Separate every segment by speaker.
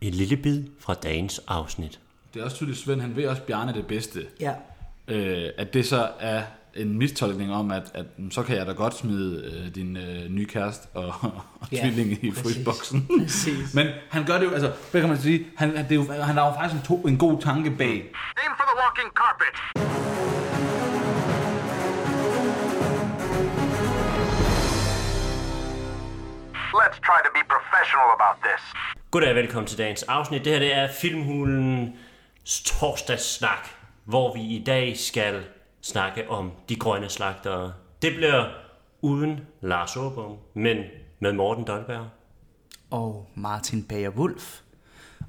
Speaker 1: En lille bid fra dagens afsnit.
Speaker 2: Det er også tydeligt, Svend, han ved også, Bjarne er det bedste.
Speaker 3: Ja.
Speaker 2: Øh, at det så er en mistolkning om, at, at mm, så kan jeg da godt smide øh, din øh, nye kæreste og, og
Speaker 3: Ja,
Speaker 2: tvilling i
Speaker 3: præcis.
Speaker 2: frysboksen.
Speaker 3: Præcis.
Speaker 2: Men han gør det jo, altså, hvad kan man sige, han, han- det er jo, han har jo faktisk en, to, en god tanke bag.
Speaker 4: Aim for the walking carpet. Let's try to be professional about this.
Speaker 1: Goddag og velkommen til dagens afsnit. Det her det er Filmhulens torsdagssnak, hvor vi i dag skal snakke om de grønne slagtere. Det bliver uden Lars Åbom, men med Morten Dolberg.
Speaker 3: Og Martin Bager Wulf.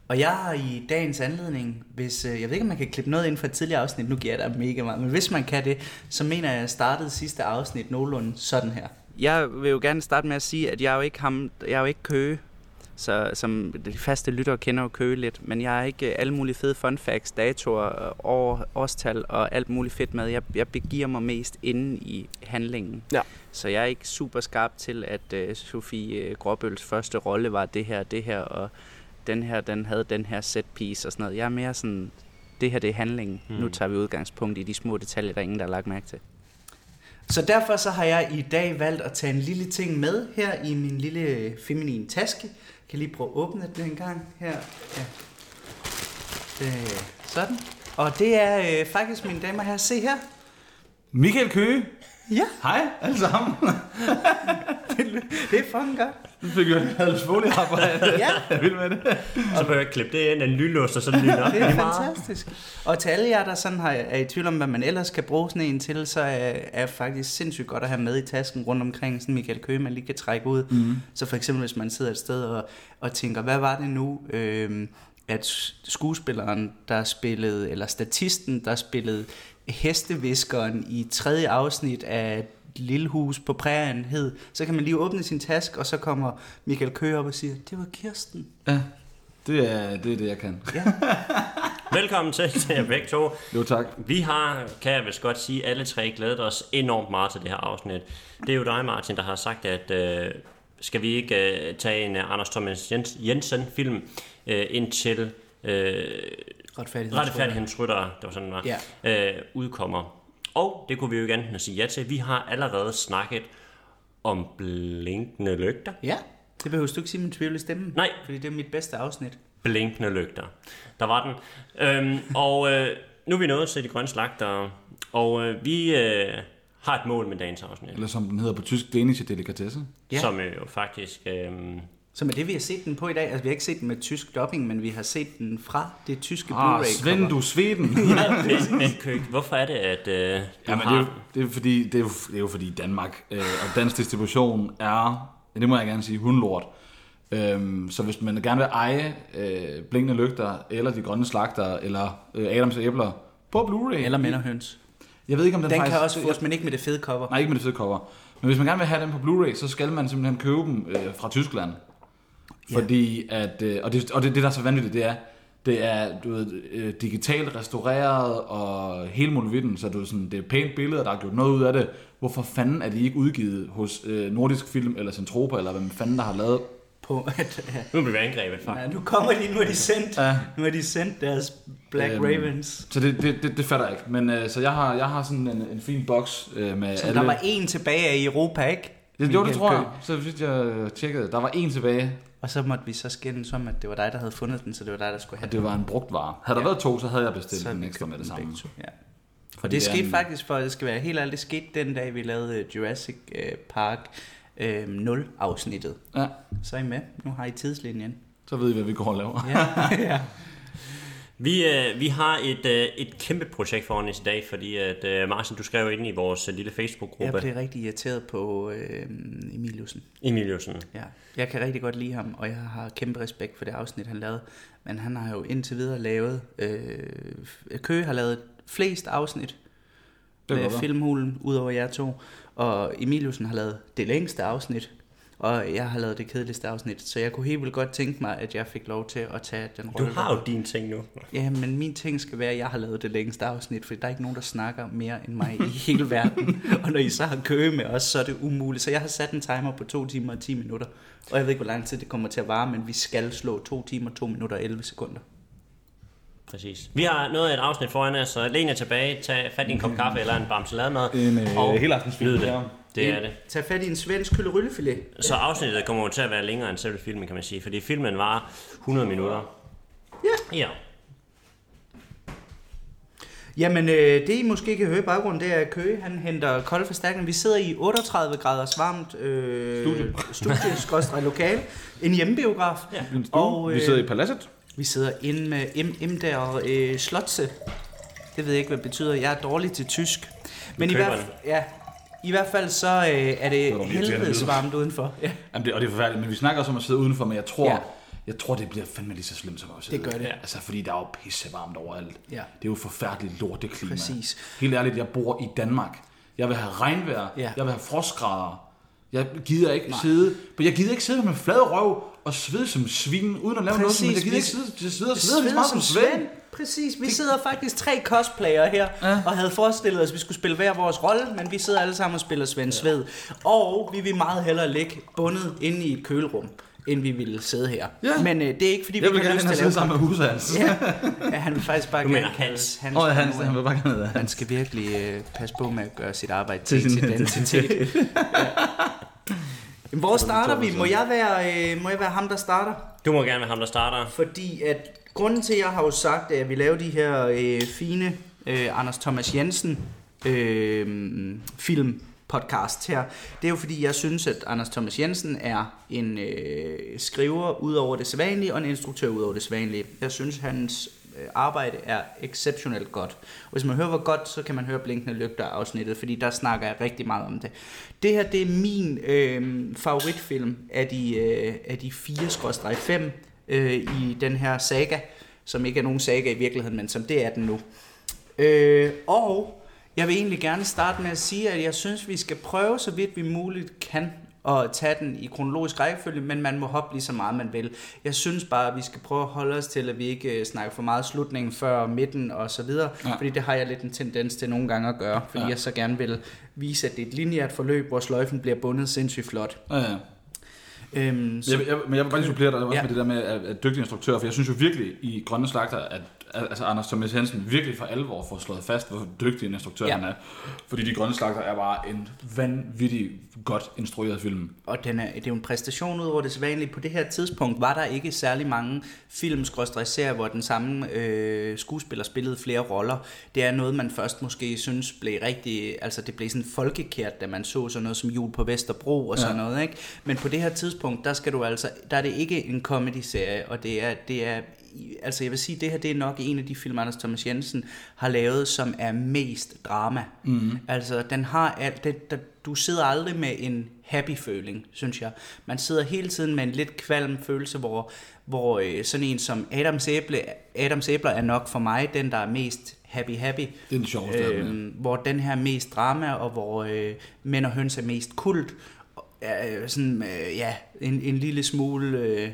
Speaker 3: Og jeg har i dagens anledning, hvis, øh, jeg ved ikke, om man kan klippe noget ind fra et tidligere afsnit, nu giver jeg dig mega meget, men hvis man kan det, så mener jeg, at jeg startede sidste afsnit nogenlunde sådan her. Jeg vil jo gerne starte med at sige, at jeg er jo ikke, ham, jeg er jo ikke køge, så, som de faste lyttere kender jo køge lidt, men jeg har ikke øh, alle mulige fede fun facts, datoer, øh, år, årstal og alt muligt fedt med. Jeg, jeg begiver mig mest inde i handlingen.
Speaker 5: Ja.
Speaker 3: Så jeg er ikke super skarp til, at øh, Sofie øh, Gråbøls første rolle var det her, det her, og den her, den havde den her set piece og sådan noget. Jeg er mere sådan, det her det er handlingen. Mm. Nu tager vi udgangspunkt i de små detaljer, der er ingen, der har lagt mærke til. Så derfor så har jeg i dag valgt at tage en lille ting med her i min lille feminine taske. Jeg kan lige prøve at åbne den en gang her. Ja. Øh, sådan. Og det er øh, faktisk, mine damer her, se her.
Speaker 2: Michael Køge,
Speaker 3: Ja,
Speaker 2: hej alle sammen.
Speaker 3: det er fucking godt.
Speaker 2: Nu fik jeg en halv foliearbejde.
Speaker 3: Ja.
Speaker 2: Jeg er vild med det.
Speaker 1: Så behøver jeg ikke klippe det ind af en lynlås og sådan lyder.
Speaker 3: Det er fantastisk. Og til alle jer, der sådan har, er i tvivl om, hvad man ellers kan bruge sådan en til, så er, er faktisk sindssygt godt at have med i tasken rundt omkring, sådan Michael Køge, man lige kan trække ud. Mm. Så for eksempel, hvis man sidder et sted og, og tænker, hvad var det nu, øhm, at skuespilleren, der spillede, eller statisten, der spillede hesteviskeren i tredje afsnit af Lille Hus på prærien hed, så kan man lige åbne sin task, og så kommer Michael Køge op og siger, det var Kirsten.
Speaker 2: Ja, det er det, er det jeg kan.
Speaker 1: Velkommen til, til jer begge to.
Speaker 2: Jo tak.
Speaker 1: Vi har, kan jeg vist godt sige, alle tre glædet os enormt meget til det her afsnit. Det er jo dig, Martin, der har sagt, at øh, skal vi ikke øh, tage en øh, Anders Thomas Jens, Jensen-film øh, indtil øh,
Speaker 3: Retfærdighed.
Speaker 1: Retfærdighedens Rytter, det var sådan, den var, ja. øh, udkommer. Og det kunne vi jo ikke andet end at sige ja til. Vi har allerede snakket om blinkende lygter.
Speaker 3: Ja, det behøver du ikke sige min tvivl i stemmen.
Speaker 1: Nej.
Speaker 3: Fordi det er mit bedste afsnit.
Speaker 1: blinkende lygter. Der var den. Øhm, og øh, nu er vi nået til de grønne slagter, og øh, vi øh, har et mål med dagens afsnit,
Speaker 2: Eller som den hedder på tysk, dänische Delikatesse.
Speaker 1: ja.
Speaker 3: Ja.
Speaker 1: som øh, jo faktisk... Øh,
Speaker 3: Som er det, vi har set den på i dag. Altså, vi har ikke set den med tysk dubbing, men vi har set den fra det tyske
Speaker 2: Ah,
Speaker 3: Blu-ray.
Speaker 2: Svend, du Sveden.
Speaker 1: men, men Køk, hvorfor er det, at øh, du
Speaker 2: Jamen, det, er jo,
Speaker 1: har...
Speaker 2: det, er fordi, det, er jo, det er jo fordi Danmark øh, og dansk distribution er, ja, det må jeg gerne sige, hundlort. Øhm, så hvis man gerne vil eje øh, Blinkende Lygter, eller De Grønne Slagter, eller øh, Adams Æbler på Blu-ray.
Speaker 3: Eller mænd og høns.
Speaker 2: Jeg ved ikke, om den,
Speaker 3: Den
Speaker 2: faktisk...
Speaker 3: kan også fås, men ikke med det fede cover.
Speaker 2: Nej, ikke med det fede cover. Men hvis man gerne vil have dem på Blu-ray, så skal man simpelthen købe dem øh, fra Tyskland. Fordi at, øh, og, det, og det, det, der er så vanvittigt, det er, det er du ved, øh, digitalt restaureret og hele muligheden, så du ved, sådan, det er pænt billeder, der er gjort noget ud af det. Hvorfor fanden er de ikke udgivet hos øh, Nordisk Film eller Centropa, eller hvem fanden der har lavet?
Speaker 3: På, at, ja.
Speaker 1: Nu bliver vi angrebet, faktisk.
Speaker 3: Ja, nu kommer de, nu er de sendt,
Speaker 2: Ja.
Speaker 3: nu er de sendt deres Black
Speaker 2: Øhm,
Speaker 3: Ravens.
Speaker 2: Så det, det, det, det fatter jeg ikke. Men øh, så jeg har, jeg har sådan en, en fin boks øh, med
Speaker 3: Som der var en tilbage af i Europa, ikke?
Speaker 2: det, jo, det
Speaker 3: Michael
Speaker 2: tror jeg.
Speaker 3: Køgh.
Speaker 2: Så vidt jeg øh, tjekkede, der var en tilbage,
Speaker 3: Og så måtte vi så skændes om, at det var dig, der havde fundet den, så det var dig, der skulle have
Speaker 2: at det var en brugt vare. Havde der været to, så havde jeg bestilt
Speaker 3: Så
Speaker 2: en
Speaker 3: vi
Speaker 2: ekstra med det
Speaker 3: den
Speaker 2: samme.
Speaker 3: begge to, Ja. Og
Speaker 2: Fordi
Speaker 3: det
Speaker 2: det er
Speaker 3: skete
Speaker 2: en-
Speaker 3: faktisk, for at det skal være helt ærligt, det skete den dag, vi lavede Jurassic øh, Park øh, 0-afsnittet.
Speaker 2: Ja,
Speaker 3: Så er I med. Nu har I tidslinjen.
Speaker 2: så ved I, hvad vi går og laver.
Speaker 3: Ja. ja.
Speaker 1: Vi, øh, vi har et, øh, et kæmpe projekt foran os i dag, fordi at, øh, Martin, du skrev ind i vores øh, lille
Speaker 3: Jeg
Speaker 1: Facebook-gruppe,
Speaker 3: blev rigtig irriteret på øh, Emiliusen.
Speaker 1: Emiliusen.
Speaker 3: Ja. Jeg kan rigtig godt lide ham, og jeg har kæmpe respekt for det afsnit, han lavede. Men han har jo indtil videre lavet... Øh, Køge har lavet flest afsnit
Speaker 2: kan
Speaker 3: med
Speaker 2: godt være.
Speaker 3: Filmhulen, udover jer to. Og Emiliusen har lavet det længste afsnit. Og jeg har lavet det kedeligste afsnit, så jeg kunne helt vildt godt tænke mig, at jeg fik lov til at tage den
Speaker 1: Du
Speaker 3: rolle.
Speaker 1: har jo dine ting nu.
Speaker 3: Ja, men min ting skal være, at jeg har lavet det længste afsnit, for der er ikke nogen, der snakker mere end mig i hele verden. Og når I så har køge med os, så er det umuligt. Så jeg har sat en timer på 2 timer og 10 minutter. Og jeg ved ikke, hvor lang tid det kommer til at vare, men vi skal slå 2 timer, 2 minutter og 11 sekunder.
Speaker 1: Præcis. Vi har noget af et afsnit foran os, så læn jer tilbage, tag fat i en kop kaffe eller en bamse lademad.
Speaker 2: En, øh, helaftensfilm,
Speaker 1: nyd
Speaker 2: ja.
Speaker 1: det. Det er det.
Speaker 3: Tag fat i en svensk kylderyllefilet.
Speaker 1: Så afsnittet kommer jo til at være længere end selve filmen, kan man sige, fordi filmen var 100 minutter. Ja. Ja.
Speaker 3: Jamen, øh, det I måske kan høre i baggrunden, det er, at Køge han henter kolde forstærkning. Vi sidder i 38 graders varmt øh, studie, studie lokal, en hjemmebiograf. Ja.
Speaker 2: Og, øh, vi sidder i paladset.
Speaker 3: Vi sidder inde med M, M der og øh, Slotse. Det ved jeg ikke, hvad det betyder. Jeg er dårlig til tysk. Men i
Speaker 1: køber
Speaker 3: hvert, ja, i hvert fald så øh, er
Speaker 2: var
Speaker 3: det
Speaker 2: lige til at
Speaker 3: helvedes
Speaker 2: vide.
Speaker 3: varmt udenfor. Ja,
Speaker 2: Jamen det, og det er forfærdeligt, men vi snakker også om at sidde udenfor, men jeg tror,
Speaker 3: Ja.
Speaker 2: ja. jeg tror det bliver fandme lige så slemt som også.
Speaker 3: Det gør det.
Speaker 2: Altså, fordi der er jo pisse varmt overalt.
Speaker 3: Ja.
Speaker 2: Det er jo forfærdeligt lorteklima.
Speaker 3: Præcis.
Speaker 2: Helt ærligt, jeg bor i Danmark. Jeg vil have regnvejr.
Speaker 3: Ja.
Speaker 2: Jeg vil have frostgrader. Jeg gider ikke Nej. sidde, men jeg gider ikke sidde med en flad røv og svede som svin, uden at lave noget,
Speaker 3: Præcis,
Speaker 2: som- men jeg gider
Speaker 3: vi-
Speaker 2: ikke sidde, sidde, sidde og svede lige så meget som
Speaker 3: Svend.
Speaker 2: Svend.
Speaker 3: Præcis, vi sidder faktisk tre cosplayer her, ja. og havde forestillet os, at vi skulle spille hver vores rolle, men vi sidder alle sammen og spiller Svend Sved. Og vi vil meget hellere ligge bundet inde i et kølerum, end vi ville sidde her.
Speaker 2: Ja.
Speaker 3: Men øh, det er ikke, fordi
Speaker 2: Jeg
Speaker 3: vi
Speaker 2: vil
Speaker 3: ikke har
Speaker 2: gerne
Speaker 3: lyst
Speaker 2: hen
Speaker 3: til
Speaker 2: og sidde
Speaker 3: at lave...
Speaker 2: sammen med huset altså. hans. Ja.
Speaker 3: Ja, han vil faktisk bare
Speaker 1: Du
Speaker 3: gerne...
Speaker 1: mener Hans.
Speaker 3: Hans.
Speaker 2: Og Hans, han vil bare gerne
Speaker 3: Man skal virkelig øh, passe på med at gøre sit arbejde til sin identitet. ja. Jamen, Hvor starter vi? Må jeg, være, øh, må jeg være ham, der starter?
Speaker 1: Du må gerne være ham, der starter.
Speaker 3: Fordi at grunden til, at jeg har jo sagt, at vi laver de her øh, fine øh, Anders Thomas Jensen øh, film podcast her, det er jo fordi, jeg synes, at Anders Thomas Jensen er en øh, skriver ud over det sædvanlige, og en instruktør ud over det sædvanlige. Jeg synes, hans øh, arbejde er exceptionelt godt. Og hvis man hører, hvor godt, så kan man høre Blinkende Lygter afsnittet, fordi der snakker jeg rigtig meget om det. Det her, det er min øh, favoritfilm af de, øh, af de 4-5 øh, i den her saga, som ikke er nogen saga i virkeligheden, men som det er den nu. Øh, og jeg vil egentlig gerne starte med at sige, at jeg synes, vi skal prøve så vidt vi muligt kan at tage den i kronologisk rækkefølge, men man må hoppe lige så meget man vil. Jeg synes bare, at vi skal prøve at holde os til, at vi ikke øh, snakker for meget slutningen før midten og så videre, ja.
Speaker 2: Ja.
Speaker 3: fordi det har jeg lidt en tendens til nogle gange at gøre, fordi ja.
Speaker 2: Ja.
Speaker 3: jeg så gerne vil vise, at det er et lineært forløb, hvor sløjfen bliver bundet sindssygt flot.
Speaker 2: Ja, ja.
Speaker 3: Øhm, så,
Speaker 2: Jeg, jeg, men jeg vil bare lige supplere dig også
Speaker 3: Ja.
Speaker 2: ja. med det der med at, at dygtige instruktører, for jeg synes jo virkelig i Grønne Slagter, at at- altså Anders Thomas Hansen virkelig for alvor får slået fast, hvor dygtig en instruktør
Speaker 3: Ja.
Speaker 2: ja. han er. Fordi De Grønne Slagter er bare en vanvittig godt instrueret film.
Speaker 3: og den er, det er jo en præstation ud over det sædvanlige. På det her tidspunkt var der ikke særlig mange film serier hvor den samme øh, skuespiller spillede flere roller. Det er noget, man først måske synes blev rigtig... Altså, det blev sådan folkekært, da man så sådan noget som Jul på Vesterbro og sådan ja. noget, ikke? Men på det her tidspunkt, der skal du altså... Der er det ikke en comedy-serie, og det er, det er i- altså jeg vil sige, det her det er nok en af de film, Anders Thomas Jensen har lavet, som er mest drama. Mm. Altså den har alt, det, der, du sidder aldrig med en happy føling, synes jeg. Man sidder hele tiden med en lidt kvalm følelse, hvor, hvor øh, sådan en som Adams, æble, Adams æbler er nok for mig den, der er mest happy happy.
Speaker 2: Det er den sjoveste af dem, ja.
Speaker 3: Øhm, hvor den her er mest drama, og hvor øh, mænd og høns er mest kult. Og, Øh, sådan, øh, ja, en, en lille smule... Øh,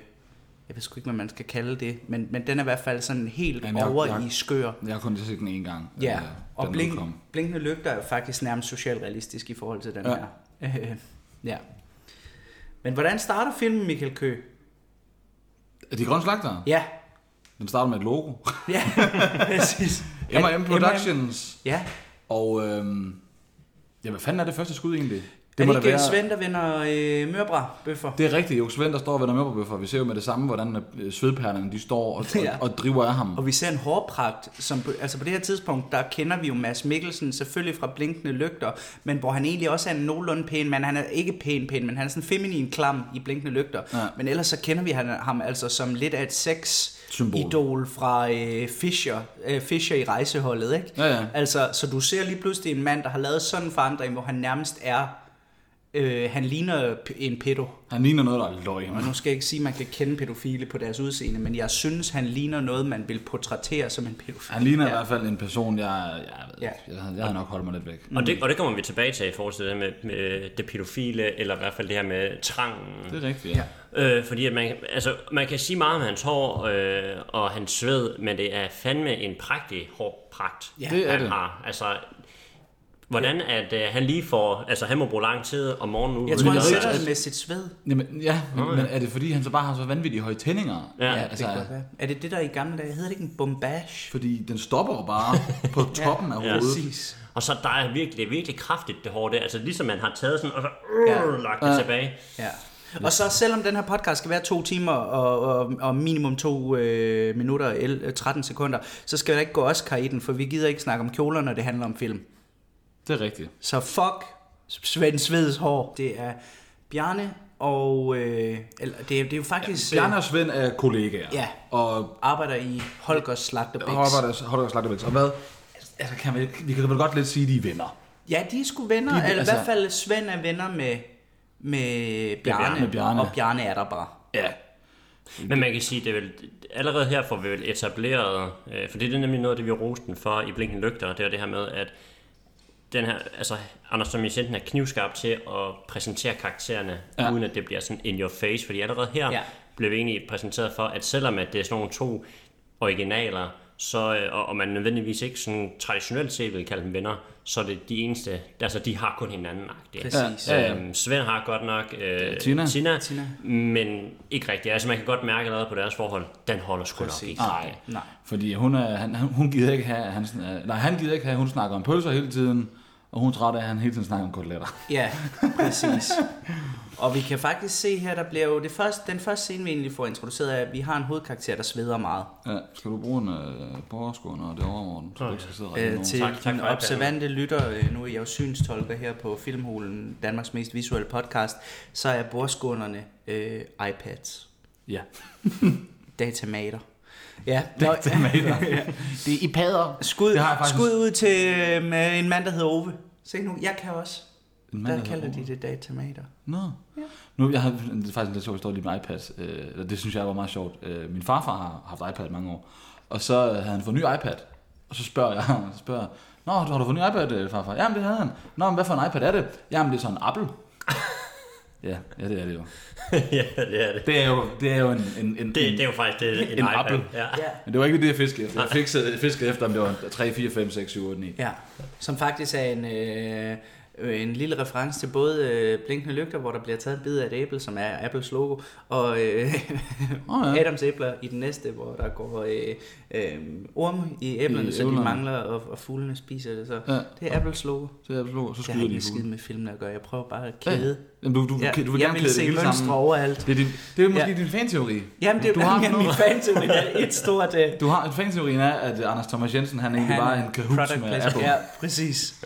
Speaker 3: jeg ved sgu ikke, hvad man skal kalde det, men, men den er i hvert fald sådan helt
Speaker 2: Ja, men jeg-
Speaker 3: over
Speaker 2: jeg-
Speaker 3: i skør.
Speaker 2: Jeg har kun set den en gang.
Speaker 3: Ja,
Speaker 2: øh,
Speaker 3: og
Speaker 2: den
Speaker 3: blink,
Speaker 2: udkom.
Speaker 3: blinkende lygter er jo faktisk nærmest socialrealistisk i forhold til den
Speaker 2: Ja.
Speaker 3: her. Øh, ja. Men hvordan starter filmen, Michael Kø?
Speaker 2: Er De Grønne Slagter? Ja.
Speaker 3: Ja,
Speaker 2: Den starter med et logo.
Speaker 3: ja, præcis.
Speaker 2: M&M Productions.
Speaker 3: Ja,
Speaker 2: Og øhm, ja, hvad fanden er det første skud egentlig?
Speaker 3: det er det ikke være... Svend, der vinder øh, mørbra-bøffer?
Speaker 2: Det er rigtigt, jo Svend, der står og vender med på bøffer. Vi ser jo med det samme, hvordan øh, svedperlerne de står og,
Speaker 3: Ja.
Speaker 2: ja. og, og driver af ham.
Speaker 3: Og vi ser en hårpragt, som på, altså på det her tidspunkt, der kender vi jo Mads Mikkelsen selvfølgelig fra Blinkende Lygter, men hvor han egentlig også er en nogenlunde pæn mand. Han er ikke pæn pæn, men han er sådan feminin klam i Blinkende Lygter. Ja.
Speaker 2: Ja.
Speaker 3: Men ellers så kender vi han, ham altså som lidt af et sex
Speaker 2: Symbol.
Speaker 3: idol fra øh, Fischer, øh, Fischer i rejseholdet, ikke?
Speaker 2: Ja, ja.
Speaker 3: Altså, så du ser lige pludselig en mand, der har lavet sådan en forandring, hvor han nærmest er Øh, han ligner p- en pedo.
Speaker 2: Han ligner noget, der er løgn.
Speaker 3: Og nu skal jeg ikke sige, at man kan kende pædofile på deres udseende, men jeg synes, han ligner noget, man vil portrættere som en pædofil.
Speaker 2: Han ligner ja. i
Speaker 3: ja.
Speaker 2: hvert fald en person, jeg, jeg, ved,
Speaker 3: Ja.
Speaker 2: ikke. jeg, havde- jeg havde nok holdt mig lidt væk.
Speaker 1: Og det, og det kommer vi tilbage til i forhold til det her med, med det pædofile, eller i hvert fald det her med trangen.
Speaker 2: Det er rigtigt, ja.
Speaker 3: Ja.
Speaker 1: Øh, fordi at man, altså, man kan sige meget om hans hår øh, og hans sved, men det er fandme en prægtig hårpragt,
Speaker 3: Ja.
Speaker 2: Det er
Speaker 1: han
Speaker 2: det.
Speaker 1: har. Altså, hvordan at øh, han lige får... Altså, han må bruge lang tid om morgenen ude.
Speaker 3: Jeg tror,
Speaker 1: ved
Speaker 3: han
Speaker 1: det.
Speaker 3: sætter det med sit sved.
Speaker 2: Jamen, ja, men, oh, ja, men er det fordi, han så bare har så vanvittige høje tændinger?
Speaker 1: Ja, det
Speaker 2: altså,
Speaker 3: Godt være. Er det det, der i gamle dage hedder det ikke en bombash?
Speaker 2: fordi den stopper jo bare på toppen af hovedet.
Speaker 3: Præcis.
Speaker 1: Og så der er virkelig, virkelig kraftigt det hår der. Altså, ligesom man har taget sådan, og så øh,
Speaker 3: Ja.
Speaker 1: lagt det
Speaker 2: Ja.
Speaker 1: tilbage.
Speaker 3: Ja. Og så selvom den her podcast skal være to timer og, og, og minimum to øh, minutter og el- 13 sekunder, så skal der ikke gå Oscar i den, for vi gider ikke snakke om kjoler, når det handler om film.
Speaker 2: Det er rigtigt.
Speaker 3: Så fuck Svend Sveds hår. Det er Bjarne og... Øh, eller, det, er, det er jo faktisk... øh,
Speaker 2: Bjarne og Svend er kollegaer.
Speaker 3: Ja.
Speaker 2: Og
Speaker 3: arbejder i Holgers Slagterbæks.
Speaker 2: Holger Holger Slagterbæks. Og hvad? Altså, kan vi, vi kan vel godt lidt sige, at de er venner.
Speaker 3: Ja, de er sgu venner,
Speaker 2: De er-
Speaker 3: de, eller altså,
Speaker 2: altså-
Speaker 3: i hvert fald Svend er venner med, med, Bjarne,
Speaker 2: Med Bjarne.
Speaker 3: og Bjarne er der bare.
Speaker 2: Ja.
Speaker 1: Mm. Men man kan sige, det er vel, allerede her får vi vel etableret, øh, for det er nemlig noget af det, vi roste den for i Blinken Lygter, det er det her med, at den her, altså Anders som Jensen er knivskarp til at præsentere karaktererne,
Speaker 2: Ja.
Speaker 1: ja. uden at det bliver sådan in your face, fordi allerede her
Speaker 3: Ja.
Speaker 1: ja. blev vi egentlig præsenteret for, at selvom at det er sådan nogle to originaler, så, øh, og, og man nødvendigvis ikke sådan traditionelt set vil kalde dem venner, så er det de eneste, altså de har kun hinanden.
Speaker 3: Præcis.
Speaker 2: Ja, ja, ja.
Speaker 1: Øhm, Svend har godt nok øh,
Speaker 2: Tina.
Speaker 1: Tina. Tina,
Speaker 3: Tina.
Speaker 1: men ikke rigtigt. Altså man kan godt mærke allerede på deres forhold, den holder sgu nok
Speaker 3: Præcis.
Speaker 1: ikke.
Speaker 2: Nej.
Speaker 3: Nej.
Speaker 2: Fordi hun, er, han, han- hun gider ikke have, at han, sn- øh, nej, han gider ikke have, at hun snakker om pølser hele tiden, og hun er træt af, at han hele tiden snakker om koteletter.
Speaker 3: Ja, præcis. og vi kan faktisk se her, der bliver jo det første, den første scene, vi egentlig får introduceret, er, at vi har en hovedkarakter, der sveder meget.
Speaker 2: Ja, skal du bruge en øh, borgerskål, når det er over, Morten? Så du ikke skal sidde og række
Speaker 3: Øh,
Speaker 2: nogen.
Speaker 3: til
Speaker 1: Tak- tak
Speaker 3: den
Speaker 1: for iPad'en.
Speaker 3: observante lytter, øh, nu er jeg jo synstolker her på Filmhulen, Danmarks mest visuelle podcast, så er bordskånerne øh, iPads.
Speaker 2: Ja.
Speaker 3: Datamater. Ja,
Speaker 2: Datamater.
Speaker 3: det er i padder. Skud,
Speaker 2: Det har jeg faktisk-
Speaker 3: skud ud til øh, med en mand, der hedder Ove. Se nu, jeg kan også.
Speaker 2: En mand,
Speaker 3: Der
Speaker 2: hedder
Speaker 3: kalder
Speaker 2: Ove.
Speaker 3: de det datamater.
Speaker 2: Nå. Ja. Nu, jeg havde det er faktisk en lidt sjov historie lige med iPad. Øh, eller det synes jeg var meget sjovt. Øh, min farfar har haft iPad i mange år. Og så øh, havde han fået en ny iPad. Og så spørger jeg ham. Så spørger jeg, Nå, har du fået en ny iPad, øh, farfar? Jamen, det havde han. Nå, men hvad for en iPad er det? Jamen, det er sådan en Apple. ja, ja, det er det jo.
Speaker 1: ja, det er det.
Speaker 2: Det er jo, det er jo en, en, en,
Speaker 1: Det, det er jo faktisk det, en, en
Speaker 2: En
Speaker 1: iPad.
Speaker 2: apple.
Speaker 1: Ja.
Speaker 3: Ja.
Speaker 2: Men det var ikke det, jeg fiskede efter. Jeg fiskede, fiskede efter, om det var 3, 4, 5, 6, 7, 8, 9.
Speaker 3: Ja, som faktisk er en, øh, øh, en lille reference til både øh, Blinkende Lygter, hvor der bliver taget en bid af et æble, som er Apples logo, og øh,
Speaker 2: Åh,
Speaker 3: oh,
Speaker 2: ja.
Speaker 3: ja. Adams æbler i den næste, hvor der går øh, øh, orme i æblerne,
Speaker 2: I
Speaker 3: I så
Speaker 2: æblerne.
Speaker 3: de mangler, og, og fuglene spiser det. Så
Speaker 2: Ja.
Speaker 3: det er Apples logo.
Speaker 2: Så jeg slog, så
Speaker 3: Jeg har
Speaker 2: skyder
Speaker 3: ikke
Speaker 2: de fuglen.
Speaker 3: en skid med filmen at gøre. Jeg prøver bare at
Speaker 2: Ja, ja.
Speaker 3: kæde.
Speaker 2: Jamen, du, du,
Speaker 3: Jeg,
Speaker 2: du vil
Speaker 3: jeg
Speaker 2: gerne
Speaker 3: vil
Speaker 2: kæde det
Speaker 3: se
Speaker 2: hele
Speaker 3: mønstre
Speaker 2: sammen.
Speaker 3: overalt.
Speaker 2: Det er, din, det er måske
Speaker 3: Ja.
Speaker 2: din fanteori.
Speaker 3: Jamen, det er
Speaker 2: du
Speaker 3: jo
Speaker 2: har
Speaker 3: blandt andet
Speaker 2: noget-
Speaker 3: min fanteori. Det er et stort... Øh,
Speaker 2: Du har, fanteorien er, at Anders Thomas Jensen, han egentlig bare er en kahoot
Speaker 3: product
Speaker 2: med
Speaker 3: placement.
Speaker 2: Apple.
Speaker 3: Ja, præcis.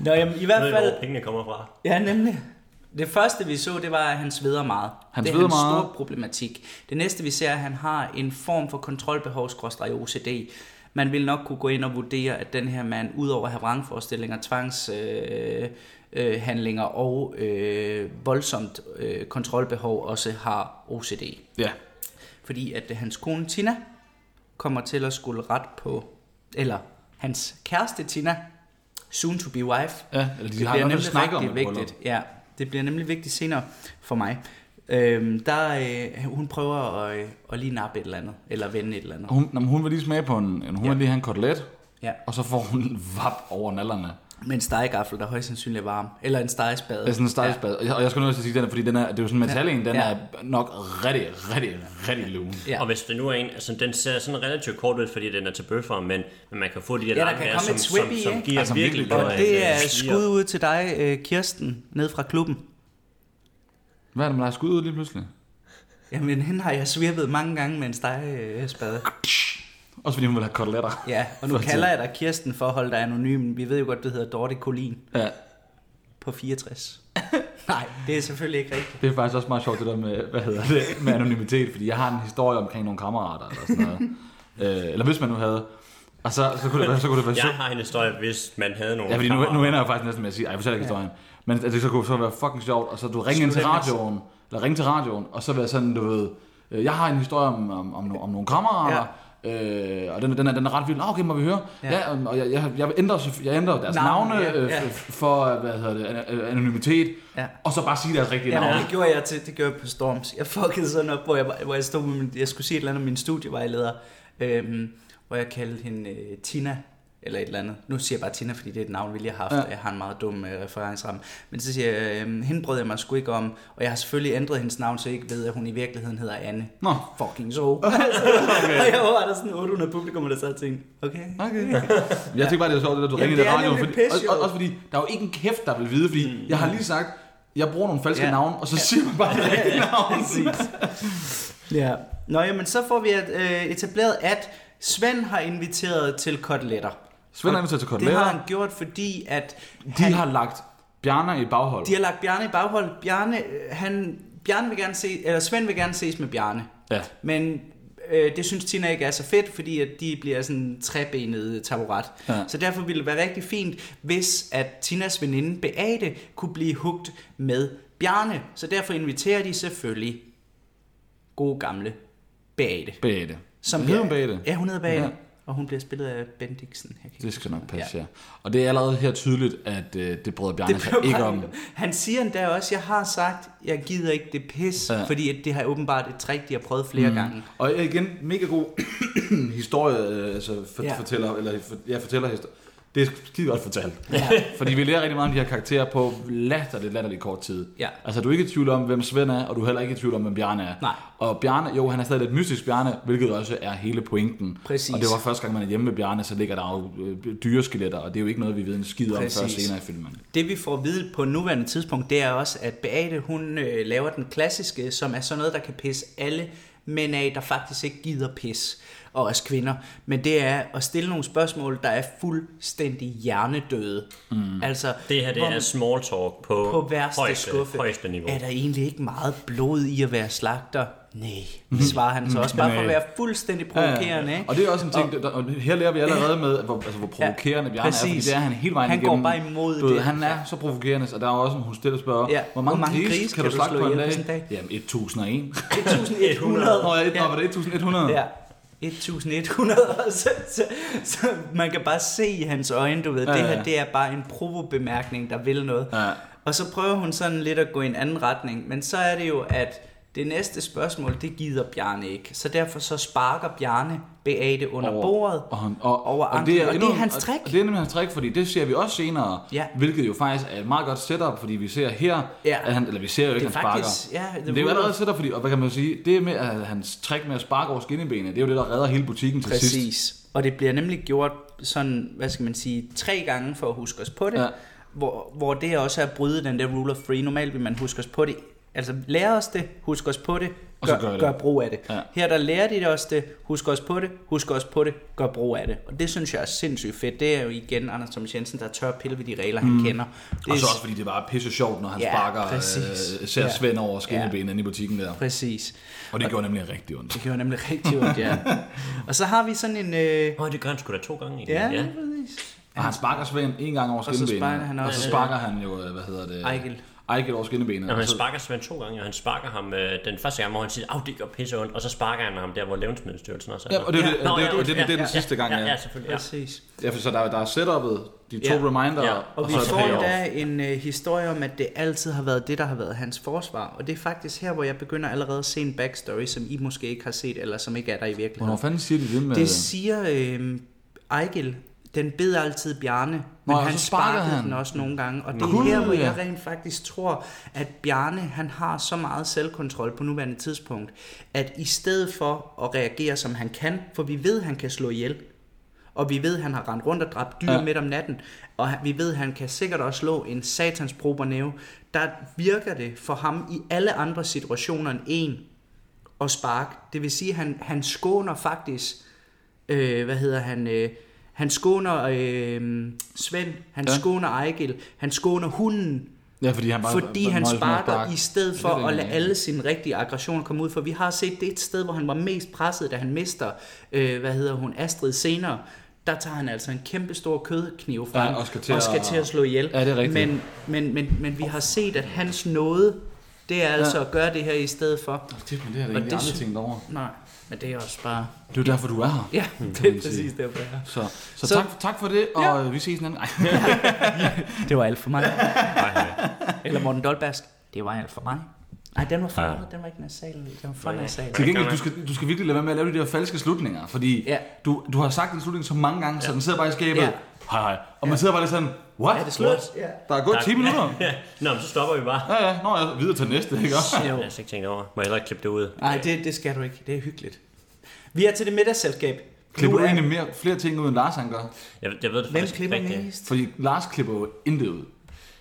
Speaker 3: Nå, jamen, i
Speaker 1: Jeg
Speaker 3: hvert
Speaker 1: ved ikke, hvor
Speaker 3: fald...
Speaker 1: pengene kommer fra.
Speaker 3: Ja, nemlig. Det første, vi så, det var, at han sveder meget.
Speaker 2: Han
Speaker 3: det er
Speaker 2: sveder
Speaker 3: hans
Speaker 2: meget.
Speaker 3: store problematik. Det næste, vi ser, er, at han har en form for kontrolbehov, skråstreg OCD. Man vil nok kunne gå ind og vurdere, at den her mand, udover at have vrangforestillinger, tvangshandlinger øh, øh, handlinger og øh, voldsomt øh, kontrolbehov, også har OCD.
Speaker 2: ja.
Speaker 3: Fordi at øh, hans kone Tina kommer til at skulle ret på, eller hans kæreste Tina, soon to be wife,
Speaker 2: Ja, eller de
Speaker 3: det
Speaker 2: har i hvert
Speaker 3: bliver
Speaker 2: fald
Speaker 3: nemlig
Speaker 2: snakket om
Speaker 3: rigtig
Speaker 2: et
Speaker 3: vigtigt.
Speaker 2: vigtigt.
Speaker 3: Ja, det bliver nemlig vigtigt senere for mig. Øhm, der, øh, hun prøver at, øh, at lige nappe et eller andet, eller vende et eller andet.
Speaker 2: Hun, jamen, hun vil lige smage på en, en hun ja. vil lige have en kotelet,
Speaker 3: Ja.
Speaker 2: og så får hun en vap over nallerne.
Speaker 3: Med en stegegaffel, der højst sandsynligt er varm. Eller en stegespade.
Speaker 2: Det er sådan Altså, en stejlspad. Ja. Og jeg skal nødt til at sige den, er, fordi den er, det er jo sådan en metal en, den
Speaker 3: Ja.
Speaker 2: ja. er nok rigtig, rigtig, rigtig lun.
Speaker 3: Ja.
Speaker 1: Ja. Og hvis det nu er en, altså den ser sådan relativt kort ud, fordi den er til bøffer, men, men man kan få de der
Speaker 3: der
Speaker 1: lange
Speaker 3: kan
Speaker 1: der,
Speaker 3: komme
Speaker 1: som,
Speaker 3: et
Speaker 1: som,
Speaker 3: swip i,
Speaker 1: som
Speaker 3: ikke?
Speaker 1: giver
Speaker 2: Altså,
Speaker 1: virkelig
Speaker 2: virkelig.
Speaker 1: noget.
Speaker 3: Og
Speaker 1: af
Speaker 3: det er
Speaker 1: øh,
Speaker 3: skud ud til dig, øh, Kirsten, ned fra klubben.
Speaker 2: Hvad er det, man har skudt ud lige pludselig?
Speaker 3: Jamen, hende har jeg svirpet mange gange med en stegespade.
Speaker 2: Også fordi hun vil have koteletter.
Speaker 3: Ja, og nu kalder jeg dig Kirsten for at holde dig anonym. Vi ved jo godt, du hedder Dorte Kolin
Speaker 2: Ja,
Speaker 3: på 64. Nej, det er selvfølgelig ikke rigtigt.
Speaker 2: det er faktisk også meget sjovt, det der med, hvad hedder det, med anonymitet, fordi jeg har en historie omkring nogle kammerater eller sådan noget. øh, eller hvis man nu havde. Og så, så kunne det være, så kunne det være
Speaker 1: Jeg har en historie, hvis man havde nogle
Speaker 2: Ja, fordi nu, nu
Speaker 1: kammerater.
Speaker 2: ender jeg faktisk næsten med at sige, ej, jeg fortæller ikke historien. Men at det så kunne så være fucking sjovt, og så du ringe ind til radioen, eller ringe til radioen, og så være sådan, du ved, øh, jeg har en historie om, om, om, no- om nogle kammerater, Øh, og den, den, er, den er ret vild. Ah, okay, må vi høre? Ja,
Speaker 3: Ja.
Speaker 2: ja og jeg, jeg, jeg, ændrer, selvfø- jeg ændrer deres navne,
Speaker 3: Navne,
Speaker 2: navne
Speaker 3: ja,
Speaker 2: øh,
Speaker 3: ja.
Speaker 2: f- for hvad hedder det, an- øh, anonymitet,
Speaker 3: Ja.
Speaker 2: og så bare sige deres rigtige
Speaker 3: Ja,
Speaker 2: navn.
Speaker 3: men det gjorde jeg til, det gjorde jeg på Storms. Jeg fuckede sådan op, hvor jeg, var- hvor jeg stod med min, jeg skulle sige et eller andet om min studievejleder, øhm, hvor jeg kaldte hende øh, Tina, eller et eller andet. Nu siger jeg bare Tina, fordi det er et navn, vi lige har haft,
Speaker 2: Ja.
Speaker 3: ja. og jeg har en meget dum øh, referenceramme. Men så siger jeg, øh, hende brød jeg mig sgu ikke om, og jeg har selvfølgelig ændret hendes navn, så jeg ikke ved, at hun i virkeligheden hedder Anne.
Speaker 2: Nå.
Speaker 3: Fucking så. okay. Og jeg var der sådan 800 publikum, der sad og tænkte, okay.
Speaker 2: Okay. Jeg tænkte bare, det var sjovt, det der, du
Speaker 3: Jamen,
Speaker 2: ringede i
Speaker 3: det er
Speaker 2: radioen.
Speaker 3: nemlig
Speaker 2: Fordi,
Speaker 3: pisse
Speaker 2: og, og,
Speaker 3: sjovt.
Speaker 2: også fordi, der er jo ikke en kæft, der vil vide, fordi jeg har lige sagt, jeg bruger nogle falske
Speaker 3: Ja.
Speaker 2: navne, og så siger man bare det rigtige navn.
Speaker 3: Præcis. ja. Nå, jamen, så får vi at, øh, etableret, at Svend har inviteret til koteletter.
Speaker 2: Svend er inviteret til
Speaker 3: Det har
Speaker 2: koteletter.
Speaker 3: han gjort, fordi at
Speaker 2: De
Speaker 3: han,
Speaker 2: har lagt Bjarne i baghold.
Speaker 3: de har lagt Bjarne i baghold. Bjarne, øh, han, Bjarne vil gerne se, eller Svend vil gerne ses med Bjarne.
Speaker 2: Ja.
Speaker 3: Men øh, det synes Tina ikke er så fedt, fordi at de bliver sådan en trebenet taburet.
Speaker 2: Ja.
Speaker 3: Ja. Så derfor ville det være rigtig fint, hvis at Tinas veninde Beate kunne blive hugt med Bjarne. Så derfor inviterer de selvfølgelig gode gamle Beate.
Speaker 2: Bæte.
Speaker 3: Som
Speaker 2: Hed hun Bæte?
Speaker 3: Ja, hun hedder Beate.
Speaker 2: Ja.
Speaker 3: Ja. Og hun bliver spillet af Bendiksen. Jeg kan ikke
Speaker 2: Det skal nok passe, ja. Og det er allerede her tydeligt, at øh, det bryder Bjarne sig
Speaker 3: blev
Speaker 2: ikke
Speaker 3: bare-
Speaker 2: om.
Speaker 3: Han siger endda også, jeg har sagt, jeg gider ikke det pis,
Speaker 2: Ja.
Speaker 3: ja. fordi at det har åbenbart et trick, de har prøvet flere mm. gange.
Speaker 2: Og igen, mega god historie, øh, altså for, ja.
Speaker 3: Ja.
Speaker 2: fortæller, eller for, ja, fortæller historie. Det er skide godt fortalt. Ja. Fordi vi lærer rigtig meget om de her karakterer på latterligt, latterligt kort tid.
Speaker 3: Ja.
Speaker 2: Altså, du er ikke i tvivl om, hvem Svend er, og du er heller ikke i tvivl om, hvem Bjarne er.
Speaker 3: Nej.
Speaker 2: Og Bjarne, jo, han er stadig lidt mystisk Bjarne, hvilket også er hele pointen.
Speaker 3: Præcis.
Speaker 2: Og det var første gang, man er hjemme med Bjarne, så ligger der jo øh, dyreskeletter, og det er jo ikke noget, vi ved en skid om før
Speaker 3: Præcis.
Speaker 2: senere i filmen.
Speaker 3: Det vi får at vide på nuværende tidspunkt, det er også, at Beate hun øh, laver den klassiske, som er sådan noget, der kan pisse alle mænd af, der faktisk ikke gider pis, og også kvinder. Men det er at stille nogle spørgsmål, der er fuldstændig hjernedøde. Mm. Altså,
Speaker 1: Det her det
Speaker 3: hvor-
Speaker 1: er small talk på,
Speaker 3: på værste
Speaker 1: højeste,
Speaker 3: skuffe.
Speaker 1: højeste niveau.
Speaker 3: Er der egentlig ikke meget blod i at være slagter?
Speaker 1: Mm-hmm.
Speaker 3: Nej, svarer han så også bare for at være fuldstændig provokerende. Ikke?
Speaker 2: Og det er også en ting, der, og her lærer vi allerede med, hvor, altså, hvor provokerende ja,
Speaker 3: Ja,
Speaker 2: Bjarne er, fordi
Speaker 3: præcis.
Speaker 2: det er han hele vejen
Speaker 3: Han går
Speaker 2: igennem.
Speaker 3: bare imod
Speaker 2: du ved,
Speaker 3: det.
Speaker 2: Han er så provokerende, og der er også en, hun stiller spørger,
Speaker 3: Ja,
Speaker 2: hvor mange, hvor mange grise, kan du slagte
Speaker 3: slå
Speaker 2: på en
Speaker 3: ihjel
Speaker 2: dag?
Speaker 3: på sådan en dag?
Speaker 2: Jamen 1001.
Speaker 3: 1100.
Speaker 2: Nå, ja, et, ja. var det 1100?
Speaker 3: Ja. 1100, så, så, så man kan bare se i hans øjne, du ved,
Speaker 2: Ja,
Speaker 3: det
Speaker 2: ja.
Speaker 3: her det er bare en provo-bemærkning, der vil noget.
Speaker 2: Ja.
Speaker 3: Og så prøver hun sådan lidt at gå i en anden retning, men så er det jo, at det næste spørgsmål, det gider Bjarne ikke. Så derfor så sparker Bjarne Beate under
Speaker 2: Over-
Speaker 3: bordet.
Speaker 2: Og, han, og,
Speaker 3: Over
Speaker 2: og,
Speaker 3: anklen, og det er
Speaker 2: endnu-
Speaker 3: hans
Speaker 2: og-
Speaker 3: trick.
Speaker 2: Og det er nemlig hans trick, fordi det ser vi også senere,
Speaker 3: Ja.
Speaker 2: hvilket jo faktisk er et meget godt setup, fordi vi ser her,
Speaker 3: Ja.
Speaker 2: at han, eller vi ser jo ikke,
Speaker 3: Det
Speaker 2: at
Speaker 3: er
Speaker 2: han sparker.
Speaker 3: faktisk- ja,
Speaker 2: Men
Speaker 3: the
Speaker 2: det er jo
Speaker 3: rule
Speaker 2: allerede
Speaker 3: of-
Speaker 2: setup, fordi, og hvad kan man sige, det med at hans trick med at sparke over skinnebenet, det er jo det, der redder hele butikken til sidst.
Speaker 3: Præcis. Og det bliver nemlig gjort sådan, hvad skal man sige, tre gange for at huske os på det.
Speaker 2: Ja.
Speaker 3: Ja. Hvor, hvor det også er at bryde den der rule of three. Normalt vil man huske os på det. Altså lære os det, husk os på det,
Speaker 2: Og så
Speaker 3: gør,
Speaker 2: gør vi det.
Speaker 3: gør brug af det.
Speaker 2: Ja.
Speaker 3: Her der lærer de det os det, husk os på det, husk os på det, gør brug af det. Og det synes jeg er sindssygt fedt. Det er jo igen Anders Thomas Jensen, der tør at pille ved de regler, mm. han kender. Det
Speaker 2: Og
Speaker 3: er
Speaker 2: så også fordi det var pisse sjovt, når han ja,
Speaker 3: Ja,
Speaker 2: sparker
Speaker 3: præcis.
Speaker 2: øh, ser
Speaker 3: Ja.
Speaker 2: Svend over skinnebenet ja. inde i butikken der.
Speaker 3: Præcis.
Speaker 2: Og det gjorde nemlig rigtig ondt.
Speaker 3: Det gør nemlig rigtig ondt, ja. Og så har vi sådan en... Øh,
Speaker 1: Åh, det gør han sgu da to gange. egentlig.
Speaker 3: ja, ja, præcis.
Speaker 2: Og han sparker Svend en gang over
Speaker 3: så
Speaker 2: skinnebenet.
Speaker 3: sparker han
Speaker 2: og
Speaker 3: også-
Speaker 2: så sparker han jo, øh, hvad hedder det?
Speaker 3: Ejgil.
Speaker 2: Ejgil over skinnebenet.
Speaker 1: Når
Speaker 2: Og
Speaker 1: han
Speaker 2: så-
Speaker 1: sparker Svend to gange, og han sparker ham øh, den første gang, hvor han siger, at det gør pisse ondt, og så sparker han ham der, hvor levnedsmiddelstyrelsen også er.
Speaker 2: Ja, og det er jo det-
Speaker 1: Nå,
Speaker 2: det er jo-
Speaker 1: undskyld,
Speaker 2: det er den sidste gang,
Speaker 1: ja.
Speaker 2: ja.
Speaker 1: Ja, ja selvfølgelig. Ja.
Speaker 3: Præcis.
Speaker 2: Ja, for så der, der er setup'et, de to
Speaker 3: Ja.
Speaker 2: reminder,
Speaker 1: Ja.
Speaker 2: og,
Speaker 3: Og, og vi
Speaker 2: så er
Speaker 3: får
Speaker 2: det payoff.
Speaker 3: endda en øh, historie om, at det altid har været det, der har været hans forsvar. Og det er faktisk her, hvor jeg begynder allerede at se en backstory, som I måske ikke har set, eller som ikke er der i virkeligheden.
Speaker 2: Hvornår fanden siger de det med...
Speaker 3: Det siger øh, Ejgil, den bed altid Bjarne, men
Speaker 2: Nå, og
Speaker 3: han
Speaker 2: så sparkede
Speaker 3: sparkede
Speaker 2: han.
Speaker 3: den også nogle gange. Og det er
Speaker 2: Cool,
Speaker 3: her, hvor
Speaker 2: ja.
Speaker 3: jeg rent faktisk tror, at Bjarne han har så meget selvkontrol på nuværende tidspunkt, at i stedet for at reagere, som han kan, for vi ved, han kan slå ihjel, og vi ved, han har rendt rundt og dræbt dyr
Speaker 2: Ja.
Speaker 3: ja. midt om natten, og han- vi ved, han kan sikkert også slå en satans næve, der virker det for ham i alle andre situationer end en at sparke. Det vil sige, at han, han skåner faktisk øh, hvad hedder han, øh, han skåner øh, Svend, han
Speaker 2: Ja.
Speaker 3: ja. skåner Ejgil, han skåner hunden,
Speaker 2: Ja, fordi han bare...
Speaker 3: fordi
Speaker 2: bare
Speaker 3: han
Speaker 2: nøjes med at
Speaker 3: sparker
Speaker 2: sparke.
Speaker 3: i stedet
Speaker 2: Ja, det er
Speaker 3: for at lade
Speaker 2: egentlig
Speaker 3: alle
Speaker 2: rigtigt.
Speaker 3: sine rigtige aggressioner komme ud. For vi har set det et sted, hvor han var mest presset, da han mister, øh, hvad hedder hun, Astrid senere. der tager han altså en kæmpe stor kødkniv frem
Speaker 2: Ja, og skal til
Speaker 3: og skal
Speaker 2: at-
Speaker 3: til at slå ihjel.
Speaker 2: Ja, det er rigtigt.
Speaker 3: Men, men, men, men vi har set, at hans nåde, det er altså
Speaker 2: Ja.
Speaker 3: at gøre det her i stedet for.
Speaker 2: Det, men det har jeg da egentlig
Speaker 3: det
Speaker 2: aldrig
Speaker 3: sy-
Speaker 2: tænkt over.
Speaker 3: Nej, men det er også bare...
Speaker 2: Det er jo derfor, du er her.
Speaker 3: Ja, det er præcis derfor, jeg er.
Speaker 2: Så, så,
Speaker 3: Så-
Speaker 2: tak, tak for det, og ja. vi ses en anden. Ej.
Speaker 3: Det var alt for mig. Eller Morten Dolbersk. Det var alt for mig. Nej, den var for
Speaker 1: Ja.
Speaker 3: ja. den var ikke nasal. Den var for nasal.
Speaker 2: Til gengæld, du skal, du skal virkelig lade være med at lave de der falske slutninger, fordi
Speaker 3: Ja.
Speaker 2: du, du har sagt en slutning så mange gange, så den sidder bare i skabet.
Speaker 3: Ja.
Speaker 2: Hej, hej. Og man sidder bare lidt sådan, what?
Speaker 3: Er det slut? Ja.
Speaker 2: Der er gået 10 minutter.
Speaker 1: Nå, men så stopper vi bare.
Speaker 2: Ja, ja. Nå, jeg videre til næste, ikke også?
Speaker 1: Jeg
Speaker 3: Jo.
Speaker 1: har slet ikke tænkt over. Må jeg hellere klippe det ud?
Speaker 3: Nej, det, det skal du ikke. Det er hyggeligt. Vi er til det middagsselskab.
Speaker 2: Klipper
Speaker 3: Nu
Speaker 2: du
Speaker 3: er-
Speaker 2: egentlig mere, flere ting ud, end Lars han gør?
Speaker 1: Jeg, jeg ved det
Speaker 3: Hvem
Speaker 1: faktisk ikke
Speaker 3: klipper
Speaker 1: rigtigt.
Speaker 3: mest?
Speaker 2: Fordi Lars klipper jo intet ud.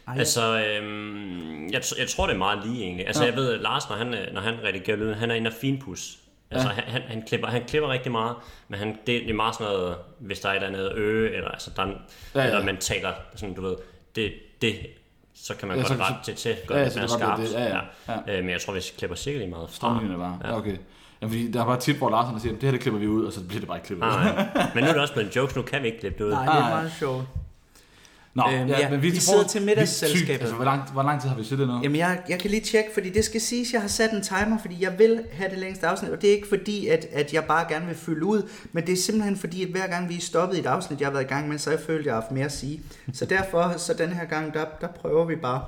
Speaker 3: Ej, altså,
Speaker 1: Altså, øhm, jeg, t- jeg tror, det er meget lige egentlig. Altså,
Speaker 2: Ja.
Speaker 1: jeg ved, at Lars, når han, øh, når han redigerer lyden, han er en af finpus. Altså, han, han, han, klipper, han klipper rigtig meget, men han, det, det er meget sådan noget, hvis der er et eller andet øge, eller, altså, der, er en-
Speaker 2: Ja, ja.
Speaker 1: eller man taler, sådan, du ved, det, det så kan man
Speaker 2: Ja,
Speaker 1: ja, godt
Speaker 2: så-
Speaker 1: rette det til, gøre
Speaker 2: ja,
Speaker 1: det
Speaker 2: så
Speaker 1: mere
Speaker 2: det godt
Speaker 1: skarpt.
Speaker 2: bliver det, ja, ja,
Speaker 1: Øh, men jeg tror, vi klipper sikkert lige meget fra.
Speaker 3: Ah,
Speaker 2: Stramlinjer bare. Ja. Okay. Jamen, fordi der er bare tit, hvor Lars han siger, det her det klipper vi ud, og så bliver det bare ikke klippet ud.
Speaker 3: Ah,
Speaker 1: Nej, men nu er det også blevet jokes, nu kan vi ikke klippe det ud.
Speaker 3: nej, det er meget sjovt.
Speaker 2: Nå,
Speaker 3: Øhm, ja, vi
Speaker 2: er
Speaker 3: sidder
Speaker 2: forholds-
Speaker 3: til
Speaker 2: vi er
Speaker 3: middagsselskabet.
Speaker 2: sygt- Altså, hvor, lang, hvor lang tid har vi siddet nu?
Speaker 3: Jamen, jeg, jeg kan lige tjekke, fordi det skal siges, jeg har sat en timer, fordi jeg vil have det længste afsnit, og det er ikke fordi, at, at jeg bare gerne vil fylde ud, men det er simpelthen fordi, at hver gang vi er stoppet i et afsnit, jeg har været i gang med, så har jeg følt, at jeg har haft mere at sige. Så derfor, så den her gang, der, der prøver vi bare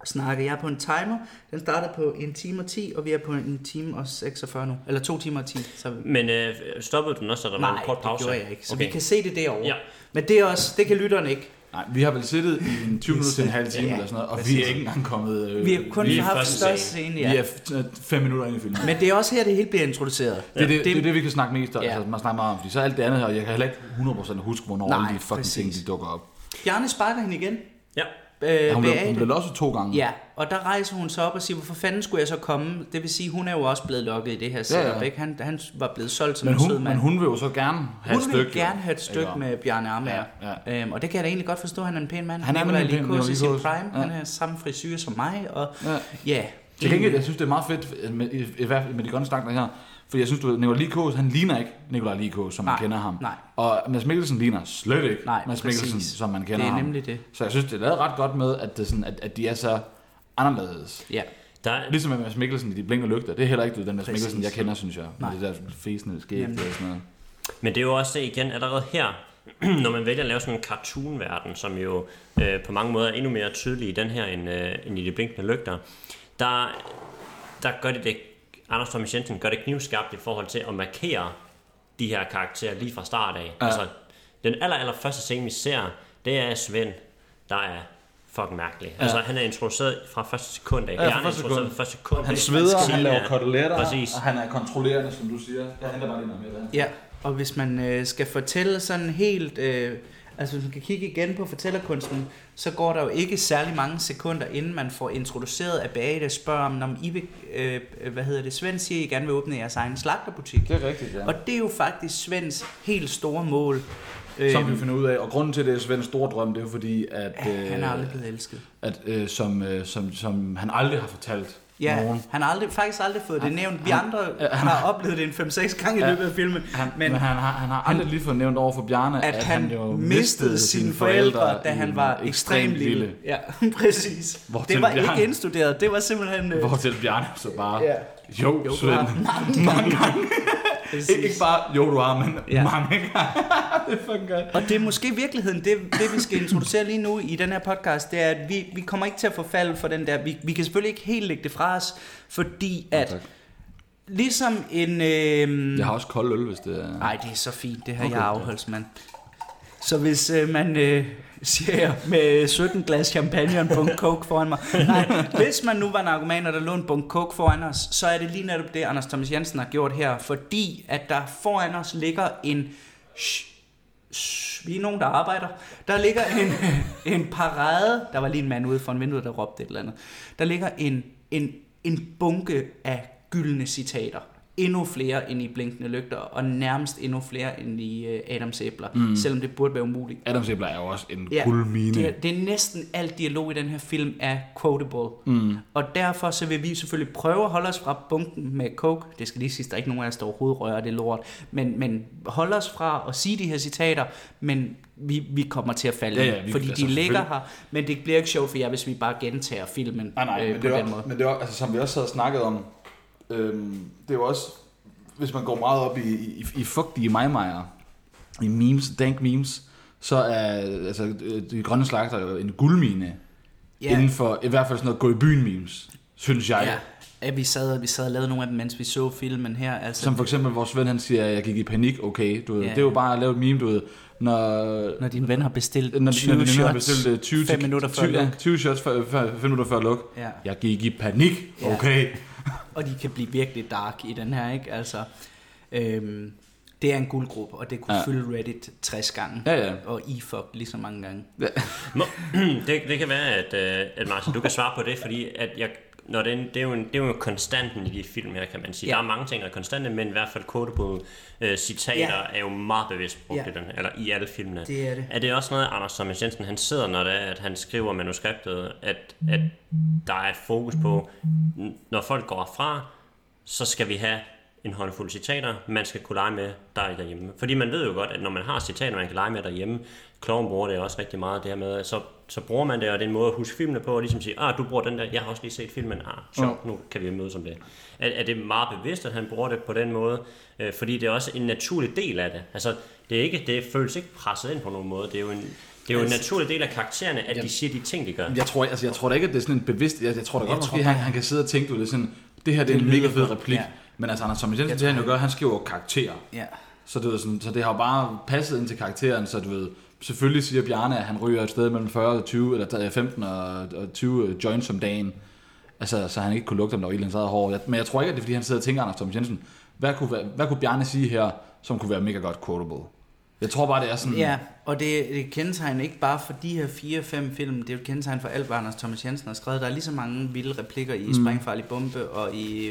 Speaker 3: at snakke. Jeg er på en timer, den starter på en time og 10, og vi er på en time og 46 nu, eller to timer og 10. Så...
Speaker 1: Men øh, stoppede du den også, da der var
Speaker 3: Nej,
Speaker 1: en kort
Speaker 3: det
Speaker 1: pause?
Speaker 3: gjorde jeg ikke, så
Speaker 1: okay.
Speaker 3: vi kan se det derovre.
Speaker 1: Ja.
Speaker 3: Men det er også, det kan lytteren ikke.
Speaker 2: Nej, vi har vel siddet i en 20 minutter til en halv time
Speaker 3: Ja,
Speaker 2: eller sådan noget, og vi
Speaker 3: præcis.
Speaker 2: er ikke engang kommet... Øh,
Speaker 3: Vi har kun
Speaker 1: vi er i
Speaker 3: haft
Speaker 1: første
Speaker 3: størst
Speaker 1: scene.
Speaker 3: scene,
Speaker 2: Vi
Speaker 3: ja.
Speaker 2: er 5 minutter inde i filmen.
Speaker 3: Men det er også her, det hele bliver introduceret.
Speaker 2: Det er det, det, er det, vi kan snakke mest om.
Speaker 3: Ja.
Speaker 2: Ja. Altså, man snakker meget om, fordi så er alt det andet her, og jeg kan heller ikke 100% huske, hvornår
Speaker 3: Nej,
Speaker 2: Nej, alle de fucking
Speaker 3: præcis. Øh,
Speaker 2: ting, de dukker op.
Speaker 3: Bjarne sparker hende igen.
Speaker 1: Ja.
Speaker 3: Øh,
Speaker 2: Ja, hun, blev, hun
Speaker 3: Beate.
Speaker 2: blev losset to gange.
Speaker 3: Ja, og der rejser hun sig op og siger, hvorfor fanden skulle jeg så komme? Det vil sige, hun er jo også blevet lokket i det her setup, ja, ja.
Speaker 2: ja.
Speaker 3: ikke? Han, han var blevet solgt som
Speaker 2: Men,
Speaker 3: en sød
Speaker 2: hun,
Speaker 3: mand.
Speaker 2: men hun vil jo så gerne have et
Speaker 3: hun
Speaker 2: stykke.
Speaker 3: vil gerne have et stykke
Speaker 2: Ikke?
Speaker 3: med Bjarne Amager.
Speaker 2: Ja,
Speaker 3: ja. Øhm, og det kan jeg da egentlig godt forstå, han er en pæn mand.
Speaker 2: Han er
Speaker 3: Nikolaj
Speaker 2: nemlig en pæn
Speaker 3: Likos i sin
Speaker 2: Nikolaj Likos. Ja.
Speaker 3: prime. Han har samme frisyr som mig, og ja,
Speaker 2: Ja.
Speaker 3: ja
Speaker 2: Til gengæld, jeg synes, det er meget fedt, øh, med, i, i hvert fald med de grønne stanker her, for jeg synes, du ved, Nicolai Likos, han ligner ikke Nicolai Likos, som man
Speaker 3: Nej,
Speaker 2: kender ham.
Speaker 3: nej.
Speaker 2: Og Mads Mikkelsen ligner slet ikke
Speaker 3: Nej,
Speaker 2: Mads Mikkelsen,
Speaker 3: præcis.
Speaker 2: som man kender
Speaker 3: Det er
Speaker 2: ham.
Speaker 3: nemlig det.
Speaker 2: Så jeg synes, det er lavet ret godt med, at, det sådan, at, at de er så anderledes.
Speaker 3: ja.
Speaker 1: Der,
Speaker 2: Ligesom med Mads Mikkelsen i De Blinker Lygter. Det er heller ikke du ved, den Mads
Speaker 3: Præcis.
Speaker 2: Mikkelsen, jeg kender, synes jeg.
Speaker 3: Nej.
Speaker 2: Med det der fæsende skæg og
Speaker 3: Jamen.
Speaker 2: sådan noget.
Speaker 1: Men det er jo også det igen allerede her, når man vælger at lave sådan en cartoon-verden, som jo øh, på mange måder er endnu mere tydelig i den her, end, øh, end i de blinkende lygter, der, der gør det det, Anders Thomas Jensen gør det knivskarpt i forhold til at markere de her karakterer lige fra start af. Ja. Altså, den aller, aller første scene, vi ser, det er Svend, der er fucking mærkelig. Ja. Altså, han er introduceret fra første sekund af.
Speaker 2: fra
Speaker 1: Jeg er
Speaker 2: første
Speaker 1: introduceret
Speaker 2: sekund.
Speaker 1: fra første sekund.
Speaker 2: Han
Speaker 1: af.
Speaker 2: sveder, han
Speaker 1: Siden
Speaker 2: laver
Speaker 1: af-
Speaker 2: koteletter,
Speaker 1: Præcis.
Speaker 2: og han er kontrollerende, som du siger. Jeg henter bare lige noget mere.
Speaker 3: Ja, og hvis man øh, skal fortælle sådan helt... Øh, altså hvis man kan kigge igen på fortællerkunsten, så går der jo ikke særlig mange sekunder, inden man får introduceret, at Beate spørger om, om I vil, øh, hvad hedder det, Svend siger, at I gerne vil åbne jeres egen slagterbutik.
Speaker 2: Det er rigtigt, ja.
Speaker 3: Og det er jo faktisk Svends helt store mål. Øh,
Speaker 2: Som vi finder ud af. Og grunden til, at det er Svends store drøm, det er jo fordi, at,
Speaker 3: han er
Speaker 2: øh,
Speaker 3: aldrig blevet elsket.
Speaker 2: at øh, som, øh, som, som han aldrig har fortalt
Speaker 3: Ja,
Speaker 2: nogen.
Speaker 3: han har aldrig, faktisk aldrig fået det nævnt. Vi andre
Speaker 2: han-
Speaker 3: har oplevet det en 5-6 gange i løbet af filmen.
Speaker 2: Han, men,
Speaker 3: men-
Speaker 2: men han, har, han har aldrig lige fået nævnt over for Bjarne,
Speaker 3: at, at han, han
Speaker 2: jo
Speaker 3: jo mistede sine forældre, forældre da
Speaker 2: i
Speaker 3: han
Speaker 2: en
Speaker 3: var ekstremt lille. Ja, præcis.
Speaker 2: Hvortil
Speaker 3: det var
Speaker 2: blev han-
Speaker 3: ikke indstuderet, det var simpelthen... Øh,
Speaker 2: Hvortil Bjarne så bare,
Speaker 3: Ja.
Speaker 2: jo, jo Svend,
Speaker 3: bare
Speaker 2: mange gange. Ikke, ikke bare, jo du har, men
Speaker 3: Ja.
Speaker 2: ja. mange gange. det er fucking godt.
Speaker 3: Og det er måske i virkeligheden, det, det vi skal introducere lige nu i den her podcast, det er, at vi, vi kommer ikke til at forfalde for den der, vi, vi kan selvfølgelig ikke helt lægge det fra os, fordi at, ligesom en... Øh,
Speaker 2: Jeg har også kold øl, hvis det er...
Speaker 3: Nej, det er så fint, det her okay, jeg er afholdsmand. Så hvis øh, man øh, siger jeg med 17 glas champagne og en bunke coke foran mig. Nej, hvis man nu var narkoman, og der lå en bunke coke foran os, så er det lige netop det, Anders Thomas Jensen har gjort her. Fordi at der foran os ligger en... Sh, sh, vi er nogen, der arbejder. Der ligger en, en parade. Der var lige en mand ude foran vinduet, der råbte et eller andet. Der ligger en, en, en bunke af gyldne citater. endnu flere end i Blinkende Lygter, og nærmest endnu flere end i øh, Adams Æbler, mm. selvom det burde være umuligt.
Speaker 2: Adams æbler er jo også en ja,
Speaker 3: Ja,
Speaker 2: guldmine.
Speaker 3: Det, er- det er næsten alt dialog i den her film er quotable. Mm. Og derfor så vil vi selvfølgelig prøve at holde os fra bunken med coke. Det skal lige sidst, der er ikke nogen af os, der overhovedet rører det lort. Men, men holde os fra at sige de her citater, men vi, vi kommer til at falde,
Speaker 2: Ja,
Speaker 3: ja,
Speaker 2: ja, vi-
Speaker 3: ja, fordi
Speaker 2: altså,
Speaker 3: de ligger
Speaker 2: selvfølgelig.
Speaker 3: her. Men det bliver ikke sjovt for jer, hvis vi bare gentager filmen øh,
Speaker 2: Nej, nej, men
Speaker 3: på
Speaker 2: det, er,
Speaker 3: den
Speaker 2: også-
Speaker 3: måde.
Speaker 2: men det er også, altså, som vi også havde snakket om, øhm, det er jo også, hvis man går meget op i, i, i fugtige majmajer, i memes, dank memes, så er altså, øh, de grønne slagter jo en guldmine,
Speaker 3: Ja.
Speaker 2: yeah. inden for i hvert fald sådan noget gå i byen memes, synes jeg.
Speaker 3: Ja,
Speaker 2: Yeah.
Speaker 3: at vi sad, vi sad og lavede nogle af dem, mens vi så filmen her. Altså,
Speaker 2: Som for eksempel vores ven, han siger, at jeg gik i panik, okay, du ved,
Speaker 3: Ja.
Speaker 2: det er jo bare at lave et meme, du ved, når,
Speaker 3: når din ven har bestilt
Speaker 2: når,
Speaker 3: 20
Speaker 2: 20 når de nu har
Speaker 3: shots,
Speaker 2: bestilt øh, 20,
Speaker 3: 5 minutter før
Speaker 2: 20, ja,
Speaker 3: luk.
Speaker 2: 20 shots før, før, 5 minutter før luk.
Speaker 3: Ja.
Speaker 2: Jeg gik i panik,
Speaker 3: Ja.
Speaker 2: okay.
Speaker 3: og de kan blive virkelig dark i den her, ikke? Altså, øhm, det er en guldgruppe, og det kunne
Speaker 2: Ja.
Speaker 3: ja. fylde Reddit 60 gange.
Speaker 2: Ja, ja.
Speaker 3: Og E-fuck lige så mange gange.
Speaker 1: Må, det, det kan være, at, øh, at Martin, du kan svare på det, fordi at jeg, når det, er en- det, er jo en, det er jo konstanten i de film her, kan man sige.
Speaker 3: Ja.
Speaker 1: Ja. Der er mange ting, der er konstante, men i hvert fald korte på øh, citater
Speaker 3: Ja.
Speaker 1: ja. er jo meget bevidst brugt
Speaker 3: Ja.
Speaker 1: ja. i, den, her- eller i alle filmene.
Speaker 3: Det er det.
Speaker 1: øh, Er det også noget, Anders Thomas Jensen han sidder, når det er, at han skriver manuskriptet, at, at der er et fokus på, n- når folk går fra, så skal vi have en håndfuld citater, man skal kunne lege med dig derhjemme. Fordi man ved jo godt, at når man har citater, man kan lege med derhjemme, Kloven bruger det også rigtig meget, det her med, at så, så bruger man det, og det er en måde at huske filmene på, og ligesom sige, ah, du bruger den der, jeg har også lige set filmen, ah, sjovt,
Speaker 3: Mm.
Speaker 1: nu kan vi mødes om det. Er, er det meget bevidst, at han bruger det på den måde? Øh, fordi det er også en naturlig del af det. Altså, det, er ikke, det føles ikke presset ind på nogen måde, det er jo en, det er jo en naturlig del af karaktererne, at de siger de ting, de gør.
Speaker 2: Jeg tror, altså, jeg tror da ikke, at det er sådan en bevidst... Jeg, jeg tror da godt,
Speaker 3: Jeg
Speaker 2: måske,
Speaker 3: tror
Speaker 2: han, han kan sidde og tænke, du, det er sådan... Det her det er en mega
Speaker 3: lyder
Speaker 2: fed
Speaker 3: godt,
Speaker 2: replik. Ja.
Speaker 3: ja.
Speaker 2: Men altså, Anders Thomas Jensen, det han jo gør, han skriver jo karakterer.
Speaker 3: Ja.
Speaker 2: Så, du ved, sådan, så det har jo bare passet ind til karakteren, så du ved... Selvfølgelig siger Bjarne, at han ryger et sted mellem 40 og 20, eller 15 og, og 20 joints om dagen. Altså, så han ikke kunne lugte, om der var et eller andet eget hår. Jeg- Men jeg tror ikke, at det er, fordi han sidder og tænker, Anders Thomas Jensen, hvad kunne, være- hvad kunne Bjarne sige her, som kunne være mega godt quotable? Jeg tror bare, det er sådan...
Speaker 3: ja, og det, det er et kendetegn ikke bare for de her 4-5 film, det er jo et kendetegn for alt, hvad Anders Thomas Jensen har skrevet. Der er lige så mange vilde replikker i mm. Sprængfarlig Bombe og i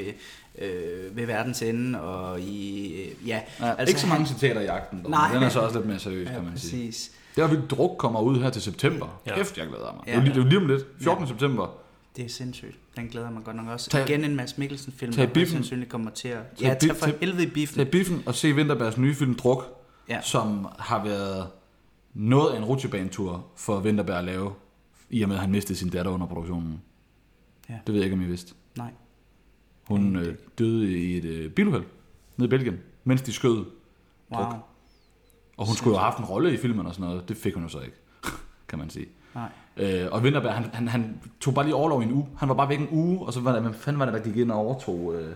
Speaker 3: øh, Ved Verdens Ende og i... Øh, ja,
Speaker 2: Ja, altså, ikke så mange citater i agten, dog,
Speaker 3: Nej.
Speaker 2: men den er så også lidt mere seriøs, ja, kan
Speaker 3: Ja,
Speaker 2: man sige.
Speaker 3: præcis.
Speaker 2: Det er vi druk kommer ud her til september. Ja.
Speaker 1: Ja.
Speaker 2: Kæft, jeg glæder mig. Ja.
Speaker 3: Ja.
Speaker 2: Det, er jo lige, det er jo lige om lidt. 14. Ja. september.
Speaker 3: Det er sindssygt. Den glæder jeg mig godt nok også.
Speaker 2: Tag-
Speaker 3: Tag, Igen en Mads Mikkelsen-film,
Speaker 2: tag
Speaker 3: der
Speaker 2: biffen.
Speaker 3: højst sandsynligt kommer til at...
Speaker 2: Tag
Speaker 3: ja,
Speaker 2: biff-
Speaker 3: tag for
Speaker 2: tag-
Speaker 3: helvede i biffen.
Speaker 2: Tag biffen og se Vinterbergs nye film Druk, ja.
Speaker 3: Ja.
Speaker 2: som har været noget af en rutsjebanetur for Vinterberg at lave, i og med at han mistede sin datter under produktionen. Ja.
Speaker 3: Ja.
Speaker 2: Det ved jeg ikke, om I vidste.
Speaker 3: Nej.
Speaker 2: Hun øh, døde i et øh, biluheld nede i Belgien, mens de skød.
Speaker 3: Wow.
Speaker 2: Druk. Og hun skulle jo have haft en rolle i filmen og sådan noget. Det fik hun jo så ikke, kan man sige.
Speaker 3: Nej.
Speaker 2: Øh, og Vinterberg, han, han, han tog bare lige overlov i en uge. Han var bare væk en uge, og så var der, hvem fanden var det, der gik ind og overtog øh,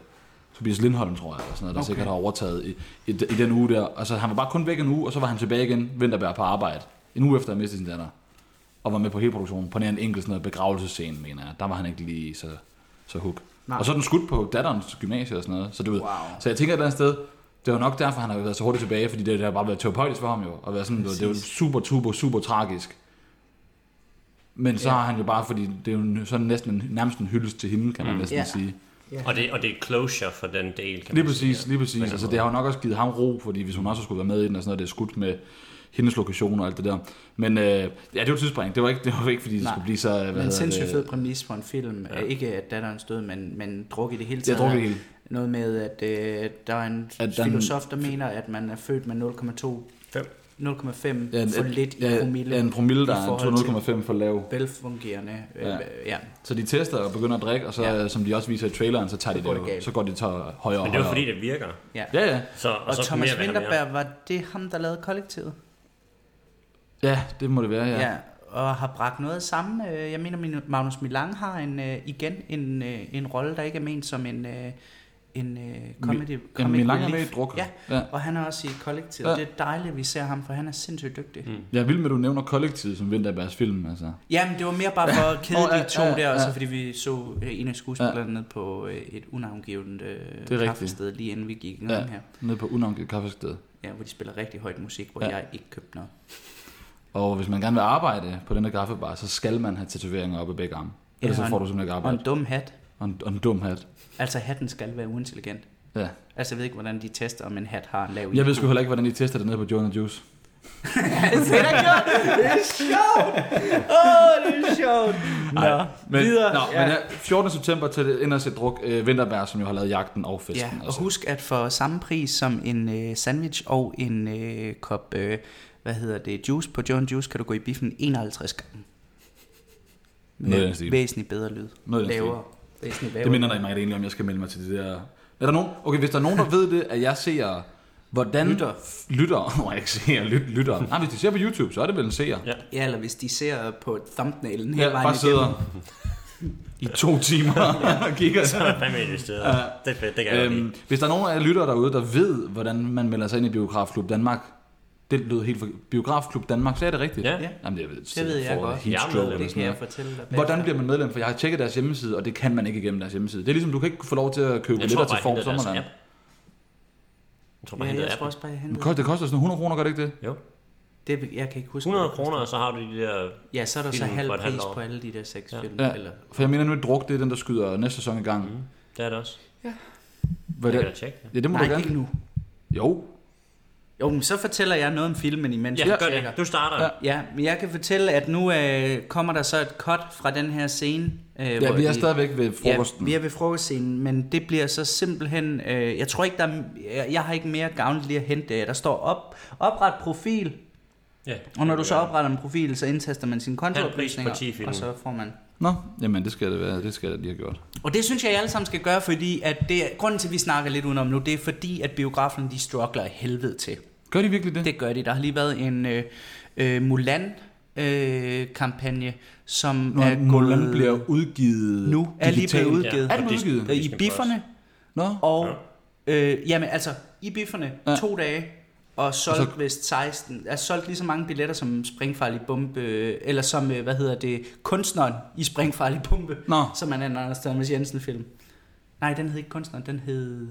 Speaker 2: Tobias Lindholm, tror jeg, eller sådan noget, der okay.
Speaker 3: Okay.
Speaker 2: sikkert har overtaget i, i, i, den uge der. Altså, han var bare kun væk en uge, og så var han tilbage igen, Vinterberg på arbejde. En uge efter, at han mistede sin datter. Og var med på hele produktionen, på nær en enkelt sådan noget begravelsescene, mener jeg. Der var han ikke lige så, så hook. Nej.
Speaker 3: Nej.
Speaker 2: Og så er den skudt på datterens gymnasie og sådan noget. Så, du ved,
Speaker 3: Wow.
Speaker 2: så jeg tænker et eller andet sted, det var nok derfor, han har været så hurtigt tilbage, fordi det, det har bare været terapeutisk for ham jo. Og været sådan, du ved, det var
Speaker 3: Præcis.
Speaker 2: super, super, super tragisk. Men så har han jo bare, fordi det er jo sådan næsten en, nærmest en hyldest til hende, kan man mm. næsten
Speaker 3: Ja.
Speaker 2: yeah. sige.
Speaker 1: Og det, og det er closure for den del, kan
Speaker 2: Lige
Speaker 1: man
Speaker 2: præcis,
Speaker 1: sige.
Speaker 2: lige præcis.
Speaker 1: Men
Speaker 2: Altså, det har jo nok også givet ham ro, fordi hvis hun også skulle være med i den og sådan noget, det er skudt med hendes lokation og alt det der. Men øh, ja, det var tidsspring. Det var ikke, det var ikke fordi det
Speaker 3: Nej.
Speaker 2: skulle blive så... Hvad
Speaker 3: Men en
Speaker 2: hedder
Speaker 3: sindssygt
Speaker 2: det?
Speaker 3: fed præmis for en film. Ja. Ikke at datteren stod, men, men druk i det hele
Speaker 2: Jeg
Speaker 3: taget.
Speaker 2: druk i det hele.
Speaker 3: Noget med, at øh, der er en
Speaker 2: At
Speaker 3: at
Speaker 2: der er en-
Speaker 3: filosof, der mener, at man er født med 0,2
Speaker 1: Fem.
Speaker 3: 0,5
Speaker 2: Ja, en-
Speaker 3: for lidt
Speaker 2: ja,
Speaker 3: i promille.
Speaker 2: Ja, en promille, der
Speaker 3: i forhold
Speaker 2: er 2,5 for lav.
Speaker 3: til velfungerende. Øh,
Speaker 2: Ja.
Speaker 3: ja. ja.
Speaker 2: Så de tester og begynder at drikke, og så, ja.
Speaker 3: Ja.
Speaker 2: som de også viser i traileren, så tager de
Speaker 3: Så går
Speaker 2: det,
Speaker 3: det
Speaker 2: det jo,
Speaker 3: galt.
Speaker 2: så går de til højere og højere.
Speaker 1: Men det er jo fordi, det virker.
Speaker 3: ja.
Speaker 2: Ja, ja.
Speaker 1: Så, og,
Speaker 3: Og
Speaker 1: så
Speaker 3: Thomas
Speaker 1: mere vil der mere.
Speaker 3: Winterberg, var det ham, der lavede kollektivet?
Speaker 2: Ja, det må det være, ja.
Speaker 3: Ja. ja. Og har bragt noget sammen. Øh, Jeg mener, min- Magnus Milang har en, øh, igen en, øh, en rolle, der ikke er ment som en, øh, en øh, comedy.
Speaker 2: Ja,
Speaker 3: comedy
Speaker 2: min lange er med
Speaker 3: relief.
Speaker 2: i druk.
Speaker 3: Ja,
Speaker 2: ja.
Speaker 3: og han er også i kollektivet.
Speaker 2: Ja.
Speaker 3: Ja. Det er dejligt, at vi ser ham, for han er sindssygt dygtig. Mm.
Speaker 2: Jeg vil med, at du nævner kollektivet som Vinterbergs film, altså.
Speaker 3: Jamen, det var mere bare for at kede
Speaker 2: Åh, ja,
Speaker 3: de to
Speaker 2: ja,
Speaker 3: der, og
Speaker 2: ja.
Speaker 3: så fordi vi så øh, en af skuespillerne ja. nede på øh, et unavngivet øh,
Speaker 2: rigtigt.
Speaker 3: kaffested, lige inden vi gik i
Speaker 2: Ja,
Speaker 3: gang her.
Speaker 2: nede på unavngivet kaffested.
Speaker 3: Ja, hvor de spiller rigtig højt musik, hvor
Speaker 2: Ja.
Speaker 3: ja. jeg ikke købte noget.
Speaker 2: Og hvis man gerne vil arbejde på den her kaffebar, så skal man have tatoveringer oppe i begge arme. Ellers
Speaker 3: Ja,
Speaker 2: så
Speaker 3: og
Speaker 2: får
Speaker 3: en-
Speaker 2: du simpelthen ikke
Speaker 3: Og
Speaker 2: arbejde.
Speaker 3: en dum hat.
Speaker 2: Og en, og en dum hat.
Speaker 3: Altså, hatten skal være uintelligent.
Speaker 2: Ja.
Speaker 3: Altså, jeg ved ikke, hvordan de tester, om en hat har en lav
Speaker 2: Jeg ved sgu heller ikke, hvordan de tester det nede på Joe Juice.
Speaker 3: det er sjovt! Det er sjovt! Åh, det er sjovt! Nå,
Speaker 2: Men,
Speaker 3: videre.
Speaker 2: Nå,
Speaker 3: ja.
Speaker 2: men ja, 14. september til det ender sit druk øh, Vinterberg, som jo har lavet jagten og altså. festen.
Speaker 3: Ja, og husk, at for samme pris som en øh, sandwich og en øh, kop, øh, hvad hedder det, juice på John Juice, kan du gå i biffen 51 gange.
Speaker 2: Noget i den stil.
Speaker 3: væsentligt bedre lyd.
Speaker 2: Noget i den stil.
Speaker 3: lavere. Væsentligt lavere.
Speaker 2: Det minder dig mig egentlig om, jeg skal melde mig til det der... Er der nogen? Okay, hvis der er nogen, der ved det, at jeg ser... Hvordan lytter. Lytter. Nå, jeg ikke ser. Lyt, lytter. Nej, hvis de ser på YouTube, så er det vel en seer.
Speaker 1: Ja.
Speaker 3: Ja, eller hvis de ser på thumbnailen hele
Speaker 2: Jeg
Speaker 3: vejen
Speaker 2: bare sidder i to timer og kigger.
Speaker 1: Hvad med det sted? Det er fedt, det kan jeg godt
Speaker 2: Øhm,
Speaker 1: lide.
Speaker 2: hvis der er nogen af jer lyttere derude, der ved, hvordan man melder sig ind i Biografklub Danmark, det lød helt for... Biografklub Danmark, så er det rigtigt?
Speaker 1: Ja.
Speaker 2: Jamen, jeg ved,
Speaker 3: Det ved jeg godt.
Speaker 1: Jeg er
Speaker 2: Heat
Speaker 1: medlem.
Speaker 2: stroke eller
Speaker 3: Det
Speaker 2: sådan
Speaker 3: kan jeg
Speaker 2: noget.
Speaker 3: fortælle dig.
Speaker 2: Hvordan bliver man medlem? For jeg har tjekket deres hjemmeside, og det kan man ikke igennem deres hjemmeside. Det er ligesom, du kan ikke få lov til at købe
Speaker 1: Jeg tror
Speaker 2: billetter til
Speaker 1: bare,
Speaker 2: Form
Speaker 1: jeg hentede
Speaker 2: Sommerland.
Speaker 1: deres app. Jeg tror bare, jeg
Speaker 3: Ja,
Speaker 1: hentede
Speaker 3: jeg
Speaker 1: appen.
Speaker 3: tror også bare, jeg
Speaker 2: Det
Speaker 3: hentede.
Speaker 2: koster, det koster sådan 100 kroner, gør det ikke det?
Speaker 1: Jo.
Speaker 3: Det, jeg kan ikke huske.
Speaker 1: 100
Speaker 3: hvad det
Speaker 1: kroner, og så har du de der...
Speaker 3: Ja, så er der så
Speaker 1: Film
Speaker 3: halv
Speaker 1: for et halvt
Speaker 3: pris
Speaker 1: år.
Speaker 3: på alle de der seks film.
Speaker 2: Ja,
Speaker 3: Eller,
Speaker 2: for jeg mener nu, at druk, det er den, der skyder næste sæson i gang. Mm.
Speaker 1: Det er det også.
Speaker 2: Hvad
Speaker 1: Jeg
Speaker 2: det?
Speaker 1: kan da tjekke Mhm. det.
Speaker 2: Ja, det må
Speaker 3: nej,
Speaker 2: du gerne.
Speaker 3: ikke nu.
Speaker 2: Jo.
Speaker 3: Jo, men så fortæller jeg noget om filmen imens
Speaker 1: Ja,
Speaker 3: jeg
Speaker 1: gør
Speaker 3: tjekker.
Speaker 1: det. Du starter.
Speaker 2: Ja.
Speaker 3: Ja, men jeg kan fortælle, at nu øh, kommer der så et cut fra den her scene. Øh,
Speaker 2: Ja,
Speaker 3: hvor
Speaker 2: vi er
Speaker 3: de-
Speaker 2: stadigvæk ved frokosten.
Speaker 3: Ja, vi er ved frokostscenen, men det bliver så simpelthen... Øh, jeg tror ikke, der er, jeg, jeg har ikke mere gavnligt lige at hente. det. Der står op, opret profil,
Speaker 1: Ja.
Speaker 3: og når du så opretter en profil, så indtaster man sine
Speaker 1: Halv pris på 10
Speaker 3: kontooplysninger,
Speaker 1: film.
Speaker 3: og så får man...
Speaker 2: Nå, jamen det skal det være. Det skal det lige have gjort.
Speaker 3: Og det synes jeg, I alle sammen skal gøre, fordi at det, grunden til, at vi snakker lidt udenom nu, det er fordi, at biograferne de struggler af helvede til.
Speaker 2: Gør de virkelig det?
Speaker 3: Det gør de. Der har lige været en øh, øh, Mulan-kampagne, som
Speaker 2: Når øh,
Speaker 3: er
Speaker 2: Mulan
Speaker 3: gået-
Speaker 2: bliver udgivet
Speaker 3: nu er lige blevet
Speaker 2: digitalt.
Speaker 3: udgivet.
Speaker 2: Er den
Speaker 1: Og
Speaker 2: udgivet?
Speaker 1: Disney-
Speaker 3: I
Speaker 1: Disney
Speaker 3: bifferne,
Speaker 2: Nå,
Speaker 3: og øh, jamen altså, i bifferne,
Speaker 2: Ja.
Speaker 3: ja. to dage, og solgt
Speaker 2: Og så-
Speaker 3: altså, vist 16, altså solgt lige så mange billetter som Springfarlig Bombe, øh, eller som, øh, hvad hedder det, kunstneren i Springfarlig Bombe,
Speaker 2: Nå.
Speaker 3: som er en Anders Thomas Jensen film. Nej, den hed ikke kunstneren, den hed, jeg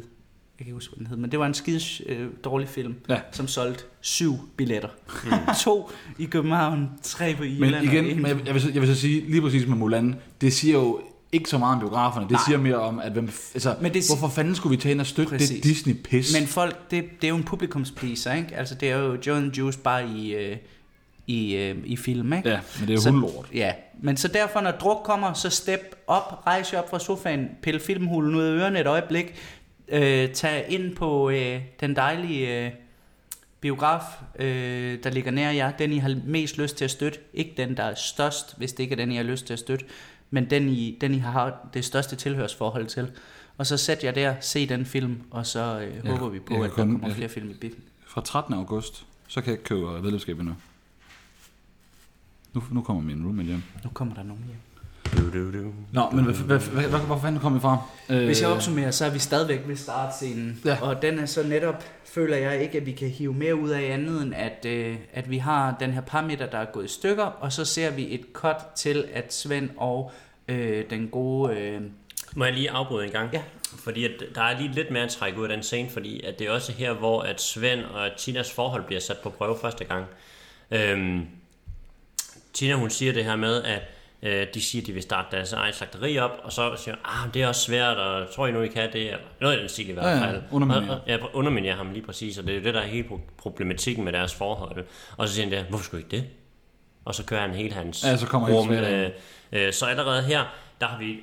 Speaker 3: kan ikke huske, hvad den hed, men det var en skide øh, dårlig film,
Speaker 2: Ja.
Speaker 3: som solgte syv billetter. Mm. to i København, tre på
Speaker 2: Men
Speaker 3: Irland. og
Speaker 2: igen,
Speaker 3: en-
Speaker 2: men jeg, jeg, vil, så- jeg vil så sige lige præcis med Mulan, det siger jo ikke så meget om biograferne. Det Nej. siger mere om, at hvem, f- altså, men
Speaker 3: Men
Speaker 2: det,
Speaker 3: det-
Speaker 2: hvorfor fanden skulle vi tage ind og støtte præcis.
Speaker 3: Præcis.
Speaker 2: det Disney-pis?
Speaker 3: Men folk, det, det er jo en publikumspleaser, ikke? Altså, det er jo Joe and Juice bare i, øh, i, øh, i film, ikke?
Speaker 2: Ja, men det er
Speaker 3: Så-
Speaker 2: hundlort.
Speaker 3: Ja, men så derfor, når druk kommer, så step op, rejs jer op fra sofaen, pille filmhulen ud af ørerne et øjeblik, øh, tag ind på øh, den dejlige øh, biograf, øh, der ligger nær jer, den I har mest lyst til at støtte, ikke den, der er størst, hvis det ikke er den, I har lyst til at støtte, men den, I, den, I har det største tilhørsforhold til. Og så sæt jer der, se den film, og så øh, håber vi på,
Speaker 2: jeg
Speaker 3: at
Speaker 2: kan
Speaker 3: der
Speaker 2: kun-
Speaker 3: kommer
Speaker 2: jeg-
Speaker 3: flere film i biffen.
Speaker 2: Fra 13. august, så kan jeg ikke købe medlemskab endnu. Nu, nu kommer min roommate hjem.
Speaker 3: Nu kommer der nogen hjem.
Speaker 1: Du, du, du.
Speaker 2: Nå, men hvad, hvad, hvad, hvad, hvor fanden kom vi fra? Øh,
Speaker 3: Hvis jeg opsummerer, så er vi stadigvæk ved startscenen.
Speaker 2: Ja.
Speaker 3: Og den er så netop, føler jeg ikke, at vi kan hive mere ud af andet, end at, øh, at vi har den her parmeter, der er gået i stykker, og så ser vi et cut til, at Svend og øh, den gode... Øh,
Speaker 1: Må jeg lige afbryde en gang?
Speaker 3: Ja.
Speaker 1: Fordi at der er lige lidt mere at trække ud af den scene, fordi at det er også her, hvor at Svend og Tinas forhold bliver sat på prøve første gang. Øhm, Tina hun siger det her med, at øh, de siger, at de vil starte deres egen slagteri op, og så siger hun, ah, men det er også svært, og tror I nu, I kan det? Eller noget i den stil i hvert
Speaker 2: Ja, ja,
Speaker 1: fald.
Speaker 2: underminere.
Speaker 1: Og- og- Ja, underminerer ham lige præcis, og det er jo det, der er hele pro- problematikken med deres forhold. Og så siger han der, hvorfor skulle I ikke det? Og så kører han hele hans
Speaker 2: Ja, så kommer hele sværet ind.
Speaker 1: øh, øh, Så allerede her, der har vi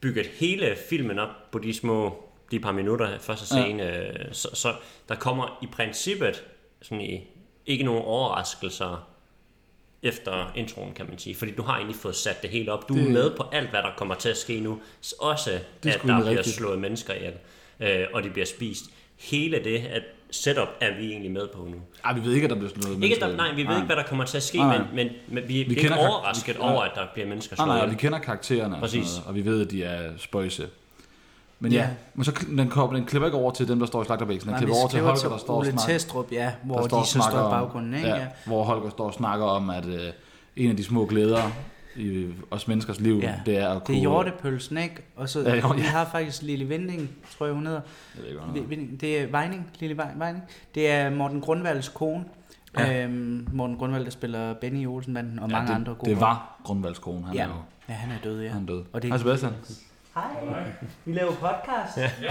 Speaker 1: bygget hele filmen op på de små, de par minutter første scene. øh, Så, så der kommer i princippet sådan i, ikke nogen overraskelser efter introen, kan man sige. Fordi du har egentlig fået sat det hele op. Du det, er
Speaker 2: Det-
Speaker 1: med på alt, hvad der kommer til at ske nu. S- Også,
Speaker 2: Det er
Speaker 1: at
Speaker 2: sgu
Speaker 1: der
Speaker 2: egentlig
Speaker 1: bliver
Speaker 2: rigtigt.
Speaker 1: slået mennesker ihjel, øh, og de bliver spist. Hele det at setup er vi egentlig med på nu.
Speaker 2: Øh, Ej, vi ved ikke, at der bliver slået
Speaker 1: Ikke, at
Speaker 2: mennesker
Speaker 1: der,
Speaker 2: ihjel.
Speaker 1: nej, vi ved ikke, hvad der kommer til at ske,
Speaker 2: Nej.
Speaker 1: men, men, men vi, vi er
Speaker 2: kender
Speaker 1: ikke
Speaker 2: kar-
Speaker 1: overrasket
Speaker 2: vi-
Speaker 1: over, at der bliver mennesker
Speaker 2: Ah, Nej,
Speaker 1: slået
Speaker 2: nej, og vi
Speaker 1: ihjel.
Speaker 2: kender karaktererne, og, sådan
Speaker 1: Præcis.
Speaker 2: noget, og vi ved, at de er spøjse. Men ja,
Speaker 3: Ja.
Speaker 2: men så kl- den, kommer, den klipper ikke over til dem, der står i slagterbæksen. Den
Speaker 3: nej,
Speaker 2: klipper
Speaker 3: vi
Speaker 2: over til
Speaker 3: skriver
Speaker 2: Holger, der står og
Speaker 3: Ole
Speaker 2: snakker.
Speaker 3: Testrup, ja,
Speaker 2: Der
Speaker 3: hvor
Speaker 2: står og
Speaker 3: de så
Speaker 2: snakker
Speaker 3: står i
Speaker 2: om-
Speaker 3: baggrunden. Ikke? Ja.
Speaker 2: hvor Holger står og snakker om, at øh, en af de små glæder i os menneskers liv,
Speaker 3: Ja.
Speaker 2: det er at
Speaker 3: Det
Speaker 2: kunne...
Speaker 3: er hjortepølsen, ikke? Og så
Speaker 2: Ja,
Speaker 3: ja,
Speaker 2: jo, ja.
Speaker 3: vi har faktisk Lille Vending, tror jeg hun hedder.
Speaker 2: Jeg ved ikke, hvad hun hedder.
Speaker 3: Vinding. Det er Vejning, Lille Vej- Vejning. Det er Morten Grundvalds kone.
Speaker 2: Ja.
Speaker 3: Ja. Øhm, Morten Grundvald, der spiller Benny i Olsenbanden og ja, mange
Speaker 2: det, Mm.
Speaker 3: andre gode.
Speaker 2: Det var Grundvalds kone, han
Speaker 3: ja.
Speaker 2: er jo
Speaker 3: ja, han er død, ja.
Speaker 2: han er død.
Speaker 3: Og det
Speaker 2: Hej
Speaker 3: er
Speaker 2: Sebastian.
Speaker 3: Hej, vi laver podcast. Ja,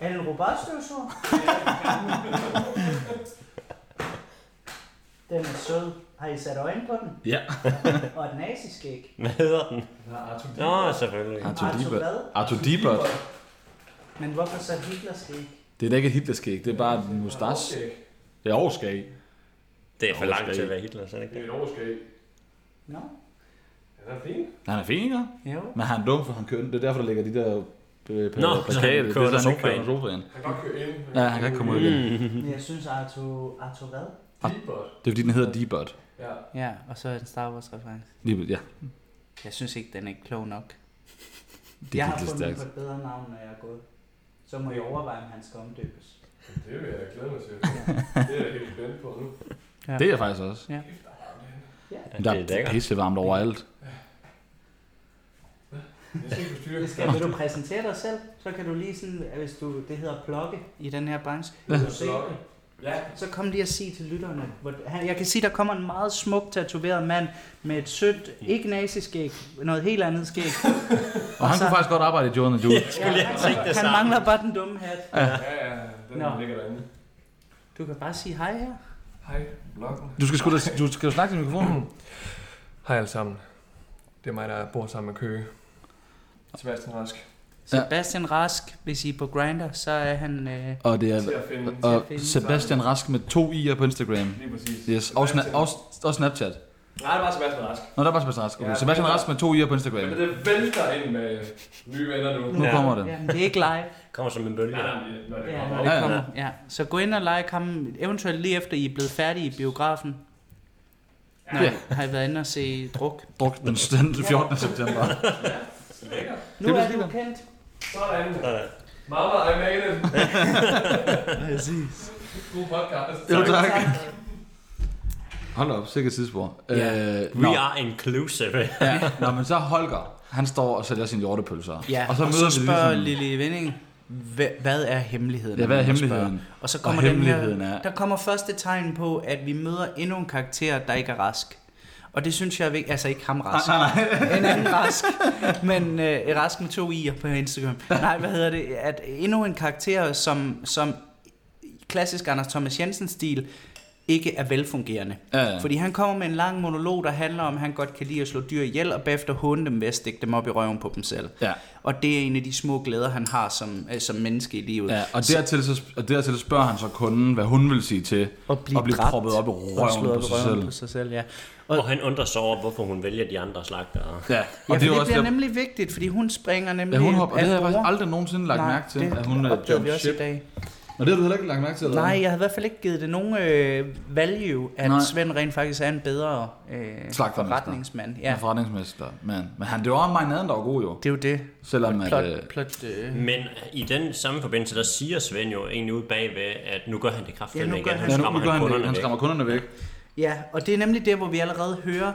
Speaker 3: Er det en robotstøvsuger? den er sød. Har I sat øjne på den?
Speaker 2: Ja.
Speaker 3: Og et naziskæg.
Speaker 1: Hvad hedder den? Nå, selvfølgelig.
Speaker 2: Arthur
Speaker 3: Arthur
Speaker 2: Diebert.
Speaker 3: hvad?
Speaker 2: Arthur Diebert.
Speaker 3: Men hvorfor så Hitlers skæg?
Speaker 2: Det er da ikke et Hitlerskæg, det er bare en mustache. Det er overskæg.
Speaker 1: Det er for langt
Speaker 2: skal
Speaker 1: til
Speaker 2: I-
Speaker 1: at være Hitler, så er det ikke det?
Speaker 3: Nå?
Speaker 5: Er det fint?
Speaker 2: Han er fin, ikke?
Speaker 3: Jo.
Speaker 2: Men han er dum, for han kører den. Det er derfor, der ligger de der øh,
Speaker 1: Nå,
Speaker 2: plakater.
Speaker 1: så han kører
Speaker 2: Det er, så
Speaker 1: under
Speaker 2: han ikke kører
Speaker 1: sofaen.
Speaker 2: under sofaen.
Speaker 5: Han kan godt køre ind.
Speaker 2: Ja, han kan ikke komme ud igen.
Speaker 1: Mm.
Speaker 3: Men jeg synes, Arthur... Arthur hvad?
Speaker 5: Deepbot.
Speaker 2: Det er fordi, den hedder Debut.
Speaker 5: Ja.
Speaker 3: Ja, og så en Star Wars-reference.
Speaker 2: Debut, ja.
Speaker 3: Jeg synes ikke, den er klog nok.
Speaker 2: Det
Speaker 3: jeg
Speaker 2: er
Speaker 3: har
Speaker 2: lidt
Speaker 3: fundet
Speaker 2: stærkt.
Speaker 3: på et bedre navn, når jeg er gået. Så må I overveje, om han skal omdøbes.
Speaker 5: Det vil jeg glæde mig til. Det er jeg helt spændt på nu.
Speaker 2: Det er jeg faktisk også.
Speaker 1: Ja,
Speaker 2: Der
Speaker 1: det er
Speaker 2: er
Speaker 1: lækkert.
Speaker 2: pissevarmt overalt.
Speaker 5: Jeg skal ikke forstyrre.
Speaker 3: Det skal, vil du præsentere dig selv, så kan du lige sådan, øh, hvis du, det hedder plukke i den her branche,
Speaker 2: Ja.
Speaker 3: vil du se det.
Speaker 5: Ja.
Speaker 3: Så kom lige og sig til lytterne. Hvor, han, jeg kan sige, der kommer en meget smuk tatoveret mand med et sødt, ikke naziskæg, noget helt andet skæg.
Speaker 2: Og han
Speaker 3: så-
Speaker 2: kunne faktisk godt arbejde i Jordan Jules.
Speaker 1: Skulle jeg
Speaker 3: han,
Speaker 1: tænke det
Speaker 3: han
Speaker 1: samme.
Speaker 3: mangler bare den dumme hat.
Speaker 5: Ja, ja. Den
Speaker 3: Nå.
Speaker 5: no. ligger derinde.
Speaker 3: Du kan bare sige hej her.
Speaker 5: Hej, bloggen.
Speaker 2: Du skal, sgu da, du skal jo snakke til mikrofonen.
Speaker 5: Hej alle sammen. Det er mig, der bor sammen med Køge. Sebastian Rask.
Speaker 2: Ja.
Speaker 3: Sebastian Rask, hvis I er på Grinder, så er han... Øh,
Speaker 2: Og det er
Speaker 5: Til at finde.
Speaker 2: og Sebastian Rask med to i'er på Instagram.
Speaker 5: Lige præcis.
Speaker 2: Yes, og, sna-
Speaker 5: Sebastian.
Speaker 2: og, og Snapchat.
Speaker 5: Nej, det var Sebastian Rask.
Speaker 2: Nå, der var Sebastian Rask. Okay.
Speaker 5: Ja,
Speaker 2: Sebastian
Speaker 5: men-
Speaker 2: Rask med to i'er på Instagram.
Speaker 5: Men det vælter ind med nye venner nu.
Speaker 2: Nu
Speaker 1: Ja.
Speaker 2: kommer det.
Speaker 3: jamen, det er ikke live.
Speaker 1: Kommer som en bølge.
Speaker 5: Ja, når det
Speaker 3: Ja,
Speaker 5: kommer.
Speaker 3: når
Speaker 2: Ja,
Speaker 3: det
Speaker 2: ja.
Speaker 3: kommer. Ja. Så gå ind og like ham, eventuelt lige efter I er blevet færdige i biografen. Nej,
Speaker 2: Ja.
Speaker 3: har I været inde og se druk?
Speaker 2: Druk den, den 14. september.
Speaker 5: Lækker.
Speaker 3: Nu
Speaker 2: Det
Speaker 3: er
Speaker 2: bliver
Speaker 3: du kendt.
Speaker 5: Sådan.
Speaker 1: Sådan.
Speaker 5: Mama, I made it.
Speaker 3: Præcis.
Speaker 5: God podcast.
Speaker 2: Jo, tak. Hold op, sikkert sidespor.
Speaker 3: Ja.
Speaker 2: Øh,
Speaker 1: We
Speaker 2: nå.
Speaker 1: are inclusive.
Speaker 2: Ja. Nå, men så Holger, han står og sælger sine hjortepølser.
Speaker 3: Ja,
Speaker 2: og så møder vi
Speaker 3: spørger
Speaker 2: ligesom,
Speaker 3: Lille Vending, "Hva- hvad er hemmeligheden?
Speaker 2: Ja, hvad er
Speaker 3: Han spørger.
Speaker 2: hemmeligheden?
Speaker 3: Og så kommer
Speaker 2: Og
Speaker 3: og den
Speaker 2: hemmeligheden
Speaker 3: her,
Speaker 2: er-
Speaker 3: der kommer første tegn på, at vi møder endnu en karakter, der ikke er rask. Og det synes jeg er vigtigt. Altså ikke ham rask. Nej, nej, nej. En anden rask. Men øh, rask med to i'er på Instagram. Nej, hvad hedder det? At endnu en karakter, som, som i klassisk Anders Thomas Jensen-stil ikke er velfungerende.
Speaker 2: Ja, ja.
Speaker 3: Fordi han kommer med en lang monolog, der handler om, at han godt kan lide at slå dyr ihjel, og bagefter hunde dem ved at stikke dem op i røven på dem selv.
Speaker 2: Ja.
Speaker 3: Og det er en af de små glæder, han har som, øh, som menneske i livet.
Speaker 2: Ja, og dertil, så, og dertil spørger han så kunden, hvad hun vil sige til
Speaker 3: at blive,
Speaker 2: at blive
Speaker 3: dræbt
Speaker 2: proppet op i
Speaker 3: og
Speaker 2: røven
Speaker 3: slået
Speaker 2: på
Speaker 3: op i
Speaker 2: sig
Speaker 3: røven
Speaker 2: selv.
Speaker 3: På sig selv ja.
Speaker 1: Og han undrer sig over, hvorfor hun vælger de andre slagtere.
Speaker 2: Ja,
Speaker 3: Og ja,
Speaker 2: og det er
Speaker 3: det,
Speaker 2: jo
Speaker 3: det
Speaker 2: også
Speaker 3: bliver
Speaker 2: der,
Speaker 3: nemlig vigtigt, fordi hun springer nemlig
Speaker 2: ja, hun hopper, og det
Speaker 3: af
Speaker 2: havde jeg faktisk
Speaker 3: borde.
Speaker 2: aldrig nogensinde lagt
Speaker 3: Nej,
Speaker 2: mærke til,
Speaker 3: det
Speaker 2: at hun øh, er
Speaker 3: opdagede vi
Speaker 2: jump
Speaker 3: også
Speaker 2: ship.
Speaker 3: i dag.
Speaker 2: Og det har du heller ikke lagt mærke til, eller
Speaker 3: Nej, jeg havde i hvert fald ikke givet det nogen øh, value, at
Speaker 2: Nej.
Speaker 3: Nej. Svend rent faktisk er en bedre øh,
Speaker 2: Slagtermester.
Speaker 3: forretningsmand.
Speaker 2: Ja.
Speaker 3: Ja,
Speaker 2: forretningsmester, men, men han, det var også marinaden, der var god jo.
Speaker 3: det er jo det.
Speaker 2: Selvom at,
Speaker 3: Plot,
Speaker 2: øh,
Speaker 3: plot, øh,
Speaker 1: Men i den samme forbindelse, der siger Svend jo egentlig ude bagved, at nu gør han det
Speaker 3: Ja,
Speaker 1: kraftedeme
Speaker 3: nu
Speaker 1: igen.
Speaker 3: gør
Speaker 1: Han
Speaker 3: han-
Speaker 2: ja, nu,
Speaker 1: skræmmer
Speaker 2: nu gør
Speaker 1: han
Speaker 2: han,
Speaker 1: kunderne
Speaker 2: det. han
Speaker 1: væk.
Speaker 2: skræmmer kunderne væk.
Speaker 3: Ja, og det er nemlig der, hvor vi allerede hører,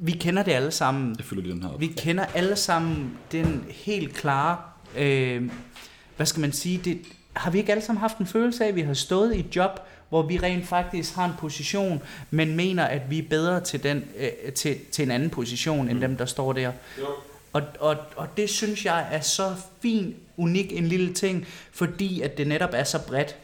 Speaker 3: vi kender det alle sammen.
Speaker 2: Jeg fylder lige den her op.
Speaker 3: Vi kender alle sammen den helt klare, øh, hvad skal man sige, det, har vi ikke alle sammen haft en følelse af, at vi har stået i et job, hvor vi rent faktisk har en position, men mener, at vi er bedre til, den, øh, til, til en anden position, end dem, der står der. Og, og, og det synes jeg er så fin, unik en lille ting, fordi at det netop er så bredt.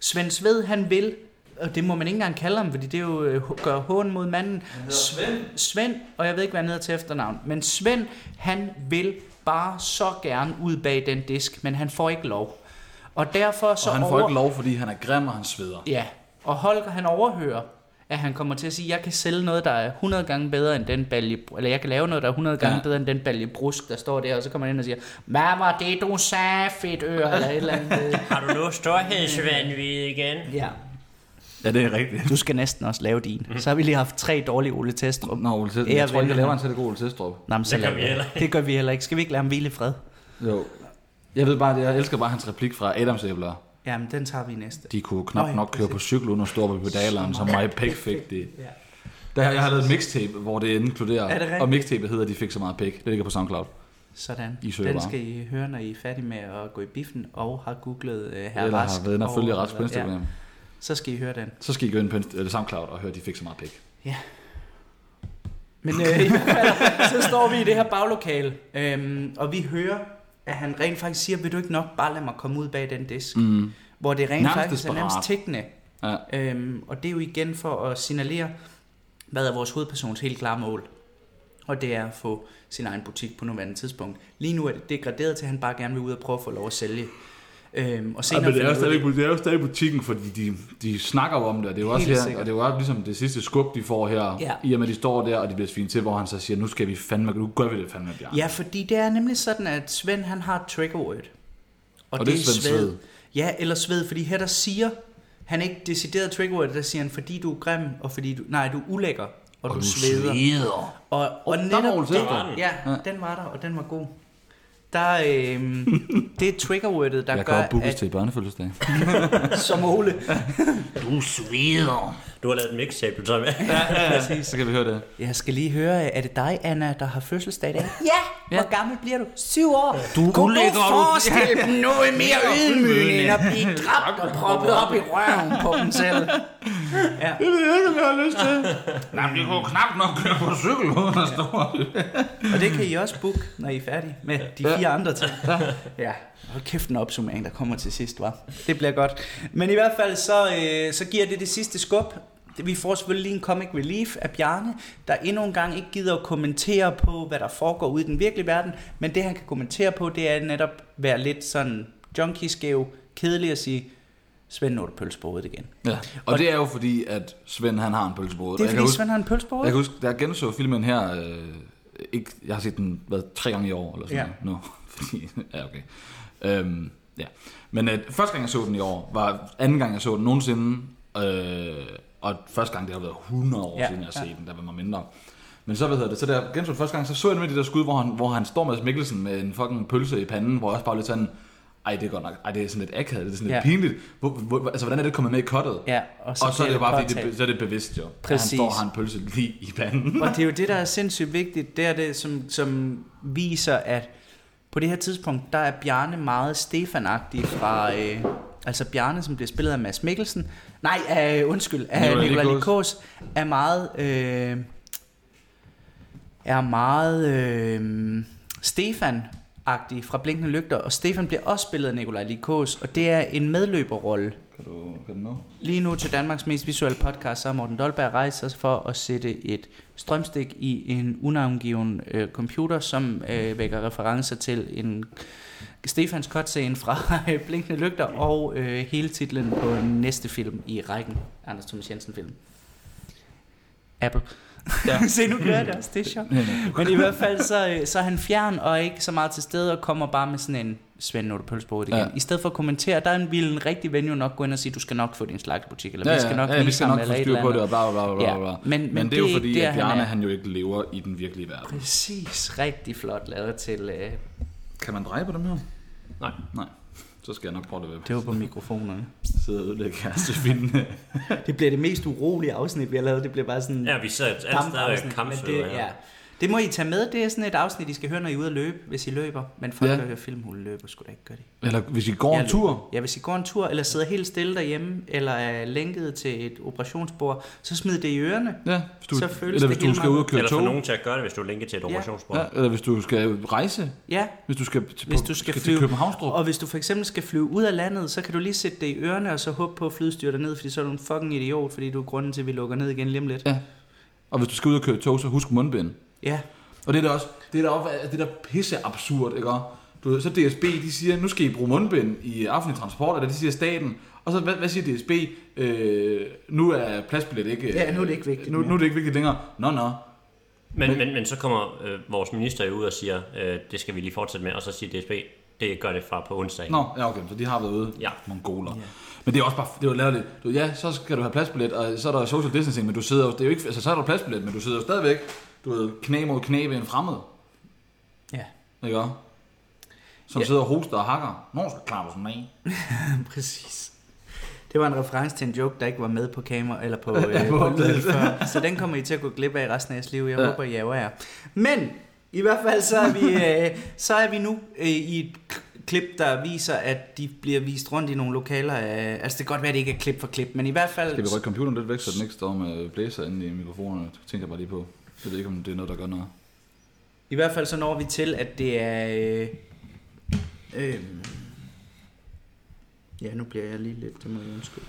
Speaker 3: Svend Sved, han vil, og det må man ikke engang kalde ham, fordi det jo øh, gør hån mod manden. Svend. Svend, og jeg ved ikke, hvad han hedder til efternavn, men Svend, han vil bare så gerne ud bag den disk, men han får ikke lov. Og derfor så
Speaker 2: Og han får
Speaker 3: over...
Speaker 2: ikke lov, fordi han er grim, og han sveder.
Speaker 3: Ja, og Holger han overhører, at han kommer til at sige, jeg kan sælge noget, der er 100 gange bedre end den balje, eller jeg kan lave noget, der er 100 gange
Speaker 2: Ja.
Speaker 3: ja. bedre end den balje brusk, der står der, og så kommer han ind og siger, hvad var det, du sagde, fedt øre, eller et eller andet.
Speaker 1: Har du nu storhedsvandvid igen?
Speaker 3: ja.
Speaker 2: Ja, det er rigtigt.
Speaker 3: Du skal næsten også lave din. Så har vi lige haft tre dårlige Ole Testrup.
Speaker 2: Nå, Ole Testrup.
Speaker 3: Ære
Speaker 2: Jeg tror ikke, jeg
Speaker 3: vælgerne.
Speaker 2: laver en særlig god Ole Testrup.
Speaker 3: Nå, men så
Speaker 1: Det gør
Speaker 3: laver
Speaker 1: vi
Speaker 3: vi.
Speaker 1: heller
Speaker 3: det gør vi heller ikke. Skal vi ikke lade ham hvile i fred?
Speaker 2: Jo. Jeg ved bare, at jeg elsker bare hans replik fra Adams æbler.
Speaker 3: Jamen, den tager vi i næste.
Speaker 2: De kunne knap
Speaker 3: Nå ja,
Speaker 2: nok køre på cykel uden at stå op i pedalerne, som mig pæk fik det.
Speaker 3: Ja.
Speaker 2: Der, jeg har lavet et mixtape, hvor det inkluderer,
Speaker 3: Er det rigtigt?
Speaker 2: og mixtapet hedder, de fik så meget pæk. Det ligger på SoundCloud.
Speaker 3: Sådan.
Speaker 2: I søger
Speaker 3: den
Speaker 2: bare.
Speaker 3: skal I høre, når I er færdige med at gå i biffen og har googlet uh, her
Speaker 2: Eller har været inde og følge Rask på
Speaker 3: Ja,
Speaker 2: Instagram.
Speaker 3: så skal I høre den.
Speaker 2: Så skal I gå ind på Inst- eller SoundCloud og høre, de fik så meget pæk.
Speaker 3: Ja. Men øh, i hvert fald, så står vi i det her baglokale, øhm, og vi hører, at han rent faktisk siger, vil du ikke nok bare lade mig komme ud bag den disk?
Speaker 2: Mm.
Speaker 3: Hvor det rent
Speaker 2: Nærmest
Speaker 3: faktisk er
Speaker 2: desperat.
Speaker 3: nærmest tækkende.
Speaker 2: Ja.
Speaker 3: Øhm, og det er jo igen for at signalere, hvad er vores hovedpersons helt klare mål? Og det er at få sin egen butik på nuværende tidspunkt. Lige nu er det degraderet til, at han bare gerne vil ud og prøve at få lov at sælge. Øhm, og
Speaker 2: Ja,
Speaker 3: senere
Speaker 2: men det er, jo
Speaker 3: finder vi ud af-
Speaker 2: stadig, det er jo stadig butikken, fordi de, de snakker jo om det, og det er jo også
Speaker 3: Helt
Speaker 2: her,
Speaker 3: sikkert.
Speaker 2: og det er jo også ligesom det sidste skub, de får her,
Speaker 3: Ja.
Speaker 2: i og med, at de står der, og de bliver svinet til, hvor han så siger, nu skal vi fandme, nu gør vi det fandme, Bjarne.
Speaker 3: Ja, fordi det er nemlig sådan, at Svend han har et triggerord.
Speaker 2: Og det er Svends sved.
Speaker 3: Ja, eller sved, fordi her der siger, han ikke decideret triggerord, der siger han, fordi du er grim, og fordi du, nej, du er ulækker, og, og du, sveder.
Speaker 2: sveder.
Speaker 3: Og, og
Speaker 2: der var
Speaker 3: netop
Speaker 2: Ole
Speaker 3: det,
Speaker 2: Søgaard.
Speaker 3: ja, den var der, og den var god. Der, øh, det er triggerwordet, der
Speaker 2: Jeg kan
Speaker 3: gør,
Speaker 2: godt bookes
Speaker 3: at,
Speaker 2: til børnefødselsdag.
Speaker 3: som Ole,
Speaker 2: Du sveder.
Speaker 1: Du har lavet en mixtape sammen med.
Speaker 2: Præcis. Så kan vi høre det.
Speaker 3: jeg skal lige høre, er det dig, Anna, der har fødselsdag i dag? Ja, hvor gammel bliver du? Syv år.
Speaker 2: Du er ulækker, og du-
Speaker 3: forestille dem noget mere ydmygende, end at blive dræbt og proppet op i røven på dem selv.
Speaker 2: Det ved jeg ikke, om jeg har lyst til. Nej, men det kunne knap nok køre på cykel, uden at stå.
Speaker 3: Og det kan I også booke, når I er færdige med de fire andre ting. Ja, hold kæft en opsummering, der kommer til sidst, var. Det bliver godt. Men i hvert fald, så, øh, så giver det det sidste skub. Vi får selvfølgelig lige en comic relief af Bjarne, der endnu en gang ikke gider at kommentere på, hvad der foregår ude i den virkelige verden. Men det, han kan kommentere på, det er netop være lidt sådan junkie-skæv, kedelig at sige, Svend, nu er det pølse på hovedet igen.
Speaker 2: Ja. Og det er jo fordi, at Svend han har en pølse på hovedet.
Speaker 3: Det
Speaker 2: Og jeg
Speaker 3: er
Speaker 2: kan
Speaker 3: fordi
Speaker 2: huske-
Speaker 3: Svend har en pølse på
Speaker 2: Jeg
Speaker 3: hovedet.
Speaker 2: kan huske, da jeg genså filmen her, øh, ikke, jeg har set den hvad, tre gange i år, eller sådan ja.
Speaker 3: Ja.
Speaker 2: noget. Nå, fordi, ja, okay. Øhm, ja. Men øh, første gang, jeg så den i år, var anden gang, jeg så den nogensinde. Øh, og første gang, det har været 100 år
Speaker 3: Ja,
Speaker 2: ja. siden, jeg har
Speaker 3: ja.
Speaker 2: set den, der var mig mindre. Men så, hvad hedder det, så da jeg genså den første gang, så så jeg med det der skud, hvor han, hvor han står med Mikkelsen med en fucking pølse i panden, hvor jeg også bare lidt sådan, ej, det er godt nok, ej, det er sådan lidt akavet, det er sådan lidt
Speaker 3: Ja.
Speaker 2: ja. pinligt. Hvor, hvor, altså, hvordan er det kommet med i kottet?
Speaker 3: Ja,
Speaker 2: Og så, og så er det jo bare, fordi
Speaker 3: påtalt.
Speaker 2: det, så er det bevidst jo. at
Speaker 3: Præcis.
Speaker 2: Han står og har en pølse lige i panden.
Speaker 3: Og det er jo det, der er sindssygt vigtigt, det er det, som, som viser, at på det her tidspunkt, der er Bjarne meget stefan fra... Øh, altså Bjarne, som bliver spillet af Mads Mikkelsen. Nej, af, undskyld, af
Speaker 2: Nikolaj
Speaker 3: Nikolaj
Speaker 2: Likos.
Speaker 3: Likos. Er meget... Øh, er meget øh, Stefan agtig fra Blinkende Lygter, og Stefan bliver også spillet af Nikolaj Likos, og det er en medløberrolle.
Speaker 2: Kan du, kan du nå?
Speaker 3: Lige nu til Danmarks mest visuelle podcast, så har Morten Dolberg rejst sig for at sætte et strømstik i en unavngiven øh, computer, som øh, vækker referencer til en Stefans cutscene fra øh, Blinkende Lygter og øh, hele titlen på næste film i rækken. Anders Thomas Jensen film. Apple. Ja. Se, nu gør jeg det også, det er sjovt. Men i hvert fald, så, øh, så er han fjern og ikke så meget til stede, og kommer bare med sådan en Svend Note Pølsborg igen. Ja.
Speaker 2: Ja.
Speaker 3: I stedet for at kommentere, der ville en rigtig ven jo nok gå ind og sige, du skal nok få din slagtebutik, eller vi skal nok
Speaker 2: ja, vi
Speaker 3: vise
Speaker 2: skal
Speaker 3: ham
Speaker 2: nok få
Speaker 3: eller et
Speaker 2: styr
Speaker 3: eller
Speaker 2: på det,
Speaker 3: andet.
Speaker 2: og bla bla bla bla.
Speaker 3: Ja,
Speaker 2: bla.
Speaker 3: men- men
Speaker 2: men det er
Speaker 3: det
Speaker 2: jo
Speaker 3: er ikke
Speaker 2: fordi,
Speaker 3: der,
Speaker 2: at
Speaker 3: han
Speaker 2: Bjarne
Speaker 3: er.
Speaker 2: han jo ikke lever i den virkelige verden.
Speaker 3: Præcis, rigtig flot lavet til... Øh,
Speaker 2: Kan man dreje på dem her?
Speaker 1: Nej.
Speaker 2: Nej. Så skal jeg nok prøve det ved.
Speaker 3: det var på mikrofonerne.
Speaker 2: Sidde og ødelægge kærestefinde.
Speaker 3: Det bliver det mest urolige afsnit, vi har lavet. Det bliver bare sådan...
Speaker 1: Ja, vi sad alle steder
Speaker 3: Dampafsnit, men
Speaker 1: kampsøger.
Speaker 3: det, ja. det må I tage med. Det er sådan et afsnit, I skal høre, når I er ude at løbe, hvis I løber. Men folk,
Speaker 2: Ja.
Speaker 3: der hører filmhul, løber skulle da ikke gøre det.
Speaker 2: Eller hvis I går
Speaker 3: Jeg
Speaker 2: en tur.
Speaker 3: løber. Ja, hvis I går en tur, eller sidder helt stille derhjemme, eller er lænket til et operationsbord, så smid det i ørerne.
Speaker 2: Ja, hvis du,
Speaker 3: Så føles
Speaker 2: eller
Speaker 3: det
Speaker 2: hvis du
Speaker 3: hele
Speaker 2: skal
Speaker 3: meget-
Speaker 2: ud og køre
Speaker 1: Eller få
Speaker 2: tog.
Speaker 1: nogen til at gøre det, hvis du er linket til et operationsbord.
Speaker 2: Ja, eller hvis du skal rejse.
Speaker 3: Ja,
Speaker 2: Hvis du skal, til,
Speaker 3: hvis du skal,
Speaker 2: til
Speaker 3: flyve.
Speaker 2: Københavnstrup.
Speaker 3: Og hvis du for eksempel skal flyve ud af landet, så kan du lige sætte det i ørerne, og så håbe på at flyet styrer dig ned, fordi så er du en fucking idiot, fordi du er grunden til, at vi lukker ned igen lige om lidt.
Speaker 2: Ja. Og hvis du skal ud og køre tog, så husk mundbind.
Speaker 3: Ja,
Speaker 2: Og det er da også, det er da også, det er da pisse absurd, ikke? også? Du ved, så DSB, de siger, nu skal I bruge mundbind i offentlig transport, eller det siger staten. Og så, hvad, hvad siger DSB? Øh, nu er pladsbillet ikke...
Speaker 3: Ja, nu er det ikke vigtigt
Speaker 2: Nu,
Speaker 3: mere.
Speaker 2: nu er det ikke vigtigt længere. Nå, nå.
Speaker 1: Men, men, men så kommer øh, vores minister jo ud og siger, øh, det skal vi lige fortsætte med, og så siger DSB, det gør det fra på onsdag.
Speaker 2: Nå, ja, okay, så de har været ude.
Speaker 1: Ja.
Speaker 2: Mongoler. Ja. Men det er også bare, det er jo latterligt. Du, ved, ja, så skal du have pladsbillet, og så er der social distancing, men du sidder jo, det er jo ikke, altså så er der pladsbillet, men du sidder jo stadigvæk, du ved, knæ mod knæ ved en fremmed,
Speaker 3: ja.
Speaker 2: ikke også? Som
Speaker 3: Ja.
Speaker 2: sidder og hoster og hakker. Nå, så klarer du sådan af.
Speaker 3: Præcis. Det var en reference til en joke, der ikke var med på kamera eller på,
Speaker 2: Ja,
Speaker 3: øh,
Speaker 2: på
Speaker 3: på
Speaker 2: optagelsen.
Speaker 3: lyden før. Så den kommer I til at gå glip af resten af jeres liv. Jeg ja. håber, I ærger jer. Men i hvert fald så er vi, øh, så er vi nu øh, i et k- klip, der viser, at de bliver vist rundt i nogle lokaler. Øh, altså det kan godt være, at det ikke er klip for klip, men i hvert fald...
Speaker 2: Skal vi rykke computeren lidt væk, så den ikke står med blæser inde i mikrofonerne? Det tænker jeg bare lige på. Jeg ved ikke, om det er noget, der gør noget.
Speaker 3: I hvert fald så når vi til, at det er... Øh, øh, ja, nu bliver jeg lige lidt, det må jeg undskylde.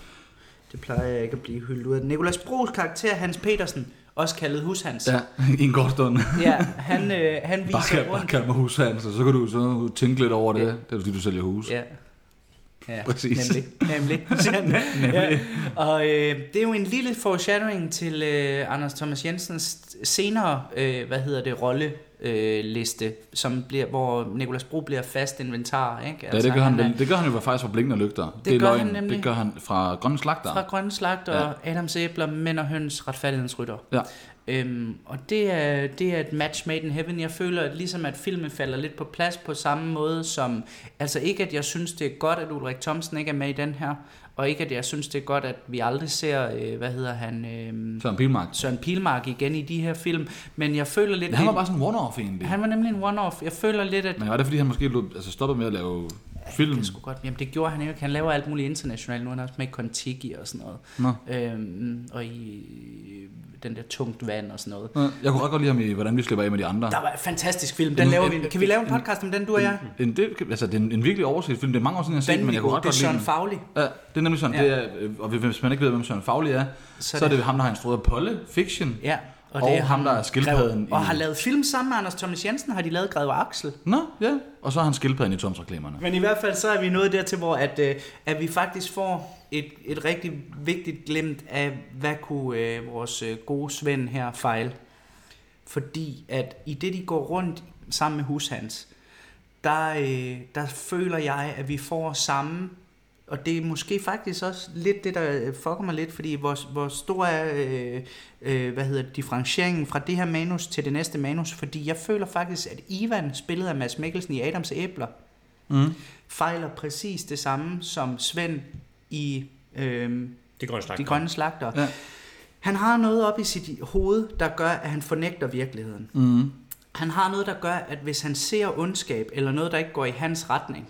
Speaker 3: Det plejer jeg ikke at blive hyldet ud af. Nikolas Bros karakter, Hans Petersen, også kaldet Hushans.
Speaker 2: Ja, i en kort stund.
Speaker 3: ja han, øh, han viser
Speaker 2: Bare, kald- bare
Speaker 3: rundt.
Speaker 2: kald mig hushandel, så kan du så tænke lidt over det.
Speaker 3: Ja.
Speaker 2: Det er jo fordi, du sælger hus.
Speaker 3: Ja. Ja,
Speaker 2: Præcis.
Speaker 3: Nemlig. nemlig. nemlig. Ja. Og øh, det er jo en lille foreshadowing til øh, Anders Thomas Jensens senere, øh, hvad hedder det, rolle øh, liste, som bliver, hvor Nikolas Bro bliver fast inventar. Ikke? Altså,
Speaker 2: Ja, det gør han,
Speaker 3: er
Speaker 2: vel- det gør han jo faktisk fra Blinkende Lygter. Det, er
Speaker 3: gør han
Speaker 2: løgn.
Speaker 3: nemlig.
Speaker 2: Det gør han fra Grønne Slagter.
Speaker 3: Fra Grønne Slagter, ja. Adams Æbler, Mænd og Høns, Retfærdighedens Rytter.
Speaker 2: Ja.
Speaker 3: Øhm, og det er, det er et match made in heaven. Jeg føler, at ligesom at filmen falder lidt på plads på samme måde som... Altså ikke, at jeg synes, det er godt, at Ulrik Thomsen ikke er med i den her, og ikke, at jeg synes, det er godt, at vi aldrig ser, øh, hvad hedder han, øh,
Speaker 2: Søren Pilmark.
Speaker 3: Søren Pilmark igen i de her film. Men jeg føler lidt...
Speaker 2: Ja, han var
Speaker 3: det-
Speaker 2: bare sådan en one-off egentlig.
Speaker 3: han var nemlig en one-off. Jeg føler lidt, at...
Speaker 2: Men var det fordi, han måske løb, altså, stoppede med at lave film?
Speaker 3: Det sgu godt. Jamen, det gjorde han jo ikke. Han laver alt muligt internationalt. Nu er han også med i Contiki og sådan noget.
Speaker 2: Nå.
Speaker 3: Øhm, og i den der tungt vand og sådan noget.
Speaker 2: Nå, Jeg kunne ret godt lide ham i, hvordan vi slipper af med de andre.
Speaker 3: Der var en fantastisk film. Den laver vi. Kan vi lave en podcast om den, du og jeg?
Speaker 2: En, det, altså, det er en, en virkelig overset film. Det er mange år siden, jeg har set den, men jeg kunne
Speaker 3: Vanvittig.
Speaker 2: ret
Speaker 3: Det er
Speaker 2: godt lide
Speaker 3: Søren
Speaker 2: den.
Speaker 3: Fagli.
Speaker 2: Ja, det er nemlig sådan.
Speaker 3: Ja.
Speaker 2: Ja. Det er, øh, og hvis man ikke ved, hvem Søren Fagli er, så, så er det ham, der har instrueret Polle Fiction.
Speaker 3: Ja.
Speaker 2: Og, det er ham, der er skildpadden
Speaker 3: Grev- Og
Speaker 2: i...
Speaker 3: har lavet film sammen med Anders Thomas Jensen, har de lavet Greve og Axel.
Speaker 2: Nå, ja. Og så har han skildpadden i Tomsreklamerne.
Speaker 3: Men i hvert fald så er vi nået dertil, hvor at, øh, at vi faktisk får et, et rigtig vigtigt glemt af, hvad kunne øh, vores øh, gode Svend her fejle. Fordi at i det, de går rundt sammen med Hushans, der, øh, der føler jeg, at vi får samme og det er måske faktisk også lidt det, der øh, fucker mig lidt, fordi hvor, hvor stor er øh, øh, hvad hedder det, differentieringen fra det her manus til det næste manus, fordi jeg føler faktisk, at Ivan, spillet af Mads Mikkelsen i Adams Æbler,
Speaker 2: Mm.
Speaker 3: fejler præcis det samme som Svend i øh,
Speaker 1: De grønne slagter.
Speaker 3: De Grønne Slagter. Ja.
Speaker 2: Ja.
Speaker 3: Han har noget op i sit hoved, der gør, at han fornægter virkeligheden.
Speaker 2: Mm.
Speaker 3: Han har noget, der gør, at hvis han ser ondskab, eller noget, der ikke går i hans retning,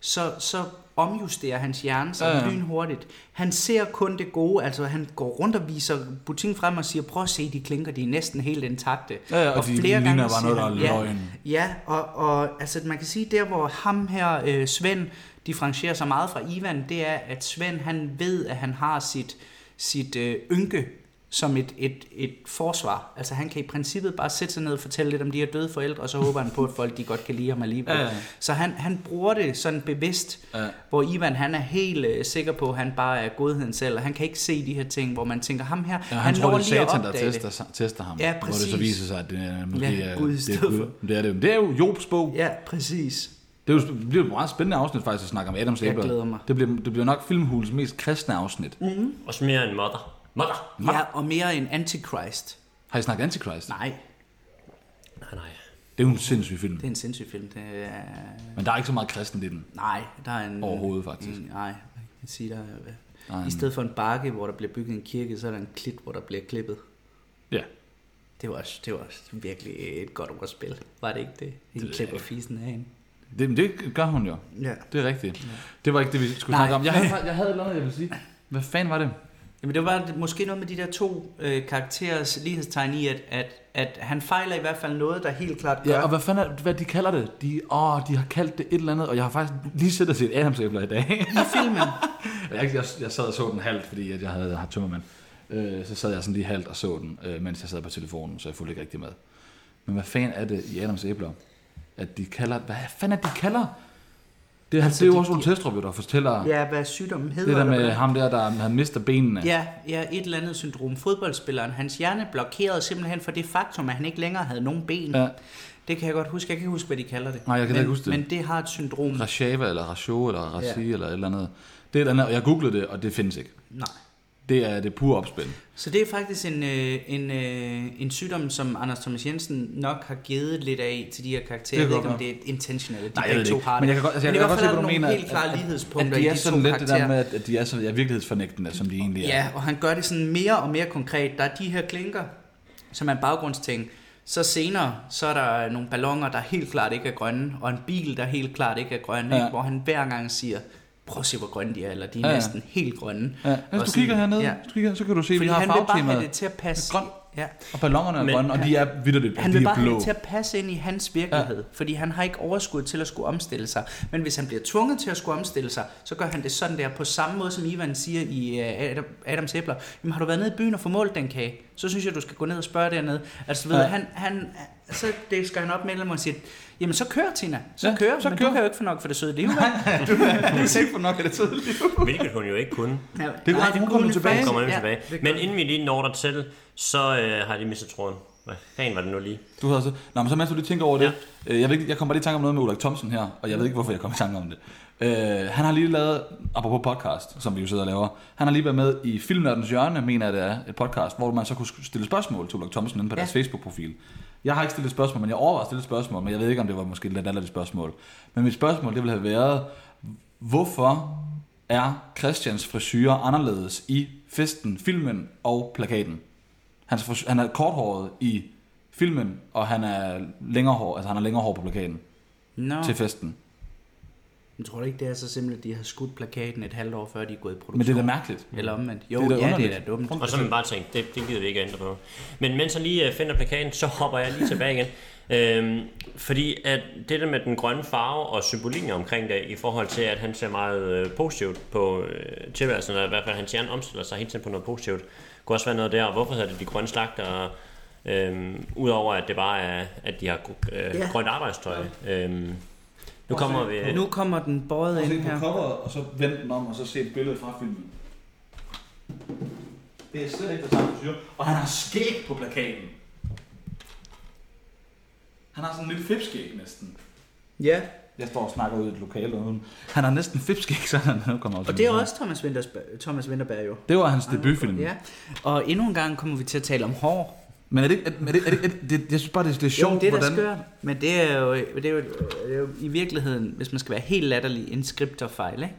Speaker 3: så, så omjusterer hans hjerne sig ja,
Speaker 2: Ja,
Speaker 3: ja.
Speaker 2: ja.
Speaker 3: lynhurtigt. Han ser kun det gode, altså han går rundt og viser butikken frem og siger, prøv at se, de klinker, de er næsten helt intakte.
Speaker 2: Ja, ja, og, og de ligner bare
Speaker 3: siger
Speaker 2: noget, der er
Speaker 3: han,
Speaker 2: løgn.
Speaker 3: Ja, og, og altså, man kan sige, der hvor ham her, øh, Svend, differencierer sig meget fra Ivan, det er, at Svend han ved, at han har sit, sit øh, ynke som et, et, et forsvar. Altså han kan i princippet bare sætte sig ned og fortælle lidt om de her døde forældre, og så håber han på, at folk de godt kan lide ham alligevel.
Speaker 2: Ja, ja.
Speaker 3: Så han, han bruger det sådan bevidst,
Speaker 2: Ja.
Speaker 3: hvor Ivan han er helt øh, sikker på, at han bare er godheden selv, og han kan ikke se de her ting, hvor man tænker, ham her,
Speaker 2: Ja, han, han tror,
Speaker 3: når
Speaker 2: det er
Speaker 3: lige at
Speaker 2: satan, der
Speaker 3: opdage det.
Speaker 2: tester, sig- tester ham.
Speaker 3: Ja,
Speaker 2: Hvor det så
Speaker 3: præcis.
Speaker 2: viser sig, at det er, måske
Speaker 3: Ja,
Speaker 2: er,
Speaker 3: Gud i
Speaker 2: det, er
Speaker 3: stedet
Speaker 2: Gud. det er det. Men det er jo Jobs bog.
Speaker 3: Ja, præcis.
Speaker 2: Det, er jo, det bliver et meget spændende afsnit faktisk at snakke om Adams
Speaker 3: Jeg
Speaker 2: æbler.
Speaker 3: glæder mig.
Speaker 2: Det bliver, det bliver nok filmhulens mest kristne afsnit. Mm.
Speaker 1: Også mere en mother. Mother!
Speaker 3: Ja, og mere en antikrist.
Speaker 2: Har I snakket Antichrist?
Speaker 3: Nej,
Speaker 1: Nej, Ah, nej.
Speaker 2: Det er jo en sindssyg film.
Speaker 3: det er en sindssyg film. Det er...
Speaker 2: Men der er ikke så meget kristen i den.
Speaker 3: Nej, der er en...
Speaker 2: Overhovedet, faktisk.
Speaker 3: En, nej, jeg kan sige, der er...
Speaker 2: Nej,
Speaker 3: I stedet for en bakke, hvor der bliver bygget en kirke, så er der en klit, hvor der bliver klippet.
Speaker 2: Ja.
Speaker 3: Det var også, det var også virkelig et godt ordspil. Var det ikke det? En
Speaker 2: jeg
Speaker 3: klipper fisen af en.
Speaker 2: Det, men det gør hun jo.
Speaker 3: Ja.
Speaker 2: Det er rigtigt. Det var ikke det, vi skulle
Speaker 3: Nej.
Speaker 2: snakke om. Jeg havde, jeg havde et eller andet, jeg ville sige. Hvad fanden var det?
Speaker 3: Jamen det var måske noget med de der to øh, karakterers lighedstegn i, at, at, at han fejler i hvert fald noget, der helt klart gør...
Speaker 2: Ja, og hvad fanden er, hvad de kalder det? De, åh, de har kaldt det et eller andet, og jeg har faktisk lige siddet og set Adams æbler i dag.
Speaker 3: I filmen.
Speaker 2: Jeg, jeg, jeg sad og så den halvt, fordi at jeg havde haft tømmermand. Øh, så sad jeg sådan lige halvt og så den, øh, mens jeg sad på telefonen, så jeg fulgte ikke rigtig med. Men hvad fanden er det i Adams æbler? At de kalder... Hvad fanden er det, de kalder? Det, er, altså, det er jo også Ole Testrup, jo, der fortæller... Ja,
Speaker 3: Ja, hvad sygdommen hedder.
Speaker 2: det der
Speaker 3: eller
Speaker 2: med
Speaker 3: hvordan-
Speaker 2: ham der, der havde mistet benene.
Speaker 3: Ja, ja, et eller andet syndrom. Fodboldspilleren, hans hjerne blokerede simpelthen for det faktum, at han ikke længere havde nogen ben.
Speaker 2: Ja.
Speaker 3: Det kan jeg godt huske. Jeg kan ikke huske, hvad de kalder det.
Speaker 2: Nej, jeg kan
Speaker 3: men,
Speaker 2: ikke huske det.
Speaker 3: Men det har et syndrom.
Speaker 2: Rashava, eller Rasho, eller Rashi,
Speaker 3: Ja.
Speaker 2: ja. eller et eller andet. Det er et eller andet, og jeg googlede det, og det findes ikke.
Speaker 3: Nej.
Speaker 2: Det er det pure opspil.
Speaker 3: Så det er faktisk en, øh, en, øh, en sygdom, som Anders Thomas Jensen nok har givet lidt af til de her karakterer.
Speaker 2: Det
Speaker 3: Jeg
Speaker 2: kan
Speaker 3: ved ikke, om
Speaker 2: godt
Speaker 3: det er intentionelt.
Speaker 2: Nej,
Speaker 3: De
Speaker 2: jeg ved
Speaker 3: begge
Speaker 2: det
Speaker 3: to
Speaker 2: ikke.
Speaker 3: har det.
Speaker 2: Men jeg kan godt, altså, jeg
Speaker 3: Men i
Speaker 2: kan
Speaker 3: hvert
Speaker 2: godt se,
Speaker 3: fald er
Speaker 2: hvad
Speaker 3: der
Speaker 2: du
Speaker 3: nogle
Speaker 2: mener.
Speaker 3: helt klare lighedspunkter
Speaker 2: at de
Speaker 3: i
Speaker 2: er
Speaker 3: de
Speaker 2: sådan
Speaker 3: to
Speaker 2: lidt det
Speaker 3: karakterer.
Speaker 2: der med, at- at de er, så, ja, virkelighedsfornægtende, som de egentlig er.
Speaker 3: Ja, og han gør det sådan mere og mere konkret. Der er de her klinker, som er en baggrundsting. Så senere, så er der nogle ballonger, der helt klart ikke er grønne, og en bil, der helt klart ikke er grøn, ja. ikke?
Speaker 2: Ja.
Speaker 3: hvor han hver gang siger, prøv at se, hvor grønne de er, eller de er ja.
Speaker 2: Ja, ja.
Speaker 3: næsten helt grønne.
Speaker 2: Ja, Altså, hvis
Speaker 3: Og
Speaker 2: du
Speaker 3: sådan-
Speaker 2: kigger hernede,
Speaker 3: ja.
Speaker 2: hvis du kigger, så kan du se, at
Speaker 3: Fordi
Speaker 2: vi har
Speaker 3: han vil bare have
Speaker 2: farvetemaet.
Speaker 3: det til at passe.
Speaker 2: Grøn.
Speaker 3: Ja.
Speaker 2: Og ballongerne er
Speaker 1: Men-
Speaker 2: grønne, og de er vidderligt,
Speaker 3: Han
Speaker 2: de
Speaker 3: vil
Speaker 2: er
Speaker 3: bare have
Speaker 2: blå.
Speaker 3: det til at passe ind i hans virkelighed, ja. fordi han har ikke overskud til at skulle omstille sig. Men hvis han bliver tvunget til at skulle omstille sig, så gør han det sådan der, på samme måde som Ivan siger i øh, Adam, Adams æbler. Jamen har du været nede i byen og formålt den kage? Så synes jeg, du skal gå ned og spørge dernede. Altså du ved,
Speaker 2: Ja.
Speaker 3: ja. han, han, så det skal han op med og siger, jamen så kør Tina, så
Speaker 2: Ja,
Speaker 3: ja, kører,
Speaker 2: så
Speaker 3: men
Speaker 2: kør.
Speaker 3: du kan jo ikke få nok for det søde liv. Nej,
Speaker 2: Det er sikkert nok, at det tidligt.
Speaker 1: Hvilket hun jo ikke kunne.
Speaker 3: Nej,
Speaker 2: det er hun kommer
Speaker 3: kunne
Speaker 2: tilbage.
Speaker 1: Nu
Speaker 3: faktisk-
Speaker 1: kommer nemlig
Speaker 3: ja,
Speaker 1: tilbage.
Speaker 3: det
Speaker 1: Men
Speaker 3: Men
Speaker 1: inden vi lige når der til, så øh, har de mistet tråden. Hvad fanden var det nu lige?
Speaker 2: Du havde så... Nå, men så mens du lige tænker over det. Øh, jeg, ved ikke, jeg kom bare lige i tanke om noget med Ulrik Thomsen her, og jeg ved ikke, hvorfor jeg kom i tanke om det. Øh, han har lige lavet, apropos podcast, som vi jo sidder og laver, han har lige været med i Filmnørdens Hjørne, mener jeg det er, et podcast, hvor man så kunne stille spørgsmål til Ulrik Thomsen inde på
Speaker 3: Ja.
Speaker 2: altså,
Speaker 3: Nå,
Speaker 2: til festen.
Speaker 3: jeg tror du ikke, det er så simpelt, at de har skudt plakaten et halvt år før, de er gået i produktion.
Speaker 2: Men det er da mærkeligt.
Speaker 3: Eller omvendt. Jo,
Speaker 2: Det er
Speaker 3: det er
Speaker 2: da
Speaker 3: ja, det
Speaker 2: underligt.
Speaker 3: er da dumt.
Speaker 1: Og så har man bare tænkt, det, det gider vi ikke ændre på. Men mens han lige øh, finder plakaten, så hopper jeg lige tilbage igen. Øhm, fordi at det der med den grønne farve og symbolikken omkring det, i forhold til at han ser meget øh, positivt på øh, tilværelsen, eller i hvert fald hans hjerne omstiller sig hele tiden på noget positivt, kunne også være noget der, hvorfor hedder det de grønne slagter, øhm, udover at det bare er, at de har øh,
Speaker 3: Ja.
Speaker 1: grønt arbejdstøj. Øhm, nu kommer vi... øh,
Speaker 3: Nu kommer den båret ind her.
Speaker 2: coveret, og så vend den om, og så se et billede fra filmen. Det er slet ikke det samme frisyr. Og han har skæg på plakaten. Han har sådan en lille fipskæg næsten.
Speaker 3: Ja,
Speaker 2: Jeg står og snakker ud i et lokale uden. Han har næsten fipskæg, så han nu kommer op til
Speaker 3: og det er
Speaker 2: mig.
Speaker 3: også Thomas Winterberg, Thomas Winterberg jo.
Speaker 2: Det var hans
Speaker 1: Mm.
Speaker 2: debutfilm.
Speaker 3: Ja, og endnu en gang kommer vi til at tale om hår.
Speaker 2: Men er det, ikke- er, er det, er det, er det, det, jeg synes bare, det, det er sjovt,
Speaker 3: Jo, det er da
Speaker 2: hvordan...
Speaker 3: skørt, men det er, jo, det, er jo, det er jo i virkeligheden, hvis man skal være helt latterlig, en skripterfejl, ikke?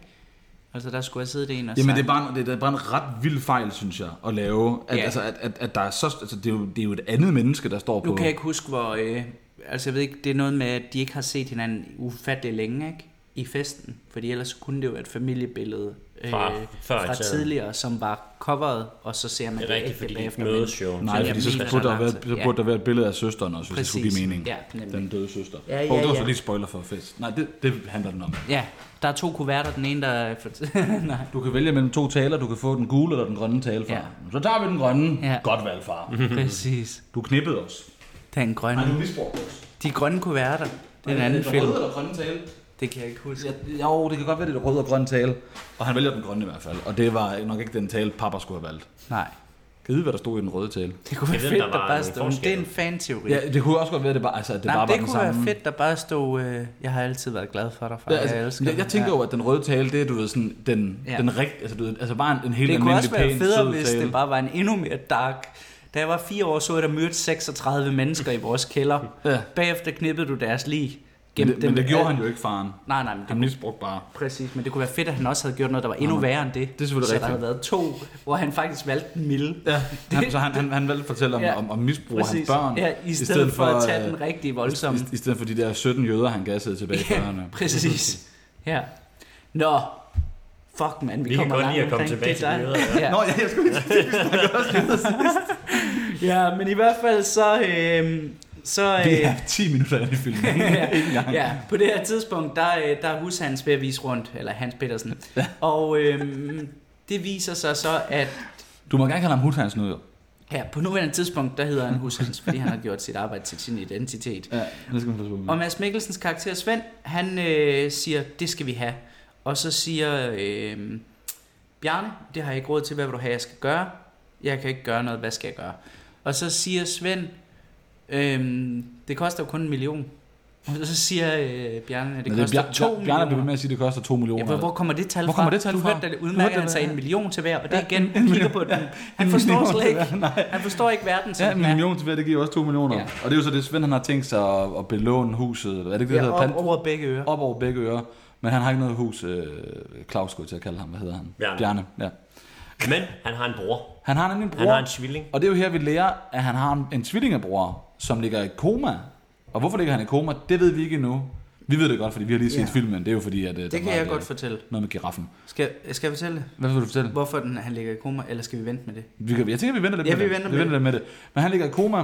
Speaker 3: Altså der skulle have siddet en og
Speaker 2: Jamen
Speaker 3: sagt,
Speaker 2: det er, bare, det er bare en ret vild fejl, synes jeg, at lave. At, ja.
Speaker 3: Ja.
Speaker 2: altså, at, at, at der er så, altså, det, er jo, det er jo et andet menneske, der står
Speaker 3: nu
Speaker 2: på...
Speaker 3: kan jeg ikke huske, hvor... Øh, altså jeg ved ikke, det er noget med, at de ikke har set hinanden ufattelig længe, ikke? I festen. Fordi ellers kunne det jo være et familiebillede øh,
Speaker 1: Fra- før i
Speaker 3: fra
Speaker 1: tiden.
Speaker 3: tidligere, som var coveret, og så ser man
Speaker 1: Det
Speaker 3: det,
Speaker 1: er rigtigt,
Speaker 3: ægte
Speaker 1: fordi de
Speaker 3: bagefter,
Speaker 1: mødes
Speaker 3: men-
Speaker 1: jo.
Speaker 2: Nej,
Speaker 3: Men
Speaker 2: fordi
Speaker 3: jeg
Speaker 2: så
Speaker 3: mener,
Speaker 2: burde der,
Speaker 3: der er
Speaker 2: være,
Speaker 3: lang tid.
Speaker 2: så burde der være et billede af søsteren også, hvis det skulle give
Speaker 3: Præcis.
Speaker 2: mening.
Speaker 3: Ja, nemlig.
Speaker 2: Den døde søster.
Speaker 3: Ja, ja,
Speaker 2: Hov, det var så
Speaker 3: ja.
Speaker 2: lige spoiler for fest. Nej, det, det handler den om.
Speaker 3: Ja, der er to kuverter, den ene, der er... Nej.
Speaker 2: Du kan vælge mellem to taler. Du kan få den gule eller den grønne tale, far.
Speaker 3: Ja.
Speaker 2: Så tager vi den grønne.
Speaker 3: Ja.
Speaker 2: Godt valg, far.
Speaker 3: Præcis.
Speaker 2: Du knippede os.
Speaker 3: Der er en grøn.
Speaker 2: Nej, du misbrugte os.
Speaker 3: De grønne kuverter. Det er en anden
Speaker 2: den
Speaker 3: film.
Speaker 2: røde eller grønne tale?
Speaker 3: Det kan jeg ikke huske.
Speaker 2: Ja, jo, det kan godt være, det er det røde og grønne tale. Og han vælger den grønne i hvert fald. Og det var nok ikke den tale, pappa skulle have valgt.
Speaker 3: Nej.
Speaker 2: Kan I vide, hvad der stod i den røde tale?
Speaker 3: Det kunne være
Speaker 1: Jeg ved,
Speaker 3: fedt,
Speaker 1: der
Speaker 3: der
Speaker 1: var
Speaker 3: bare
Speaker 1: nogle
Speaker 3: stod... Det er
Speaker 1: forskelle.
Speaker 3: en fan-teori.
Speaker 2: Ja, det kunne også godt være, at det bare, altså, at det
Speaker 3: Nej,
Speaker 2: bare
Speaker 3: men
Speaker 2: var
Speaker 3: det
Speaker 2: den
Speaker 3: kunne
Speaker 2: samme.
Speaker 3: være fedt, der bare stod... Øh, jeg har altid været glad for dig, far.
Speaker 2: Ja, altså,
Speaker 3: jeg elsker
Speaker 2: jeg, jeg
Speaker 3: dig."
Speaker 2: tænker
Speaker 3: Ja.
Speaker 2: jo, at den røde tale, det er du ved, sådan, den, ja.
Speaker 3: Ja.
Speaker 2: den rigt, altså, du ved, altså bare en, en helt
Speaker 3: Det kunne også
Speaker 2: almindelig pæn,
Speaker 3: være federe,
Speaker 2: sød
Speaker 3: hvis
Speaker 2: tale.
Speaker 3: det bare var en endnu mere dark. Da jeg var fire år, så jeg der myrdet 36 mennesker i vores kælder.
Speaker 2: Ja.
Speaker 3: Bagefter knippede du deres lig.
Speaker 2: men,
Speaker 3: gemte
Speaker 2: det,
Speaker 3: dem
Speaker 2: men det
Speaker 3: i
Speaker 2: gjorde
Speaker 3: alt-
Speaker 2: han jo ikke, faren.
Speaker 3: Nej, nej, men det
Speaker 2: Han misbrugte bare.
Speaker 3: Præcis, men det kunne være fedt, at han også havde gjort noget, der var endnu
Speaker 2: Nå,
Speaker 3: værre end det.
Speaker 2: er selvfølgelig
Speaker 3: så
Speaker 2: rigtigt.
Speaker 3: der havde været to, hvor han faktisk valgte den milde.
Speaker 2: Ja, han, så han, han, han valgte at fortælle om, ja.
Speaker 3: Ja.
Speaker 2: om, om misbrug af hans børn.
Speaker 3: Ja, i stedet, stedet for, at tage den rigtige voldsomme.
Speaker 2: øh, i, I stedet for de der 17 jøder, han gassede tilbage i
Speaker 3: Ja,
Speaker 2: 40'erne.
Speaker 3: præcis. Ja. Nå, fuck man,
Speaker 1: Vi
Speaker 3: vi,
Speaker 1: kan
Speaker 3: kommer
Speaker 1: godt
Speaker 3: langt
Speaker 1: lide at komme
Speaker 3: omkring.
Speaker 1: tilbage
Speaker 3: Det er
Speaker 1: til
Speaker 3: dig.
Speaker 1: nyheder,
Speaker 3: ja.
Speaker 2: Nå, ja, jeg skulle lige
Speaker 3: ja, men i hvert fald så... Øh, så øh,
Speaker 2: Det er 10 minutter ind i filmen. ikke engang.
Speaker 3: ja, på det her tidspunkt, der, øh, der er Hushans ved at vise rundt, eller Hans Petersen. Og øhm, det viser sig så, at
Speaker 2: Du må gerne kalde ham Huthans nu, jo.
Speaker 3: ja, på nuværende tidspunkt, der hedder han Hushans, fordi han har gjort sit arbejde til sin identitet.
Speaker 2: Ja, det skal man passe på med.
Speaker 3: Og Mads Mikkelsens karakter Svend, han øh, siger, det skal vi have. Og så siger øh, Bjarne, det har jeg ikke råd til, hvad vil du have, jeg skal gøre? Jeg kan ikke gøre noget, hvad skal jeg gøre? Og så siger Svend, øh, det koster jo kun en million. Og så siger øh, Bjarne, at det
Speaker 2: Men
Speaker 3: koster
Speaker 2: Bjar-
Speaker 3: to
Speaker 2: Bjarne
Speaker 3: millioner.
Speaker 2: blev ved med at sige, at det koster 2 millioner.
Speaker 3: Ja, hvor, hvor kommer det tal
Speaker 2: Hvor
Speaker 3: fra?
Speaker 2: kommer det tal
Speaker 3: du
Speaker 2: fra?
Speaker 3: hørte da
Speaker 2: Du
Speaker 3: det
Speaker 2: hørte
Speaker 3: udmærket,
Speaker 2: da
Speaker 3: han sagde
Speaker 2: det.
Speaker 3: en million til hver, og det
Speaker 2: Ja,
Speaker 3: er igen,
Speaker 2: en
Speaker 3: han kigger
Speaker 2: million.
Speaker 3: på den.
Speaker 2: En
Speaker 3: Han forstår
Speaker 2: million
Speaker 3: slet
Speaker 2: til
Speaker 3: ikke,
Speaker 2: hver, nej.
Speaker 3: han forstår ikke verden, som
Speaker 2: Ja, en
Speaker 3: den er.
Speaker 2: million til hver, det giver også 2 millioner. Ja.
Speaker 3: Ja.
Speaker 2: Og det er jo så det, Svend han har tænkt sig at, at belåne huset. eller Er det ikke det,
Speaker 3: Ja,
Speaker 2: der hedder?
Speaker 3: op
Speaker 2: Pan-
Speaker 3: over begge ører.
Speaker 2: op over begge ører. Men han har ikke noget hus, øh, Claus skulle jeg til at kalde ham. Hvad hedder han?
Speaker 1: Bjarne.
Speaker 2: Bjarne ja.
Speaker 1: Men han har en bror.
Speaker 2: Han har nemlig en bror.
Speaker 1: Han har en tvilling.
Speaker 2: Og det er jo her, vi lærer, at han har en, en tvillingebror, som ligger i koma. Og hvorfor ligger han i koma, det ved vi ikke endnu. Vi ved det godt, fordi vi har lige set
Speaker 3: Ja.
Speaker 2: yeah. filmen. Det er jo fordi, at øh, der
Speaker 3: Det kan
Speaker 2: var
Speaker 3: jeg
Speaker 2: et,
Speaker 3: godt
Speaker 2: øh,
Speaker 3: fortælle.
Speaker 2: Noget med giraffen.
Speaker 3: Skal, skal jeg fortælle,
Speaker 2: Hvad vil du fortælle?
Speaker 3: hvorfor den, han ligger i koma, eller skal vi vente med det?
Speaker 2: Vi kan, jeg tænker, vi venter lidt
Speaker 3: Ja,
Speaker 2: med
Speaker 3: vi
Speaker 2: det.
Speaker 3: venter
Speaker 2: vi
Speaker 3: med
Speaker 2: venter lidt med det. Men han ligger i koma.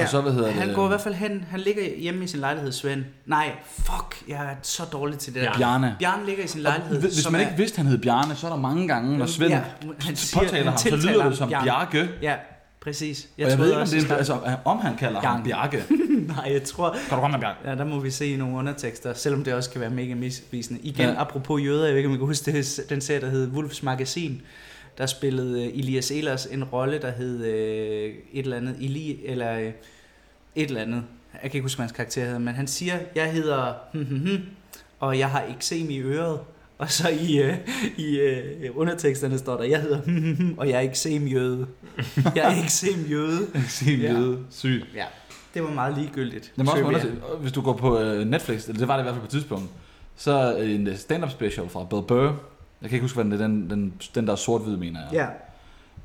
Speaker 2: Og så, hvad hedder
Speaker 3: han
Speaker 2: det?
Speaker 3: går i hvert fald hen, han ligger hjemme i sin lejlighed, Svend. Nej, fuck, jeg er så dårlig til det der.
Speaker 1: Ja.
Speaker 2: Bjarne.
Speaker 3: Bjarne ligger i sin lejlighed,
Speaker 2: Og Hvis hvis man
Speaker 3: er-
Speaker 2: ikke vidste, han hed Bjarne, så er der mange gange, når Svend
Speaker 3: Ja,
Speaker 2: ja,
Speaker 3: han
Speaker 2: han
Speaker 3: siger-
Speaker 2: påtaler
Speaker 3: han
Speaker 2: ham, så
Speaker 3: tiltaler
Speaker 2: lyder
Speaker 3: ham
Speaker 2: det som
Speaker 3: Bjarne.
Speaker 2: Bjarke.
Speaker 3: Ja, præcis.
Speaker 2: Jeg, jeg ved
Speaker 3: troede
Speaker 2: ikke, om,
Speaker 3: også,
Speaker 2: det er,
Speaker 3: at-
Speaker 2: altså, om han kalder ham
Speaker 3: Bjarke.
Speaker 2: Bjarke.
Speaker 3: Nej, jeg tror...
Speaker 2: Kan du komme med Bjarke?
Speaker 3: Ja, der må vi se nogle undertekster, selvom det også kan være mega misvisende. Igen, ja.
Speaker 2: Ja.
Speaker 3: apropos jøder, jeg ved ikke, om I kan huske det, den serie, der hed Wolfs Magasin, der spillede øh, Elias Ehlers en rolle, der hed øh, et eller andet, Eli, eller øh, et eller andet. Jeg kan ikke huske, hvad hans karakter hedder, men han siger, jeg hedder hm, hm, hm, og jeg har eksem i øret. Og så i, øh, i øh, underteksterne står der, jeg hedder hm, hm, hm, og jeg er eksem jøde. Jeg er eksem jøde.
Speaker 2: Se, vi
Speaker 3: Ja.
Speaker 2: ved. Sygt.
Speaker 3: Ja, det var meget ligegyldigt.
Speaker 2: Det må også
Speaker 3: Trivia.
Speaker 2: undersøge. Og Hvis du går på øh, Netflix, eller det var det i hvert fald på et tidspunkt, så er en øh, stand-up special fra Bill Burr. Jeg kan ikke huske, hvad den er, den, den, den der er sort-hvid, mener jeg.
Speaker 3: Ja,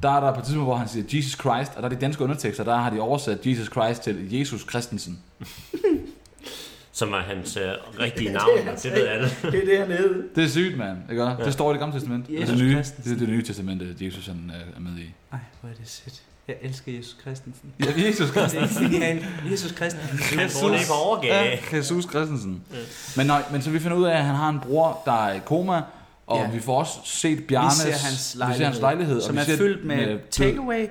Speaker 2: Der er der på et tidspunkt, hvor han siger Jesus Christ, og der er de danske undertekster, der har de oversat Jesus Christ til Jesus Christensen.
Speaker 1: Som var hans øh, rigtige navn, det, det ved alle.
Speaker 3: det er det, han hed.
Speaker 2: Det er sygt, mand. Ikke? Ja. Det står i det gamle testament.
Speaker 3: Jesus
Speaker 2: det, nye,
Speaker 3: Christensen.
Speaker 2: det er det nye testament, at Jesus han, øh, er med i.
Speaker 3: Ej, hvor er det sødt. Jeg elsker Jesus Christensen.
Speaker 2: Ja, Jesus
Speaker 3: Det
Speaker 2: Christensen.
Speaker 3: er genialt. Jesus Christensen.
Speaker 1: Han får det på overgave.
Speaker 2: Ja, Jesus Christensen. Men, nej, men så vi finder ud af, at han har en bror, der er i koma, og
Speaker 3: Ja.
Speaker 2: vi får også set Bjarnes,
Speaker 3: vi ser hans
Speaker 2: vi ser hans lejlighed
Speaker 3: som
Speaker 2: og vi
Speaker 3: er
Speaker 2: ser
Speaker 3: fyldt med
Speaker 2: død.
Speaker 3: takeaway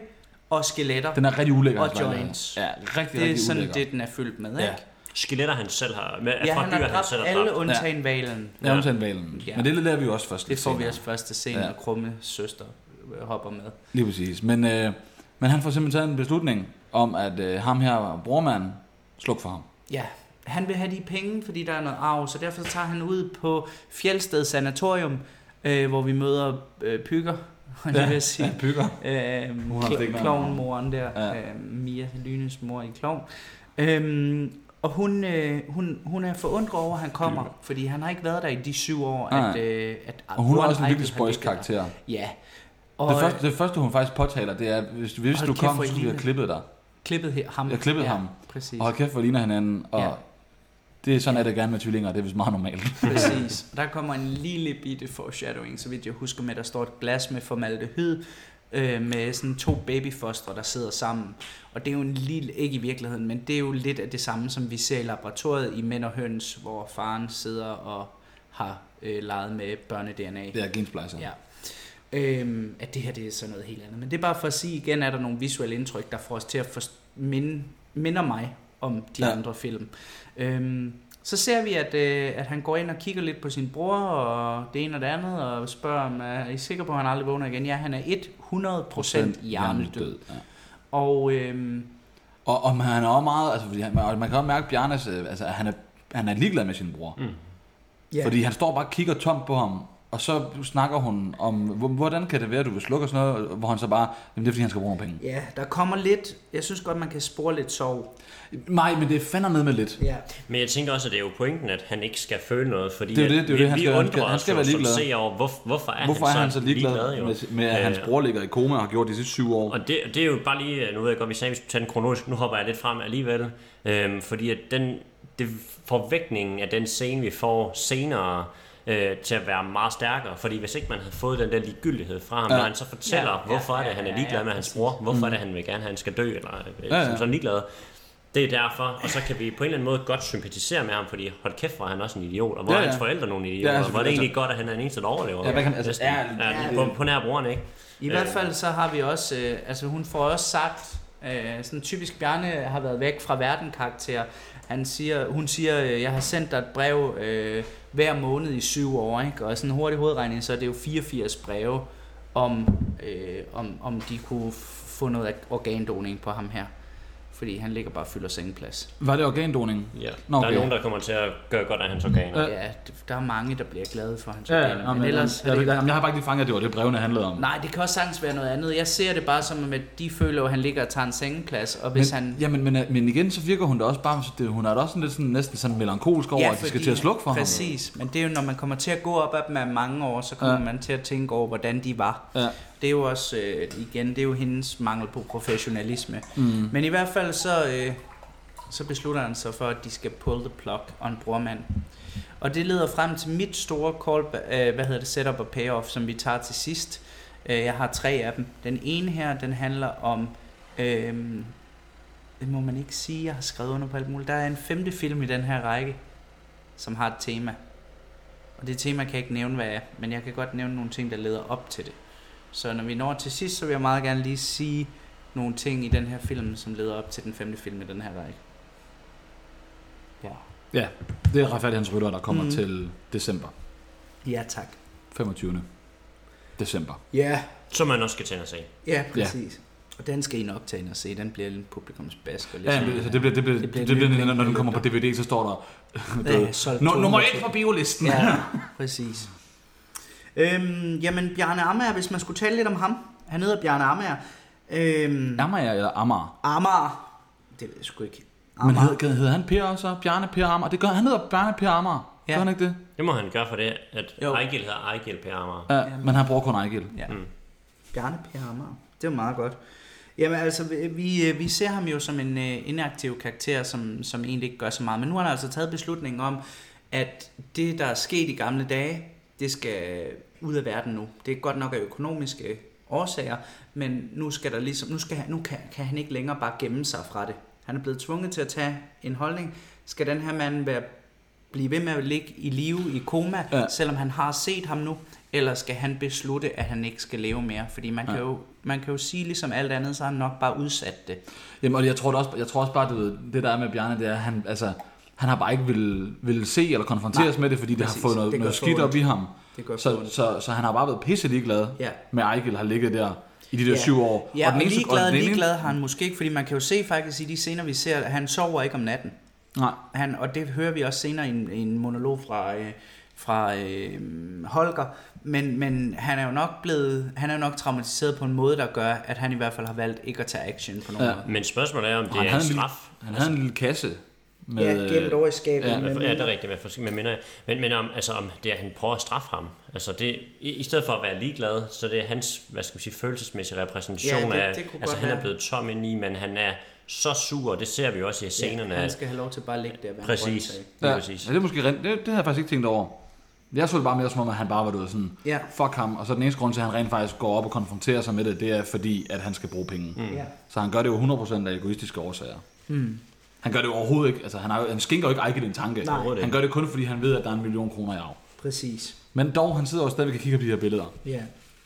Speaker 3: og skeletter.
Speaker 2: Den er rigtig ulækker.
Speaker 3: Og
Speaker 2: hans lejlighed.
Speaker 3: joints.
Speaker 2: Ja, rigtig, rigtig
Speaker 3: det er sådan
Speaker 2: ulækker.
Speaker 3: det, den er fyldt med, ikke?
Speaker 2: Ja.
Speaker 3: Ja,
Speaker 1: Skeletter han selv har, med,
Speaker 3: ja
Speaker 1: fra
Speaker 3: han
Speaker 1: dyr,
Speaker 3: har
Speaker 1: han selv
Speaker 3: dræbt
Speaker 1: har
Speaker 3: alle
Speaker 1: dræbt.
Speaker 3: undtagen valen.
Speaker 2: Ja, undtagen valen.
Speaker 3: Ja.
Speaker 2: Men det lærer vi jo også først.
Speaker 3: Det
Speaker 2: lidt
Speaker 3: får vi
Speaker 2: senere.
Speaker 3: også første scene,
Speaker 2: Ja.
Speaker 3: ja. og Krumme søster øh, hopper med.
Speaker 2: Lige præcis. Men, øh, men han får simpelthen taget en beslutning om, at øh, ham her, brormanden, sluk for ham.
Speaker 3: Ja, han vil have de penge, fordi der er noget arv, så derfor tager han ud på Fjeldsted Sanatorium, øh, hvor vi møder øh, Pygger, og det vil jeg sige.
Speaker 2: bygger.
Speaker 3: Øhm,
Speaker 2: Hun har
Speaker 3: klo-
Speaker 2: stikket
Speaker 3: klovnmoren der, ja.
Speaker 2: Ja.
Speaker 3: øhm, Mia Lynes mor i klovn. Øhm, og hun, øh, hun, hun er forundret over, at han kommer, fordi han har ikke været der i de syv år,
Speaker 2: Nej.
Speaker 3: at, øh, at
Speaker 2: Og hun er
Speaker 3: Warren
Speaker 2: også en
Speaker 3: Ivy
Speaker 2: virkelig
Speaker 3: har
Speaker 2: spøjs
Speaker 3: ligget der.
Speaker 2: karakter.
Speaker 3: Ja.
Speaker 2: Det
Speaker 3: Og det
Speaker 2: første, det første, hun faktisk påtaler, det er, hvis, hvis
Speaker 3: Hold
Speaker 2: du
Speaker 3: kæft,
Speaker 2: kom,
Speaker 3: hvor
Speaker 2: så
Speaker 3: I
Speaker 2: skulle vi have
Speaker 3: ligner.
Speaker 2: klippet dig.
Speaker 3: klippet her, ham.
Speaker 2: Jeg klippede
Speaker 3: ja,
Speaker 2: ham.
Speaker 3: Præcis.
Speaker 2: Og hold kæft, hvor ligner hinanden. Og
Speaker 3: Ja.
Speaker 2: ja. det er sådan, at det gerne med tvillinger, det er vist meget normalt.
Speaker 3: Præcis. Og der kommer en lille bitte foreshadowing, så vidt jeg husker med, at der står et glas med formaldehyd, øh, med sådan to babyfostre, der sidder sammen. Og det er jo en lille, ikke i virkeligheden, men det er jo lidt af det samme, som vi ser i laboratoriet i Mænd og Høns, hvor faren sidder og har øh, leget med børne-DNA.
Speaker 2: Det er gensplejser.
Speaker 3: Ja. Øhm, at det her det er sådan noget helt andet. Men det er bare for at sige igen, er der nogle visuelle indtryk, der får os til at forst- minde, minder mig om de ja.
Speaker 2: Ja.
Speaker 3: andre film. Øhm, så ser vi, at, øh, at han går ind og kigger lidt på sin bror, og det ene og det andet, og spørger, om er I sikre på, at han aldrig vågner igen? Ja, han er 100% hjernedød.
Speaker 2: Ja.
Speaker 3: Og øhm,
Speaker 2: Og, og han er også meget, altså, fordi han, og man kan også mærke, at Bjarnes, øh, altså, han er, han er ligeglad med sin bror. Mm.
Speaker 3: ja.
Speaker 2: Fordi han står bare og kigger tomt på ham, og så snakker hun om, "Hvor- hvordan kan det være, at du vil slukke og sådan noget, hvor han så bare, jamen det er fordi, han skal bruge nogle penge.
Speaker 3: ja, der kommer lidt, jeg synes godt, man kan spore lidt sorg.
Speaker 2: Nej, men det er fandme med med lidt.
Speaker 3: Ja.
Speaker 1: Men jeg tænker også, at det er jo pointen, at han ikke skal føle noget, fordi
Speaker 2: Det er jo
Speaker 1: at
Speaker 2: det, det er jo
Speaker 1: vi,
Speaker 2: det, han
Speaker 1: vi
Speaker 2: skal- han
Speaker 1: undrer
Speaker 2: skal- han
Speaker 1: os
Speaker 2: skal
Speaker 1: jo
Speaker 2: være
Speaker 1: som
Speaker 2: ligeglad.
Speaker 1: seer over, hvor, hvorfor er
Speaker 2: Hvorfor
Speaker 1: han,
Speaker 2: er han så ligeglad,
Speaker 1: jo?
Speaker 2: med, med at hans
Speaker 1: Øh,
Speaker 2: bror ligger i koma og har gjort de sidste 20 år?
Speaker 1: Og det, det er jo bare lige, øh, nu ved jeg godt, vi sagde, at vi skulle tage den kronologisk, nu hopper jeg lidt frem alligevel, øhm, fordi at den, det, forvægtningen af den scene, vi får senere, øh, til at være meget stærkere, fordi hvis ikke man havde fået den der ligegyldighed fra ham, ja. når han så fortæller,
Speaker 3: Ja,
Speaker 1: ja,
Speaker 3: ja,
Speaker 1: hvorfor er
Speaker 3: ja,
Speaker 1: det, han
Speaker 3: ja,
Speaker 1: er ligeglad
Speaker 3: ja,
Speaker 1: med hans bror, hvorfor er det, han vil gerne have, at han skal dø, eller øh, ja,
Speaker 2: Mm. ja.
Speaker 1: ja. sådan ligeglad, det er derfor, og så kan vi på en eller anden måde godt sympatisere med ham, fordi hold kæft, hvor er han også en idiot, og hvor ja,
Speaker 2: Ja,
Speaker 1: ja. er
Speaker 2: ja.
Speaker 1: hans forældre nogle idioter, ja,
Speaker 2: selvfølgelig,
Speaker 1: hvor er det egentlig
Speaker 2: altså.
Speaker 1: godt, at han er den eneste, der overlever.
Speaker 2: Ja, hvad kan- altså,
Speaker 1: Næsten.
Speaker 2: ærligt,
Speaker 1: ja,
Speaker 2: det-
Speaker 1: på, på nær broren, ikke?
Speaker 3: I hvert
Speaker 2: Øh.
Speaker 3: fald så har vi også, øh, altså hun får også sagt, øh, sådan typisk Bjarne har været væk fra verden karakter. Han siger, hun siger, øh, jeg har sendt dig et brev øh, hver måned i syv år, ikke? og sådan en hurtig hovedregning, så er det jo 84 breve, om, øh, om, om de kunne f- få noget organdonering på ham her. Fordi han ligger bare og fylder sengeplads.
Speaker 2: Var det organdoning?
Speaker 1: Ja.
Speaker 2: Nå,
Speaker 1: Der er
Speaker 2: okay.
Speaker 1: nogen, der kommer til at gøre godt af hans organer.
Speaker 3: Ja, d- der er mange, der bliver glade for hans
Speaker 2: Ja,
Speaker 3: organer,
Speaker 2: ja, men ellers... Jeg, jeg, jeg, jeg har bare ikke lige fanget, at det var det, brevene handlede om.
Speaker 3: Nej, det kan også sagtens være noget andet. Jeg ser det bare som, at de føler, jo, at han ligger og tager en sengeplads, og hvis
Speaker 2: men,
Speaker 3: han...
Speaker 2: Ja, men, men, men igen, så virker hun da også bare, det, hun er da også sådan lidt sådan, næsten sådan melankolsk over, ja, at de skal
Speaker 3: fordi-
Speaker 2: til at slukke for
Speaker 3: Præcis, men det er jo, når man kommer til at gå op af dem af mange år, så kommer ja.
Speaker 2: Ja.
Speaker 3: man til at tænke over, hvordan de var.
Speaker 2: ham. Ja.
Speaker 3: Det er jo også,
Speaker 2: Mm.
Speaker 3: øh, igen, det er jo hendes mangel på professionalisme. Mm. Men i hvert fald så, øh, så beslutter han sig for, at de skal pull the plug on brormand. Og det leder frem til mit store call, øh, hvad hedder det, setup og payoff, som vi tager til sidst. Øh, Jeg har tre af dem. Den ene her, den handler om, øhm, det må man ikke sige, jeg har skrevet under på alt muligt. Der er en femte film i den her række, som har et tema. Og det tema kan jeg ikke nævne, hvad er, men jeg kan godt nævne nogle ting, der leder op til det. Så når vi når til sidst, så vil jeg meget gerne lige sige nogle ting i den her film, som leder op til den femte film i den her række. Ja.
Speaker 2: Det er retfærdighedens rytter, der kommer
Speaker 3: Mm.
Speaker 2: mm. til december.
Speaker 3: Ja, tak.
Speaker 2: 25. december.
Speaker 3: Ja,
Speaker 1: Som man også skal tænde og se.
Speaker 3: ja, præcis. Og den skal I nok tage ind og se. Den bliver lidt publikumsbask. Og lidt
Speaker 2: Ja, men, så det bliver, det bliver,
Speaker 3: Det
Speaker 2: det
Speaker 3: bliver
Speaker 2: bliver, det bliver
Speaker 3: lidt
Speaker 2: når, når den
Speaker 3: blinket.
Speaker 2: kommer på DVD, så står der...
Speaker 3: Ja, solgt
Speaker 2: Nå, nummer
Speaker 3: 200.
Speaker 2: 1 på biolisten. Ja.
Speaker 3: Ja, præcis. Øhm, jamen, Bjarne Amager, hvis man skulle tale lidt om ham. Han hedder Bjarne Amager. Øhm,
Speaker 2: Amager eller Amager?
Speaker 3: Amager. Det ved jeg sgu ikke.
Speaker 2: Men
Speaker 3: Amager.
Speaker 2: hedder, hedder han Per også? Bjarne Per Amager? Det gør, han hedder Bjarne Per Amager.
Speaker 3: Ja.
Speaker 2: Ja. Gør han ikke det?
Speaker 1: Det må han gøre for det, at
Speaker 3: Jo.
Speaker 1: Ejgil hedder Ejgil Per Amager.
Speaker 2: Ja, men han bruger kun Ejgil.
Speaker 3: Ja. Mm. Bjarne P. Amager. Det var meget godt. Jamen altså, vi- vi, vi ser ham jo som en øh, inaktiv karakter, som, som egentlig ikke gør så meget. Men nu har han altså taget beslutningen om, at det, der er sket i gamle dage, det skal ud af verden nu. Det er godt nok af økonomiske årsager, men nu skal der ligesom, nu, skal, han- nu kan, kan han ikke længere bare gemme sig fra det. Han er blevet tvunget til at tage en holdning. Skal den her mand være, blive ved med at ligge i live i koma, ja.
Speaker 2: Ja.
Speaker 3: selvom han har set ham nu, eller skal han beslutte, at han ikke skal leve mere? Fordi man, ja. kan, jo, man kan jo sige, ligesom alt andet, så har han nok bare udsat det.
Speaker 2: Jamen, og jeg tror, det også, jeg tror også bare, du ved, det der er med Bjarne, det er, at han, altså, han har bare ikke ville, ville se eller konfronteres
Speaker 3: Nej,
Speaker 2: Nej, med det, fordi det
Speaker 3: præcis.
Speaker 2: har fået noget,
Speaker 3: Det gør
Speaker 2: noget
Speaker 3: for
Speaker 2: skidt
Speaker 3: ondt.
Speaker 2: op i ham.
Speaker 3: Det gør for
Speaker 2: Så,
Speaker 3: ondt.
Speaker 2: så, så han har bare været pisse ligeglad
Speaker 3: Ja.
Speaker 2: med, at Ejgil har ligget der i de der
Speaker 3: Ja.
Speaker 2: syv år.
Speaker 3: Ja, og, og
Speaker 2: eneste grund-
Speaker 3: ligeglad,
Speaker 2: den ene-
Speaker 3: ligeglad har han måske ikke, fordi man kan jo se faktisk i de scener, vi ser, at han sover ikke om natten.
Speaker 2: Nej,
Speaker 3: Han, og det hører vi også senere i en, i en monolog fra, øh, fra øh, Holger. Men, men han er jo nok blevet, han er jo nok traumatiseret på en måde, der gør, at han i hvert fald har valgt ikke at tage action på nogen ja.
Speaker 2: Ja.
Speaker 3: måde.
Speaker 1: Men spørgsmålet er, om det
Speaker 2: han
Speaker 1: er en
Speaker 2: havde en lille-
Speaker 1: straf.
Speaker 2: han havde en lille kasse med...
Speaker 3: over i skabet.
Speaker 2: ja,
Speaker 1: Ja, for- ja, det er rigtigt, men, for, men, mener, men, men om, altså, om det er, at han prøver at straffe ham. Altså det, i, I stedet for at være ligeglad, så det er hans hvad skal man sige, følelsesmæssige repræsentation
Speaker 3: Ja, det-
Speaker 1: af,
Speaker 3: det kunne
Speaker 1: altså
Speaker 3: godt
Speaker 1: han
Speaker 3: være.
Speaker 1: er blevet tom indeni, men han er så sur, og det ser vi jo også i scenerne. Ja,
Speaker 3: han skal have lov til bare at ligge der. hvad han
Speaker 1: præcis,
Speaker 3: rører sig i.
Speaker 1: ja.
Speaker 2: Ja,
Speaker 1: præcis.
Speaker 2: Ja, det er måske rent, det, det havde jeg faktisk ikke tænkt over. Jeg så det bare mere som om, at han bare var du ved, sådan,
Speaker 3: Ja.
Speaker 2: fuck ham, og så den eneste grund til, at han rent faktisk går op og konfronterer sig med det, det er fordi, at han skal bruge penge. Mm.
Speaker 3: Ja.
Speaker 2: Så han gør det jo 100% af egoistiske årsager. Mm. Han gør det jo overhovedet ikke, altså han, har, jo- han skinker jo ikke Ejke den tanke.
Speaker 3: Nej. Overhovedet
Speaker 2: Han gør det kun, fordi han ved, at der er en million kroner i arv.
Speaker 3: Præcis.
Speaker 2: Men dog, han sidder jo stadigvæk og kigger på de her billeder.
Speaker 3: Ja.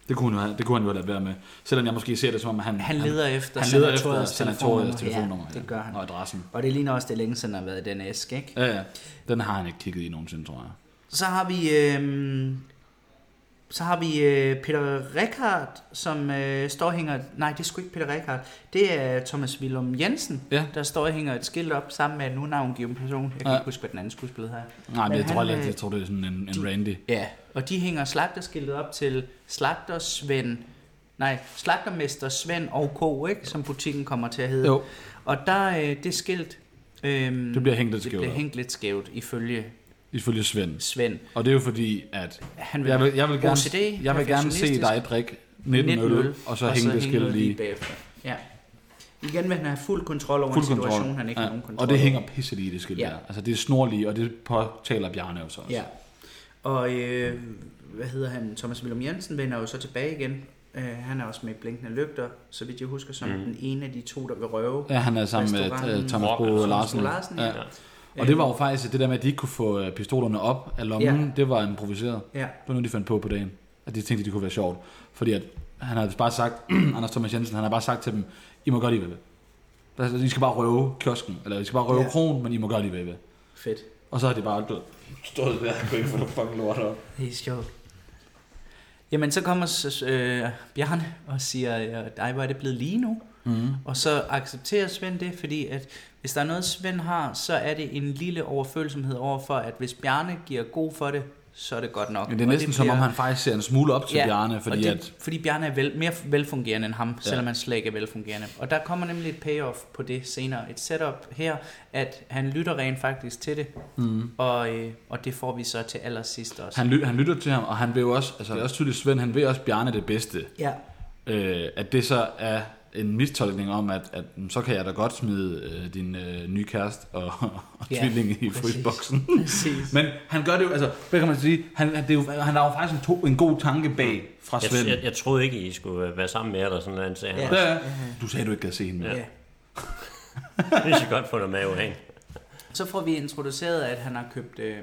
Speaker 2: Det kunne, han, jo have- det kunne han jo have ladet være med. Selvom jeg måske ser det som om, at han,
Speaker 3: Han leder efter
Speaker 2: han leder efter
Speaker 3: sanatoriets
Speaker 2: sanatoriets
Speaker 3: telefonnummer.
Speaker 2: telefonnummer.
Speaker 3: Ja, det gør han.
Speaker 2: Og adressen.
Speaker 3: Og det ligner også, det er længe siden, der har været den æske, ikke?
Speaker 2: Ja, ja. Den har han ikke kigget i nogensinde, tror jeg.
Speaker 3: Så har vi... Øh, så har vi øh, Peter Rekhardt, som øh, står og hænger... Nej, det er sgu ikke Peter Rekhardt. Det er Thomas Willum Jensen,
Speaker 2: Ja.
Speaker 3: der står og hænger et skilt op sammen med en unavngiven person. Jeg kan ja.
Speaker 2: Ja.
Speaker 3: ikke huske, hvad den anden skuespiller her.
Speaker 2: Nej, men jeg
Speaker 3: han,
Speaker 2: tror,
Speaker 3: øh,
Speaker 2: jeg, jeg tror, det er sådan en, en Randy.
Speaker 3: Ja, og de hænger slagterskiltet op til Slagter Svend, nej, Slagtermester Svend og K, ikke, som butikken kommer til at hedde.
Speaker 2: Jo.
Speaker 3: Og der øh, det skilt, øhm,
Speaker 2: Det bliver hængt lidt
Speaker 3: det
Speaker 2: skævt
Speaker 3: bliver
Speaker 2: op.
Speaker 3: hængt lidt skævt ifølge
Speaker 2: Ifølge Svend.
Speaker 3: Svend.
Speaker 2: Og det er jo fordi, at
Speaker 3: Han
Speaker 2: jeg vil, jeg vil gerne,
Speaker 3: OCD,
Speaker 2: jeg vil gerne se
Speaker 3: perfektionistisk.
Speaker 2: dig drikke 19, 19 øl, og så hænge det skilt
Speaker 3: noget
Speaker 2: lige.
Speaker 3: bagefter. Ja. Igen vil han have fuld kontrol over fuld
Speaker 2: Fuld
Speaker 3: en situation,
Speaker 2: kontrol.
Speaker 3: kontrol. han ikke har nogen kontrol
Speaker 2: og det
Speaker 3: over.
Speaker 2: hænger pisse lige i det skilt
Speaker 3: Ja.
Speaker 2: der. Altså det er snorlige, og det påtaler Bjarne jo så også.
Speaker 3: Ja. Og øh, hvad hedder han? Thomas Willum Jensen vender jo så tilbage igen. Øh, han er også med i Blinkende Lygter, så vidt jeg husker, som mm. den ene af de to, der vil røve.
Speaker 2: Ja, han er sammen med
Speaker 3: Restauranten.
Speaker 2: uh, Thomas
Speaker 1: Rock,
Speaker 2: Bo
Speaker 1: Thomas
Speaker 2: Larsen.
Speaker 3: Bo Larsen, ja.
Speaker 2: ja. Og det var jo faktisk det der med, at de ikke kunne få øh, pistolerne op af lommen.
Speaker 3: Ja.
Speaker 2: Det var improviseret.
Speaker 3: Ja.
Speaker 2: Det var noget, de fandt på på dagen. At de tænkte, at det kunne være sjovt. Fordi at han havde bare sagt, Anders Thomas Jensen, han havde bare sagt til dem, I må gøre lige, hvad I vil. Altså, I skal bare røve kiosken, eller I skal bare røve
Speaker 3: Ja.
Speaker 2: ja. kronen, men I må gøre lige, hvad I vil.
Speaker 3: Fedt.
Speaker 2: Og så har de bare død. stået der og kunne ikke få noget fucking lort op.
Speaker 3: Det er sjovt. Jamen, så kommer s- øh, Bjarne og siger, øh, ej, hvor er det blevet lige nu?
Speaker 2: Mhm.
Speaker 3: Mm. Og så accepterer Svend det, fordi at hvis der er noget, Svend har, så er det en lille overfølsomhed overfor, at hvis Bjarne giver god for det, så er det godt nok.
Speaker 2: Men det er
Speaker 3: Og
Speaker 2: næsten som om,
Speaker 3: bliver-
Speaker 2: han faktisk ser en smule op til ja, Bjarne, fordi
Speaker 3: og
Speaker 2: det,
Speaker 3: det,
Speaker 2: at...
Speaker 3: fordi Bjarne er vel, mere velfungerende end ham, ja. selvom han slet ikke er velfungerende. Og der kommer nemlig et payoff på det senere. Et setup her, at han lytter rent faktisk til det, mm. og, øh, og det får vi så til allersidst også.
Speaker 2: Mhm. Han, ly- han lytter til ham, og han vil jo også, altså det er også tydeligt Svend, han vil også Bjarne det bedste.
Speaker 3: Ja,
Speaker 2: Øh, at det så er en mistolkning om, at, at mm, så kan jeg da godt smide øh, din øh, nye kæreste og, og
Speaker 3: Ja,
Speaker 2: tvilling i
Speaker 3: præcis.
Speaker 2: frysboksen.
Speaker 3: Præcis.
Speaker 2: Men han gør det jo, altså, hvad kan man sige, han, han- det er jo, han har jo faktisk en, to, en god tanke bag fra
Speaker 1: Jeg,
Speaker 2: Svend.
Speaker 1: jeg, jeg troede ikke, I skulle øh, være sammen med jer, eller sådan noget. andet, sagde han.
Speaker 3: Ja.
Speaker 1: Ja.
Speaker 2: Ja, ja. Du sagde, du ikke gad se hende mere.
Speaker 3: Ja.
Speaker 1: Hvis I godt få noget mave af.
Speaker 3: Så får vi introduceret, at han har købt øh,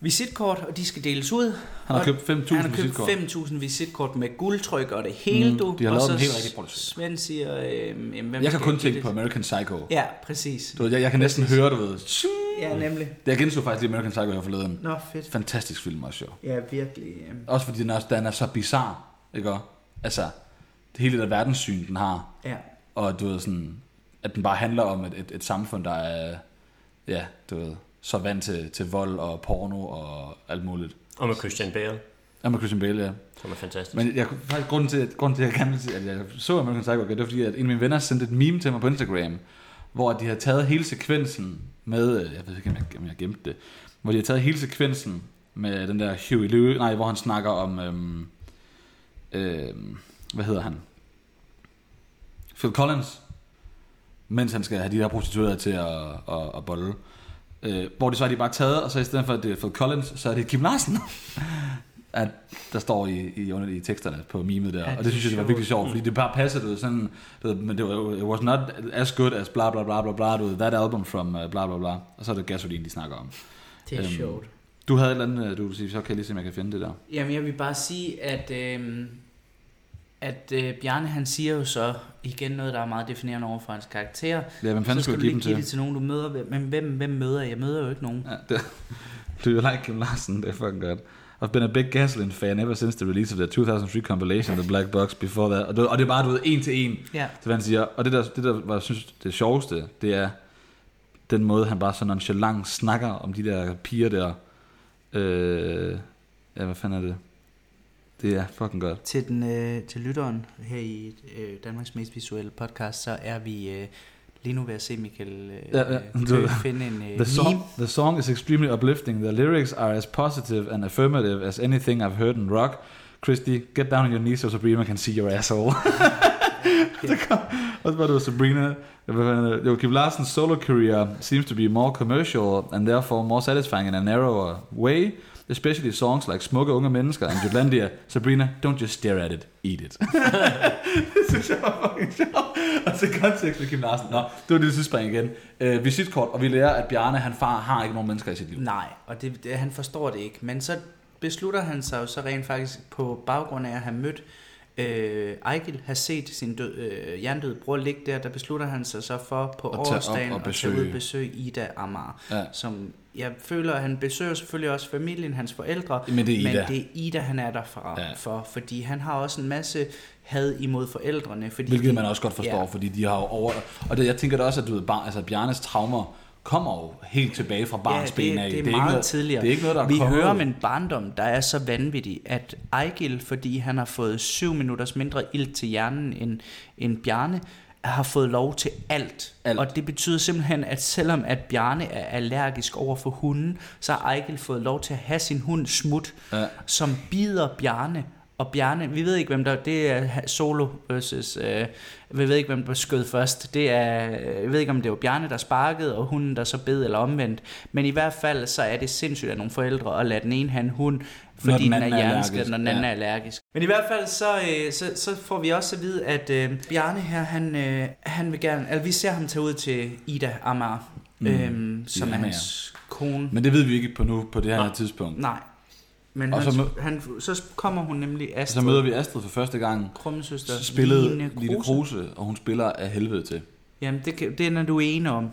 Speaker 3: visitkort, og de skal deles ud.
Speaker 2: Han har købt 5.000
Speaker 3: Han har købt
Speaker 2: visitkort.
Speaker 3: 5.000 visitkort med guldtryk og det hele,
Speaker 2: Mm,
Speaker 3: mm, du.
Speaker 2: de har
Speaker 3: og
Speaker 2: lavet
Speaker 3: så
Speaker 2: den helt rigtig producent.
Speaker 3: Svend siger, øh, jamen, hvem
Speaker 2: Jeg kan
Speaker 3: skal
Speaker 2: kun
Speaker 3: give
Speaker 2: tænke
Speaker 3: det?
Speaker 2: på American Psycho.
Speaker 3: Ja, præcis.
Speaker 2: Du ved, jeg, jeg kan næsten høre, du ved. tjung.
Speaker 3: Ja, nemlig.
Speaker 2: Jeg genså faktisk lige American Psycho her forleden.
Speaker 3: Nå, fedt.
Speaker 2: Fantastisk film og sjov.
Speaker 3: Ja, virkelig. øhm.
Speaker 2: Også fordi den er, den er så bizarre, ikke også? Altså, det hele det der verdenssyn, den har.
Speaker 3: Ja.
Speaker 2: Og du ved sådan, at den bare handler om et, et, et samfund, der er, ja, du ved, så vant til, til vold og porno og alt muligt.
Speaker 1: Og med Christian Bale,
Speaker 2: Ja, med Christian Bale, ja.
Speaker 1: som er fantastisk.
Speaker 2: Men jeg, kunne- faktisk, grunden til, at, grunden til, at jeg gerne vil sige, at jeg så American Psycho, det var fordi, at en af mine venner sendte et meme til mig på Instagram, hvor de havde taget hele sekvensen med, øh, jeg ved ikke, om jeg, om jeg gemte det, hvor de havde taget hele sekvensen med den der Huey Lewis, nej, hvor han snakker om, øhm, øhm, hvad hedder han? Phil Collins, mens han skal have de der prostituerede til at, at, at bolle. Øh, hvor det så har de bare taget, og så i stedet for, at det er Phil Collins, så er det Kim Larsen at der står i, i, under, i teksterne på mimet der.
Speaker 3: Ja,
Speaker 2: og
Speaker 3: det
Speaker 2: det synes jeg, det var
Speaker 3: er Mm.
Speaker 2: virkelig sjovt, fordi det bare passer, du ved, sådan, du ved, men det var, it was not as good as bla bla bla bla bla, du ved, that album from uh, bla bla bla, og så er det gasolin, de snakker om.
Speaker 3: Det er
Speaker 2: Øhm.
Speaker 3: sjovt.
Speaker 2: Du havde et eller andet, øh, du ville sige, så kan jeg lige se, om jeg kan finde det der.
Speaker 3: Jamen, jeg vil bare sige, at, øh, at øh, Bjarne han siger jo så igen noget, der er meget definerende over for hans karakter.
Speaker 2: Ja, hvem fanden
Speaker 3: så skal
Speaker 2: skulle jeg
Speaker 3: du
Speaker 2: give
Speaker 3: lige
Speaker 2: dem
Speaker 3: give det
Speaker 2: til?
Speaker 3: til nogen, du møder. Hvem- Men hvem, hvem møder jeg? Jeg møder jo ikke nogen.
Speaker 2: Ja, det, du er like Kim Larsen, det er fucking godt. I've been a big Gasoline fan ever since the release of their 2003 compilation, The Black Box, before that. Og, du, og det er bare, du ved, en til en.
Speaker 3: Ja.
Speaker 2: Så han siger, og det der, det der var, jeg synes, det sjoveste, det er den måde, han bare så nonchalant snakker om de der piger der. Øh, ja, hvad fanden er det? Det er fucking godt.
Speaker 3: Til, den, øh, til lytteren her i øh, Danmarks mest visuelle podcast, så er vi øh, lige nu ved at se Michael øh,
Speaker 2: Ja, ja.
Speaker 3: øh, Køge finde en øh,
Speaker 2: The
Speaker 3: meme.
Speaker 2: song, the song is extremely uplifting. The lyrics are as positive and affirmative as anything I've heard in rock. Christy, get down on your knees so Sabrina can see your asshole. Der kom, og så var det jo Sabrina. hvad fanden er det? Jo, Kim Larsens solo career seems to be more commercial and therefore more satisfying in a narrower way. Especially songs like Smukke Unge Mennesker and Jutlandia. Sabrina, don't just stare at it, eat it. det synes jeg var fucking sjovt. Og til kontekst med Kim Larsen. Nå, det var det sidste igen. Øh, visitkort, og vi lærer, at Bjarne, han far, har ikke nogen mennesker i sit liv.
Speaker 3: Nej, og det, det, han forstår det ikke. Men så beslutter han sig jo så rent faktisk på baggrund af at have mødt øh, Ejgil, har set sin død, øh, jerndøde bror ligge der, der beslutter han sig så for på
Speaker 2: At tage op
Speaker 3: årsdagen
Speaker 2: og
Speaker 3: at tage ud
Speaker 2: besøge.
Speaker 3: og besøge Ida Amar.
Speaker 2: Ja.
Speaker 3: Som jeg føler, at han besøger selvfølgelig også familien, hans forældre,
Speaker 2: Men det er Ida.
Speaker 3: men det er Ida, han er der for,
Speaker 2: Ja.
Speaker 3: ja. for, fordi han har også en masse had imod forældrene. Fordi
Speaker 2: Hvilket
Speaker 3: de-
Speaker 2: man også godt forstår,
Speaker 3: Ja.
Speaker 2: ja. fordi de har jo over... Og det, jeg tænker da også, at du ved, bare, altså, Bjarnes traumer kommer jo helt tilbage fra barns
Speaker 3: det,
Speaker 2: ben af.
Speaker 3: Det er,
Speaker 2: ikke
Speaker 3: meget
Speaker 2: noget,
Speaker 3: tidligere.
Speaker 2: Det er ikke noget, der er
Speaker 3: Vi
Speaker 2: kommet.
Speaker 3: hører om en barndom, der er så vanvittig, at Ejgil, fordi han har fået syv minutters mindre ild til hjernen end, end Bjarne, har fået lov til alt.
Speaker 2: Alt.
Speaker 3: Og det betyder simpelthen, at selvom at Bjarne er allergisk over for hunden, så har Ejgil fået lov til at have sin hund smut,
Speaker 2: Ja.
Speaker 3: som bider Bjarne. Og Bjarne, vi ved ikke, hvem der... Det er Solo versus... Øh, vi ved ikke, hvem der skød først. Det er... Jeg ved ikke, om det var Bjarne, der sparkede, og hunden, der så bed, eller omvendt. Men i hvert fald, så er det sindssygt af nogle forældre at lade den ene have en hund, fordi
Speaker 2: den
Speaker 3: den,
Speaker 2: anden
Speaker 3: er
Speaker 2: er
Speaker 3: hjerneskadet,
Speaker 2: allergisk.
Speaker 3: når den anden
Speaker 2: Ja.
Speaker 3: er allergisk. Men i hvert fald, så, øh, så, så får vi også at vide, at øh, Bjarne her, han, øh, han vil gerne... Altså, vi ser ham tage ud til Ida Amar, mm. øh, som
Speaker 2: Ida
Speaker 3: er
Speaker 2: Amager.
Speaker 3: hans kone.
Speaker 2: Men det ved vi ikke på nu, på det her tidspunkt.
Speaker 3: Nej. Men
Speaker 2: Og
Speaker 3: han,
Speaker 2: så
Speaker 3: så,
Speaker 2: mø-
Speaker 3: han, så kommer hun nemlig
Speaker 2: Så
Speaker 3: Astrid,
Speaker 2: møder vi Astrid for første gang.
Speaker 3: krummesøster,
Speaker 2: Så spillede
Speaker 3: Line
Speaker 2: Line
Speaker 3: Kruse.
Speaker 2: Kruse, og hun spiller af helvede til.
Speaker 3: Jamen, det, kan- det er, når du er enig om.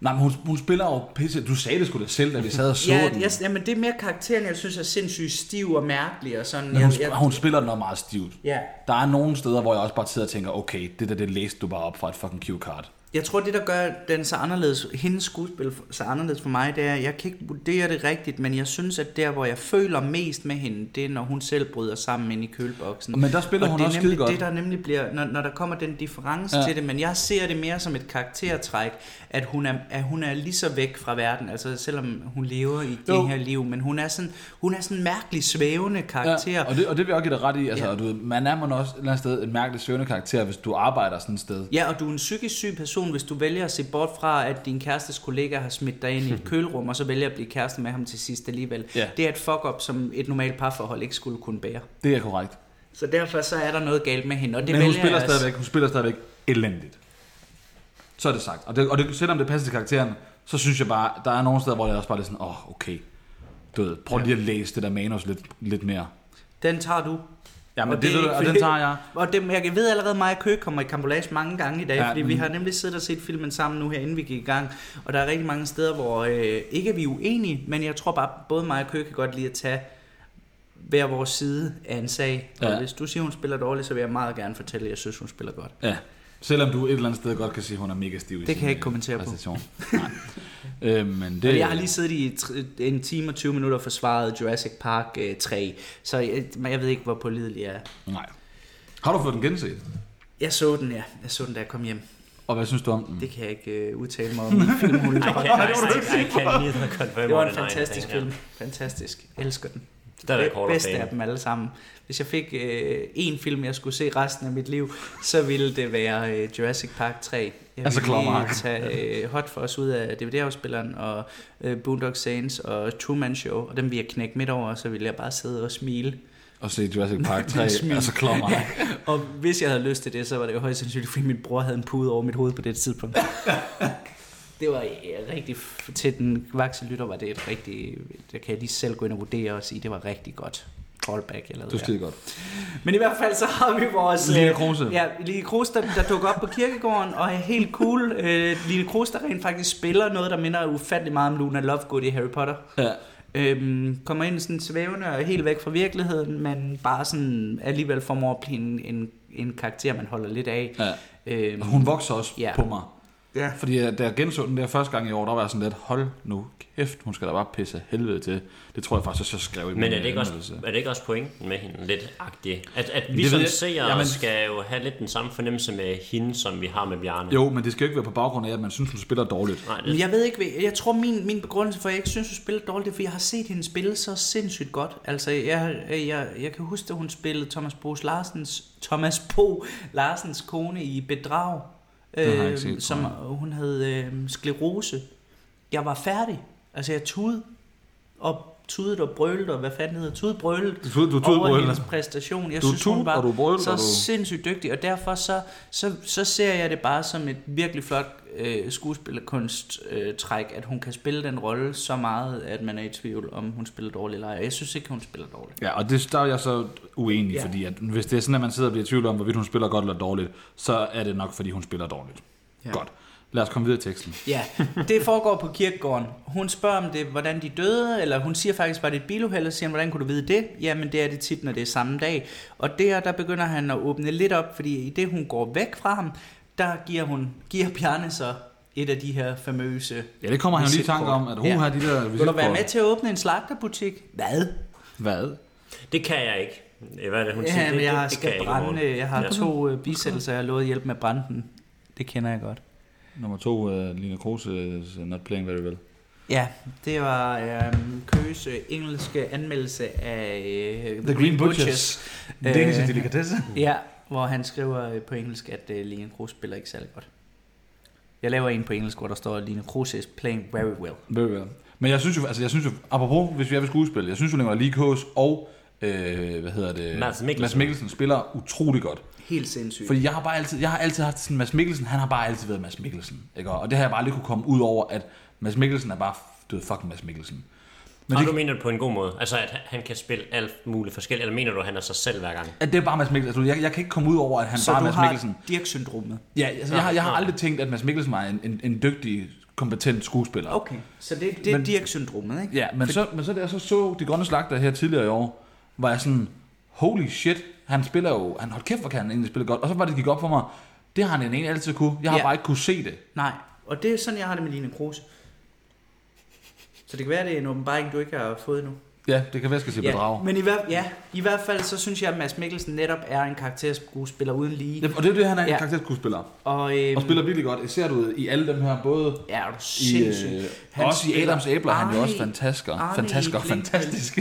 Speaker 2: Nej, men hun, hun spiller jo pisse. Du sagde det sgu da selv, da vi sad og så
Speaker 3: Ja,
Speaker 2: den.
Speaker 3: jeg, jamen, det er mere karakteren, jeg synes er sindssygt stiv og mærkelig og sådan.
Speaker 2: Men hun,
Speaker 3: jeg, jeg,
Speaker 2: hun spiller den også meget stivt.
Speaker 3: Ja.
Speaker 2: Der er nogle steder, hvor jeg også bare sidder og tænker, okay, det der, det læste du bare op fra et fucking cue card.
Speaker 3: Jeg tror, det der gør den så anderledes, hendes skuespil så anderledes for mig, det er, jeg kan ikke vurdere det rigtigt, men jeg synes, at der, hvor jeg føler mest med hende, det er, når hun selv bryder sammen ind i køleboksen.
Speaker 2: Men der spiller
Speaker 3: og
Speaker 2: hun
Speaker 3: det er
Speaker 2: også
Speaker 3: nemlig
Speaker 2: skidegodt.
Speaker 3: det, der nemlig bliver, når, når der kommer den difference
Speaker 2: Ja.
Speaker 3: ja. til det, men jeg ser det mere som et karaktertræk, at hun er, at hun er lige så væk fra verden, altså selvom hun lever i
Speaker 2: Jo.
Speaker 3: det her liv, men hun er sådan, hun er sådan en mærkelig svævende karakter.
Speaker 2: Ja, og, det, og det vil jeg også give dig ret i. Altså,
Speaker 3: Ja.
Speaker 2: ja. du, ved, man er man også et eller andet sted en mærkelig søvende karakter, hvis du arbejder sådan et sted.
Speaker 3: Ja, og du er en psykisk syg person, hvis du vælger at se bort fra, at din kærestes kollega har smidt dig ind i et kølerum, og så vælger at blive kæreste med ham til sidst alligevel.
Speaker 2: Ja.
Speaker 3: Det er et fuck-up, som et normalt parforhold ikke skulle kunne bære.
Speaker 2: Det er korrekt.
Speaker 3: Så derfor så er der noget galt med hende, og det
Speaker 2: Men hun
Speaker 3: vælger
Speaker 2: spiller,
Speaker 3: jeg også-
Speaker 2: stadigvæk, hun spiller stadigvæk elendigt. Så er det sagt. Og, det, og det, selvom det passer til karakteren, så synes jeg bare, der er nogle steder, hvor jeg også bare er sådan, åh, oh, okay. Du ved, prøv lige at læse det der manus lidt, lidt mere.
Speaker 3: Den tager du.
Speaker 2: Ja, men
Speaker 3: Og
Speaker 2: det, det,
Speaker 3: er
Speaker 2: det,
Speaker 3: ikke
Speaker 2: og den
Speaker 3: fordi-
Speaker 2: tager jeg.
Speaker 3: Og det, jeg ved allerede, at mig og Køge kommer i kambolage mange gange i dag,
Speaker 2: Ja,
Speaker 3: ja, fordi vi
Speaker 2: men-
Speaker 3: har nemlig siddet og set filmen sammen nu her, inden vi gik i gang. Og der er rigtig mange steder, hvor øh, ikke er vi uenige, men jeg tror bare, både mig og Køge kan godt lide at tage hver vores side af en sag. Og
Speaker 2: Ja.
Speaker 3: hvis du siger, hun spiller dårligt, så vil jeg meget gerne fortælle, at jeg synes, hun spiller godt.
Speaker 2: Ja. Selvom du et eller andet sted godt kan sige, at hun er mega stiv i
Speaker 3: kan jeg ikke kommentere på.
Speaker 2: på. Nej. øh, men det,
Speaker 3: Det... Jeg har lige siddet i tr- en time og 20 minutter og forsvaret Jurassic Park øh, 3, så jeg, men jeg ved ikke, hvor pålidelig jeg er.
Speaker 2: Nej. Har du fået den genset?
Speaker 3: Jeg så den, ja. Jeg så den, da jeg kom hjem.
Speaker 2: Og hvad synes du om den?
Speaker 3: Det kan jeg ikke øh, udtale mig om. Filmhulen.
Speaker 1: I can, I, I, I can neither confirm
Speaker 3: Det var
Speaker 1: or
Speaker 3: en
Speaker 1: deny
Speaker 3: fantastisk
Speaker 1: anything,
Speaker 3: film. Fantastisk. Jeg elsker den.
Speaker 1: Ja. Der er
Speaker 3: Det
Speaker 1: der
Speaker 3: bedste
Speaker 1: Hall
Speaker 3: af
Speaker 1: of Fame.
Speaker 3: dem alle sammen. Hvis jeg fik øh, én film, jeg skulle se resten af mit liv, så ville det være øh, Jurassic Park 3. Jeg
Speaker 2: Altså
Speaker 3: ville lige
Speaker 2: Clark.
Speaker 3: tage øh, hot for os ud af DVD-afspilleren og øh, Boondock Saints og Truman Show, og dem ville jeg knække midt over, og så ville jeg bare sidde og smile.
Speaker 2: Og se Jurassic Park 3,
Speaker 3: Smil.
Speaker 2: altså klommer. ja.
Speaker 3: Og hvis jeg havde lyst til det, så var det jo højst sandsynligt, fordi min bror havde en pude over mit hoved på det tidspunkt. Det var øh, rigtig, f- til den vakse lytter var det et rigtig, der kan jeg lige selv gå ind og vurdere og sige, det var rigtig godt callback, jeg lavede
Speaker 2: Du
Speaker 3: der.
Speaker 2: skide godt.
Speaker 3: Men i hvert fald så har vi vores... øh,
Speaker 2: Line Kruse.
Speaker 3: Ja, Line Kruse, der, der dukker op på kirkegården og er helt cool. Øh, Line Kruse, der rent faktisk spiller noget, der minder ufattelig meget om Luna Lovegood i Harry Potter.
Speaker 2: Ja.
Speaker 3: Øhm, kommer ind sådan svævende og helt væk fra virkeligheden, men bare sådan alligevel formår at blive en, en, en karakter, man holder lidt af.
Speaker 2: ja.
Speaker 3: Øhm,
Speaker 2: Og hun vokser også ja.
Speaker 3: Ja.
Speaker 2: på mig.
Speaker 3: Ja.
Speaker 2: Fordi øh, da jeg genså den der første gang i år, der var jeg sådan lidt, hold nu kæft, hun skal da bare pisse af helvede til. Det tror jeg faktisk også, jeg skrev i
Speaker 1: Men
Speaker 2: min øh,
Speaker 1: er det, ikke også,
Speaker 2: anmeldelse.
Speaker 1: er det ikke også pointen med hende lidt agtig? At, at vi
Speaker 2: ved
Speaker 1: som
Speaker 2: jeg-
Speaker 1: seere
Speaker 2: Jamen-
Speaker 1: Jamen. skal jo have lidt den samme fornemmelse med hende, som vi har med Bjarne.
Speaker 2: Jo, men det skal jo ikke være på baggrund af, at man synes, hun spiller dårligt.
Speaker 1: Nej, det,
Speaker 3: Men jeg ved ikke, hvad- jeg tror min, min begrundelse for, at jeg ikke synes, hun spillede dårligt, det er, fordi jeg har set hende spille så sindssygt godt. Altså, jeg, jeg, jeg kan huske, at hun spillede Thomas Bo Larsens, Thomas Bo Larsens kone i Bedrag, øhm,
Speaker 2: Den har jeg ikke set,
Speaker 3: som
Speaker 2: tror
Speaker 3: hun havde øh, sklerose. Jeg var færdig. Altså, jeg tudede og tudet og brøllet, og hvad fanden hedder, tudet brøllet
Speaker 2: Du tudede- du tudede
Speaker 3: over
Speaker 2: brølede.
Speaker 3: hendes præstation. Jeg
Speaker 2: Du
Speaker 3: synes,
Speaker 2: tudede,
Speaker 3: hun var
Speaker 2: og du brølede,
Speaker 3: så
Speaker 2: og du-
Speaker 3: sindssygt dygtig, og derfor så, så, så ser jeg det bare som et virkelig flot øh, skuespillerkunsttræk, øh, træk, at hun kan spille den rolle så meget, at man er i tvivl, om hun spiller dårligt eller ej. Og Jeg synes ikke, hun spiller dårligt.
Speaker 2: Ja, og det, der er jeg så uenig, ja.
Speaker 3: Ja.
Speaker 2: fordi at, hvis det er sådan, at man sidder og bliver i tvivl om, hvorvidt hun spiller godt eller dårligt, så er det nok, fordi hun spiller dårligt. Ja. Godt. Lad os komme videre i teksten.
Speaker 3: Ja, det foregår på kirkegården. Hun spørger om det, hvordan de døde, eller hun siger faktisk, var det et biluheld, og siger, han, hvordan kunne du vide det? Jamen, det er det tit, når det er samme dag. Og der, der begynder han at åbne lidt op, fordi i det, hun går væk fra ham, der giver, hun, giver Bjarne så et af de her famøse...
Speaker 2: Ja, det kommer han jo lige i tanke om, at hun ja. har de der
Speaker 3: Vil du være med
Speaker 2: visitkort.
Speaker 3: til at åbne en slagterbutik? Hvad?
Speaker 2: Hvad?
Speaker 1: det kan jeg ikke. Eh, Hvad er det, hun siger?
Speaker 3: Ja,
Speaker 1: Det-
Speaker 3: men
Speaker 1: det,
Speaker 3: jeg har
Speaker 1: det kan
Speaker 3: skal
Speaker 1: ikke,
Speaker 3: brænde,
Speaker 1: Morten.
Speaker 3: jeg har
Speaker 1: Ja.
Speaker 3: to øh, bisættelser, jeg har lovet at hjælpe med at brænde den. Det kender jeg godt.
Speaker 2: Nummer to, uh, Line Kruse, uh, Not Playing Very Well.
Speaker 3: Ja, det var øh, Køges øh, engelske anmeldelse af øh, The,
Speaker 2: Green Butchers.
Speaker 3: Det er ikke sin
Speaker 2: delikatesse.
Speaker 3: Ja, hvor han skriver øh, på engelsk, at øh, Line Kroos spiller ikke særlig godt. Jeg laver en på engelsk, hvor der står, at Line Kroos is playing very well.
Speaker 2: Very well. Men jeg synes jo, altså jeg synes jo, apropos, hvis vi er ved skuespil, jeg synes jo, at Lee Kås og, øh, hvad hedder det?
Speaker 1: Mads Mikkelsen.
Speaker 2: Mads Mikkelsen spiller utrolig godt.
Speaker 3: Helt sindssygt.
Speaker 2: Fordi jeg har bare altid, jeg har altid haft sådan, Mads Mikkelsen, han har bare altid været Mads Mikkelsen. Ikke? Og det har jeg bare lige kunne komme ud over, at Mads Mikkelsen er bare, du ved, fucking Mads Mikkelsen. Men
Speaker 1: Og
Speaker 2: det,
Speaker 1: du mener det på en god måde? Altså, at han kan spille alt muligt forskelligt? Eller mener du, at han er sig selv hver gang?
Speaker 2: at det er bare Mads Mikkelsen. Altså, du ved, jeg, jeg kan ikke komme ud over, at han
Speaker 3: så
Speaker 2: bare er
Speaker 3: du
Speaker 2: Mads Mikkelsen.
Speaker 3: har Dirk-syndromet.
Speaker 2: Ja, altså, jeg, har, jeg har
Speaker 1: Nå, nå.
Speaker 2: aldrig tænkt, at Mads Mikkelsen var en, en, en dygtig, kompetent skuespiller.
Speaker 3: Okay, så det, det er
Speaker 2: Men-
Speaker 3: Dirk-syndromet, ikke?
Speaker 2: Ja, men så, men så da jeg så, så De Grønne Slagter her tidligere i år, var jeg sådan, holy shit, han spiller jo, han holdt kæft, hvor kan han egentlig spille godt. Og så var det, det gik op for mig, Det har han egentlig altid kunne. Jeg har
Speaker 3: Ja.
Speaker 2: bare ikke kunne se det.
Speaker 3: Nej, og det er sådan, jeg har det med Line Kruse. Så det kan være, det er en åbenbaring, du ikke har fået endnu.
Speaker 2: Ja, det kan være, jeg skal sige bedrag.
Speaker 3: men i, hver, ja, i hvert fald, så synes jeg, at Mads Mikkelsen netop er en karakterskuespiller uden lige.
Speaker 2: Ja, og det er det, han er en
Speaker 3: Ja.
Speaker 2: karakterskuespiller.
Speaker 3: Og, øhm,
Speaker 2: Og spiller virkelig godt. Især du ved, i alle dem her, både
Speaker 3: Ja, er du
Speaker 2: i,
Speaker 3: sindssyg.
Speaker 2: øh, også i Adams æbler, han er jo også fantasker.
Speaker 3: Arne i
Speaker 2: fantasker,
Speaker 3: Blink-
Speaker 2: fantastisk.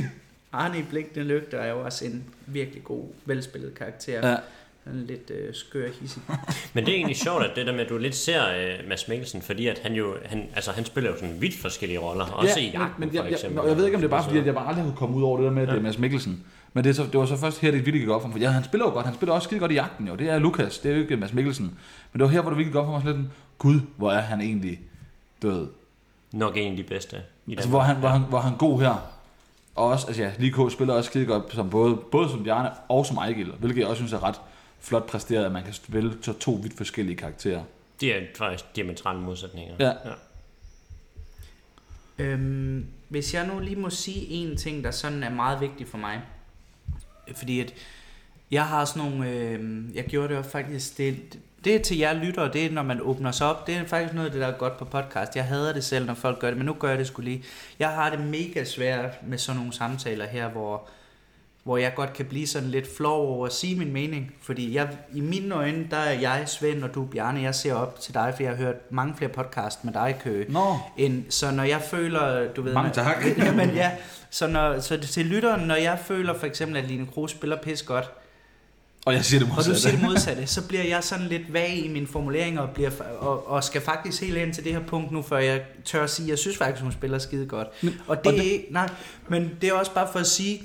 Speaker 3: Arne i Blinkende Lygter er jo også en virkelig god, velspillet karakter.
Speaker 2: Ja.
Speaker 3: Han er lidt øh, skør hissig.
Speaker 1: Men det er egentlig sjovt, at det der med, at du lidt ser øh, Mads Mikkelsen, fordi at han jo, han, altså han spiller jo sådan vidt forskellige roller, også i
Speaker 2: men,
Speaker 1: Jagten
Speaker 2: men jeg,
Speaker 1: for
Speaker 2: jeg,
Speaker 1: eksempel. Altså,
Speaker 2: jeg, jeg, ved ikke, om det er bare fordi, at jeg bare aldrig kunne komme ud over det der med, at det er Mads Mikkelsen. Men det, er så, det var så først her, det virkelig gik op for mig. For ja, han spiller jo godt. Han spiller også skide godt i jagten jo. Det er Lukas, det er jo ikke Mads Mikkelsen. Men det var her, hvor det virkelig gik op for mig sådan lidt, gud, hvor er han egentlig død.
Speaker 1: Nok en af de bedste. I
Speaker 2: Altså,
Speaker 1: altså,
Speaker 2: hvor han, hvor han, hvor han god her. Og også, altså ja, Nico spiller også skide godt, som både, både som Bjarne og som Ejgil, hvilket jeg også synes er ret flot præsteret, at man kan spille så to vidt forskellige karakterer.
Speaker 1: Det er faktisk diametrale modsætninger.
Speaker 2: Ja.
Speaker 3: Øhm, hvis jeg nu lige må sige en ting, der sådan er meget vigtig for mig. Fordi at jeg har sådan nogle... Øhm, jeg gjorde det jo faktisk... Det, det er til jer lyttere, det er, når man åbner sig op. Det er faktisk noget af det, der er godt på podcast. Jeg hader det selv, når folk gør det, men nu gør jeg det skulle lige. Jeg har det mega svært med sådan nogle samtaler her, hvor hvor jeg godt kan blive sådan lidt flov over at sige min mening, fordi jeg, i mine øjne, der er jeg Svend, og du Bjarne, jeg ser op til dig, for jeg har hørt mange flere podcast med dig, Køge,
Speaker 2: Nå.
Speaker 3: end, så når jeg føler, du ved...
Speaker 2: Mange
Speaker 3: når-
Speaker 2: tak.
Speaker 3: Jamen ja, så, når, så til lytteren, når jeg føler for eksempel, at Line Kroos spiller pis godt,
Speaker 2: Og jeg siger det
Speaker 3: og
Speaker 2: modsatte.
Speaker 3: du siger det modsatte, så bliver jeg sådan lidt vag i mine formuleringer, og, bliver, fa- og, og skal faktisk helt ind til det her punkt nu, før jeg tør at sige, at jeg synes faktisk, hun spiller skide godt. Og det,
Speaker 2: og
Speaker 3: er ikke- nej, men det er også bare for at sige,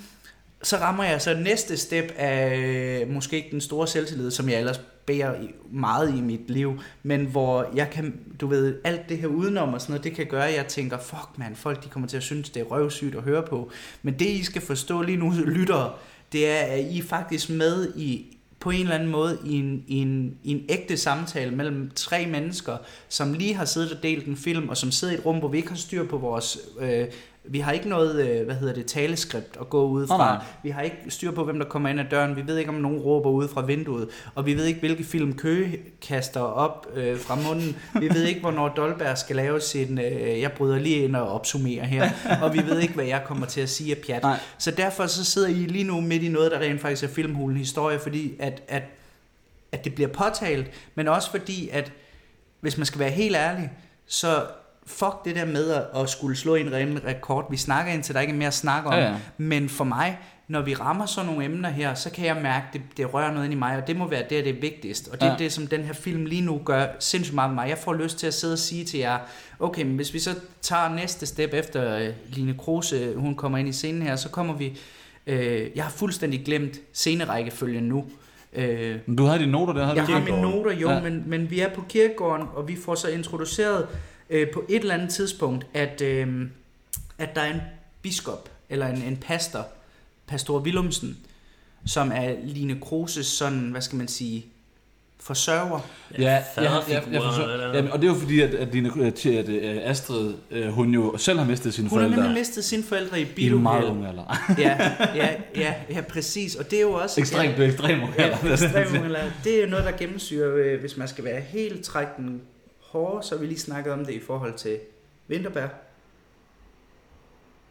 Speaker 3: så rammer jeg så næste step af øh, måske ikke den store selvtillid, som jeg ellers bærer i- meget i mit liv, men hvor jeg kan, du ved, alt det her udenom og sådan noget, det kan gøre, at jeg tænker, fuck man, folk de kommer til at synes, det er røvsygt at høre på. Men det I skal forstå lige nu, lyttere, det er, at I er faktisk med i, på en eller anden måde i en, i, en, i en ægte samtale mellem tre mennesker, som lige har siddet og delt en film, og som sidder i et rum, hvor vi ikke har styr på vores... Øh, vi har ikke noget, øh, hvad hedder det, taleskript at gå ud
Speaker 2: Nej,
Speaker 3: fra.
Speaker 2: nej.
Speaker 3: Vi har ikke styr på, hvem der kommer ind ad døren. Vi ved ikke, om nogen råber ud fra vinduet. Og vi ved ikke, hvilke film Køge kaster op øh, fra munden. Vi ved ikke, hvornår Dolberg skal lave sin... Øh, jeg bryder lige ind og opsummerer her. Og vi ved ikke, hvad jeg kommer til at sige af pjat.
Speaker 2: Nej.
Speaker 3: Så derfor så sidder I lige nu midt i noget, der rent faktisk er filmhulen historie, fordi at, at, at det bliver påtalt, men også fordi, at hvis man skal være helt ærlig, så fuck det der med at, at skulle slå en ren rekord. Vi snakker indtil der ikke er mere at snakke om.
Speaker 2: Ja, ja.
Speaker 3: Men for mig, når vi rammer sådan nogle emner her, så kan jeg mærke, at det, det rører noget ind i mig, og det må være det, der er det vigtigst. Og det er
Speaker 2: Ja.
Speaker 3: det, som den her film lige nu gør sindssygt meget med mig. Jeg får lyst til at sidde og sige til jer, okay, men hvis vi så tager næste step efter øh, Line Kruse, hun kommer ind i scenen her, så kommer vi... Øh, jeg har fuldstændig glemt scenerækkefølgen nu. Øh,
Speaker 2: Men Du havde dine noter der, havde
Speaker 3: jeg
Speaker 2: du
Speaker 3: har
Speaker 2: ikke?
Speaker 3: mine noter, jo,
Speaker 2: Ja.
Speaker 3: ja. men, men vi er på kirkegården, og vi får så introduceret øh, på et eller andet tidspunkt, at, øh, at der er en biskop, eller en, en pastor, pastor Willumsen, som er Line Kroses sådan, hvad skal man sige, forsørger.
Speaker 2: Ja, jeg, jeg, jeg,
Speaker 1: faderfigurer
Speaker 2: jeg
Speaker 1: eller
Speaker 2: forstår.
Speaker 1: noget.
Speaker 2: Jamen, og det er jo fordi, at, at, dine, at, at, øh, Astrid, øh, hun jo selv har mistet sine
Speaker 3: Hun har
Speaker 2: forældre
Speaker 3: nemlig mistet sine forældre i
Speaker 2: i en meget
Speaker 3: biluheld.
Speaker 2: ung alder.
Speaker 3: Ja, ja, ja, ja, præcis. Og det er jo også...
Speaker 2: Ekstremt, du er ekstremt ung
Speaker 3: Ja,
Speaker 2: alder.
Speaker 3: ekstrem ungelær. det er jo noget, der gennemsyrer, øh, hvis man skal være helt træk den hårde, så har vi lige snakket om det i forhold til Vinterberg,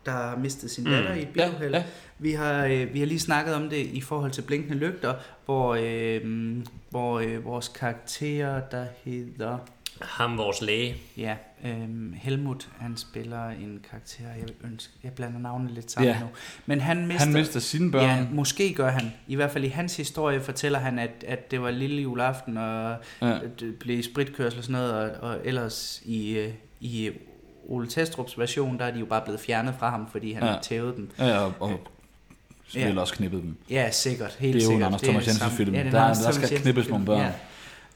Speaker 3: der har mistet sin datter i et
Speaker 2: Mm. Ja,
Speaker 3: biluheld.
Speaker 2: ja.
Speaker 3: Vi, har, øh, vi har lige snakket om det i forhold til Blinkende Lygter, hvor, øh, hvor øh, vores karakter, der hedder...
Speaker 1: Ham, vores læge.
Speaker 3: Ja, øhm, Helmut, han spiller en karakter, jeg vil ønske, jeg blander navnene lidt sammen
Speaker 2: Ja.
Speaker 3: nu. Men han mister,
Speaker 2: Han mister sine børn.
Speaker 3: Ja, måske gør han. I hvert fald i hans historie fortæller han, at, at det var lille juleaften, og
Speaker 2: Ja.
Speaker 3: ja. det blev spritkørsel og sådan noget, og, og ellers i, øh, i Ole Testrup's version, der er de jo bare blevet fjernet fra ham, fordi han
Speaker 2: Ja.
Speaker 3: ja. tævede dem.
Speaker 2: Ja, og, og spiller
Speaker 3: Ja.
Speaker 2: også knippet dem.
Speaker 3: Ja, sikkert. Helt
Speaker 2: Det er jo en
Speaker 3: sikkert.
Speaker 2: Anders
Speaker 3: Det er
Speaker 2: Thomas Jensen
Speaker 3: samme-
Speaker 2: film.
Speaker 3: det er en
Speaker 2: Der-
Speaker 3: Anders
Speaker 2: der
Speaker 3: Thomas
Speaker 2: skal
Speaker 3: Jensen
Speaker 2: knippes
Speaker 3: film,
Speaker 2: nogle børn.
Speaker 3: Ja.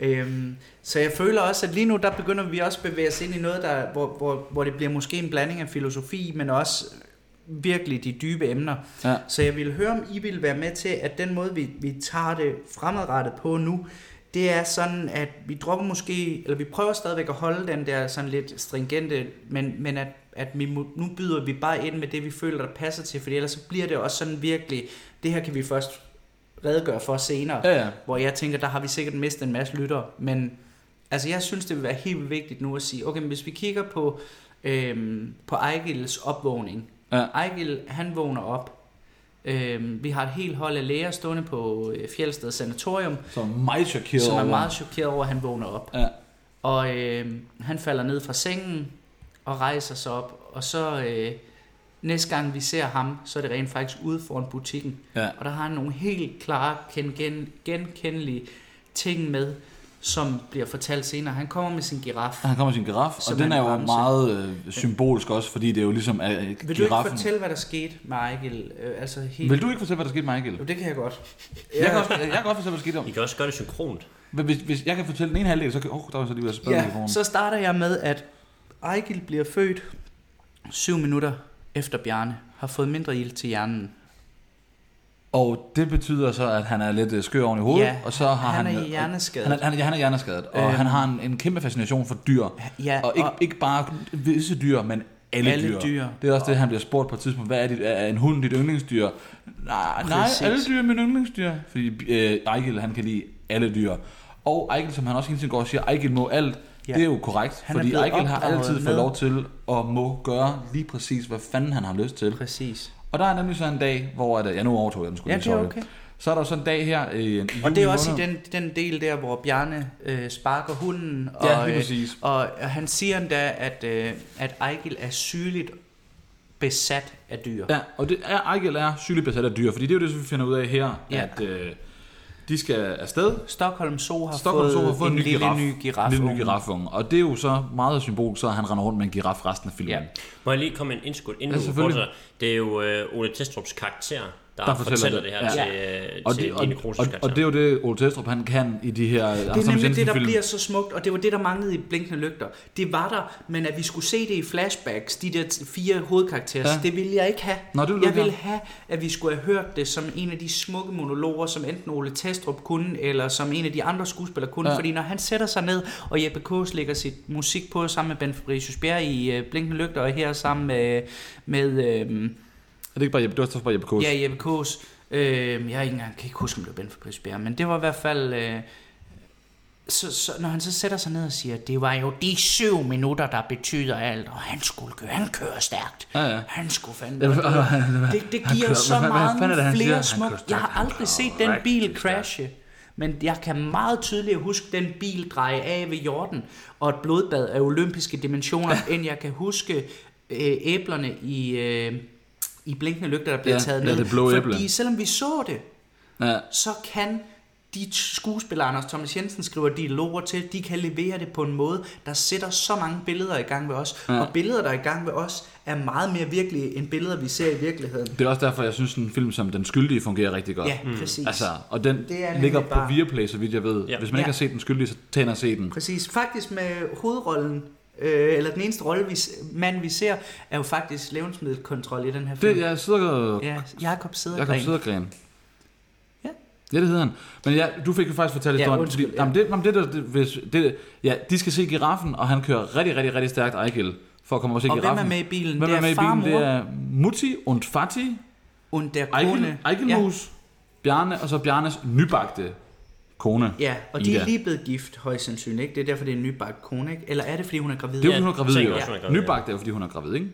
Speaker 3: Øhm, så jeg føler også, at lige nu, der begynder vi også at bevæge os ind i noget, der, hvor, hvor, hvor det bliver måske en blanding af filosofi, men også virkelig de dybe emner.
Speaker 2: Ja.
Speaker 3: Så jeg ville høre, om I ville være med til, at den måde, vi, vi tager det fremadrettet på nu, det er sådan, at vi dropper måske, eller vi prøver stadigvæk at holde den der sådan lidt stringente, men, men at, at vi, mu- nu byder vi bare ind med det, vi føler, der passer til, fordi ellers så bliver det også sådan virkelig, det her kan vi først redegøre for senere.
Speaker 2: Ja, ja.
Speaker 3: Hvor jeg tænker, der har vi sikkert mistet en masse lyttere. Men altså, jeg synes, det vil være helt vildt vigtigt nu at sige, okay, men hvis vi kigger på, øhm, på Ejgils opvågning.
Speaker 2: Ja.
Speaker 3: Ejgil, han vågner op. Øhm, vi har et helt hold af læger stående på øh, Fjeldsted Sanatorium,
Speaker 2: Så meget chokeret
Speaker 3: som er
Speaker 2: over-
Speaker 3: meget chokeret over, at han vågner op.
Speaker 2: Ja.
Speaker 3: Og øh, han falder ned fra sengen og rejser sig op. Og så øh, næste gang vi ser ham, så er det rent faktisk ude foran butikken.
Speaker 2: Ja.
Speaker 3: Og der har han nogle helt klare, gen- gen- genkendelige ting med, som bliver fortalt senere. Han kommer med sin giraf.
Speaker 2: Han kommer sin giraf,
Speaker 3: Som
Speaker 2: og den
Speaker 3: en
Speaker 2: er jo
Speaker 3: ramse.
Speaker 2: meget øh, symbolsk også, fordi det er jo ligesom er giraffen.
Speaker 3: Vil du ikke fortælle, hvad der skete med Ejgil? Øh, altså helt...
Speaker 2: Vil du ikke fortælle, hvad der skete med Michael?
Speaker 3: Jo, det kan jeg godt.
Speaker 2: Jeg kan, også, jeg kan godt fortælle, hvad der skete om.
Speaker 1: I kan også gøre det synkront.
Speaker 2: Men Hvis, hvis jeg kan fortælle den ene halvdel, så kan... Åh, oh, der var så lige ved at spørge
Speaker 3: Ja, så starter jeg med, at Ejgil bliver født syv minutter efter Bjarne har fået mindre ild til hjernen.
Speaker 2: Og det betyder så, at han er lidt øh, skør oven i hovedet,
Speaker 3: Ja,
Speaker 2: og så har han... øh,
Speaker 3: han er hjerneskadet.
Speaker 2: Han er, han, er- ja, han er hjerneskadet, og
Speaker 3: Øhm.
Speaker 2: han har en, en kæmpe fascination for dyr.
Speaker 3: Ja,
Speaker 2: og, ikke,
Speaker 3: og-
Speaker 2: ikke bare visse dyr, men alle,
Speaker 3: Alle dyr.
Speaker 2: Det er også det, han bliver spurgt på et tidspunkt. Hvad er, dit, er en hund dit yndlingsdyr? Nej, nej
Speaker 3: Præcis.
Speaker 2: alle dyr er mine yndlingsdyr. Fordi øh, Ejgil, han kan lide alle dyr. Og Ejgil, som han også hele tiden går og siger, Ejgil må alt.
Speaker 3: Ja.
Speaker 2: Ja. Det er jo korrekt, han
Speaker 3: Han er
Speaker 2: fordi
Speaker 3: blevet
Speaker 2: Ejgil har
Speaker 3: opdraget
Speaker 2: altid
Speaker 3: med-
Speaker 2: fået lov til at må gøre lige præcis, hvad fanden han har lyst til.
Speaker 3: Præcis.
Speaker 2: Og der er nemlig så en dag, hvor... At, øh, ja, nu overtog jeg den skulle
Speaker 3: Ja,
Speaker 2: lige,
Speaker 3: det er
Speaker 2: sorry.
Speaker 3: okay.
Speaker 2: Så er der så en dag her øh, i
Speaker 3: Og det
Speaker 2: juni
Speaker 3: er også i
Speaker 2: måned.
Speaker 3: den, den del der, hvor Bjarne øh, sparker hunden. Og,
Speaker 2: Ja, lige
Speaker 3: øh,
Speaker 2: præcis.
Speaker 3: Og, og han siger endda, at, øh, at Ejgil er sygeligt besat af dyr.
Speaker 2: Ja, og det er, Ejgil er sygeligt besat af dyr, fordi det er jo det, vi finder ud af her,
Speaker 3: Ja.
Speaker 2: ja. at øh, de skal afsted.
Speaker 3: Stockholm Zoo har
Speaker 2: Stockholm Zoo
Speaker 3: fået,
Speaker 2: har fået en, ny
Speaker 3: lille
Speaker 2: giraf,
Speaker 3: ny giraf.
Speaker 2: lille ny girafunge. Og det er jo så meget symbol, så han render rundt med en giraf resten af filmen.
Speaker 3: Ja.
Speaker 2: Ja.
Speaker 1: Må jeg lige komme med en indskud inden
Speaker 2: Ja,
Speaker 1: du
Speaker 2: selvfølgelig.
Speaker 1: fortsætter? Det er jo øh, Ole Testrup's karakter, der,
Speaker 2: Der
Speaker 1: der
Speaker 2: fortæller
Speaker 1: fortæller, fortæller det her
Speaker 2: det.
Speaker 1: ja.
Speaker 2: Ja.
Speaker 1: til, øh,
Speaker 2: Og,
Speaker 1: til
Speaker 2: det, og,
Speaker 1: Line
Speaker 2: og,
Speaker 1: Kroos
Speaker 2: og,
Speaker 1: karakter.
Speaker 2: og det er jo det, Ole Testrup han kan i de her altså,
Speaker 3: Det er nemlig det, der bliver så smukt, og det var det, der manglede i Blinkende Lygter. Det var der, men at vi skulle se det i flashbacks, de der t- fire hovedkarakterer, ja.
Speaker 2: Ja.
Speaker 3: det ville jeg ikke have.
Speaker 2: Nå, det ville du
Speaker 3: jeg
Speaker 2: ikke
Speaker 3: ville have, at vi skulle have hørt det som en af de smukke monologer, som enten Ole Testrup kunne, eller som en af de andre skuespillere kunne. Ja.
Speaker 2: Ja.
Speaker 3: Fordi når han sætter sig ned, og Jeppe Kås lægger sit musik på sammen med Ben Fabricius Bjerg i øh, Blinkende Lygter, og her sammen med, med øh,
Speaker 2: Er det ikke bare Jeppe, det var også bare Jeppe Kås?
Speaker 3: Ja, Jeppe Kås. Øh, jeg er ikke engang, kan ikke huske, om det var Ben for Bjerg, men det var i hvert fald... Øh, så, så, når han så sætter sig ned og siger, det var jo de syv minutter, der betyder alt, og han skulle køre, han kører stærkt.
Speaker 2: Ja, ja.
Speaker 3: Han skulle fandme...
Speaker 2: Ja, hvad- hvad- hvad-
Speaker 3: det, det
Speaker 2: han
Speaker 3: giver
Speaker 2: kører-
Speaker 3: så
Speaker 2: hvad- hvad- hvad
Speaker 3: meget
Speaker 2: fanden er det, han siger?
Speaker 3: flere
Speaker 2: Han
Speaker 3: smuk.
Speaker 2: kører stærkt,
Speaker 3: Jeg har
Speaker 2: han
Speaker 3: aldrig set den
Speaker 2: kører
Speaker 3: bil
Speaker 2: rigtig stærkt.
Speaker 3: crashe, men jeg kan meget tydeligt huske den bil dreje af ved jorden, og et blodbad af olympiske dimensioner, end jeg kan huske øh, æblerne i, øh, i blinkende lygter, der bliver
Speaker 2: Ja,
Speaker 3: taget
Speaker 2: ja,
Speaker 3: ned.
Speaker 2: det blå æble.
Speaker 3: Fordi selvom vi så det,
Speaker 2: Ja.
Speaker 3: så kan de t- skuespillere, Anders Thomas Jensen skriver dialoger til, de kan levere det på en måde, der sætter så mange billeder i gang ved os. Ja. Og billeder, der er i gang ved os, er meget mere virkelige, end billeder, vi ser i virkeligheden.
Speaker 2: Det er også derfor, jeg synes, en film som Den Skyldige fungerer rigtig godt.
Speaker 3: Ja, Mm. præcis.
Speaker 2: Altså, og den
Speaker 3: Det er nemlig
Speaker 2: ligger på
Speaker 3: bare-
Speaker 2: Viaplay, så vidt jeg ved.
Speaker 1: Ja.
Speaker 2: Ja. Hvis man ikke
Speaker 3: Ja.
Speaker 2: har set Den Skyldige, så tag ind og se den.
Speaker 3: Præcis. Faktisk med hovedrollen, øh, eller den eneste rolle, vi, s- mand vi ser, er jo faktisk levnedsmiddelkontrol i den her film.
Speaker 2: Det, jeg sidder
Speaker 3: Ja, Jakob Sædergren.
Speaker 2: Jakob Sødergren.
Speaker 3: Ja.
Speaker 2: Ja, det hedder han. Men ja, du fik jo faktisk fortalt
Speaker 3: Ja,
Speaker 2: historien.
Speaker 3: undskyld,
Speaker 2: fordi,
Speaker 3: ja.
Speaker 2: jamen, det, jamen, det, der, det, hvis, det, ja, de skal se giraffen, og han kører rigtig, rigtig, rigtig stærkt Ejgil for at komme og se
Speaker 3: Og hvem
Speaker 2: giraffen.
Speaker 3: er med i bilen?
Speaker 2: Hvem
Speaker 3: Det
Speaker 2: det
Speaker 3: er
Speaker 2: er, med i
Speaker 3: far og
Speaker 2: bilen?
Speaker 3: mor.
Speaker 2: Det er Mutti und Fati,
Speaker 3: Und der
Speaker 2: Ejgil,
Speaker 3: kone. ja.
Speaker 2: Ejgilmus, Bjarne, og så Bjarnes nybagte kone.
Speaker 3: ja, og de
Speaker 2: Ida.
Speaker 3: er lige blevet gift, højst sandsynligt. Ikke? Det er derfor, det er en nybagt kone. Ikke? Eller er det, fordi hun er gravid?
Speaker 2: Det er jo, fordi
Speaker 1: Ja,
Speaker 2: hun er gravid,
Speaker 1: så
Speaker 2: jo.
Speaker 1: også, hun er gravid, ja.
Speaker 2: Nybagt er jo, fordi hun er gravid, ikke?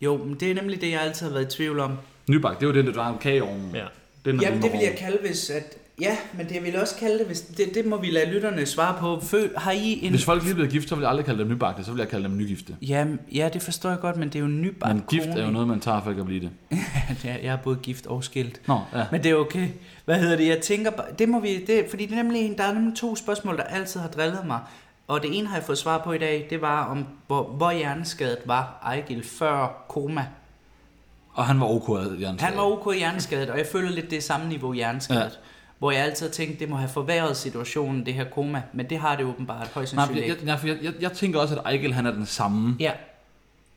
Speaker 3: Jo, men det er nemlig det, jeg altid har været i tvivl om.
Speaker 2: Nybagt, det er jo den, der drejer om kageovnen.
Speaker 1: Ja.
Speaker 2: Den, der
Speaker 3: Jamen, det
Speaker 2: vender
Speaker 3: vil jeg
Speaker 2: over.
Speaker 3: kalde, hvis at... Ja, men det vil jeg også kalde det, hvis... Det, det må vi lade lytterne svare på. Fø, har I en...
Speaker 2: Hvis folk lige er blevet gift, så vil jeg aldrig kalde dem nybagte, så vil jeg kalde dem nygifte.
Speaker 3: Jamen, ja, det forstår jeg godt, men det er jo en nybagt
Speaker 2: Men gift
Speaker 3: kone,
Speaker 2: er jo noget, man tager for ikke at blive det.
Speaker 3: ikke? ja, jeg er både gift og skilt.
Speaker 2: Nå, ja.
Speaker 3: Men det er okay. Hvad hedder det? Jeg tænker bare... Det må vi... Det, fordi det er nemlig en, der er nemlig to spørgsmål, der altid har drillet mig. Og det ene har jeg fået svar på i dag, det var om, hvor, hvor hjerneskadet var Ejgil før koma.
Speaker 2: Og han var OK, Jørgen.
Speaker 3: Han var ok hjerneskadet, og jeg føler lidt det er samme niveau hjerneskadet. Ja. Hvor jeg altid har tænkt, det må have forværret situationen, det her koma. Men det har det åbenbart højst
Speaker 2: Nej, for
Speaker 3: sandsynligt
Speaker 2: jeg,
Speaker 3: ikke.
Speaker 2: jeg, jeg, jeg, jeg tænker også, at Ejgil han er den samme
Speaker 3: Ja,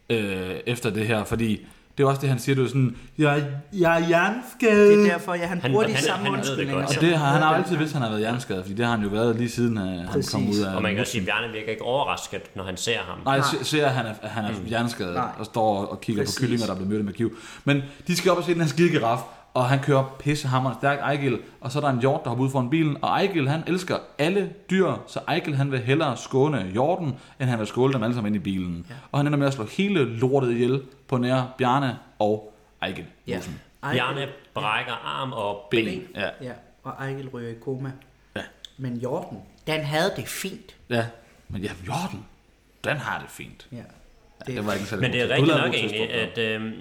Speaker 2: øh, efter det her, fordi det er også det, han siger, du sådan, jeg, jeg er hjerneskadet.
Speaker 3: det er derfor, jeg, han,
Speaker 1: Øh, Han-
Speaker 3: bruger de
Speaker 1: han-
Speaker 3: samme
Speaker 1: han ved det
Speaker 3: undskyldninger.
Speaker 1: godt,
Speaker 2: Og
Speaker 1: ja.
Speaker 3: som
Speaker 2: det har han har
Speaker 3: havde
Speaker 2: altid
Speaker 3: dengang.
Speaker 2: vidst, han har været hjerneskadet, fordi det har han jo været lige siden øh, han
Speaker 3: Præcis.
Speaker 2: kom ud af...
Speaker 1: Og man kan også sige, at Bjarne virker ikke overrasket, når han ser ham.
Speaker 2: Nej, se- ser han, at
Speaker 1: Mm.
Speaker 2: han er hjerneskadet
Speaker 3: Nej.
Speaker 2: og står og kigger
Speaker 3: Præcis.
Speaker 2: på kyllinger, der bliver myrdet med kiv. Men de skal op og se den her skide giraf, og han kører pissehammerende stærkt Ejgil, og så er der en hjort, der hopper ud foran bilen, og Ejgil han elsker alle dyr, så Ejgil han vil hellere skåne hjorten, end han vil skåle dem alle sammen ind i bilen. Ja. Og han ender med at slå hele lortet ihjel på nær Bjarne og Ejgil.
Speaker 3: Ja.
Speaker 2: Olsen.
Speaker 3: Ejgil-
Speaker 1: Bjarne brækker arm og ben.
Speaker 2: Ben. Ja.
Speaker 3: Ja, og Ejgil ryger i koma.
Speaker 2: Ja.
Speaker 3: Men Jorten, den havde det fint.
Speaker 2: ja. Men ja, hjorten, den har det fint.
Speaker 3: Ja.
Speaker 2: Ja, det var ikke en særlig
Speaker 1: Men
Speaker 2: god
Speaker 1: det er
Speaker 2: test. Du
Speaker 1: rigtigt
Speaker 2: lavede
Speaker 1: nok
Speaker 2: en god test,
Speaker 1: egentlig, at,
Speaker 2: Torben.
Speaker 1: øh,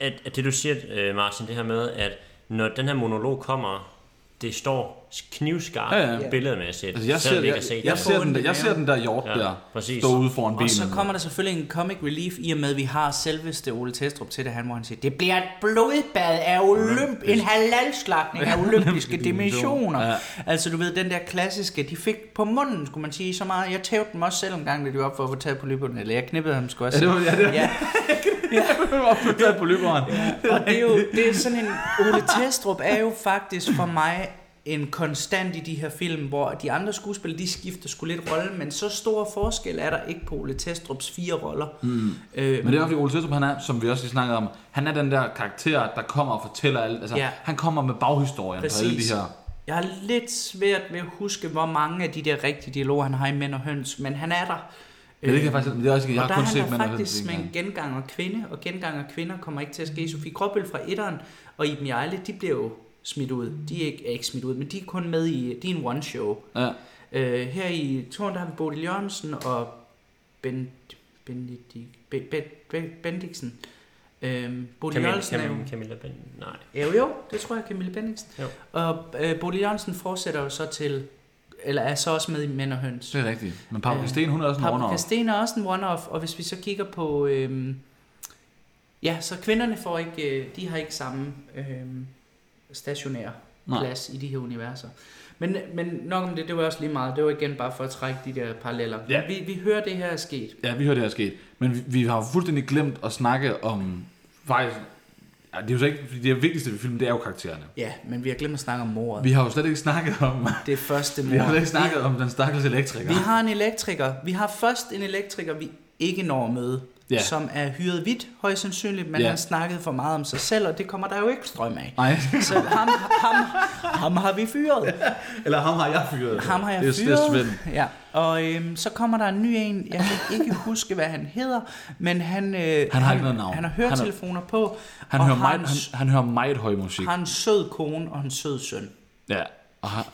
Speaker 1: at, at det du siger, øh, Martin, det her med, at når den her monolog kommer, det står knivskarpt
Speaker 2: Ja,
Speaker 1: ja,
Speaker 2: ja.
Speaker 1: ja. billedmæssigt,
Speaker 2: Altså, jeg
Speaker 1: selvom
Speaker 2: ser,
Speaker 1: vi ikke
Speaker 2: jeg,
Speaker 1: har set
Speaker 2: jeg,
Speaker 1: det.
Speaker 2: ser den,
Speaker 3: Ondt i
Speaker 2: der- jeg ser
Speaker 3: maven.
Speaker 2: den der hjort
Speaker 1: Ja,
Speaker 2: der
Speaker 1: præcis.
Speaker 2: stå ude foran bilen.
Speaker 3: Og så kommer der selvfølgelig en comic relief i og med, at vi har selveste Ole Testrup til det, han må han sige, det bliver et blodbad af olymp, en halalslagning af olympiske dimensioner.
Speaker 2: Ja.
Speaker 3: Ja. Altså du ved, den der klassiske, de fik på munden, skulle man sige, så meget. Jeg tævte dem også selv en gang, da de var op for at få taget på lybånden, eller jeg knippede ham sgu også.
Speaker 2: Ja, det var- ja, det var-
Speaker 3: ja.
Speaker 2: Opdateret på løberen.
Speaker 3: Og det er jo det er sådan en... Ole Testrup er jo faktisk for mig en konstant i de her film, hvor de andre skuespillere, de skifter sgu lidt rolle, men så store forskel er der ikke på Ole Testrups fire roller. Mm. Øh,
Speaker 2: Men det er også fordi Ole Testrup, han er, som vi også lige snakkede om, han er den der karakter, der kommer og fortæller alt. Altså,
Speaker 3: Ja.
Speaker 2: Han kommer med baghistorien på alle de her.
Speaker 3: Jeg har lidt svært ved at huske, hvor mange af de der rigtige dialoger, han har i Mænd og Høns, men han er der. Øh,
Speaker 2: Ja, det kan jeg faktisk, det er også, ikke- jeg har
Speaker 3: og der
Speaker 2: kun
Speaker 3: er
Speaker 2: set
Speaker 3: han der
Speaker 2: mænd og
Speaker 3: faktisk
Speaker 2: høns
Speaker 3: med
Speaker 2: en
Speaker 3: en
Speaker 2: gang.
Speaker 3: genganger kvinde, og genganger kvinder kommer ikke til at ske. Sofie Gråbøl fra etteren og Iben Jejle, de bliver jo smidt ud. De er ikke, er ikke smidt ud, men de er kun med i, de er en one-show.
Speaker 2: Ja.
Speaker 3: Øh, her i Torn, der har vi Bodil Jørgensen og Ben... Benedikt, ben, ben, ben, Bendiksen. Øhm, Bodil
Speaker 1: Camilla,
Speaker 3: Jørgensen er jo...
Speaker 1: Camilla, Camilla Ben, nej.
Speaker 3: Ja, jo, jo, det tror jeg, Camille Bendiksen.
Speaker 1: Jo.
Speaker 3: Og øh, Bodil Jørgensen fortsætter jo så til, eller er så også med i Mænd og Høns.
Speaker 2: Det er rigtigt. Men Paprika Sten, hun er også en runner.
Speaker 3: Paprika Sten er også en one-off, og hvis vi så kigger på, øhm, ja, så kvinderne får ikke, øh, de har ikke samme øhm, stationær
Speaker 2: Nej.
Speaker 3: plads i de her universer. Men, men nok om det, det var også lige meget. Det var igen bare for at trække de der paralleller.
Speaker 2: Ja.
Speaker 3: Ja. Vi, vi hører, det her er sket.
Speaker 2: Ja, vi hører, det er sket. Men vi, vi har jo fuldstændig glemt at snakke om, faktisk, ja, det er jo så ikke, fordi det vigtigste ved filmen, det er jo karaktererne.
Speaker 3: Ja, men vi har glemt at snakke om mordet.
Speaker 2: Vi
Speaker 3: Vi...
Speaker 2: har jo slet ikke snakket om,
Speaker 3: Det første mord.
Speaker 2: vi har slet ikke snakket om den stakkels elektriker.
Speaker 3: Vi har en elektriker. Vi har først en elektriker, vi ikke når at møde,
Speaker 2: Ja.
Speaker 3: ja. som er hyret vidt, højst sandsynligt, men
Speaker 2: Ja.
Speaker 3: ja. han snakkede for meget om sig selv, og det kommer der jo ikke strøm af.
Speaker 2: Nej,
Speaker 3: Så ham, ham, ham har vi fyret.
Speaker 2: eller ham har jeg fyret.
Speaker 3: Ham har jeg
Speaker 2: det er,
Speaker 3: fyret.
Speaker 2: Det er Svend.
Speaker 3: Ja. Og øhm, så kommer der en ny en, jeg kan ikke huske, hvad han hedder, men han, øh,
Speaker 2: har ikke noget navn.
Speaker 3: han har
Speaker 2: Han har-
Speaker 3: høretelefoner på,
Speaker 2: Han,
Speaker 3: og
Speaker 2: hører
Speaker 3: har,
Speaker 2: meget,
Speaker 3: en,
Speaker 2: han, han hører meget høj musik.
Speaker 3: har en sød kone og en sød søn.
Speaker 2: Ja. Og har,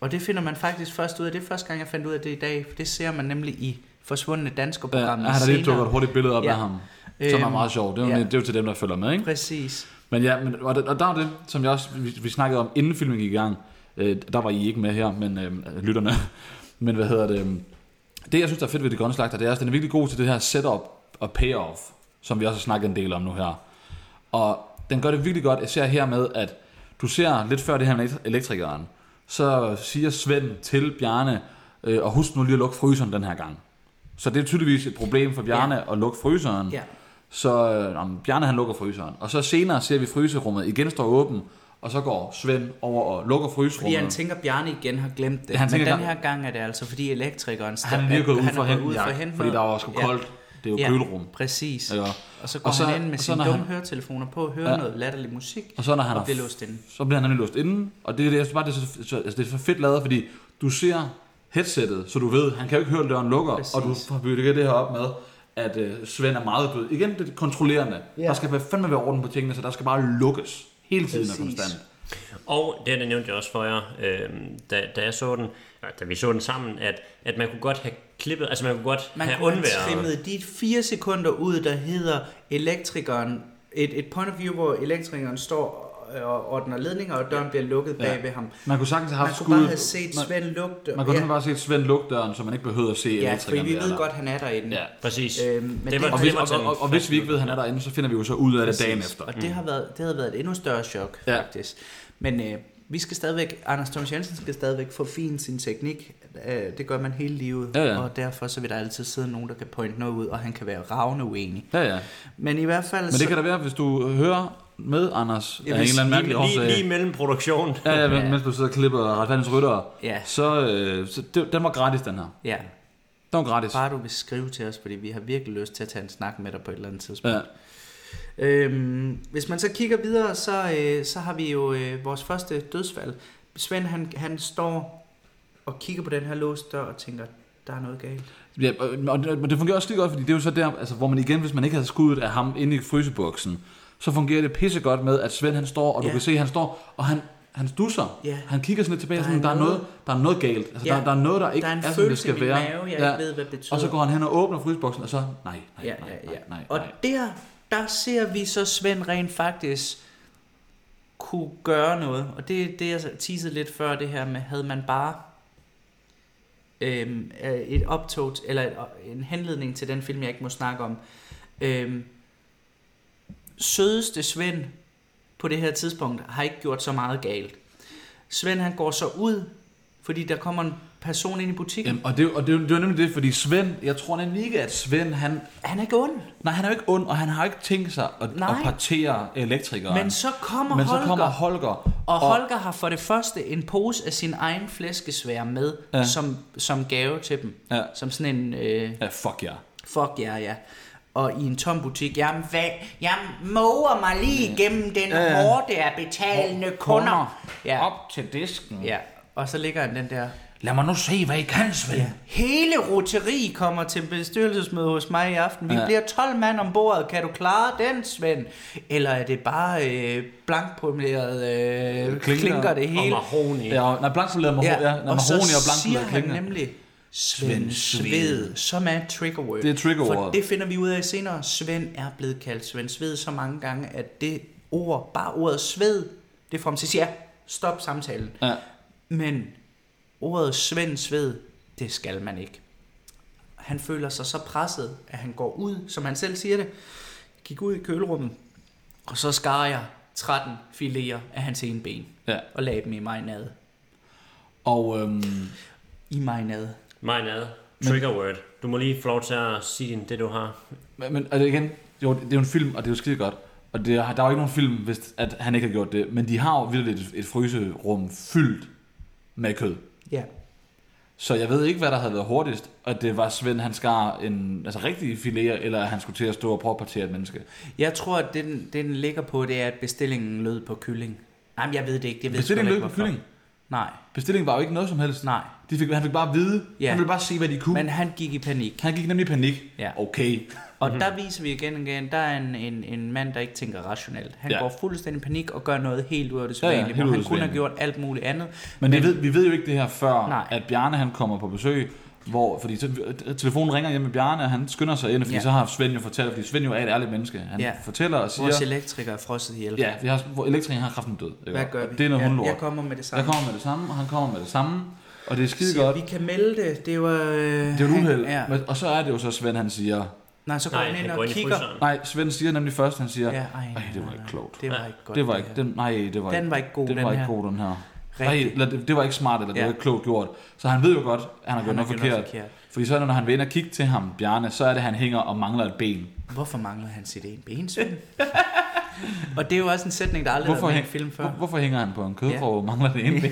Speaker 3: Og det finder man faktisk først ud af. Det er første gang, jeg fandt ud af det i dag, for det ser man nemlig i Forsvundne
Speaker 2: ja,
Speaker 3: Dansker-programmet
Speaker 2: han har lige dukket et
Speaker 3: senere.
Speaker 2: hurtigt billede op ja.
Speaker 3: Ja.
Speaker 2: af ham. Som er
Speaker 3: Øhm,
Speaker 2: meget sjovt. Det er, jo,
Speaker 3: ja.
Speaker 2: det er jo til dem, der følger med, ikke?
Speaker 3: Præcis.
Speaker 2: Men ja, men, og, og der er det, som jeg også, vi, vi snakkede om, inden filmen gik i gang. Øh, der var I ikke med her, men øh, lytterne. Men hvad hedder det? øhm, Det, jeg synes, der er fedt ved det grønne slagter, det er, at den er virkelig god til det her setup og payoff, som vi også har snakket en del om nu her. Og den gør det virkelig godt, især her med, at du ser lidt før det her med elekt- elektrikeren, så siger Svend til Bjarne, øh, og husk nu lige at lukke fryseren den her gang. Så det er tydeligvis et problem for Bjarne ja. at lukke fryseren.
Speaker 3: Ja.
Speaker 2: Så øh, nå, men Bjarne han lukker fryseren. Og så senere ser vi fryserummet igen står åben, og så går Svend over og lukker
Speaker 3: Fordi
Speaker 2: fryserummet.
Speaker 3: han tænker, at Bjarne igen har glemt det.
Speaker 2: Han
Speaker 3: Han
Speaker 2: tænker,
Speaker 3: Men den
Speaker 2: han-
Speaker 3: her gang er det altså, fordi elektrikeren...
Speaker 2: han er lige gået ud
Speaker 3: han
Speaker 2: for
Speaker 3: gået ud for at
Speaker 2: henten,
Speaker 3: hente
Speaker 2: fordi der
Speaker 3: noget.
Speaker 2: var sgu koldt. Det er jo
Speaker 3: Ja,
Speaker 2: kølerum.
Speaker 3: Præcis.
Speaker 2: Ja.
Speaker 3: Og så går
Speaker 2: Og så-
Speaker 3: han ind med
Speaker 2: og så
Speaker 3: sine
Speaker 2: når
Speaker 3: dumme
Speaker 2: han-
Speaker 3: høretelefoner på, hører
Speaker 2: Ja.
Speaker 3: ja. noget latterlig musik,
Speaker 2: Og så når han
Speaker 3: og
Speaker 2: har-
Speaker 3: bliver låst inde.
Speaker 2: Så bliver han nemlig låst inden, og det, er det, jeg synes bare, det er, så, så, altså, det er så fedt lavet, fordi du ser headsettet, så du ved, han kan jo ikke høre, at døren lukker, Præcis.
Speaker 3: Præcis.
Speaker 2: og du har bygget det her op med, at øh, Svend er meget død. Igen, det er kontrollerende. Ja. Der skal være- fandme være orden på tingene, så der skal bare lukkes hele tiden og
Speaker 3: Præcis.
Speaker 2: konstant.
Speaker 1: Og det, her, det nævnte jeg også for jer, øh, da, da, jeg så den, ja, da vi så den sammen, at, at man kunne godt have klippet, altså man kunne godt
Speaker 3: Man
Speaker 1: have
Speaker 3: kunne have
Speaker 1: undværet.
Speaker 3: trimmet de fire sekunder ud, der hedder elektrikeren. Et, et point of view, hvor elektrikeren står øh, og ordner ledninger, og døren bliver lukket bag ved ham. Man
Speaker 2: Man kunne sagtens have haft
Speaker 3: kunne bare
Speaker 2: skuddet-
Speaker 3: have set
Speaker 2: man-
Speaker 3: Svend lugte.
Speaker 2: Man kunne ja. bare se Svend lukke døren, så man ikke behøvede at se
Speaker 3: ja, fordi
Speaker 2: elektrikeren
Speaker 3: vi
Speaker 2: der,
Speaker 3: ved
Speaker 2: eller-
Speaker 3: godt, han er derinde.
Speaker 2: Ja.
Speaker 1: Præcis.
Speaker 3: Øhm, men
Speaker 1: det
Speaker 3: det-
Speaker 1: var
Speaker 2: Og
Speaker 3: Og
Speaker 2: hvis,
Speaker 1: det var
Speaker 2: og,
Speaker 1: sådan-
Speaker 2: og, og hvis vi ikke ved, at han er derinde, så finder vi jo så ud af det dagen efter. Mm.
Speaker 3: Og det, har været, det havde været et endnu større chok,
Speaker 2: Ja.
Speaker 3: ja. faktisk. Men øh, vi skal stadigvæk, Anders Thomas Jensen skal stadigvæk forfine sin teknik. Øh, det gør man hele livet.
Speaker 2: Ja, ja.
Speaker 3: Og derfor så vil der altid sidde nogen, der kan pointe noget ud, og han kan være ravne uenig.
Speaker 2: Ja, ja.
Speaker 3: Men i hvert fald...
Speaker 2: Men det
Speaker 3: så,
Speaker 2: kan da være, hvis du hører med, Anders, ja, af en
Speaker 3: hvis-
Speaker 2: eller anden mærkelig
Speaker 1: lige, lige,
Speaker 2: årsag.
Speaker 1: lige mellem produktionen.
Speaker 2: øh, Ja, ja, men- mens du sidder og klipper retfærdigens ryttere.
Speaker 3: Ja.
Speaker 2: Så, øh, så det, den var gratis, den her.
Speaker 3: Ja,
Speaker 2: Den var gratis.
Speaker 3: bare du vil skrive til os, fordi vi har virkelig lyst til at tage en snak med dig på et eller andet tidspunkt.
Speaker 2: Ja.
Speaker 3: Øhm, hvis man så kigger videre, så, øh, så har vi jo øh, vores første dødsfald. Svend, han, han står og kigger på den her låste dør og tænker, der er noget galt.
Speaker 2: Ja, og, og, det- men det fungerer også skide godt, fordi det er jo så der, altså, hvor man igen, hvis man ikke havde skuddet af ham inde i fryseboksen, så fungerer det pissegodt med, at Svend han står, og du
Speaker 3: Ja.
Speaker 2: kan se, han står, og han, han stusser.
Speaker 3: Ja.
Speaker 2: Han kigger sådan lidt tilbage,
Speaker 3: Der
Speaker 2: der
Speaker 3: er
Speaker 2: sådan, der er,
Speaker 3: noget-
Speaker 2: noget, der er noget galt. Altså,
Speaker 3: Ja.
Speaker 2: der, der, er noget, der ikke
Speaker 3: Der er en
Speaker 2: er, som det
Speaker 3: følelse
Speaker 2: skal
Speaker 3: i min
Speaker 2: være.
Speaker 3: mave, jeg ikke ved, hvad betyder.
Speaker 2: Og så går han hen og åbner fryseboksen, og så, nej, nej,
Speaker 3: Ja,
Speaker 2: nej,
Speaker 3: ja, ja.
Speaker 2: nej, nej,
Speaker 3: Og
Speaker 2: nej.
Speaker 3: der, der ser vi så Svend rent faktisk kunne gøre noget. Og det er det, jeg teasede lidt før, det her med, havde man bare øhm, øh, et optog, t- eller et, øh, en henledning til den film, jeg ikke må snakke om. Øhm, sødeste Svend på det her tidspunkt har ikke gjort så meget galt. Svend han går så ud, fordi der kommer en person ind i butikken.
Speaker 2: Jamen, og det, er jo- og det, er jo- det var nemlig det, fordi Svend, jeg tror nemlig ikke, at Svend, han,
Speaker 3: Han er ikke ond.
Speaker 2: nej, han er jo ikke ond, og han har ikke tænkt sig at,
Speaker 3: Nej.
Speaker 2: at partere elektrikeren.
Speaker 3: Men så kommer
Speaker 2: Men
Speaker 3: Holger.
Speaker 2: så kommer Holger,
Speaker 3: Og Holger har for det første en pose af sin egen flæskesvær med, ja.
Speaker 2: Ja.
Speaker 3: som, som gave til dem.
Speaker 2: Ja.
Speaker 3: Som sådan en, øh,
Speaker 2: ja, fuck jer.
Speaker 3: fuck jer, ja. Og i en tom butik, jamen hvad, jeg mover mig lige igennem den ja. hårde af betalende kunder. Ja.
Speaker 2: Op til disken.
Speaker 3: ja, og så ligger han den der.
Speaker 2: Lad mig nu se, hvad I kan, Svend. Ja.
Speaker 3: Hele roteri kommer til bestyrelsesmøde hos mig i aften. Vi ja.
Speaker 2: Ja.
Speaker 3: bliver 12 mand om bordet. Kan du klare den, Svend? Eller er det bare øh, blankpoleret øh, klinker.
Speaker 2: Klinker.
Speaker 3: klinker det
Speaker 1: Og
Speaker 3: hele?
Speaker 1: Mahoney. Ja.
Speaker 2: Ja, nej, blanksoleret mahoni, ja. ja, nej,
Speaker 3: og så
Speaker 2: mahoni og
Speaker 3: siger
Speaker 2: blanksoleret
Speaker 3: han
Speaker 2: klinker.
Speaker 3: nemlig,
Speaker 2: Svend
Speaker 3: Svend Sved,
Speaker 2: Sved,
Speaker 3: som er et trigger word.
Speaker 2: Det er trigger
Speaker 3: For
Speaker 2: word.
Speaker 3: det finder vi ud af senere. Svend er blevet kaldt Svend Sved så mange gange, at det ord, bare ordet Sved, det får ham til at sige, ja, stop samtalen.
Speaker 2: Ja.
Speaker 3: Men ordet Svend Sved, det skal man ikke. Han føler sig så presset, at han går ud, som han selv siger det, gik ud i kølerummet, og så skar jeg 13 filéer af hans ene ben,
Speaker 2: Ja.
Speaker 3: og lagde dem i marinade.
Speaker 2: Og øhm,
Speaker 3: I marinade.
Speaker 1: Mine ad. Trigger word. Du må lige få lov til at sige det, du har.
Speaker 2: men, men og det igen, jo, det er jo en film, og det er jo skide godt. Og det, er- der er jo ikke nogen film, hvis at han ikke har gjort det. Men de har jo virkelig et, et fryserum fyldt med kød.
Speaker 3: Ja.
Speaker 2: Så jeg ved ikke, hvad der havde været hurtigst. At det var Svend, han skar en altså, rigtig filéer, eller at han skulle til at stå og prøve at partere et menneske.
Speaker 3: Jeg tror, at det, den, det, den ligger på, det er, at bestillingen lød på kylling. Nej, jeg ved det ikke. Det ved jeg sgu
Speaker 2: Bestillingen
Speaker 3: ikke,
Speaker 2: lød på
Speaker 3: hvorfor.
Speaker 2: kylling.
Speaker 3: Nej,
Speaker 2: Bestillingen var jo ikke noget som helst.
Speaker 3: nej.
Speaker 2: De fik, han fik bare at vide.
Speaker 3: Ja.
Speaker 2: Ja. Han ville bare se, hvad de kunne.
Speaker 3: Men
Speaker 2: Men,
Speaker 3: han gik i panik.
Speaker 2: han gik nemlig i panik.
Speaker 3: Ja.
Speaker 2: Okay.
Speaker 3: Og der viser vi igen og igen, der er en, en, en mand, der ikke tænker rationelt. Han ja.
Speaker 2: Ja,
Speaker 3: går fuldstændig i panik og gør noget helt ud af det
Speaker 2: Ja, ja,
Speaker 3: sædvanlige,
Speaker 2: helt
Speaker 3: hvor
Speaker 2: ud af
Speaker 3: han
Speaker 2: det
Speaker 3: kunne have
Speaker 2: sædvanlige.
Speaker 3: gjort alt muligt andet.
Speaker 2: Men, det ved, vi ved jo ikke det her før,
Speaker 3: Nej.
Speaker 2: Nej. at Bjarne han kommer på besøg, hvor, fordi så, telefonen ringer hjem med Bjarne, og han skynder sig ind, fordi
Speaker 3: Ja.
Speaker 2: ja. så har Svend jo fortalt, fordi Svend jo er et ærligt menneske. Han
Speaker 3: Ja.
Speaker 2: ja. fortæller og siger,
Speaker 3: Vores elektriker er frosset ihjel.
Speaker 2: ja, vi har, hvor elektrikeren har kraften død. ikke?
Speaker 3: Hvad gør
Speaker 2: Og
Speaker 3: vi?
Speaker 2: Det er noget
Speaker 3: ja,
Speaker 2: ja,
Speaker 3: Jeg kommer med det samme.
Speaker 2: Jeg kommer med det samme, og han kommer med det samme, og det er skide
Speaker 3: Siger,
Speaker 2: godt.
Speaker 3: vi kan melde det. Det var... Øh,
Speaker 2: Det er jo et uheld.
Speaker 3: Ja.
Speaker 2: Men- Og så er det jo så Svend, han siger,
Speaker 3: Nej, så går
Speaker 1: Nej,
Speaker 3: han ind
Speaker 1: han
Speaker 3: og
Speaker 1: går ind i
Speaker 3: kigger.
Speaker 1: fryseren.
Speaker 2: nej, Svend siger nemlig først, han siger,
Speaker 3: Ja,
Speaker 2: ja,
Speaker 3: ej,
Speaker 2: ej, det
Speaker 3: nej,
Speaker 2: var ikke
Speaker 3: nej.
Speaker 2: klogt.
Speaker 3: Det var ikke godt.
Speaker 2: det var
Speaker 3: det
Speaker 2: ikke,
Speaker 3: her.
Speaker 2: den, nej, det var
Speaker 3: Den
Speaker 2: ikke,
Speaker 3: var ikke god,
Speaker 2: den,
Speaker 3: den
Speaker 2: var ikke
Speaker 3: her.
Speaker 2: god, den her. Nej,
Speaker 3: Rigtig.
Speaker 2: eller det, det var ikke smart, eller det
Speaker 3: Ja.
Speaker 2: var ikke klogt gjort. Så han ved jo godt, at han har
Speaker 3: Han
Speaker 2: gjort noget
Speaker 3: har gjort noget
Speaker 2: forkert.
Speaker 3: forkert.
Speaker 2: Fordi så er det, når han vender og kigger til ham, Bjarne, så er det, at han hænger og mangler et ben.
Speaker 3: Hvorfor mangler han sit ene ben, Svend? og det er jo også en sætning, der aldrig har været med i en
Speaker 2: hæng-
Speaker 3: film før.
Speaker 2: hvor, hvorfor hænger han på en
Speaker 3: Ja.
Speaker 2: kødkrog og mangler det ene ben?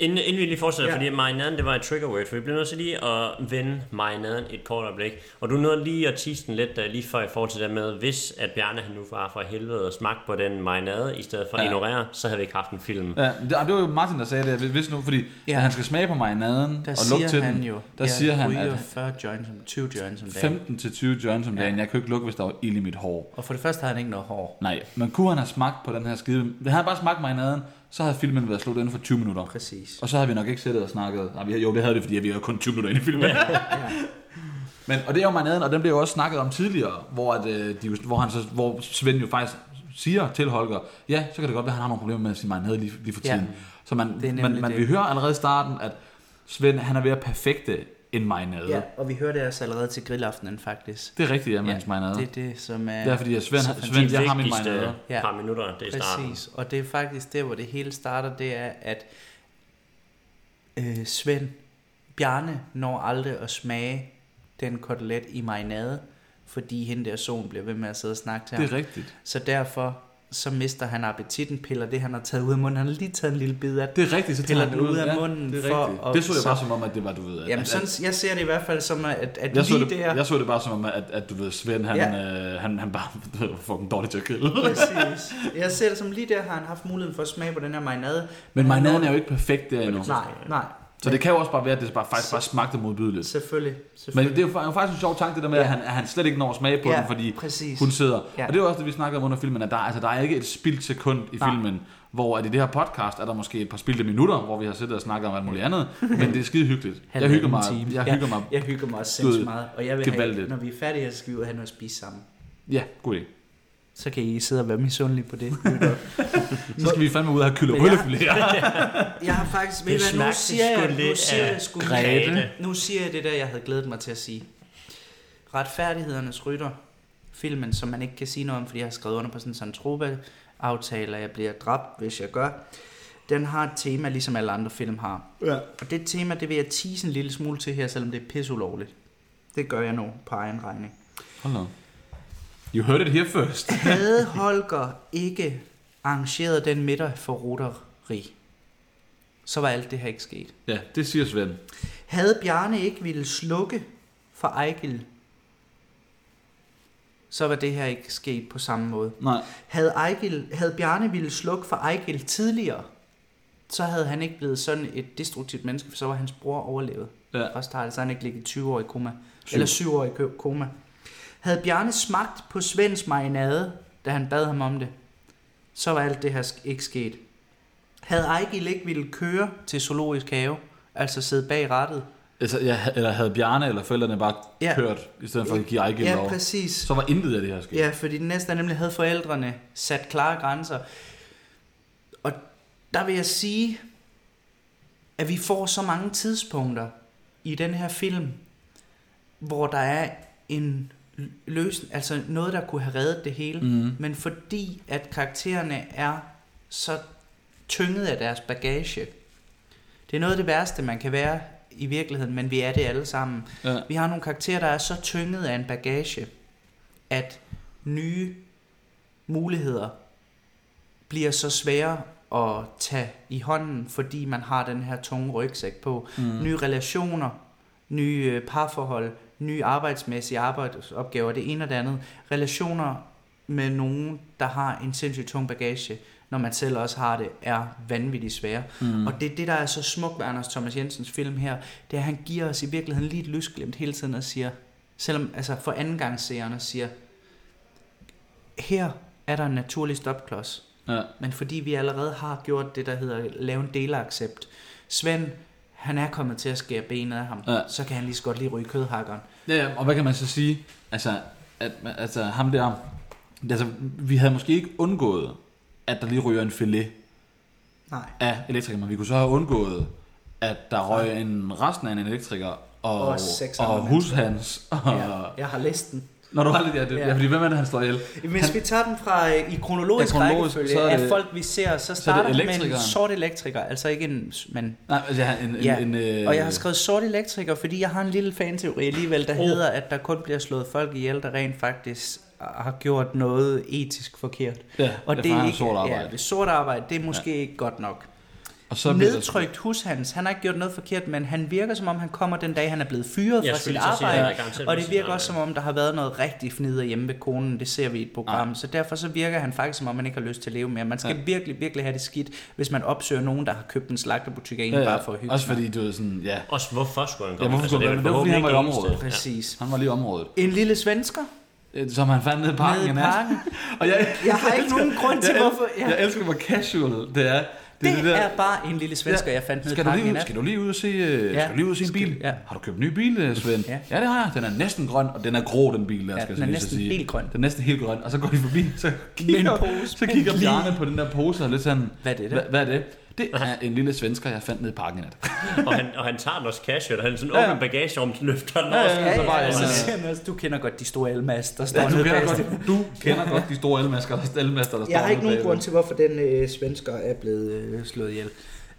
Speaker 1: Inden, inden vi lige fortsætter,
Speaker 3: Ja.
Speaker 1: ja. fordi marinaden, det var et trigger word, for vi bliver nødt til lige at vende marinaden et kort øjeblik. Og du nåede lige at tease den lidt, uh, lige før i forhold til det med, hvis at Bjarne han nu var for helvede og smagte på den marinade, i stedet for ja. at
Speaker 2: Ja.
Speaker 1: ignorere, så havde vi ikke haft en film. Ja.
Speaker 2: ja, det, det var jo Martin, der sagde det, hvis nu, fordi
Speaker 3: Ja.
Speaker 2: ja. han skal smage på marinaden
Speaker 3: Der
Speaker 2: og
Speaker 3: siger
Speaker 2: lukke til
Speaker 3: han
Speaker 2: den,
Speaker 3: jo,
Speaker 2: der siger han,
Speaker 3: ryger
Speaker 2: at
Speaker 3: 40 joints om, 20 joints om dagen.
Speaker 2: 15-20 joints om dagen, jeg kunne ikke lukke, hvis der var ild i mit hår.
Speaker 3: Og for det første har han ikke noget hår.
Speaker 2: Nej, men kunne han have smagt på den her skide... Hvis han havde bare smagt marinaden, så havde filmen været slut inden for 20 minutter.
Speaker 3: Præcis.
Speaker 2: Og så havde vi nok ikke siddet og snakket. Nej, vi, jo, det havde det, fordi vi var kun 20 minutter inde i filmen. Ja, ja. Men, og det er jo marinaden, og den blev jo også snakket om tidligere, hvor, at, øh, de, jo- hvor, han så, hvor Svend jo faktisk siger til Holger, ja, så kan det godt være, at han har nogle problemer med sin marinade lige, lige for
Speaker 3: Ja.
Speaker 2: tiden. Ja. Så man,
Speaker 3: Det er nemlig
Speaker 2: man, man
Speaker 3: det.
Speaker 2: vi hører allerede i starten, at Svend han er ved at perfekte en marinade.
Speaker 3: Ja, og vi hører det altså allerede til grillaftenen, faktisk.
Speaker 2: Det er rigtigt, ja, mens ja, marinade.
Speaker 3: det
Speaker 2: Det,
Speaker 3: er det, som er...
Speaker 2: det er fordi, at Svend,
Speaker 3: så
Speaker 2: han-
Speaker 3: fantastisk. øh,
Speaker 2: Svend jeg har
Speaker 1: De
Speaker 2: min
Speaker 1: vigtigste
Speaker 2: marinade.
Speaker 3: Ja.
Speaker 1: par minutter, det er starten.
Speaker 3: Præcis, og det er faktisk der, hvor det hele starter, det er, at øh, Svend, Bjarne når aldrig at smage den kotelet i marinade, fordi hende der solen bliver ved med at sidde og snakke til
Speaker 2: Det
Speaker 3: ham.
Speaker 2: er rigtigt.
Speaker 3: Så derfor så mister han appetitten, piller det, han har taget ud af munden. Han har lige taget en lille bid af
Speaker 2: Det er rigtigt, så
Speaker 3: Piller
Speaker 2: tager han
Speaker 3: den
Speaker 2: det
Speaker 3: ud af
Speaker 2: ja,
Speaker 3: munden
Speaker 2: det, er
Speaker 3: for
Speaker 2: rigtigt.
Speaker 3: at-
Speaker 2: det så jeg
Speaker 3: så-
Speaker 2: bare som om, at det var, du ved... At,
Speaker 3: Jamen,
Speaker 2: at,
Speaker 3: sådan, jeg ser det i hvert fald som, at, at
Speaker 2: jeg så,
Speaker 3: lige
Speaker 2: det,
Speaker 3: det, der...
Speaker 2: jeg så det bare som om, at, at du ved, Svend, han,
Speaker 3: Ja.
Speaker 2: ja. øh, han, han bare du ved, var fucking dårlig til at grille.
Speaker 3: Præcis. Jeg ser det som lige der, har han haft muligheden for at smage på den her marinade.
Speaker 2: Men marinaden er jo ikke perfekt der endnu.
Speaker 3: Nej, nej.
Speaker 2: Så det kan jo også bare være, at det bare, faktisk bare smagte modbydeligt.
Speaker 3: Selvfølgelig.
Speaker 2: Men
Speaker 3: selvfølgelig.
Speaker 2: det er jo fa- jo faktisk en sjov tanke, det der med,
Speaker 3: Ja.
Speaker 2: at han, at han slet ikke når at smage på
Speaker 3: Ja,
Speaker 2: den, fordi
Speaker 3: præcis.
Speaker 2: hun sidder.
Speaker 3: Ja.
Speaker 2: Og det er jo også det, vi snakkede om under filmen, at der, altså, der er ikke et spildt sekund i
Speaker 3: Nej.
Speaker 2: filmen, hvor at i det her podcast er der måske et par spildte minutter, hvor vi har siddet og snakket om alt muligt andet, men det er skide hyggeligt. Jeg
Speaker 3: Halvanden
Speaker 2: hygger mig,
Speaker 3: time.
Speaker 2: jeg hygger mig.
Speaker 3: Ja, jeg hygger mig også
Speaker 2: Du ved,
Speaker 3: sindssygt meget. Og jeg vil have,
Speaker 2: gevaldigt.
Speaker 3: når vi er færdige her, så skal vi ud og have noget at spise sammen.
Speaker 2: Ja, god idé.
Speaker 3: Så kan I sidde og være misundelige på det.
Speaker 2: Så skal vi fandme ud og have
Speaker 3: Men jeg-
Speaker 2: kylderullefilet.
Speaker 3: jeg har faktisk...
Speaker 1: Det
Speaker 3: Ved det hvad, nu
Speaker 1: smagte
Speaker 3: siger jeg,
Speaker 1: sgu
Speaker 3: nu
Speaker 1: lidt
Speaker 3: siger
Speaker 1: af
Speaker 3: jeg sgu
Speaker 1: Grete.
Speaker 3: Nu siger jeg det der, jeg havde glædet mig til at sige. Retfærdighedernes rytter. Filmen, som man ikke kan sige noget om, fordi jeg har skrevet under på sådan en Santroba-aftale, og jeg bliver dræbt, hvis jeg gør. Den har et tema, ligesom alle andre film har.
Speaker 2: Ja.
Speaker 3: Og det tema, det vil jeg tease en lille smule til her, selvom det er pisseulovligt. Det gør jeg nu på egen regning.
Speaker 2: Hold da. You heard it here first.
Speaker 3: Havde Holger ikke arrangeret den middag for Rotary, så var alt det her ikke sket.
Speaker 2: Ja, det siger Svend.
Speaker 3: Havde Bjarne ikke ville slukke for Ejgil, så var det her ikke sket på samme måde.
Speaker 2: Nej.
Speaker 3: Havde, Ejgil, havde Bjarne ville slukke for Ejgil tidligere, så havde han ikke blevet sådan et destruktivt menneske, for så var hans bror overlevet.
Speaker 2: Ja.
Speaker 3: Og startede, så han ikke ligget 20 år i koma. Eller 7 år i kø- koma. Havde Bjarne smagt på Svends marinade, da han bad ham om det, så var alt det her sk- ikke sket. Havde Ejgil ikke ville køre til zoologisk have, altså sidde bag rattet,
Speaker 2: Altså, ja, eller havde Bjarne eller forældrene bare
Speaker 3: Ja.
Speaker 2: ja. kørt, i stedet for at give Ejgil
Speaker 3: Ja,
Speaker 2: lov,
Speaker 3: præcis.
Speaker 2: så var intet af det her sket.
Speaker 3: Ja, fordi den næste er nemlig, havde forældrene sat klare grænser. Og der vil jeg sige, at vi får så mange tidspunkter i den her film, hvor der er en l- løsning, altså noget, der kunne have reddet det hele, mm. men fordi at karaktererne er så tynget af deres bagage, det er noget af det værste, man kan være i virkeligheden, men vi er det alle sammen.
Speaker 2: Ja.
Speaker 3: Vi har nogle karakterer, der er så tynget af en bagage, at nye muligheder bliver så svære at tage i hånden, fordi man har den her tunge rygsæk på. Mm. Nye relationer, nye øh, parforhold, nye arbejdsmæssige arbejdsopgaver, det ene og det andet. Relationer med nogen, der har en sindssygt tung bagage, når man selv også har det, er vanvittigt svære. Mm. Og det er det, der er så smukt ved Anders Thomas Jensens film her, det er, at han giver os i virkeligheden lige et lysglimt hele tiden og siger, selvom altså for anden gang seerne siger, her er der en naturlig stopklods.
Speaker 2: Ja.
Speaker 3: Men fordi vi allerede har gjort det, der hedder at lave en delaccept. Svend, han er kommet til at skære benet af ham.
Speaker 2: Ja.
Speaker 3: Så kan han lige så godt lige ryge kødhakkeren.
Speaker 2: Ja, ja, og hvad kan man så sige? Altså, at, altså ham der, altså, vi havde måske ikke undgået, at der lige ryger en filet
Speaker 3: Nej.
Speaker 2: af elektriker, men vi kunne så have undgået, at der røg en resten af en elektriker, og,
Speaker 3: Og seks andre
Speaker 2: og hus hans. Og, ja.
Speaker 3: Ja, jeg har læst den.
Speaker 2: Når du har det der, det,
Speaker 3: Ja.
Speaker 2: ja. ja, fordi hvem er det, han slår ihjel?
Speaker 3: Hvis han, vi tager den fra øh, i kronologisk,
Speaker 2: Ja,
Speaker 3: ja,
Speaker 2: kronologisk, så
Speaker 3: rækkefølge
Speaker 2: er
Speaker 3: af
Speaker 2: det-
Speaker 3: folk, vi ser, så starter det med en
Speaker 2: elektrikeren.
Speaker 3: sort elektriker. Altså ikke en... s- Men,
Speaker 2: Nej, altså, han- en,
Speaker 3: ja.
Speaker 2: en, en, øh,
Speaker 3: og jeg har skrevet sort elektriker, fordi jeg har en lille fanteori alligevel, der oh. hedder, at der kun bliver slået folk ihjel, der rent faktisk har gjort noget etisk forkert.
Speaker 2: Ja, det er for, han har sort arbejde.
Speaker 3: Ja, det sort arbejde, det er måske ja. ikke godt nok.
Speaker 2: og så
Speaker 3: Så
Speaker 2: bliver der-
Speaker 3: nedtrykt hus hans. Han har ikke gjort noget forkert, men han virker som om, han kommer den dag, han er blevet fyret
Speaker 1: Jeg
Speaker 3: fra sit
Speaker 1: skulle lige til at sige,
Speaker 3: arbejde.
Speaker 1: han er garanteret
Speaker 3: og
Speaker 1: blevet
Speaker 3: det
Speaker 1: sit
Speaker 3: virker også som
Speaker 1: arbejde.
Speaker 3: om, der har været noget rigtig fnider hjemme ved konen. Det ser vi i et program. Så derfor så virker han faktisk som om, man ikke har lyst til at leve mere. Man skal virkelig, virkelig have det skidt, hvis man opsøger nogen, der har købt en slagterbutik af en
Speaker 2: ja, ja,
Speaker 3: bare for at hygge
Speaker 2: Også
Speaker 3: sig.
Speaker 2: fordi, du ved sådan, ja,
Speaker 1: Også hvorfor skulle han
Speaker 2: Ja,
Speaker 1: komme? Altså,
Speaker 2: hvorfor
Speaker 1: det
Speaker 2: skulle
Speaker 1: er
Speaker 2: han-
Speaker 1: vel
Speaker 2: det var, fordi han var i
Speaker 1: forhåbentlig ikke
Speaker 2: området.
Speaker 1: eneste.
Speaker 3: Præcis.
Speaker 2: han var lige i området.
Speaker 3: En lille svensker
Speaker 2: Øh, Som han fandt nede i parken.
Speaker 3: nede i
Speaker 2: en nat.
Speaker 3: parken.
Speaker 2: Og jeg,
Speaker 3: Jeg har ikke
Speaker 2: elsker-
Speaker 3: nogen grund til,
Speaker 2: jeg elsker-
Speaker 3: hvorfor- ja.
Speaker 2: Jeg elsker, hvor casual det er.
Speaker 3: Det, er bare en lille svensker, jeg fandt nede i
Speaker 2: skal du,
Speaker 3: parken i
Speaker 2: lige, ud-
Speaker 3: nat.
Speaker 2: skal du lige ud og se, øh,
Speaker 3: Ja.
Speaker 2: skal du lige ud og se en
Speaker 3: Skal-
Speaker 2: bil?
Speaker 3: ja.
Speaker 2: Har du købt en ny bil, øh, Svend?
Speaker 3: Ja.
Speaker 2: ja, det har jeg. Den er næsten grøn, og den er grå, den bil, der
Speaker 3: Ja,
Speaker 2: skal
Speaker 3: den er
Speaker 2: jeg lige så
Speaker 3: næsten
Speaker 2: sige.
Speaker 3: helt grøn.
Speaker 2: Den er næsten helt grøn. Og så går de forbi, så kigger,
Speaker 3: pose
Speaker 2: så
Speaker 3: på
Speaker 2: kigger
Speaker 3: lige.
Speaker 2: Bjarne på den der pose og lidt sådan,
Speaker 3: Hvad er det der?
Speaker 2: Hva, hvad er det? Det er en lille svensker, jeg fandt nede i parken i nat.
Speaker 1: og, han, og han tager den også casual, og han sådan
Speaker 2: Ja, ja.
Speaker 1: åbner bagagerummet, så løfter den
Speaker 2: ja,
Speaker 1: også.
Speaker 2: ja,
Speaker 3: Ja,
Speaker 2: så
Speaker 3: ja,
Speaker 2: bare-
Speaker 3: ja,
Speaker 1: og
Speaker 3: så
Speaker 1: sådan-
Speaker 3: siger han også, du kender godt de store elmas, der står
Speaker 2: Ja, du,
Speaker 3: nede
Speaker 2: kender
Speaker 3: bag os."
Speaker 2: godt, du kender godt de store elmasker, der elmaster, der står
Speaker 3: Jeg har ikke
Speaker 2: nede
Speaker 3: nogen
Speaker 2: bagved.
Speaker 3: grund til, hvorfor den øh, svensker er blevet øh, slået ihjel.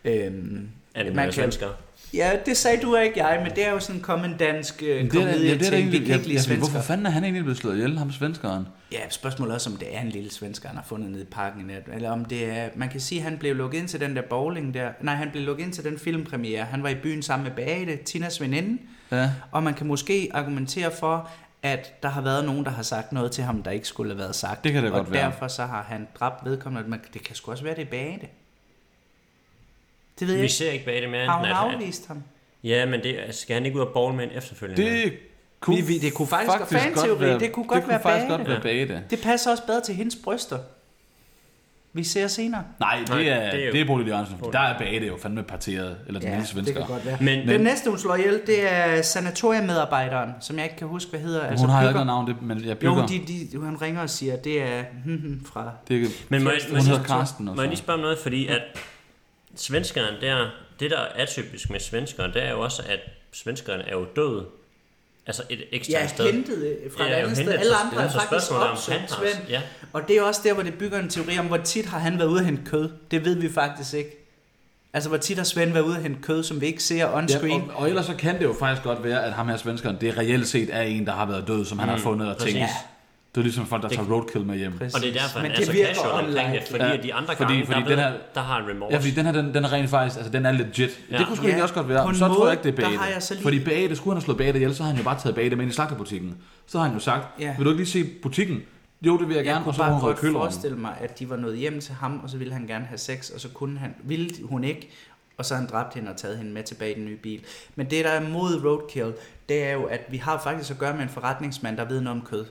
Speaker 3: Øhm,
Speaker 1: Er det man svensker?
Speaker 3: Ja, det sagde du ikke jeg, men det er jo sådan kommet en dansk øh, komedie til, vi kan ikke lide svensker.
Speaker 2: Hvorfor fanden er han egentlig blevet slået ihjel, ham svenskeren?
Speaker 3: Ja, spørgsmålet er også, om det er en lille svensker, han har fundet nede i parken, i nat, eller om det er, man kan sige, at han blev lukket ind til den der bowling der, nej, han blev lukket ind til den filmpremiere, han var i byen sammen med Bate, Tinas veninde,
Speaker 2: Ja.
Speaker 3: og man kan måske argumentere for, at der har været nogen, der har sagt noget til ham, der ikke skulle have været sagt.
Speaker 2: Det kan det
Speaker 3: og
Speaker 2: godt være.
Speaker 3: derfor så har han dræbt vedkommende, men det kan sgu også være, det er Bate. Det ved jeg
Speaker 1: Vi
Speaker 3: ikke.
Speaker 1: ser ikke bag det mere.
Speaker 3: Har hun
Speaker 1: end at-
Speaker 3: afvist ham?
Speaker 1: Ja, men det, altså, skal han ikke ud og bowl med en efterfølgende?
Speaker 2: Det kunne,
Speaker 3: Vi- vi- det kunne faktisk- fanteori, det kunne godt
Speaker 2: det kunne
Speaker 3: være
Speaker 2: faktisk
Speaker 3: Bate.
Speaker 2: godt være bade.
Speaker 3: Det passer også bedre til hendes bryster. Vi ser senere.
Speaker 2: Nej,
Speaker 1: Nej,
Speaker 2: det er,
Speaker 1: det er jo-
Speaker 2: det er Bodil Jørgensen, for der er bade jo fandme parteret, eller den lille svensker.
Speaker 3: være.
Speaker 1: Men,
Speaker 3: Den
Speaker 1: men
Speaker 3: næste, hun slår ihjel, det er sanatoriemedarbejderen, som jeg ikke kan huske, hvad hedder. Altså
Speaker 2: Hun har jo ikke
Speaker 3: bygger-
Speaker 2: noget navn, det, men jeg bygger.
Speaker 3: Jo, de, de, han ringer og siger, det er hmm, hmm, fra...
Speaker 2: det, er-
Speaker 1: Men må jeg, må,
Speaker 2: hun hedder
Speaker 1: jeg,
Speaker 2: Karsten
Speaker 1: må jeg lige
Speaker 2: også.
Speaker 1: spørge om noget, fordi at svenskeren der, det der er atypisk med svenskeren, det er jo også, at svenskeren er jo død. Altså et ekstra
Speaker 3: Ja,
Speaker 1: sted.
Speaker 3: hentet øh, fra
Speaker 1: Ja,
Speaker 3: et
Speaker 1: jo
Speaker 3: andet sted.
Speaker 1: hentet
Speaker 3: Alle
Speaker 1: fra-
Speaker 3: andre
Speaker 1: ja,
Speaker 3: er
Speaker 1: så
Speaker 3: faktisk
Speaker 1: spørgsmålet er, om han
Speaker 3: opsøgt
Speaker 1: har-
Speaker 3: Svend.
Speaker 1: ja.
Speaker 3: Og det er også der, hvor det bygger en teori om, hvor tit har han været ude at hente kød. Det ved vi faktisk ikke. Altså, hvor tit har Svend været ude at hente kød, som vi ikke ser on
Speaker 2: Ja,
Speaker 3: screen.
Speaker 2: og, og ellers så kan det jo faktisk godt være, at ham her svenskeren, det reelt set er en, der har været død, som han har fundet og
Speaker 1: Mm. præcis.
Speaker 2: tænkt. Det er ligesom folk, der tager roadkill med hjem.
Speaker 1: Og det er derfor,
Speaker 3: Men
Speaker 1: han er
Speaker 3: det
Speaker 1: så
Speaker 3: virker
Speaker 1: casual omkring det,
Speaker 3: unlikely.
Speaker 1: fordi
Speaker 2: Ja,
Speaker 1: at de andre
Speaker 2: fordi-
Speaker 1: gange,
Speaker 2: fordi
Speaker 1: der,
Speaker 2: den
Speaker 1: er blevet,
Speaker 2: her-
Speaker 1: der har han remorse.
Speaker 2: Ja, fordi den her, den, den er rent faktisk, altså den er legit.
Speaker 1: Ja.
Speaker 2: Ja. Det kunne sgu
Speaker 3: Ja.
Speaker 2: egentlig også godt
Speaker 3: På
Speaker 2: være.
Speaker 3: en
Speaker 2: Så tror
Speaker 3: måde,
Speaker 2: jeg ikke, det er
Speaker 3: der
Speaker 2: Bate.
Speaker 3: har jeg så lige-
Speaker 2: Fordi Bate, skulle han have slået Bate ihjel, så havde han jo bare taget Bate med ind i slagterbutikken. Så har han jo sagt,
Speaker 3: Ja.
Speaker 2: vil du ikke lige se butikken? Jo, det vil jeg,
Speaker 3: Jeg
Speaker 2: gerne, og
Speaker 3: kunne
Speaker 2: så har
Speaker 3: bare
Speaker 2: hun
Speaker 3: godt
Speaker 2: røget køleren.
Speaker 3: forestille mig, at de var nået hjem til ham, og så ville han gerne have sex, og så kunne han, ville hun ikke, og så har han dræbt hende og taget hende med tilbage i den nye bil. Men det, der er mod roadkill, det er jo, at vi har faktisk at gøre med en forretningsmand, der ved noget om kød.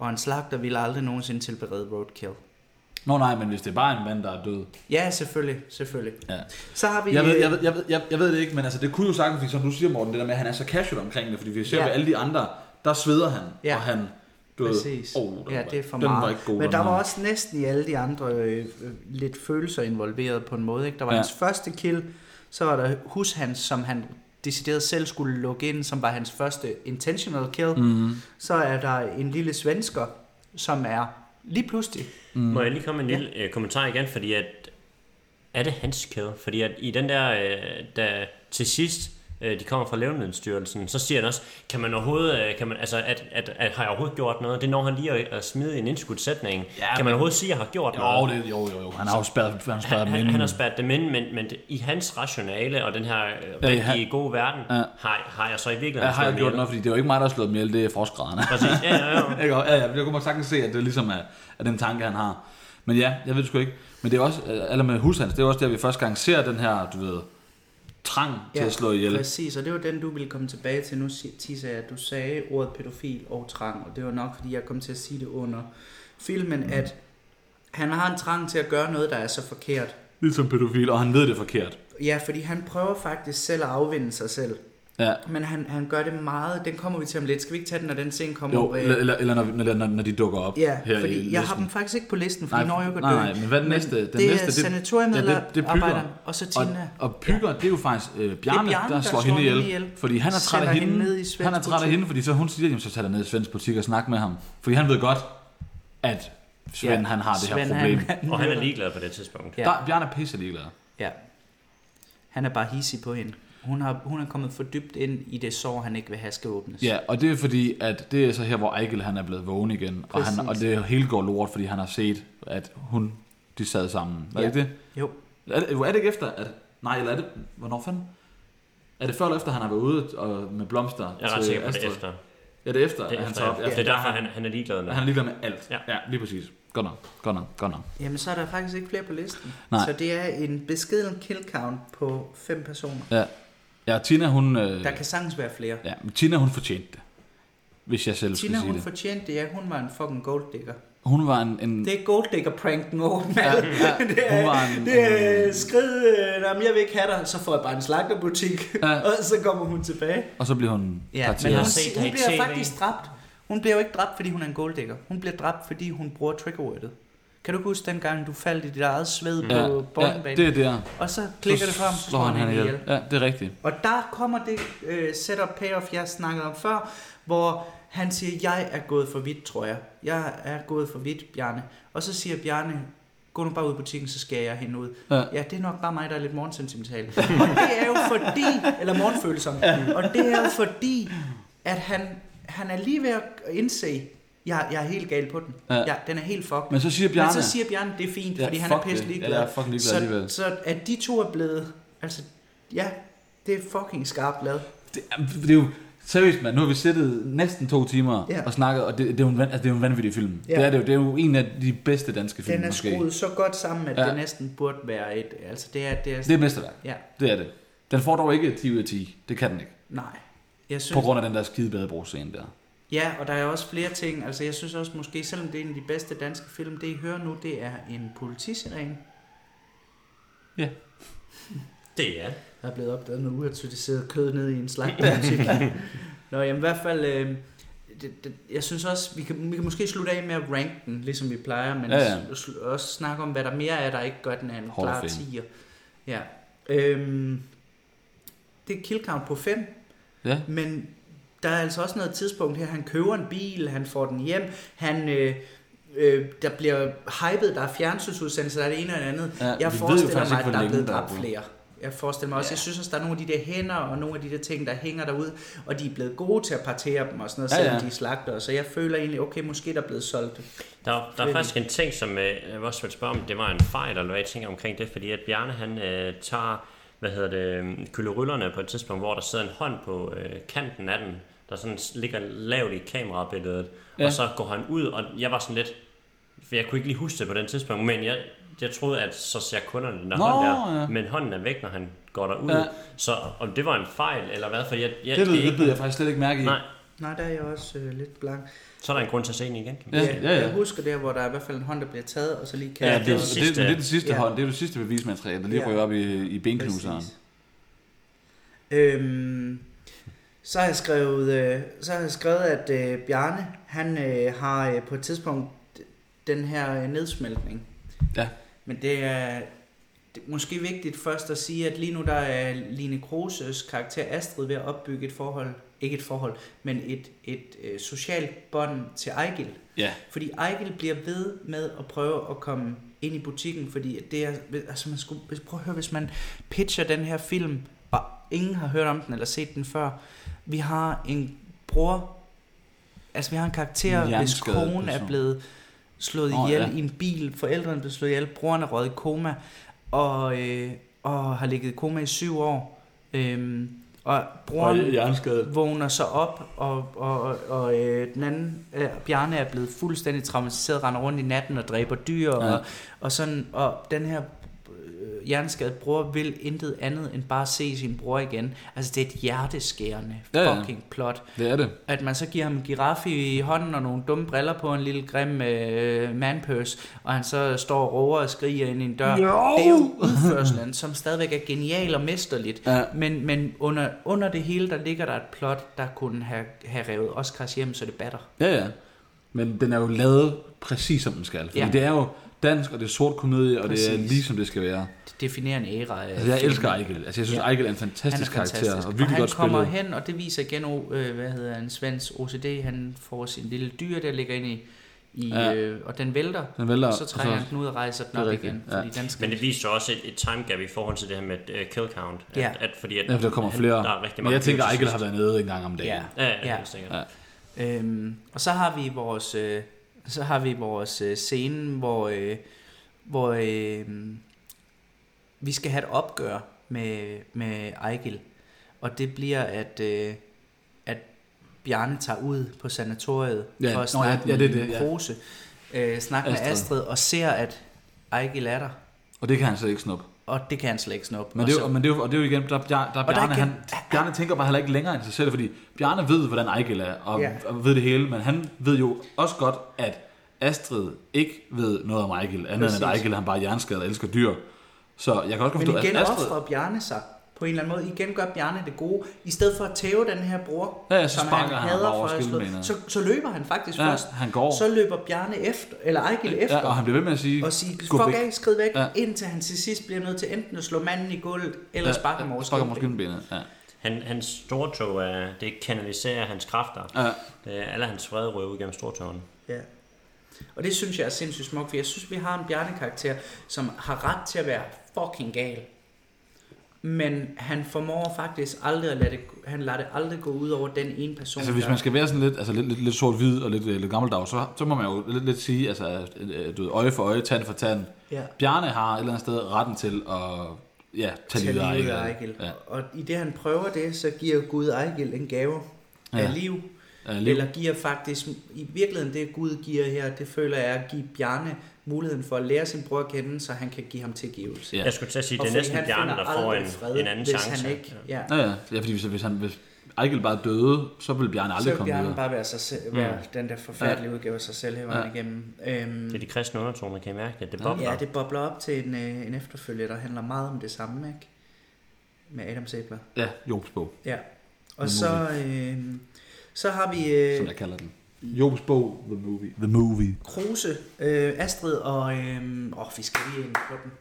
Speaker 3: Og en slagter ville aldrig nogensinde tilberede roadkill.
Speaker 2: Nå nej, men hvis det er bare en mand, der er død.
Speaker 3: Ja, selvfølgelig, selvfølgelig.
Speaker 2: Ja.
Speaker 3: Så har vi...
Speaker 2: Jeg ved, jeg, ved, jeg, ved, jeg, jeg ved det ikke, men altså, det kunne jo sagtens, fordi som du siger, Morten, det der med, at han er så casual omkring det, fordi vi ser
Speaker 3: Ja.
Speaker 2: ja. ved alle de andre, der sveder han,
Speaker 3: Ja.
Speaker 2: ja. og han, du
Speaker 3: Præcis.
Speaker 2: ved, oh, den
Speaker 3: ja,
Speaker 2: var-
Speaker 3: det er for
Speaker 2: den
Speaker 3: meget.
Speaker 2: var ikke god.
Speaker 3: Men
Speaker 2: den
Speaker 3: der
Speaker 2: her.
Speaker 3: var også næsten i alle de andre øh, øh, lidt følelser involveret på en måde. Ikke? Der var ja.
Speaker 2: Ja.
Speaker 3: hans første kill, så var der Hushans, som han decideret selv skulle lukke ind, som var hans første intentional kill.
Speaker 2: Mhm.
Speaker 3: Mm-hmm. Så er der en lille svensker, som er lige pludselig.
Speaker 1: Mm. Må jeg lige komme med en lille øh, kommentar igen, fordi at er det hans kæde? Fordi at i den der, øh, der til sidst, øh, de kommer fra Levnedsstyrelsen, så siger han også, kan man overhovedet, øh, kan man, altså, at, at, at, har jeg overhovedet gjort noget? Det når han lige at, at smide en indskudsætning. Ja,
Speaker 2: Ja,
Speaker 1: kan man overhovedet sige, at jeg har gjort noget?
Speaker 2: Jo, det, jo, jo, jo. Han har jo spærret, han har spærret
Speaker 1: Han,
Speaker 2: dem
Speaker 1: han,
Speaker 2: inde.
Speaker 1: han har spærret dem ind, men, men det- i hans rationale og den her øh,
Speaker 2: Ja,
Speaker 1: rigtige
Speaker 2: han-
Speaker 1: gode verden,
Speaker 2: Ja.
Speaker 1: har, har jeg så i virkeligheden
Speaker 2: Jeg har
Speaker 1: slået
Speaker 2: jeg
Speaker 1: dem
Speaker 2: gjort
Speaker 1: ihjel.
Speaker 2: noget, fordi det er jo ikke mig, der har slået dem ihjel, det er frostgraderne.
Speaker 1: Præcis, ja, ja, ja.
Speaker 2: Ikke? Og- ja, ja, jeg kunne bare sagtens se, at det ligesom er, er den tanke, han har. Men ja, jeg ved det sgu ikke. Men det er også, øh, eller med Hushans, det er også der, vi første gang ser den her, du ved, trang ja, til at slå ihjel.
Speaker 3: Præcis, og det var den, du ville komme tilbage til. Nu si- tisser jeg, at du sagde ordet pædofil og trang, og det var nok, fordi jeg kom til at sige det under filmen,
Speaker 2: Mhm.
Speaker 3: mm. at han har en trang til at gøre noget, der er så forkert.
Speaker 2: Ligesom pædofil, og han ved det er forkert.
Speaker 3: Ja, fordi han prøver faktisk selv at afvinde sig selv.
Speaker 2: Ja.
Speaker 3: Men han, han gør det meget. Den kommer vi til om lidt. Skal vi ikke tage den, når den scene kommer?
Speaker 2: Jo,
Speaker 3: op?
Speaker 2: eller, eller, eller når, vi- når, når, når de dukker op.
Speaker 3: øh, ja,
Speaker 2: her i
Speaker 3: fordi jeg har
Speaker 2: listen.
Speaker 3: dem faktisk ikke på listen, fordi
Speaker 2: Nej,
Speaker 3: nej, når jeg går
Speaker 2: nej, nej, men hvad er den næste? Den
Speaker 3: det
Speaker 2: næste,
Speaker 3: er
Speaker 2: det-
Speaker 3: sanatoriemedarbejderen,
Speaker 2: det er Pyger.
Speaker 3: og så Tina.
Speaker 2: Og, og Pygger, det er jo faktisk øh, Bjarne,
Speaker 3: Det er Bjarne,
Speaker 2: der, slår hende ihjel,
Speaker 3: ihjel.
Speaker 2: fordi han er træt
Speaker 3: Sender
Speaker 2: af hende.
Speaker 3: hende ned i svensk
Speaker 2: han er træt af
Speaker 3: butik.
Speaker 2: hende, fordi så hun siger, jamen så tager der ned i svensk butik og snak med ham. Fordi han ved godt, at Svend,
Speaker 3: Ja,
Speaker 2: ja, han har det
Speaker 3: Svend,
Speaker 2: her problem.
Speaker 3: han-
Speaker 1: Og han er ligeglad på det tidspunkt.
Speaker 3: Ja.
Speaker 2: Ja. Der, Bjarne er pisse ligeglad.
Speaker 3: Ja. Han er bare hissig på hende. Hun, har, hun er kommet for dybt ind i det sår, han ikke vil have skal åbnes.
Speaker 2: Ja, og det er fordi, at det er så her, hvor Eichel han er blevet vågen igen. Og,
Speaker 3: Præcis.
Speaker 2: han, og det hele går lort, fordi han har set, at hun, de sad sammen. Var
Speaker 3: Ja.
Speaker 2: ja. ikke det?
Speaker 3: Jo.
Speaker 2: Er det, er det ikke efter, at... Nej, eller er det... Hvornår fanden? Er det før eller efter, han har været ude og, med blomster
Speaker 1: Jeg er ret
Speaker 2: til
Speaker 1: sikker på det
Speaker 2: Astrid?
Speaker 1: er efter.
Speaker 2: Ja, det er efter,
Speaker 1: Det er,
Speaker 2: at han
Speaker 1: efter,
Speaker 2: tager op.
Speaker 1: ja. det er derfor, han, han er ligeglad med.
Speaker 2: Han er ligeglad med alt.
Speaker 1: Ja.
Speaker 2: Ja. ja, lige præcis. Godt nok, godt nok, godt nok.
Speaker 3: Jamen, så er der faktisk ikke flere på listen.
Speaker 2: Nej.
Speaker 3: Så det er en beskeden kill count på fem personer.
Speaker 2: Ja, ja Tina hun... Øh,
Speaker 3: Der kan sagtens være flere.
Speaker 2: Ja, men Tina hun fortjente det. Hvis jeg selv
Speaker 3: Tina,
Speaker 2: skulle sige
Speaker 3: hun
Speaker 2: det.
Speaker 3: fortjente det. Ja, hun var en fucking golddigger.
Speaker 2: Hun var en... en
Speaker 3: Det er golddigger-pranken over, mand. Ja,
Speaker 2: ja,
Speaker 3: det er,
Speaker 2: hun var en-
Speaker 3: det er skrid, øh, "Nå, men jeg vil ikke have dig, så får jeg bare en slagterbutik, ja.
Speaker 2: Ja.
Speaker 3: og så kommer hun tilbage.
Speaker 2: Og så blev hun
Speaker 3: Ja, men
Speaker 2: parteret.
Speaker 3: hun,
Speaker 1: har set
Speaker 3: hun
Speaker 1: dig i
Speaker 3: bliver
Speaker 1: TV.
Speaker 3: faktisk dræbt. Hun bliver jo ikke dræbt, fordi hun er en golddigger. Hun bliver dræbt, fordi hun bruger triggerwordet. Kan du ikke huske dengang, du faldt i dit eget sved ja. på bowlingbanen?
Speaker 2: Mm. ja, det er der.
Speaker 3: Og så klikker det frem, så slår han hende ihjel.
Speaker 2: Ja, det er rigtigt.
Speaker 3: Og der kommer det øh, setup payoff, jeg snakkede om før, hvor han siger, jeg er gået for vidt, tror jeg. Jeg er gået for vidt, Bjarne. Og så siger Bjarne, gå nu bare ud i butikken, så skærer jeg hende ud.
Speaker 2: Ja.
Speaker 3: Ja. ja, det er nok bare mig, der er lidt morgensentimental. og det er jo fordi, eller morgenfølsom, og det er jo fordi, at han, han er lige ved at indse, jeg, jeg er helt gal på den.
Speaker 2: Ja.
Speaker 3: Ja. Jeg, den er helt fucked.
Speaker 2: Men så siger Bjarne,
Speaker 3: Men så siger Bjarne, det er fint,
Speaker 2: Ja,
Speaker 3: ja, fordi han
Speaker 2: fuck
Speaker 3: er pisse
Speaker 2: det. Ja,
Speaker 3: ligeglad.
Speaker 2: jeg er fucking ligeglad
Speaker 3: så,
Speaker 2: alligevel.
Speaker 3: Så at de to er blevet, altså, ja, det er fucking skarpt lavet.
Speaker 2: det, er- det er jo seriøst, mand. Nu har vi siddet næsten to timer
Speaker 3: Ja.
Speaker 2: og snakket, og det, det, er, jo en, van- altså, det er jo en vanvittig film.
Speaker 3: Ja.
Speaker 2: Det er det jo. Det er jo en af de bedste danske film,
Speaker 3: Den er
Speaker 2: måske.
Speaker 3: skruet så godt sammen, at
Speaker 2: Ja.
Speaker 3: ja. det næsten burde være et, altså det er, det er,
Speaker 2: Det er et mesterværk.
Speaker 3: ja,
Speaker 2: Det er det. Den får dog ikke 10 ud af 10. Det kan den ikke.
Speaker 3: nej. Jeg
Speaker 2: På
Speaker 3: synes,
Speaker 2: grund af den der skide badebrugsscene der.
Speaker 3: ja, og der er også flere ting, altså jeg synes også måske, selvom det er en af de bedste danske film, det I hører nu, det er en politisirene,
Speaker 1: Det er det.
Speaker 3: der er blevet opdaget med uautoriseret kød ned i en slagterbutik. Nå, jamen i hvert fald, øh, det, det, jeg synes også, vi kan, vi kan måske slutte af med at ranke den, ligesom vi plejer, men
Speaker 2: Ja,
Speaker 3: ja,
Speaker 2: ja.
Speaker 3: ja. Sl- også snakke om, hvad der mere er, der ikke gør den af en
Speaker 2: Hall of
Speaker 3: klar
Speaker 2: Fame.
Speaker 3: 10'er. Ja. Øhm, det er kill count på 5.
Speaker 2: Ja.
Speaker 3: Men der er altså også noget tidspunkt her, han køber en bil, han får den hjem, han, øh, øh, der bliver hypet, der er fjernsynsudsendelser, der er det ene og det andet.
Speaker 2: Ja, vi ved jo
Speaker 3: jeg forestiller
Speaker 2: faktisk
Speaker 3: mig,
Speaker 2: ikke, hvor
Speaker 3: at der er
Speaker 2: længe
Speaker 3: blevet
Speaker 2: der er
Speaker 3: dræbt
Speaker 2: gået.
Speaker 3: flere. Jeg forestiller mig også, ja. jeg synes også, der er nogle af de der hænder og nogle af de der ting, der hænger derude, og de er blevet gode til at partere dem og sådan noget,
Speaker 2: Ja,
Speaker 3: ja, selvom
Speaker 2: ja.
Speaker 3: de er slagter, så jeg føler egentlig, okay, måske der er blevet solgt.
Speaker 1: Der, der er
Speaker 3: Fedt.
Speaker 1: faktisk en ting, som øh, jeg også vil spørge om, det var en fejl, eller hvad jeg tænker omkring det, fordi at Bjarne, han øh, tager, hvad hedder det, kylderyllerne på et tidspunkt, hvor der sidder en hånd på øh, kanten af den, der sådan ligger lavt i kamerabilledet,
Speaker 2: Ja.
Speaker 1: ja. og så går han ud, og jeg var sådan lidt, for jeg kunne ikke lige huske det på den tidspunkt, men jeg, jeg troede, at så ser kunderne den der
Speaker 2: Nå,
Speaker 1: hånd der,
Speaker 2: ja.
Speaker 1: men hånden er væk, når han går derud,
Speaker 2: Ja.
Speaker 1: ja. så om det var en fejl, eller hvad, for jeg, jeg
Speaker 2: Det, ved,
Speaker 1: ikke-
Speaker 2: det ved jeg faktisk slet ikke mærke i.
Speaker 1: Nej,
Speaker 3: Nej, der er jeg også øh, lidt blank.
Speaker 1: så er der en grund til at se den igen. kan man
Speaker 2: Ja,
Speaker 1: sige.
Speaker 2: ja, ja.
Speaker 3: Jeg husker der, hvor der er i hvert fald en hånd, der bliver taget, og så lige kan
Speaker 2: Ja,
Speaker 1: Ja,
Speaker 2: det,
Speaker 1: det er
Speaker 2: det,
Speaker 1: den
Speaker 2: det,
Speaker 1: sidste.
Speaker 2: det, er den sidste
Speaker 3: Ja.
Speaker 2: hånd. Det er det sidste bevismateriale, der lige
Speaker 3: Ja.
Speaker 2: ryger op i, i benknuseren.
Speaker 3: Præcis. Øhm, så har jeg skrevet, øh, så har jeg skrevet at øh, Bjarne, han øh, har øh, på et tidspunkt den her øh, nedsmeltning.
Speaker 2: Ja.
Speaker 3: Men det er, det er måske vigtigt først at sige, at lige nu der er Line Kroses karakter Astrid ved at opbygge et forhold, ikke et forhold, men et, et øh, socialt bånd til Ejgil.
Speaker 2: Ja.
Speaker 3: Fordi Ejgil bliver ved med at prøve at komme ind i butikken, fordi det er, altså man skulle, hvis- prøv at høre, hvis man pitcher den her film, og ingen har hørt om den eller set den før, vi har en bror, altså vi har en karakter,
Speaker 2: En
Speaker 3: hvis
Speaker 2: hjerneskadet
Speaker 3: kone
Speaker 2: person.
Speaker 3: er blevet slået
Speaker 2: Åh,
Speaker 3: oh, ihjel
Speaker 2: ja.
Speaker 3: ja. i en bil, forældrene blev slået ihjel, broren er røget i koma, og, øh, og har ligget i koma i syv år, øhm, og broren
Speaker 2: hjerneskadet.
Speaker 3: vågner så op, og, og, og, og øh, den anden, øh, Bjarne, er blevet fuldstændig traumatiseret, render rundt i natten og dræber dyr, ja.
Speaker 2: Ja.
Speaker 3: og, og, sådan, og den her øh, hjerneskadede bror vil intet andet end bare se sin bror igen. Altså, det er et hjerteskærende
Speaker 2: Ja, ja.
Speaker 3: fucking plot.
Speaker 2: Det er det.
Speaker 3: At man så giver ham en giraf i hånden og nogle dumme briller på en lille grim øh, manpurse, og han så står og råber og skriger ind i en dør.
Speaker 2: Jo!
Speaker 3: Det er jo udførselen, som stadigvæk er genial og mesterligt.
Speaker 2: Ja.
Speaker 3: Men, men under, under det hele, der ligger der et plot, der kunne have, have revet Oscars hjem, så det batter.
Speaker 2: Ja, ja. Men den er jo lavet præcis som den skal. Fordi ja.
Speaker 3: Ja.
Speaker 2: det er jo dansk, og det er sort komedie, og det er
Speaker 3: Præcis.
Speaker 2: lige som det skal være.
Speaker 3: Det definerer en æra. øh, af
Speaker 2: Altså, jeg
Speaker 3: film.
Speaker 2: elsker Ejkel. Altså, jeg synes, ja.
Speaker 3: Ja.
Speaker 2: Ejkel er en
Speaker 3: Han er
Speaker 2: fantastisk,
Speaker 3: fantastisk.
Speaker 2: karakter, og
Speaker 3: Og,
Speaker 2: virkelig
Speaker 3: han
Speaker 2: godt
Speaker 3: kommer
Speaker 2: spillet.
Speaker 3: hen, og det viser igen, o- øh, hvad hedder han, Svends OCD, han får sin lille dyr, der ligger inde i, i
Speaker 2: Ja.
Speaker 3: ja. øh, og den vælter.
Speaker 2: Den vælter,
Speaker 3: og så trækker
Speaker 2: og så-
Speaker 3: han den ud og rejser den
Speaker 2: Det er
Speaker 3: op
Speaker 2: rigtigt,
Speaker 3: igen.
Speaker 2: ja.
Speaker 3: Fordi den skal...
Speaker 1: Men det viser også et, et time gap i forhold til det her med uh, kill count. At,
Speaker 3: Ja.
Speaker 1: at, fordi at,
Speaker 2: Ja, for der kommer
Speaker 1: at
Speaker 2: flere.
Speaker 1: Der er rigtig
Speaker 2: Men
Speaker 1: mange
Speaker 2: jeg tænker,
Speaker 1: kills til
Speaker 2: Ejkel har
Speaker 1: sidst.
Speaker 2: været nede en gang om dagen.
Speaker 3: Ja.
Speaker 1: Ja, ja,
Speaker 3: Ja.
Speaker 1: ja. sikkert.
Speaker 2: Ja.
Speaker 1: Ja.
Speaker 3: Øhm, og så har vi vores øh, så har vi vores øh, scene hvor øh, hvor øh, vi skal have et opgør med med Ejgil. Og det bliver at øh, at Bjarne tager ud på sanatoriet
Speaker 2: Ja,
Speaker 3: for
Speaker 2: nå,
Speaker 3: at snakke
Speaker 2: ja, ja, det er
Speaker 3: med
Speaker 2: det, ja.
Speaker 3: Kruse, øh, snakke med
Speaker 2: Astrid.
Speaker 3: Astrid og ser at Ejgil er der,
Speaker 2: Og det kan han så ikke snuppe.
Speaker 3: og det kan han slet ikke snuppe.
Speaker 2: Men det, er
Speaker 3: og
Speaker 2: jo,
Speaker 3: så,
Speaker 2: men det er jo, og det er jo igen, der, der, der,
Speaker 3: der
Speaker 2: Bjarne,
Speaker 3: igen-
Speaker 2: han, Bjarne tænker bare heller ikke længere end sig selv, fordi Bjarne ved, hvordan Ejkel er, og,
Speaker 3: Ja.
Speaker 2: og ved det hele, men han ved jo også godt, at Astrid ikke ved noget om Ejkel, andet Præcis.
Speaker 3: Præcis.
Speaker 2: end at Ejkel han bare er hjerneskadet og elsker dyr. Så jeg kan også godt forstå,
Speaker 3: men igen
Speaker 2: at Astrid...
Speaker 3: offrer Bjarne sig på en eller anden måde. Igen gør Bjarne det gode. I stedet for at tæve den her bror,
Speaker 2: Ja, ja, så
Speaker 3: som han
Speaker 2: sparker han
Speaker 3: hader
Speaker 2: bare over
Speaker 3: for at slå,
Speaker 2: skillebenet.
Speaker 3: så, så løber han faktisk
Speaker 2: Ja,
Speaker 3: først.
Speaker 2: han går.
Speaker 3: Så løber Bjarne efter, eller Ejgil efter,
Speaker 2: Ja, og han bliver ved med at sige,
Speaker 3: og siger,
Speaker 2: "Gå
Speaker 3: fuck af, skrid væk,
Speaker 2: Ja.
Speaker 3: ja. indtil han til sidst bliver nødt til enten at slå manden i gulvet, eller
Speaker 2: Ja,
Speaker 3: ja, sparke ham over
Speaker 2: sparker ham over
Speaker 3: skillebenet.
Speaker 2: skillebenet. Ja.
Speaker 1: Han, hans stortog, uh, det kanaliserer hans kræfter.
Speaker 2: Ja.
Speaker 1: Det er alle hans vrede røve gennem stortogen.
Speaker 3: Ja. Og det synes jeg er sindssygt smukt, for jeg synes, vi har en bjernekarakter, som har ret til at være fucking gal. Men han formår faktisk aldrig at lade det, han lader det aldrig gå ud over den ene person.
Speaker 2: Altså hvis
Speaker 3: der-
Speaker 2: man skal være sådan lidt, altså lidt, lidt, lidt sort-hvid og lidt, øh, lidt gammeldags, så, så må man jo lidt, lidt sige, altså øh, du ved, øje for øje, tand for tand.
Speaker 3: Ja.
Speaker 2: Bjarne har et eller andet sted retten til at ja, tage livet af
Speaker 3: livet af
Speaker 2: Ejgil.
Speaker 3: Ejgil.
Speaker 2: Ja.
Speaker 3: Og i det han prøver det, så giver Gud Ejgil en gave ja.
Speaker 2: Ja.
Speaker 3: af liv.
Speaker 2: Af liv.
Speaker 3: Eller giver faktisk, i virkeligheden det Gud giver her, det føler jeg er at give Bjarne muligheden for at lære sin bror at kende, så han kan give ham tilgivelse.
Speaker 2: Ja.
Speaker 1: Jeg skulle til at sige,
Speaker 3: Og
Speaker 1: det er
Speaker 3: fordi
Speaker 1: næsten
Speaker 3: han
Speaker 1: Bjarne,
Speaker 3: finder
Speaker 1: der får
Speaker 3: aldrig
Speaker 1: en,
Speaker 3: fred,
Speaker 1: en anden
Speaker 3: hvis
Speaker 1: chance.
Speaker 3: Han ikke, ja.
Speaker 2: Ja, ja, ja fordi hvis, hvis, han, hvis Ejgil bare døde, så ville Bjarne aldrig
Speaker 3: Så vil
Speaker 2: komme
Speaker 3: Bjarne
Speaker 2: videre.
Speaker 3: bare være, sig selv, være den der forfærdelige udgave af sig selv hele vejen igennem. Øhm,
Speaker 1: Det er de kristne undertoner, kan I mærke det? Det bobler.
Speaker 3: ja, det bobler op til en, øh, en efterfølger, der handler meget om det samme, ikke? Med Adam Sæbler.
Speaker 2: Ja, Jobs bog,
Speaker 3: Ja. Og så, øh, så har vi øh,
Speaker 2: som jeg kalder den. Jobs bog, The Movie. The Movie.
Speaker 3: Kruse, øh, Astrid og... Øh, åh, vi skal lige ind på den.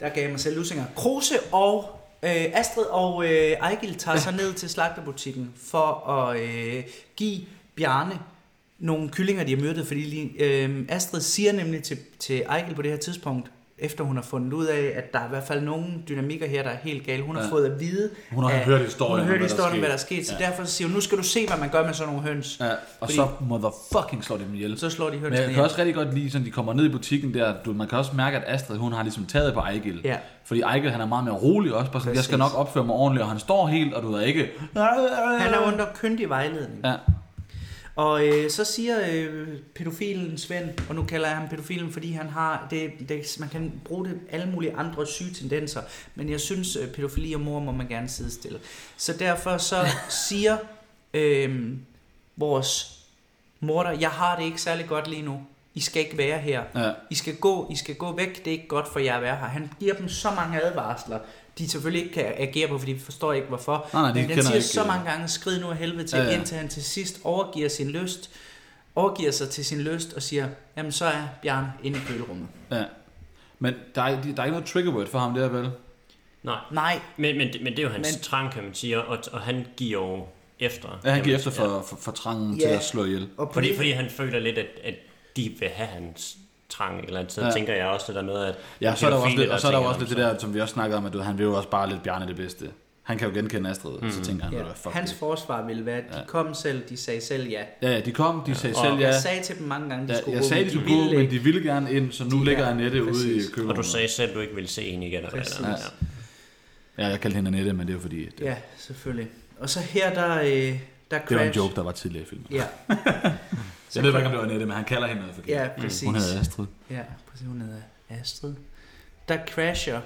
Speaker 3: Der gav jeg mig selv lusinger. Kruse og øh, Astrid og øh, Ejgil tager sig ned til slagterbutikken for at øh, give Bjarne nogle kyllinger, de har myrdet, fordi lige- øh, Astrid siger nemlig til, til Ejgil på det her tidspunkt, efter hun har fundet ud af, at der er i hvert fald nogle dynamikker her, der er helt gale. Hun har
Speaker 2: Ja.
Speaker 3: fået at vide...
Speaker 2: Hun har
Speaker 3: at-
Speaker 2: hørt historien
Speaker 3: Hun
Speaker 2: om,
Speaker 3: har hørt
Speaker 2: hvad der
Speaker 3: historien om,
Speaker 2: skete.
Speaker 3: hvad der er sket, så derfor siger hun, nu skal du se, hvad man gør med sådan nogle høns.
Speaker 2: Ja, og
Speaker 3: Fordi-
Speaker 2: så motherfucking slår de dem ihjel.
Speaker 3: Så slår de hønsene
Speaker 2: Men jeg kan
Speaker 3: ihjel.
Speaker 2: også rigtig godt lide, sådan de kommer ned i butikken der, du, man kan også mærke, at Astrid, hun har ligesom taget på Ejgil.
Speaker 3: Ja.
Speaker 2: Fordi Ejgil, han er meget mere rolig også, bare sådan, jeg skal nok
Speaker 3: Præcis.
Speaker 2: opføre mig ordentligt, og han står helt, og du ved ikke... Han
Speaker 3: Han er under kyndig vejledning.
Speaker 2: Ja,
Speaker 3: Og øh, så siger øh, pædofilen Svend, og nu kalder jeg ham pædofilen, fordi han har det, det, man kan bruge det alle mulige andre syge tendenser, men jeg synes, øh, pædofili og mor må man gerne sidestille. Så derfor så siger øh, vores morder, jeg har det ikke særlig godt lige nu. I skal ikke være her.
Speaker 2: Ja.
Speaker 3: I skal gå, I skal gå væk. Det er ikke godt for jer at være her. Han giver dem så mange advarsler, de selvfølgelig ikke kan agere på, fordi de forstår ikke hvorfor.
Speaker 2: Nej, nej, de
Speaker 3: Men han
Speaker 2: kender
Speaker 3: siger
Speaker 2: ikke,
Speaker 3: så
Speaker 2: øh,
Speaker 3: mange gange, skrid nu af helvede til,
Speaker 2: Ja,
Speaker 3: ja,
Speaker 2: ja.
Speaker 3: ja. indtil han til sidst overgiver sin lyst, overgiver sig til sin lyst og siger, jamen så er Bjarne inde i kølerummet.
Speaker 2: ja. Men der er, der er ikke noget trigger word for ham der, vel?
Speaker 1: Nej,
Speaker 3: Nej,
Speaker 1: men, men, men det er jo hans
Speaker 3: Men-
Speaker 1: men... trang, kan man sige, og, og han giver jo efter.
Speaker 2: Ja, han
Speaker 1: kan
Speaker 2: giver
Speaker 1: man
Speaker 2: efter
Speaker 1: sige.
Speaker 2: for, for, for trangen
Speaker 3: Ja.
Speaker 2: til at slå ihjel.
Speaker 3: og på
Speaker 1: Fordi,
Speaker 3: det,
Speaker 1: fordi han føler lidt, at, at de vil have hans trang et eller andet. Så
Speaker 2: Ja.
Speaker 1: ja. tænker jeg også, at der er noget, at...
Speaker 2: Ja, så er der jo også
Speaker 1: pædofile,
Speaker 2: lidt, og så er der jo
Speaker 1: tænker,
Speaker 2: også lidt det der, som vi også snakkede om, at du, ved, han vil jo også bare lidt Bjarne det bedste. Han kan jo genkende Astrid, mm. så tænker han,
Speaker 3: ja,
Speaker 2: ja. fuck
Speaker 3: hans
Speaker 2: det.
Speaker 3: forsvar ville være, at de kom selv, de sagde selv ja.
Speaker 2: Ja, ja, de kom, de sagde selv
Speaker 3: Og
Speaker 2: ja.
Speaker 3: jeg sagde til dem mange gange, de
Speaker 2: ja
Speaker 3: skulle
Speaker 2: jeg
Speaker 3: gå,
Speaker 2: sagde,
Speaker 3: men
Speaker 2: de skulle
Speaker 3: ville
Speaker 2: gå, men
Speaker 3: ikke.
Speaker 2: de ville gerne ind, så nu
Speaker 3: De-
Speaker 2: ligger
Speaker 3: ja,
Speaker 2: Annette ude i
Speaker 3: præcis.
Speaker 2: køkkenet.
Speaker 1: Og du sagde selv, at du ikke ville se hende igen. Eller,
Speaker 3: Præcis.
Speaker 1: eller, ja.
Speaker 2: Ja, jeg kaldte hende Annette, men det er jo fordi, det,
Speaker 3: Ja, selvfølgelig. Og så her, der, øh, der crash.
Speaker 2: det var en joke, der var tidligere i filmen.
Speaker 3: Ja,
Speaker 2: Jeg ved ikke, om det var Annette, men han kalder hende noget forkert.
Speaker 3: ja præcis.
Speaker 2: Hun hedder Astrid.
Speaker 3: Ja, præcis. Hun hedder Astrid. Der crasher.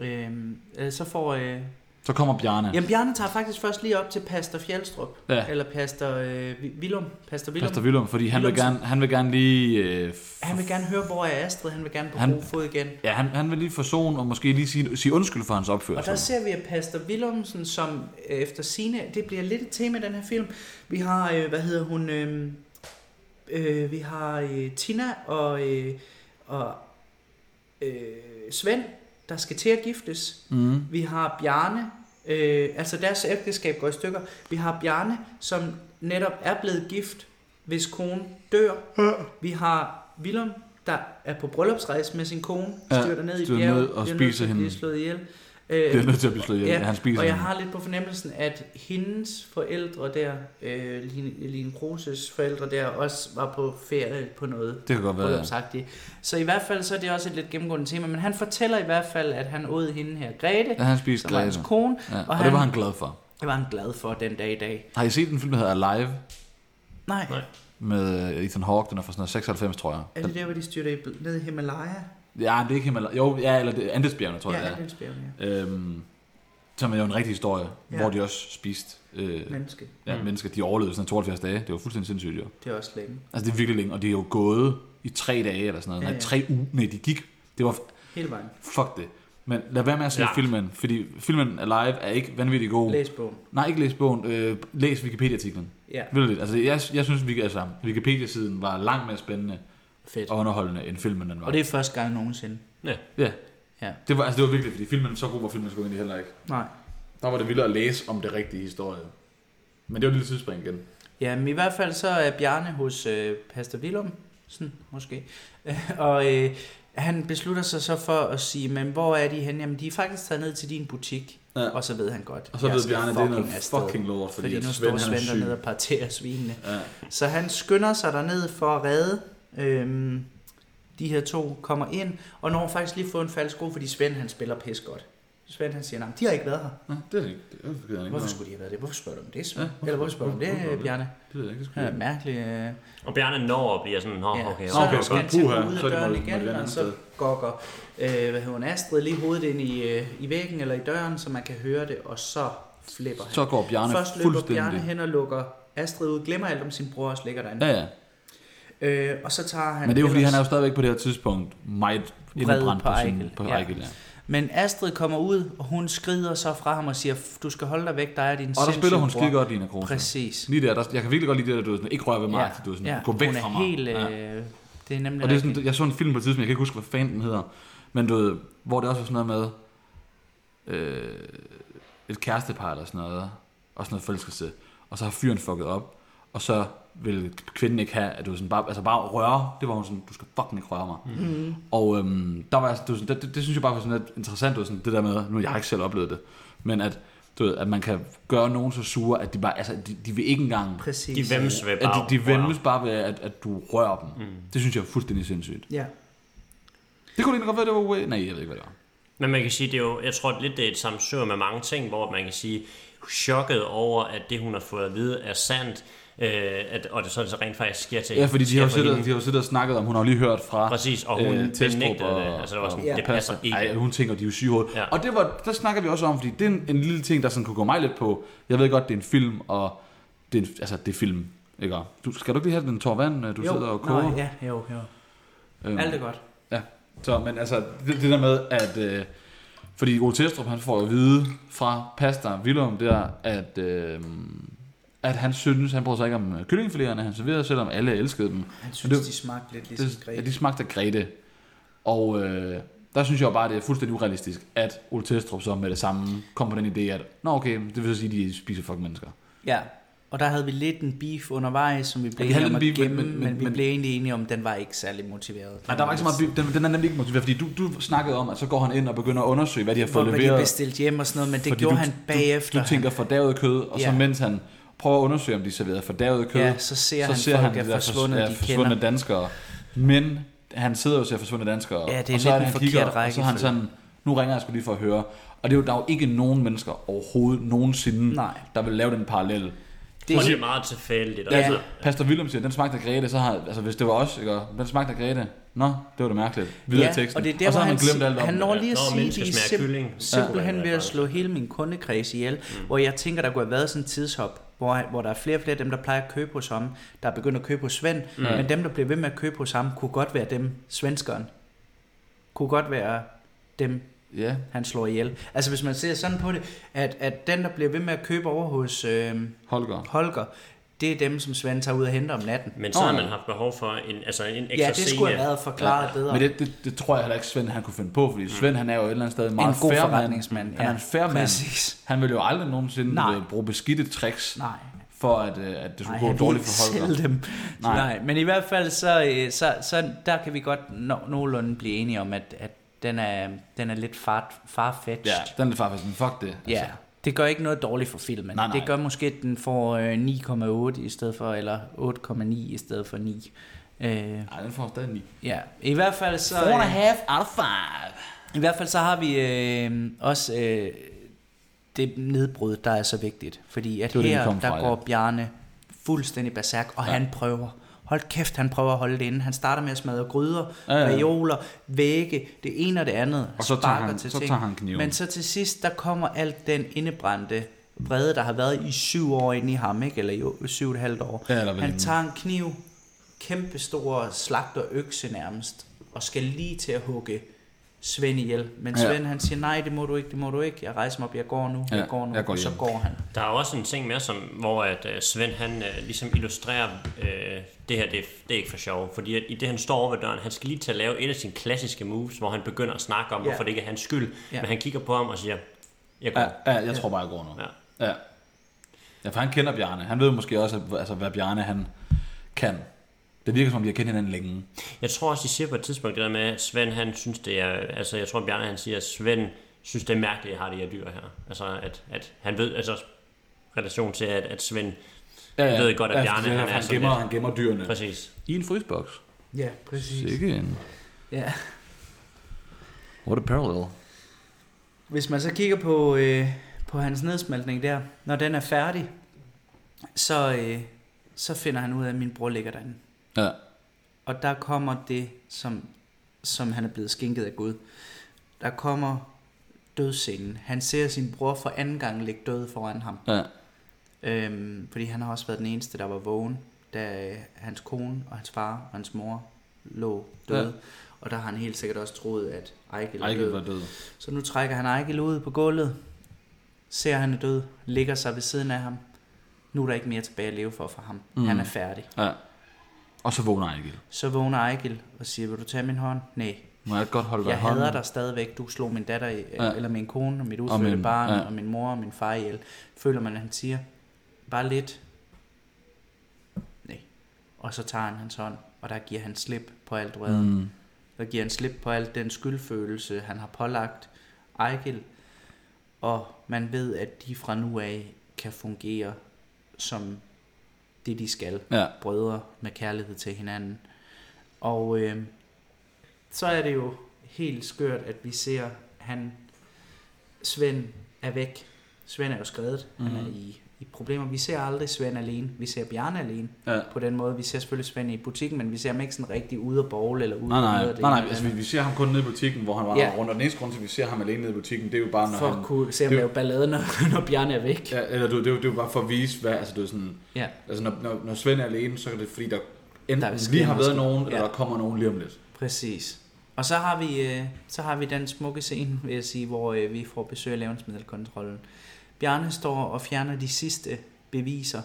Speaker 3: Øhm, øh, så får... Øh,
Speaker 2: Så kommer Bjarne.
Speaker 3: jamen, Bjarne tager faktisk først lige op til Pastor Fjellstrup.
Speaker 2: Ja.
Speaker 3: Eller Pastor øh, Vi- Willum. Pastor Willum.
Speaker 2: Pastor Willum, fordi han vil,
Speaker 3: Willumsen.
Speaker 2: gerne, han vil gerne lige... Øh, f-
Speaker 3: Han vil gerne høre, hvor er Astrid. Han vil gerne på
Speaker 2: Han-
Speaker 3: god fod igen.
Speaker 2: ja, han, han vil lige forsone og måske lige sige, sige undskyld for hans
Speaker 3: Og der
Speaker 2: opførsel.
Speaker 3: ser vi, at Pastor Willumsen, som øh, efter sine, det bliver lidt et tema i den her film. Vi har, øh, hvad hedder hun, øh, øh, vi har øh, Tina og, øh, og øh, Svend, der skal til at giftes.
Speaker 2: Mm-hmm.
Speaker 3: Mm. Vi har Bjarne, øh, altså deres ægteskab går i stykker. Vi har Bjarne, som netop er blevet gift, hvis kone dør. Vi har Willum, der er på bryllupsrejse med sin kone,
Speaker 2: Ja,
Speaker 3: styrter ned i
Speaker 2: styrter
Speaker 3: bjerget,
Speaker 2: ned og
Speaker 3: bliver nødt til at
Speaker 2: spiser
Speaker 3: blive
Speaker 2: hende.
Speaker 3: slået ihjel.
Speaker 2: Det er nødt til at blive slået ihjel. Han spiser
Speaker 3: Øh, og jeg
Speaker 2: hende.
Speaker 3: har lidt på fornemmelsen, at hendes forældre der, øh, Line, Line Kruses forældre der, også var på ferie på noget.
Speaker 2: Det kan godt være, ja.
Speaker 3: bryllupsagtigt. Så i hvert fald så er det også et lidt gennemgående tema, men han fortæller i hvert fald, at han åd hende her, Grete,
Speaker 2: Ja, han spiste
Speaker 3: som var hans
Speaker 2: Grete.
Speaker 3: kone,
Speaker 2: Ja, og, det var han glad for.
Speaker 3: det var han glad for den dag i dag.
Speaker 2: Har I set den film, der hedder Alive?
Speaker 3: Nej, Nej.
Speaker 1: Nej.
Speaker 2: Med øh, Ethan Hawke, den er fra sådan noget 96, tror jeg.
Speaker 3: er det der, hvor de styrter i, bl- ned i Himalaya?
Speaker 2: Ja, det er ikke Himalaya. Jo, ja, eller det er Andesbjergene, tror
Speaker 3: Ja,
Speaker 2: jeg,
Speaker 3: ja.
Speaker 2: det
Speaker 3: det er en
Speaker 2: er. Øhm, som er jo en rigtig historie,
Speaker 3: Ja.
Speaker 2: hvor de også spiste øh,
Speaker 3: menneske.
Speaker 2: ja, mennesker. De overlevede sådan 72 dage. Det var fuldstændig sindssygt, jo.
Speaker 3: Det er også længe.
Speaker 2: Altså, det er virkelig længe, og det er jo gået i tre dage eller sådan noget. Ja, ja.
Speaker 3: Ja,
Speaker 2: Nej,
Speaker 3: ja.
Speaker 2: tre uger. Nej, de gik. Det var...
Speaker 3: Hele vejen.
Speaker 2: Fuck det. Men lad være med at se ja.
Speaker 1: Ja.
Speaker 2: filmen, fordi filmen Alive er ikke vanvittig god.
Speaker 3: Læs bogen.
Speaker 2: Nej, ikke læs bogen. Øh, læs Wikipedia-artiklen.
Speaker 3: Ja,
Speaker 2: Vildt. Altså, jeg, jeg synes, vi altså, Wikipedia-siden var langt mere spændende
Speaker 3: fedt.
Speaker 2: og underholdende, end filmen den var.
Speaker 3: Og det er første gang nogensinde.
Speaker 1: Ja.
Speaker 2: ja.
Speaker 3: Ja.
Speaker 2: Det var, altså, det var virkelig, fordi filmen så god var filmen skulle egentlig heller ikke.
Speaker 3: Nej.
Speaker 2: Der var det vildere at læse om det rigtige historie. Men det var et lille tidsspring igen.
Speaker 3: Jamen i hvert fald så er Bjarne hos øh, Pastor Willum, Sådan, måske. Øh, og øh, han beslutter sig så for at sige, men hvor er de henne? Jamen, de er faktisk taget ned til din butik.
Speaker 2: Ja.
Speaker 3: Ja. Og så ved han godt.
Speaker 2: Og så
Speaker 3: jeg
Speaker 2: ved
Speaker 3: skal
Speaker 2: Bjarne, det er noget
Speaker 3: afsted,
Speaker 2: fucking lort, fordi
Speaker 3: fordi
Speaker 2: at
Speaker 3: nu
Speaker 2: Svend,
Speaker 3: står
Speaker 2: han er
Speaker 3: Svend
Speaker 2: syg.
Speaker 3: dernede og parterer svinene.
Speaker 2: Ja.
Speaker 3: Så han skynder sig derned for at redde øhm, de her to, kommer ind, og når faktisk lige få en falsk god, fordi Svend han spiller pis godt. Svend han siger, nej, de har ikke været her.
Speaker 2: Nå, det er det ikke. Det er det ikke.
Speaker 3: Hvorfor skulle de have været det? Hvorfor spørger du om det, Svend?
Speaker 2: Ja, hvorfor-
Speaker 3: Eller hvorfor spørger du om det,
Speaker 2: hvorfor- hvorfor-
Speaker 3: Bjarne?
Speaker 2: Det ved jeg ikke, det skulle
Speaker 3: Ja,
Speaker 2: jeg ikke.
Speaker 3: mærkeligt. Øh.
Speaker 1: Og Bjarne når og bliver sådan, Nå,
Speaker 3: Ja,
Speaker 1: okay,
Speaker 3: så
Speaker 1: okay.
Speaker 2: okay,
Speaker 3: skal han
Speaker 2: så-
Speaker 3: til at
Speaker 2: puha,
Speaker 3: gå ud
Speaker 2: så er
Speaker 3: af
Speaker 2: det
Speaker 3: døren
Speaker 2: måtte- måtte
Speaker 3: igen,
Speaker 2: være et
Speaker 3: og
Speaker 2: andet
Speaker 3: så
Speaker 2: sted.
Speaker 3: går går, øh, hvad hedder hun, Astrid lige hovedet ind i, øh, i væggen eller i døren, så man kan høre det, og så flipper han.
Speaker 2: Så går Bjarne
Speaker 3: Først løber
Speaker 2: fuldstændig.
Speaker 3: Bjarne hen og lukker Astrid ud, glemmer alt om sin bror og slikker derinde.
Speaker 2: Ja, ja.
Speaker 3: Øh, og så tager han
Speaker 2: Men det er jo, fordi
Speaker 3: ellers-
Speaker 2: han er jo stadigvæk på det her tidspunkt meget indebrændt på,
Speaker 3: på
Speaker 2: sin,
Speaker 3: Ejgil.
Speaker 2: på
Speaker 3: Ja.
Speaker 2: Ejgil, ja.
Speaker 3: Men Astrid kommer ud, og hun skrider så fra ham og siger, du skal holde dig væk, dig er din
Speaker 2: Og der
Speaker 3: sindssyge
Speaker 2: spiller hun
Speaker 3: bror."
Speaker 2: skide godt, Lina Kroos.
Speaker 3: Præcis.
Speaker 2: Lige der, der, jeg kan virkelig godt lide det der, du ved, sådan, ikke rør ved mig, ja, du ved, sådan, ja, gå væk
Speaker 3: hun er
Speaker 2: fra mig.
Speaker 3: Helt, øh,
Speaker 2: ja.
Speaker 3: Det er nemlig
Speaker 2: Og det er
Speaker 3: rigtigt.
Speaker 2: sådan, jeg så en film på et tidspunkt, jeg kan ikke huske, hvad fanden den hedder, men du ved, hvor det også var sådan noget med øh, et kærestepar eller sådan noget, og sådan noget forelskelse, og så har fyren fucket op, og så vil kvinden ikke have, at du sådan bare, altså bare røre, det var hun sådan, du skal fucking ikke røre mig. Mm. Og øhm, der var, jeg sådan- du ved, sådan, det, det, det, synes jeg bare var sådan lidt interessant, du ved, sådan, det der med, nu jeg har ikke selv oplevet det, men at, du ved, at man kan gøre nogen så sure, at de bare, altså, de, de vil ikke engang,
Speaker 3: Præcis.
Speaker 1: De vemmes ved
Speaker 2: at
Speaker 1: bare.
Speaker 2: de, de vendes bare ved, at, at du rører dem. Mm. Det synes jeg er fuldstændig sindssygt.
Speaker 3: Ja.
Speaker 2: Det kunne det godt være, det var way. Nej, jeg ved ikke, hvad det var.
Speaker 1: Men man kan sige, det er jo, jeg tror lidt, det er et samsør med mange ting, hvor man kan sige, chokket over, at det, hun har fået at vide, er sandt, øh, at, og det så, det så rent faktisk sker til
Speaker 2: Ja, fordi de
Speaker 1: sker
Speaker 2: har jo
Speaker 1: for
Speaker 2: siddet,
Speaker 1: hende.
Speaker 2: de har jo siddet og snakket om, hun har jo lige hørt fra øh,
Speaker 1: Præcis, og hun benægter det. Altså, det var sådan,
Speaker 2: ja,
Speaker 1: det passer ikke.
Speaker 2: Ej, hun tænker, de er jo syge i hovedet.
Speaker 1: Ja.
Speaker 2: Ja. Og det var, der snakker vi også om, fordi det er en, en lille ting, der sådan kunne gå mig lidt på. Jeg ved godt, det er en film, og det er, en, altså, det er film. Ikke? Og Du, skal du ikke lige have den tår vand, øh, du jo. sidder og koger?
Speaker 3: Nå, ja, jo, jo.
Speaker 2: Øhm,
Speaker 3: Alt er godt.
Speaker 2: Ja, så, men altså, det, det der med, at... Øh, fordi Ole Testrup, han får jo at vide fra Pastor Willum der, at, øh, at han synes, han prøver sig ikke om øh, kyllingfiléerne, han serverede, selvom alle elskede dem.
Speaker 3: Han
Speaker 2: Og
Speaker 3: synes,
Speaker 2: det,
Speaker 3: de smagte lidt ligesom
Speaker 2: det, ja,
Speaker 3: Grete.
Speaker 2: de smagte af Grete. Og øh, der synes jeg jo bare, det er fuldstændig urealistisk, at Ole Testrup så med det samme kom på den idé, at nå okay, det vil så sige, at de spiser fucking mennesker.
Speaker 3: Ja, og der havde vi lidt en beef undervejs, som vi blev
Speaker 2: vi
Speaker 3: enige
Speaker 2: havde
Speaker 3: om
Speaker 2: lidt
Speaker 3: at
Speaker 2: en beef,
Speaker 3: gemme,
Speaker 2: men-
Speaker 3: men, men,
Speaker 2: men-
Speaker 3: vi
Speaker 2: men-
Speaker 3: blev egentlig enige om, at den var ikke særlig motiveret.
Speaker 2: Nej, der var ikke så meget, den, den er nemlig ikke motiveret, fordi du, du snakkede om, at så går han ind og begynder at undersøge, hvad de har
Speaker 3: Hvor
Speaker 2: fået
Speaker 3: man lige
Speaker 2: leveret.
Speaker 3: bestilt hjem og sådan noget, men det
Speaker 2: Fordi
Speaker 3: gjorde
Speaker 2: du,
Speaker 3: han bagefter.
Speaker 2: Du, du tænker fordavet kød, og ja. så
Speaker 3: Ja.
Speaker 2: mens han prøver at undersøge, om de serverer fordavet kød,
Speaker 3: Ja, så ser han folk er
Speaker 2: de der
Speaker 3: forsvundet,
Speaker 2: fors-
Speaker 3: de
Speaker 2: forsvundne
Speaker 3: kender.
Speaker 2: danskere. Men han sidder jo og ser forsvundne danskere,
Speaker 3: Ja, det er
Speaker 2: og så
Speaker 3: lidt
Speaker 2: han
Speaker 3: en
Speaker 2: kigger,
Speaker 3: forkert
Speaker 2: og så er han
Speaker 3: rækkefølge.
Speaker 2: sådan, nu ringer jeg skulle lige for at høre. Og det er jo, der er jo ikke nogen mennesker overhovedet nogensinde,
Speaker 3: Nej.
Speaker 2: der vil lave den parallel.
Speaker 1: Det, og det er meget tilfældigt.
Speaker 2: Ja.
Speaker 1: Ja.
Speaker 2: Altså,
Speaker 1: Altså,
Speaker 2: Pastor Willem siger, den smagte af Grete, så har, altså hvis det var os, ikke, og den smagte af Grete, nå, det var det mærkeligt. Videre i teksten.
Speaker 3: og det er der,
Speaker 2: og så
Speaker 3: hvor
Speaker 2: har man
Speaker 3: han,
Speaker 2: glemt
Speaker 3: sig-
Speaker 2: alt om
Speaker 3: han
Speaker 2: det.
Speaker 3: når
Speaker 1: ja.
Speaker 3: lige at
Speaker 1: Når
Speaker 3: sige,
Speaker 1: mennesker
Speaker 3: de er
Speaker 1: smager
Speaker 3: simp-
Speaker 1: kylling.
Speaker 3: simpelthen
Speaker 1: Ja.
Speaker 3: ved at slå hele min kundekreds ihjel, mm. hvor jeg tænker, der kunne have været sådan en tidshop, hvor, hvor der er flere og flere af dem, der plejer at købe hos ham, der er begyndt at købe hos Svend, mm. men dem, der bliver ved med at købe hos ham, kunne godt være dem, svenskeren. Kunne godt være dem,
Speaker 2: Ja,
Speaker 3: han slår ihjel. Altså hvis man ser sådan på det, at, at den, der bliver ved med at købe over hos øh,
Speaker 2: Holger.
Speaker 3: Holger, det er dem, som Svend tager ud og henter om natten.
Speaker 1: men så har
Speaker 2: Nå, ja.
Speaker 1: man haft behov for en, altså en ekstra
Speaker 3: Ja, det skulle
Speaker 1: scene.
Speaker 3: have været forklaret bedre. Mm.
Speaker 2: Men det, det, det tror jeg heller ikke, Svend han kunne finde på, fordi Svend han er jo et eller andet sted en meget
Speaker 3: en god
Speaker 2: fair
Speaker 3: forretningsmand.
Speaker 2: Mand. Han er en fair mand.
Speaker 3: Præcis.
Speaker 2: Han vil jo aldrig nogensinde
Speaker 3: Nej.
Speaker 2: Nej. bruge beskidte tricks,
Speaker 3: Nej.
Speaker 2: for at, øh, at det
Speaker 3: Nej,
Speaker 2: skulle
Speaker 3: han
Speaker 2: gå
Speaker 3: ville
Speaker 2: dårligt
Speaker 3: ikke
Speaker 2: for Holger.
Speaker 3: sælge dem. Nej.
Speaker 2: Nej.
Speaker 3: Nej, men i hvert fald, så, øh, så, så der kan vi godt no, nogenlunde blive enige om, at, at den, er, den er lidt far, farfetched.
Speaker 2: Ja, den er faktisk sådan, fuck det. Altså,
Speaker 3: ja. Det gør ikke noget dårligt for filmen.
Speaker 2: Nej, nej.
Speaker 3: Det gør måske, at den får øh, 9,8 i stedet for, eller 8,9 i stedet for 9. Øh,
Speaker 2: Nej, den får stadig 9.
Speaker 3: ja, i hvert fald så... øh,
Speaker 2: half out of five.
Speaker 3: I hvert fald så har vi øh, også øh, det nedbrud, der er så vigtigt. Fordi at
Speaker 2: Det var det, vi
Speaker 3: her,
Speaker 2: kom fra,
Speaker 3: der
Speaker 2: ja.
Speaker 3: går Bjarne fuldstændig berserk, og ja. han prøver. Hold kæft, han prøver at holde det inde. Han starter med at smadre gryder, ja,
Speaker 2: Ja, ja.
Speaker 3: ja. reoler, vægge, det ene og det andet.
Speaker 2: Og så tager
Speaker 3: sparker
Speaker 2: han-
Speaker 3: til
Speaker 2: så
Speaker 3: ting.
Speaker 2: tager han kniven.
Speaker 3: Men så til sidst, der kommer alt den indebrændte vrede, der har været i syv år inde i ham, ikke? eller i syv og et halvt år.
Speaker 2: Ja, eller vel
Speaker 3: han
Speaker 2: inden.
Speaker 3: tager en kniv, kæmpe stor slagterøkse nærmest, og skal lige til at hugge Svend ihjel. Men
Speaker 2: Ja.
Speaker 3: Svend han siger, nej, det må du ikke, det må du ikke. Jeg rejser mig op, jeg går nu,
Speaker 2: Ja,
Speaker 3: jeg går nu,
Speaker 2: jeg går
Speaker 3: og så
Speaker 2: hjem.
Speaker 3: går han.
Speaker 1: Der er jo også en ting mere, som, hvor at øh, Svend han øh, ligesom illustrerer, øh, det her det, er- det er ikke for sjov, fordi at i det han står over ved døren, han skal lige til at lave et af sine klassiske moves, hvor han begynder at snakke om,
Speaker 3: Ja.
Speaker 1: hvorfor det ikke er hans skyld,
Speaker 3: Ja.
Speaker 1: men han kigger på ham og siger, jeg går.
Speaker 2: Ja, ja jeg tror bare, jeg går nu. Ja. ja. Ja, for han kender Bjarne. Han ved måske også, at- altså, hvad Bjarne han kan. Det virker som om, vi har kendt hinanden længe.
Speaker 1: Jeg tror også, de siger på et tidspunkt det der med, at Svend han synes det er, altså jeg tror Bjarne han siger, at Svend synes det er mærkeligt, at jeg har de her dyr her. Altså at, at han ved, altså også relation til, at, at Svend
Speaker 2: Ja,
Speaker 1: Jeg ved godt, at Bjarne,
Speaker 2: han,
Speaker 1: han er
Speaker 2: han,
Speaker 1: sådan
Speaker 2: gemmer,
Speaker 1: lidt-
Speaker 2: han gemmer dyrene.
Speaker 1: præcis.
Speaker 2: I en fryseboks.
Speaker 3: Ja, præcis.
Speaker 2: Sikke en...
Speaker 3: Ja.
Speaker 2: What a parallel.
Speaker 3: Hvis man så kigger på, øh, på hans nedsmeltning der, når den er færdig, så, øh, så finder han ud af, at min bror ligger derinde.
Speaker 2: Ja.
Speaker 3: Og der kommer det, som, som han er blevet skænket af Gud. Der kommer dødscenen. Han ser sin bror for anden gang ligge død foran ham.
Speaker 2: Ja.
Speaker 3: Øhm, fordi han har også været den eneste, der var vågen, da øh, hans kone og hans far og hans mor lå døde.
Speaker 2: Ja.
Speaker 3: Ja. Og der har han helt sikkert også troet, at Ejkel er
Speaker 2: Ejkel
Speaker 3: død.
Speaker 2: var død.
Speaker 3: Så nu trækker han Ejkel ud på gulvet, ser at han er død, ligger sig ved siden af ham. Nu er der ikke mere tilbage at leve for for ham. Mm. Han er færdig.
Speaker 2: Ja. Og så vågner Ejkel.
Speaker 3: Så vågner Ejkel og siger, vil du tage min hånd? Nej.
Speaker 2: Må jeg godt holde dig
Speaker 3: Jeg
Speaker 2: i hånden?
Speaker 3: hader dig stadigvæk. Du slog min datter, i,
Speaker 2: Ja.
Speaker 3: ja. eller min kone, og mit udfødte
Speaker 2: min-
Speaker 3: barn,
Speaker 2: ja.
Speaker 3: ja. og min mor og min far ihjel. Føler man, at han siger, bare lidt. Nej. Og så tager han hans hånd, og der giver han slip på alt vreden. Mm. Der giver han slip på alt den skyldfølelse, han har pålagt Ejkel. Og man ved, at de fra nu af kan fungere som det, de skal.
Speaker 2: Ja.
Speaker 3: Brødre med kærlighed til hinanden. Og øh, så er det jo helt skørt, at vi ser, han, Svend er væk. Svend er jo skrevet, mm. han er i, i problemer. Vi ser aldrig Svend alene, vi ser Bjarne alene.
Speaker 2: Ja.
Speaker 3: På den måde, vi ser selvfølgelig Svend i butikken, men vi ser ham ikke sådan rigtig ude at bowl eller ude
Speaker 2: Nej,
Speaker 3: at
Speaker 2: nej,
Speaker 3: møde det
Speaker 2: nej,
Speaker 3: ene
Speaker 2: nej,
Speaker 3: eller
Speaker 2: altså,
Speaker 3: andet.
Speaker 2: vi, vi ser ham kun nede i butikken, hvor han var
Speaker 3: Ja.
Speaker 2: yeah. rundt, og den eneste grund til, at vi ser ham alene nede i butikken, det er jo bare, når
Speaker 3: For
Speaker 2: han...
Speaker 3: at kunne se ham
Speaker 2: det-
Speaker 3: lave ballade, når, når Bjarne er væk.
Speaker 2: Ja, eller du, det, er jo- det er jo bare for at vise, hvad, altså det er sådan,
Speaker 3: Ja.
Speaker 2: altså når, når, når Svend er alene, så er det fordi, der enten
Speaker 3: Der
Speaker 2: der
Speaker 3: er
Speaker 2: lige
Speaker 3: sket
Speaker 2: har
Speaker 3: noget
Speaker 2: været
Speaker 3: skidt.
Speaker 2: nogen, eller
Speaker 3: Ja.
Speaker 2: der kommer nogen lige om lidt.
Speaker 3: Præcis. Og så har vi, øh, så har vi den smukke scene, vil jeg sige, hvor øh, vi får besøg af levnedsmiddelkontrollen. Bjarne står og fjerner de sidste beviser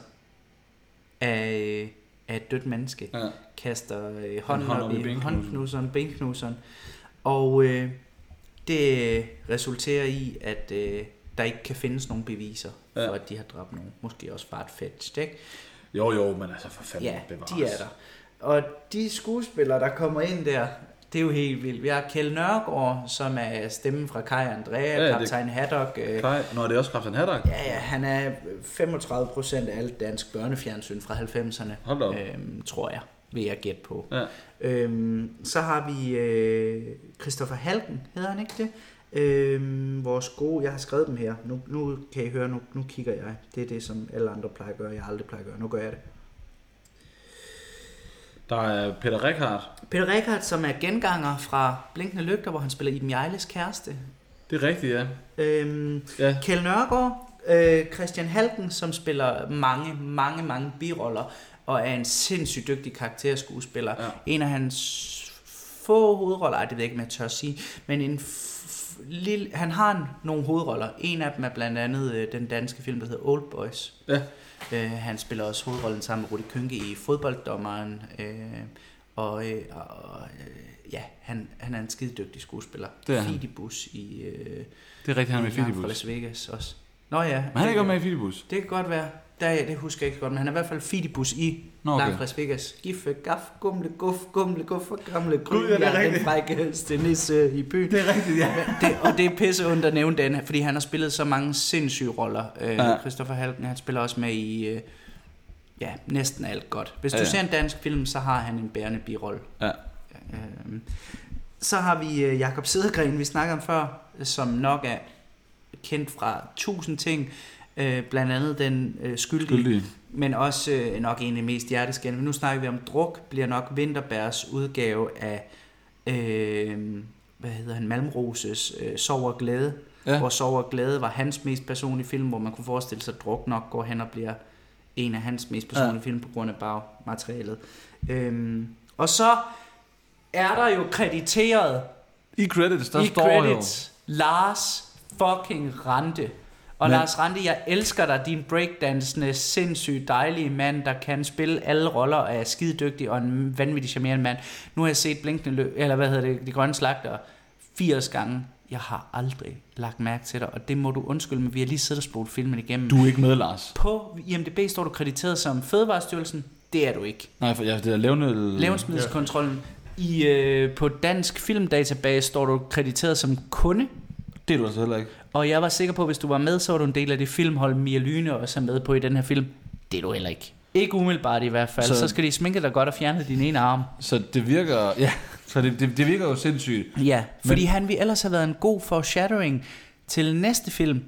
Speaker 3: af, øh, af et dødt menneske.
Speaker 2: Ja.
Speaker 3: Kaster øh, hånden
Speaker 2: hånd
Speaker 3: hånd op i håndknuseren, benknuseren. Og øh, det øh, resulterer i, at øh, der ikke kan findes nogen beviser for,
Speaker 2: Ja.
Speaker 3: at de har dræbt nogen. Måske også bare et fetched, ikke?
Speaker 2: Jo, jo, men altså for fanden
Speaker 3: Ja,
Speaker 2: bevares.
Speaker 3: de er der. Og de skuespillere, der kommer ind der, det er jo helt vildt. Vi har Kjell Nørgaard, som er stemmen fra Kai Andrea,
Speaker 2: Ja, det-
Speaker 3: ja, Kaptajn Haddock. Øh,
Speaker 2: Kaj, når det er også Kaptajn Haddock?
Speaker 3: ja, ja, han er 35 procent af alt dansk børnefjernsyn fra 90'erne,
Speaker 2: Hold da op.
Speaker 3: øhm, tror jeg, vil jeg gætte på.
Speaker 2: Ja.
Speaker 3: Øhm, så har vi øh, Christoffer Halken, hedder han ikke det? Øhm, vores gode, jeg har skrevet dem her. Nu, nu kan I høre, nu, nu kigger jeg. Det er det, som alle andre plejer at gøre, jeg aldrig plejer at gøre. Nu gør jeg det.
Speaker 2: Der er Peter Rickhardt.
Speaker 3: Peter Rickard, som er genganger fra Blinkende Lygter, hvor han spiller Iben Jejles kæreste.
Speaker 2: Det er rigtigt, ja.
Speaker 3: Øhm,
Speaker 2: Ja.
Speaker 3: ja. Kjell Nørgaard, øh, Christian Halken, som spiller mange, mange, mange biroller, og er en sindssygt dygtig karakterskuespiller.
Speaker 2: Ja.
Speaker 3: Ja. En af hans få hovedroller, ej, det ved jeg ikke, om jeg tør sige, men en f- f- lille, han har en, nogle hovedroller. En af dem er blandt andet øh, den danske film, der hedder Old Boys.
Speaker 2: Ja.
Speaker 3: Øh, han spiller også hovedrollen sammen med Rudi Kynke i Fodbolddommeren. Øh, og øh, og øh, ja, han, han er en skide dygtig skuespiller.
Speaker 2: Det er han.
Speaker 3: Fidibus i... Øh,
Speaker 2: Det er rigtigt, han er med i
Speaker 3: Langt fra
Speaker 2: Filibus.
Speaker 3: Las Vegas også. Nå ja.
Speaker 2: Men han er
Speaker 3: det-
Speaker 2: ikke også med i Filibus.
Speaker 3: Det kan godt være. Der, det husker jeg ikke så godt, men han er i hvert fald Fidibus i
Speaker 2: Nå,
Speaker 3: Nå,
Speaker 2: okay.
Speaker 3: okay. Langt fra Las Vegas. Giffe, gaf, gumle, guf, gumle, guf og gamle
Speaker 2: Gud, ja,
Speaker 3: gryn.
Speaker 2: det er
Speaker 3: Jeg er den
Speaker 2: rigtigt.
Speaker 3: frække stenisse i byen.
Speaker 2: er rigtigt, ja.
Speaker 3: Det, og det er pisse ondt at nævne den, fordi han har spillet så mange sindssyge roller. Øh,
Speaker 2: Ja.
Speaker 3: Christopher Halken, han spiller også med i øh, ja, næsten alt godt. Hvis du
Speaker 2: Ja,
Speaker 3: ja,
Speaker 2: ja.
Speaker 3: ja. ser en dansk film, så har han en bærende birolle.
Speaker 2: Ja.
Speaker 3: Øhm, Så har vi øh, Jakob Sædegren, vi snakker om før, som nok er kendt fra tusind ting. Øh, Blandt andet den øh, skyldige,
Speaker 2: Skyldige.
Speaker 3: skyldige, men også øh, nok en af de mest hjerteskærende. Men nu snakker vi om druk, bliver nok Vinterbergs udgave af, øh, hvad hedder han, Malmroses øh, Sov og Glæde.
Speaker 2: Ja.
Speaker 3: Ja. Hvor Sov og Glæde var hans mest personlige film, hvor man kunne forestille sig, at druk nok går hen og bliver en af hans mest personlige
Speaker 2: Ja.
Speaker 3: ja. film på grund af bagmaterialet. Øhm, og så er der jo krediteret
Speaker 2: I credits, der
Speaker 3: i
Speaker 2: står
Speaker 3: credits Lars fucking Rante. Og
Speaker 2: Men-
Speaker 3: Men... Lars Rante, jeg elsker dig, din breakdansende, sindssygt dejlige mand, der kan spille alle roller og er skidedygtig og en vanvittig charmerende mand. Nu har jeg set Blinkende Lø- eller hvad hedder det, De Grønne Slagter 80 gange. Jeg har aldrig lagt mærke til dig, og det må du undskylde, men vi har lige siddet og spolet filmen igennem.
Speaker 2: jo. Du er ikke med, Lars.
Speaker 3: På IMDb står du krediteret som Fødevarestyrelsen, Det er du ikke.
Speaker 2: Nej, for ja, det er levende...
Speaker 3: Levnedsmiddelskontrollen. I, øh, på Dansk Filmdatabase står du krediteret som kunde,
Speaker 2: Det er du altså heller ikke.
Speaker 3: og jeg var sikker på, at hvis du var med, så var du en del af det filmhold, Mia Lyne også er med på i den her film. Det er du heller ikke. Ikke umiddelbart i hvert fald. Så,
Speaker 2: Så-
Speaker 3: så skal de sminke dig godt og fjerne din ene arm.
Speaker 2: Så det virker... Ja, så det, det, det virker jo sindssygt.
Speaker 3: Ja, fordi
Speaker 2: Men-
Speaker 3: han ville ellers have været en god foreshadowing til næste film,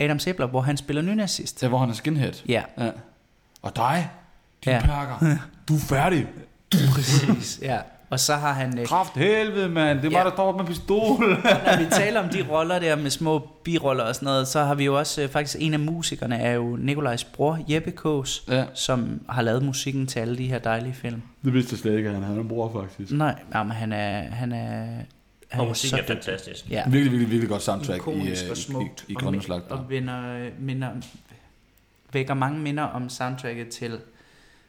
Speaker 3: Adam Sæbler, hvor han spiller nynazist.
Speaker 2: Til hvor han er skinhead.
Speaker 3: Ja,
Speaker 2: ja. Og dig, din
Speaker 3: Ja.
Speaker 2: ja. pakker. Du er færdig.
Speaker 3: præcis. Ja. Og så har han... Øh,
Speaker 2: Kraft helvede, mand. Det er
Speaker 3: Ja.
Speaker 2: ja. mig, der står op med pistol.
Speaker 3: når vi taler om de roller der med små biroller og sådan noget, så har vi jo også øh, faktisk en af musikerne er jo Nikolajs bror, Jeppe Kås,
Speaker 2: ja.
Speaker 3: som har lavet musikken til alle de her dejlige film.
Speaker 2: Det vidste jeg slet ikke, at han havde en bror, faktisk.
Speaker 3: Nej, jamen, han er... Han er han
Speaker 1: Og
Speaker 3: er
Speaker 1: musikken er
Speaker 3: så-
Speaker 1: fantastisk.
Speaker 3: Ja,
Speaker 2: Virkelig, virkelig, virkelig godt soundtrack
Speaker 3: ikonisk
Speaker 2: i,
Speaker 3: og
Speaker 2: øh,
Speaker 3: smukt.
Speaker 2: i, i, i
Speaker 3: og
Speaker 2: Grønne
Speaker 3: mi-
Speaker 2: Slagter.
Speaker 3: Og vinder, minder, vækker mange minder om soundtracket til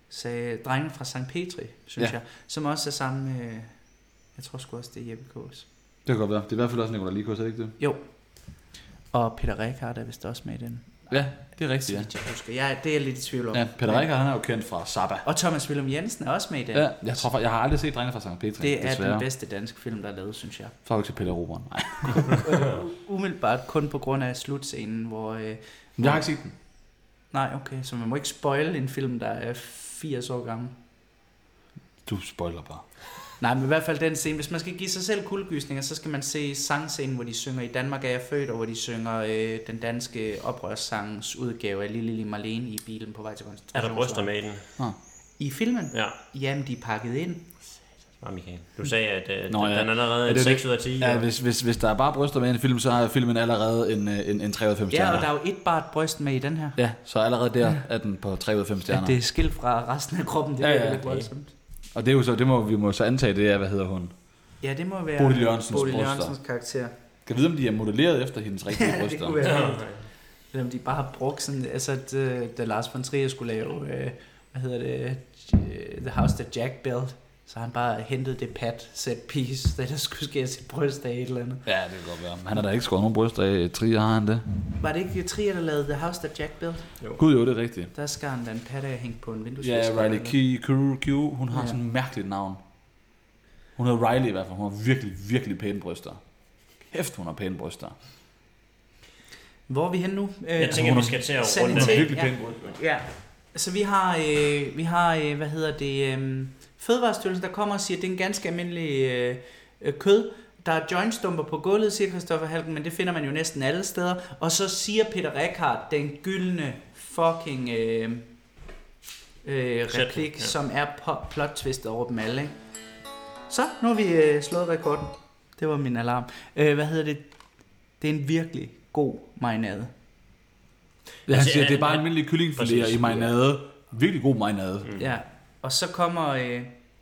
Speaker 3: sagde, Drengen fra St. Petri, synes ja.
Speaker 2: Ja.
Speaker 3: jeg. Som også er sammen med... Jeg tror sgu også, det er Jeppe Kås.
Speaker 2: Det kan godt være. Det er i hvert fald også Nicolai Likos, er det ikke det?
Speaker 3: Jo. Og Peter Rekard er vist også med i den.
Speaker 2: Ja, det er
Speaker 3: Så
Speaker 2: rigtigt, ja.
Speaker 3: vidt jeg husker. Jeg, det er jeg lidt i tvivl om.
Speaker 2: Ja, Peter Rikker, han er jo kendt fra Zappa.
Speaker 3: Og Thomas Willum Jensen er også med i den.
Speaker 2: Ja, jeg tror fa- jeg har aldrig set Drenge fra St. Petri,
Speaker 3: det er
Speaker 2: desværre.
Speaker 3: den bedste danske film, der er lavet, synes jeg.
Speaker 2: Fra til Peter Roberen. Nej.
Speaker 3: Umiddelbart kun på grund af slutscenen, hvor... Øh,
Speaker 2: Men Jeg har ikke set den.
Speaker 3: nej, okay, så man må ikke spoil en film, der er 80 år gammel.
Speaker 2: Du spoiler bare.
Speaker 3: Nej, men i hvert fald den scene. Hvis man skal give sig selv kuldegysninger, så skal man se sangscenen, hvor de synger I Danmark er jeg født, og hvor de synger øh, den danske oprørssangs udgave af Lille Lille Marlene i bilen på vej til
Speaker 1: Er der bryster
Speaker 3: koncentrationslejren.
Speaker 1: med i den?
Speaker 3: I filmen?
Speaker 1: Ja.
Speaker 3: Jamen, de er pakket ind.
Speaker 1: Nå, Michael.
Speaker 3: Mm.
Speaker 1: Du sagde, at øh,
Speaker 2: Nå,
Speaker 1: Nå, ja.
Speaker 2: ja.
Speaker 1: den allerede
Speaker 2: Ja,
Speaker 1: er
Speaker 2: det er
Speaker 1: 6
Speaker 2: det.
Speaker 1: ud af 10.
Speaker 2: Ja,
Speaker 1: og-
Speaker 2: hvis, hvis, hvis der er bare bryster med i en film, så har filmen allerede en, øh, en, en 3 ud af 5 stjerner.
Speaker 3: Ja, og der er jo et bart bryst med i den her.
Speaker 2: ja, så allerede der er den på 3 ud af 5
Speaker 3: Ja,
Speaker 2: stjerner.
Speaker 3: det er skilt fra resten af kroppen, det
Speaker 2: Ja,
Speaker 3: er
Speaker 2: ja,
Speaker 3: lidt
Speaker 2: det-
Speaker 3: voldsomt.
Speaker 2: Og det er jo så, det må, vi må så antage, det er, hvad hedder hun?
Speaker 3: Ja, det må være
Speaker 2: Bodil Jørgensens
Speaker 3: Bodil
Speaker 2: bryster.
Speaker 3: Jørgensens karakter.
Speaker 2: Kan vide, om de er modelleret efter hendes rigtige
Speaker 3: Ja, det
Speaker 2: bryster?
Speaker 3: kunne være. Ja. Eller om de bare har brugt sådan, altså at, øh, da Lars von Trier skulle lave, øh, hvad hedder det, øh, The House That Jack Built, så har han bare hentet det pat set piece, der, der skulle skære sit bryst af et eller andet.
Speaker 2: Ja, det kan godt være. Men Han har da ikke skåret nogen bryster af. Trier har han det.
Speaker 3: Var det ikke Trier, der lavede The House That Jack Built?
Speaker 2: Gud jo, det er rigtigt.
Speaker 3: Der skar han da en pat af hængt på en vinduesvisker.
Speaker 2: Ja, Riley Key,
Speaker 3: eller-
Speaker 2: Q, Q, hun har
Speaker 3: Ja.
Speaker 2: ja. sådan et mærkeligt navn. Hun hedder Riley i hvert fald. Hun har virkelig, virkelig pæne bryster. Kæft, hun har pæne bryster.
Speaker 3: Hvor er vi henne nu? Øh,
Speaker 1: Jeg tænker, vi skal til at
Speaker 3: Sanitet.
Speaker 1: runde
Speaker 2: Hun har
Speaker 1: den.
Speaker 2: virkelig
Speaker 3: ja.
Speaker 2: pæne bryster.
Speaker 3: Ja, så vi har, øh, vi har øh, hvad hedder det, øh, Fødevarestyrelsen, der kommer og siger, at det er en ganske almindelig øh, øh, kød. Der er jointstumper på gulvet, siger Christoffer Halken, men det finder man jo næsten alle steder. Og så siger Peter Rekhardt den gyldne fucking øh, øh,
Speaker 1: Sætning,
Speaker 3: replik,
Speaker 1: ja.
Speaker 3: ja. som er po- plot-twistet over dem alle. Ikke? Så, nu har vi øh, slået rekorden. Det var min alarm. Øh, hvad hedder det? Det er en virkelig god marinade.
Speaker 2: Ja, han
Speaker 1: Altså,
Speaker 2: siger,
Speaker 1: ja,
Speaker 2: det er bare
Speaker 1: ja.
Speaker 2: almindelige kyllingfiléer
Speaker 1: Præcis.
Speaker 2: i marinade. Virkelig god marinade. Mm.
Speaker 3: Ja, og så kommer, øh,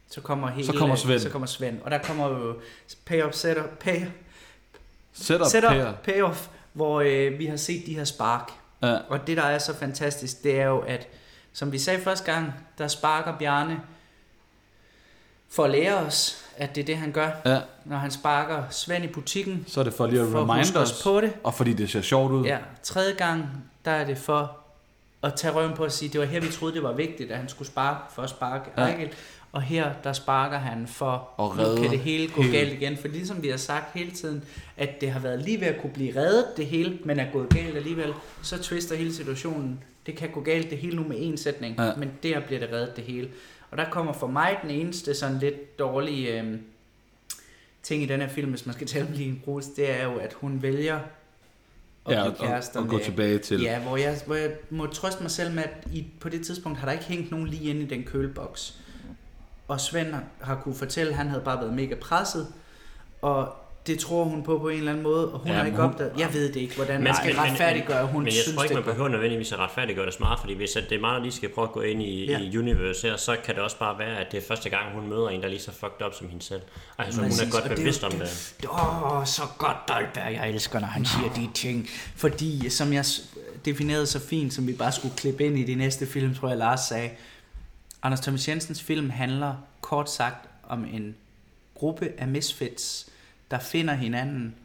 Speaker 3: så kommer hele,
Speaker 2: Så kommer Svend.
Speaker 3: så kommer Svend. Og der kommer jo payoff, setup, pay,
Speaker 2: Setup,
Speaker 3: setup
Speaker 2: Peter.
Speaker 3: payoff, hvor øh, vi har set de her spark.
Speaker 2: Ja.
Speaker 3: Og det, der er så fantastisk, det er jo, at som vi sagde første gang, der sparker Bjarne for at lære os, at det er det, han gør,
Speaker 2: ja,
Speaker 3: når han sparker Svend i butikken.
Speaker 2: så er det for lige at
Speaker 3: For at
Speaker 2: remind
Speaker 3: huske os
Speaker 2: os.
Speaker 3: på det.
Speaker 2: Og fordi det ser sjovt ud.
Speaker 3: Ja, tredje gang, der er det for at tage røven på at sige, det var her, vi troede, det var vigtigt, at han skulle sparke for at sparke ja.
Speaker 2: Ja.
Speaker 3: Ejgel. Og her, der sparker han for,
Speaker 2: Og
Speaker 3: nu kan
Speaker 2: redder
Speaker 3: det hele gå
Speaker 2: hele.
Speaker 3: galt igen. For ligesom vi har sagt hele tiden, at det har været lige ved at kunne blive reddet det hele, men er gået galt alligevel, så twister hele situationen. Det kan gå galt det hele nu med én sætning, ja.
Speaker 2: Ja.
Speaker 3: men der bliver det reddet det hele. Og der kommer for mig den eneste sådan lidt dårlige øh, ting i den her film, hvis man skal tale om Line Bruce, det er jo, at hun vælger at
Speaker 2: ja,
Speaker 3: blive
Speaker 2: og,
Speaker 3: kærester
Speaker 2: og, og gå
Speaker 3: med-
Speaker 2: tilbage til.
Speaker 3: Ja, hvor jeg, hvor jeg må trøste mig selv med, at I, på det tidspunkt har der ikke hængt nogen lige inde i den køleboks. Og Svend har kunne fortælle, at han havde bare været mega presset, og det tror hun på på en eller anden måde, og hun
Speaker 2: Ja,
Speaker 3: ja, har
Speaker 2: men
Speaker 3: ikke
Speaker 2: hun-
Speaker 3: opdaget. Jeg ved det ikke, hvordan man
Speaker 1: Men-
Speaker 3: skal
Speaker 1: men- men-
Speaker 3: retfærdiggøre, at hun
Speaker 1: Men jeg
Speaker 3: synes
Speaker 1: tror ikke, man
Speaker 3: det.
Speaker 1: behøver nødvendigvis at retfærdiggøre det smart, fordi hvis at det er meget, der lige skal prøve at gå ind i,
Speaker 3: Ja.
Speaker 1: ja. i universe her, så kan det også bare være, at det er første gang, hun møder en, der er lige så fucked up som hende selv. Altså, hun er
Speaker 3: Præcis, og
Speaker 1: godt
Speaker 3: det er
Speaker 1: bevidst
Speaker 3: jo-
Speaker 1: om det.
Speaker 3: Åh, oh, så godt, Dolberg. Jeg elsker, når han siger de ting. Fordi, som jeg s- definerede så fint, som vi bare skulle klippe ind i de næste film, tror jeg, Lars sagde, Anders Thomas Jensens film handler kort sagt om en gruppe af misfits, der finder hinanden,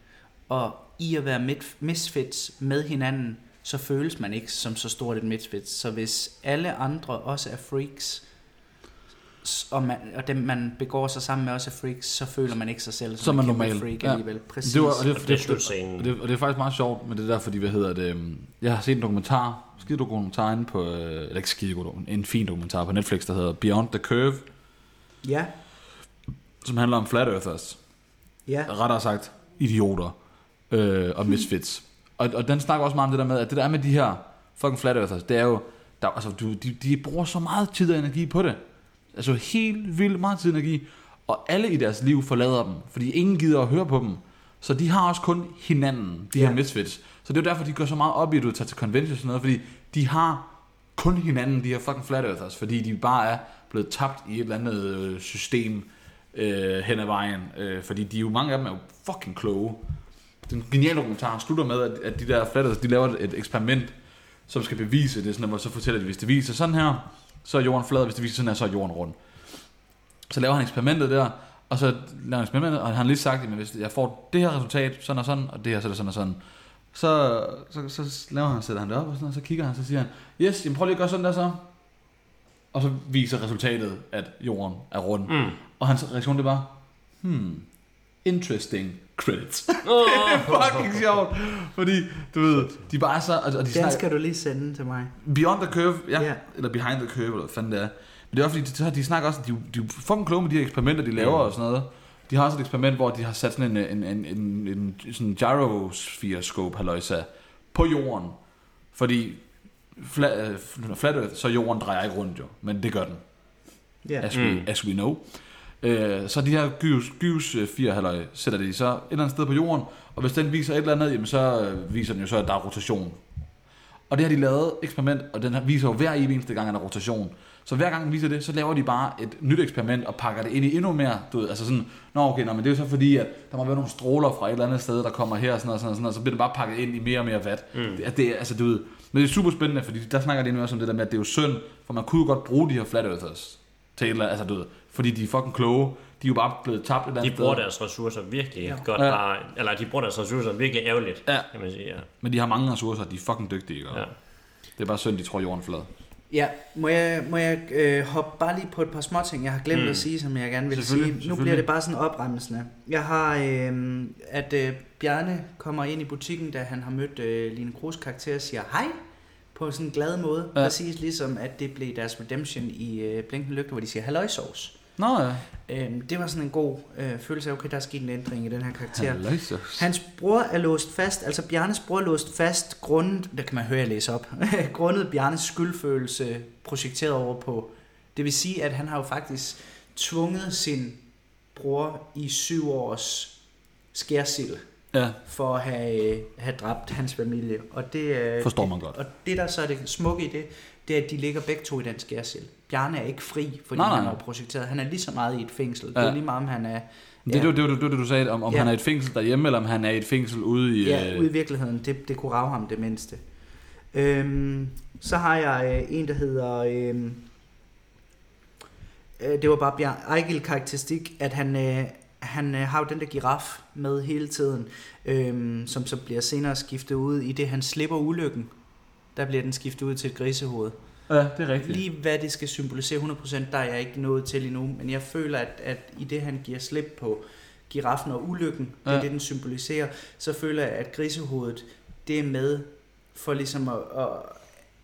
Speaker 3: og i at være mit- misfits med hinanden, så føles man ikke som så stort et misfits. Så hvis alle andre også er freaks, og, man, og dem, man begår sig sammen med også er freaks, så føler man ikke sig selv som,
Speaker 2: Som er
Speaker 3: en kæmpe
Speaker 2: normal.
Speaker 3: freak
Speaker 2: Ja.
Speaker 3: alligevel. Præcis.
Speaker 2: Det var, og det,
Speaker 1: Og det er slutscenen.
Speaker 2: og det, og det er faktisk meget sjovt, men det er derfor, de, hvad hedder det, øhm, jeg har set en dokumentar, skide god dokumentar inde på, øh, eller ikke skide god, dokumentar, en fin dokumentar på Netflix, der hedder Beyond the Curve,
Speaker 3: Ja,
Speaker 2: som handler om flat earthers,
Speaker 3: ja.
Speaker 2: rettere sagt idioter øh, og misfits. Og, og den snakker også meget om det der med, at det der er med de her fucking flat earthers, det er jo, der, altså, du, de, de bruger så meget tid og energi på det. Altså helt vildt meget tid og energi. Og alle i deres liv forlader dem, fordi ingen gider at høre på dem. Så de har også kun hinanden, de her
Speaker 3: Ja.
Speaker 2: misfits. Så det er jo derfor, de går så meget op i, at du tager til conventions og sådan noget, fordi de har kun hinanden, de her fucking flat earthers, fordi de bare er blevet tabt i et eller andet øh, system øh, hen ad vejen. Øh, fordi de er jo, mange af dem er jo fucking kloge. Den geniale dokumentar slutter med, at, at de der flat earthers, de laver et eksperiment, som skal bevise det, sådan, at, hvor så fortæller de, hvis det viser sådan her, så er jorden flad, og hvis det viser sådan her, så er jorden rund. Så laver han eksperimentet der, og så laver han eksperimentet, og han har lige sagt, at hvis jeg får det her resultat, sådan og sådan, og det her, så er det sådan og sådan. Så, så, så laver han, sætter han det op, og, sådan, og så kigger han, så siger han, yes, jamen prøv lige at gøre sådan der så. Og så viser resultatet, at jorden er rund. Mm. Og hans reaktion, det var, hmm, interesting credits. det er fucking sjovt, fordi, du ved, de bare er så, og, og de
Speaker 3: Den
Speaker 2: snakker-
Speaker 3: skal du lige sende til mig.
Speaker 2: Beyond the Curve, ja.
Speaker 3: Ja.
Speaker 2: Yeah. Eller Behind the Curve, eller hvad fanden det er. Men det er også fordi, de, så har- de snakker også, de, de er fucking kloge med de her eksperimenter, de laver og sådan noget. De har også et eksperiment, hvor de har sat sådan en, en, en, en, en sådan gyrosphere-scope, halløjsa, på jorden. Fordi flat, øh, flat earth, så jorden drejer ikke rundt jo, men det gør den
Speaker 3: Ja.
Speaker 2: as we, mm. as we know. Øh, så de her gyves, gyves 4 halvøj sætter de så et eller andet sted på jorden, og hvis den viser et eller andet, jamen så øh, viser den jo så, at der er rotation. Og det har de lavet eksperiment, og den her viser jo hver evig eneste gang, at der er rotation. Så hver gang den viser det, så laver de bare et nyt eksperiment og pakker det ind i endnu mere. Du ved, altså sådan, nå okay, nå, men det er jo så fordi, at der må være nogle stråler fra et eller andet sted, der kommer her og sådan noget, sådan noget, sådan noget, så bliver det bare pakket ind i mere og mere vat. Mm. Det, er- det, er- altså, du ved, men det er super spændende, fordi der snakker de endnu også om det der med, at det er jo synd, for man kunne jo godt bruge de her flat earthers til et eller andet, altså du ved, fordi de er fucking kloge, de er jo bare blevet tabt et eller andet
Speaker 1: De bruger
Speaker 2: sted.
Speaker 1: deres ressourcer virkelig ja. godt
Speaker 2: Ja.
Speaker 1: bare, eller de bruger deres ressourcer virkelig ærgerligt,
Speaker 2: Ja.
Speaker 1: kan man sige. Ja.
Speaker 2: Men de har mange ressourcer, og de er fucking dygtige, ikke?
Speaker 1: Ja.
Speaker 2: Det er bare synd, de tror jorden er flad.
Speaker 3: Ja, må jeg, må jeg øh, hoppe bare lige på et par små ting, jeg har glemt mm. at sige, som jeg gerne vil sige.
Speaker 2: Selvfølgelig,
Speaker 3: Nu bliver det bare sådan opremmelsende. Jeg har, øh, at øh, Bjarne kommer ind i butikken, da han har mødt øh, Line Kroos karakter og siger hej på sådan en glad måde. Ja.
Speaker 2: Ja.
Speaker 3: Præcis ligesom, at det blev deres redemption i øh, Blinkende Lygter, hvor de siger halløjsovs.
Speaker 2: Nå ja.
Speaker 3: Øh, det var sådan en god øh, følelse af, okay, der er sket en ændring i den her karakter.
Speaker 2: Halløjsovs.
Speaker 3: Hans bror er låst fast, altså Bjarnes bror er låst fast grundet, der kan man høre, jeg læser op, grundet Bjarnes skyldfølelse projekteret over på. Det vil sige, at han har jo faktisk tvunget sin bror i syv års skærsild
Speaker 2: Ja,
Speaker 3: for at have, øh, have dræbt hans familie. Og det, øh,
Speaker 2: forstår man godt.
Speaker 3: og det der så er det smukke i det, det er, at de ligger begge to i den skærsild. Bjarne er ikke fri, fordi
Speaker 2: Nej, nej.
Speaker 3: nej, nej. han er jo projekteret. Han er lige så meget i et fængsel. Ja. Det er
Speaker 2: Ja.
Speaker 3: lige meget, om han er...
Speaker 2: Men Det, ja. det, det, det, det, det, du sagde, om, om
Speaker 3: Ja.
Speaker 2: ja. han er i et fængsel derhjemme, eller om han er i et fængsel ude i...
Speaker 3: Ja,
Speaker 2: øh,
Speaker 3: ude i virkeligheden. Det, det kunne rave ham det mindste. Øhm, så har jeg øh, en, der hedder... Øhm, øh, det var bare Bjørn Ejgil karakteristik, at han, øh, han øh, har jo den der giraf med hele tiden, øhm, som så bliver senere skiftet ud i det, han slipper ulykken. Der bliver den skiftet ud til et grisehoved.
Speaker 2: ja, det er rigtigt.
Speaker 3: Lige hvad det skal symbolisere 100%, der er jeg ikke nået til endnu, men jeg føler, at, at i det han giver slip på giraffen og ulykken, det er ja.
Speaker 2: Ja.
Speaker 3: det, den symboliserer, så føler jeg, at grisehovedet, det er med for ligesom at, at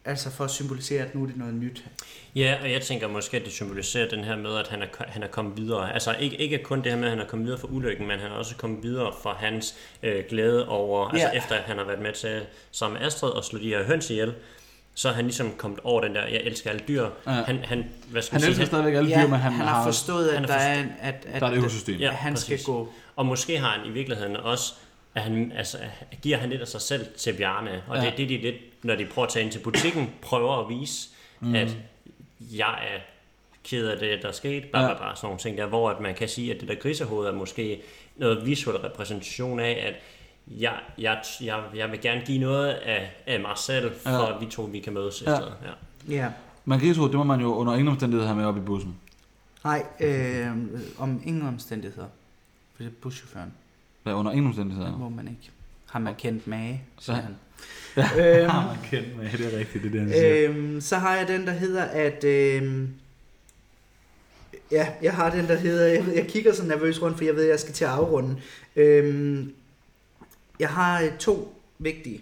Speaker 3: altså for at symbolisere, at nu er det noget nyt.
Speaker 1: Ja, og jeg tænker måske, at det symboliserer den her med, at han er, ko- han er kommet videre. Altså ikke, ikke kun det her med, at han er kommet videre fra ulykken, men han er også kommet videre fra hans øh, glæde over, altså
Speaker 3: Ja.
Speaker 1: efter han har været med til sammen med Astrid og slå de her høns ihjel, så er han ligesom kommet over den der, jeg elsker alle dyr. Ja. Han, han, hvad skal man
Speaker 2: Han
Speaker 1: sige,
Speaker 2: elsker stadigvæk alle dyr, men han,
Speaker 3: han har forstået, at
Speaker 1: han har
Speaker 3: han der, er, en- at, at,
Speaker 2: Der er et økosystem.
Speaker 3: at han skal
Speaker 1: præcis.
Speaker 3: gå.
Speaker 1: Og måske har han i virkeligheden også, at han, altså, giver han lidt af sig selv til Bjarne. Og ja. det er det, de lidt, når de prøver at tage ind til butikken, prøver at vise, mm. at jeg er ked af det, der er sket, bla, bla, bla, sådan nogle ting der, hvor at man kan sige, at det der grisehoved er måske noget visuel repræsentation af, at jeg, jeg, jeg, jeg vil gerne give noget af, af mig selv, for ja. at vi to vi kan mødes i
Speaker 2: Ja.
Speaker 1: stedet. Ja.
Speaker 3: Ja.
Speaker 2: Man grisehoved, det må man jo under ingen omstændighed have med op i bussen.
Speaker 3: Nej, øh, om ingen omstændigheder. For det er buschaufføren.
Speaker 2: Ja, under ingen omstændighed. Ja.
Speaker 3: Må man ikke. Har man kendt mage, siger
Speaker 2: Så-
Speaker 3: han. Øhm,
Speaker 2: man kendt med, det er rigtigt, det der,
Speaker 3: Øhm, så har jeg den, der hedder, at øhm,
Speaker 6: Ja, jeg har den, der hedder... Jeg, ved- jeg kigger så nervøst rundt, for jeg ved, at jeg skal til at afrunde. Øhm, jeg har øh, to vigtige.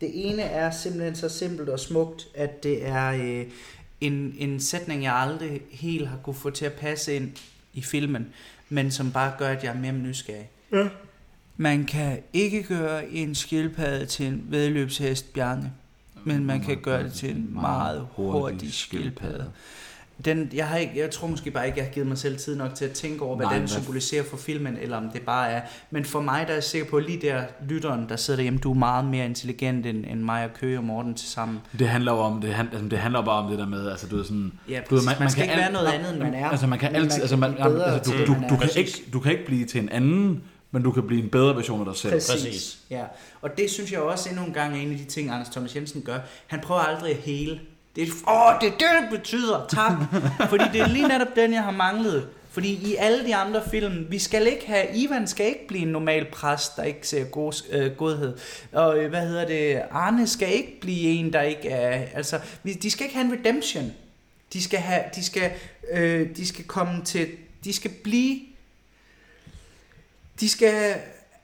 Speaker 6: Det ene er simpelthen så simpelt og smukt, at det er øh,
Speaker 3: en, en sætning, jeg aldrig helt har kunne få til at passe ind i filmen, men som bare gør, at jeg er mere nysgerrig. Ja. Man kan ikke gøre en skildpadde til en vedløbshest, Bjarne, men man kan gøre det til en meget hurtig skildpadde. Den, jeg, har ikke, jeg tror måske bare ikke, jeg har givet mig selv tid nok til at tænke over, hvad
Speaker 2: Nej,
Speaker 3: Nej, den
Speaker 2: hvad-
Speaker 3: symboliserer for filmen, eller om det bare er... Men for mig, der er jeg sikker på, at lige der lytteren, der sidder derhjemme, du er meget mere intelligent end, end mig og Køge og Morten til sammen.
Speaker 2: Det handler jo om, det, handler, altså, det handler bare om det der med, altså du ved sådan...
Speaker 3: Ja,
Speaker 2: du ved,
Speaker 3: præcis. Man skal ikke være noget andet, end man er,
Speaker 2: Altså man kan
Speaker 6: men man
Speaker 2: altid,
Speaker 6: kan
Speaker 2: altså, man,
Speaker 6: blive bedre
Speaker 2: altså,
Speaker 6: til,
Speaker 2: du, du,
Speaker 6: hvad man
Speaker 2: du,
Speaker 6: er.
Speaker 2: kan
Speaker 1: Præcis.
Speaker 2: ikke, du kan ikke blive til en anden, men du kan blive en bedre version af dig selv.
Speaker 6: Præcis.
Speaker 1: Præcis.
Speaker 6: Ja.
Speaker 3: Og det synes jeg også endnu en gang er en af de ting, Anders Thomas Jensen gør. Han prøver aldrig at hele. Det er, åh, det er det, det betyder. Tak. Fordi det er lige netop den, jeg har manglet. Fordi i alle de andre film, vi skal ikke have, Ivan skal ikke blive en normal præst, der ikke ser god, øh, godhed. Og øh, hvad hedder det, Arne skal ikke blive en, der ikke er, altså, vi, de skal ikke have en redemption. De skal have, de skal, øh, de skal komme til, de skal blive de skal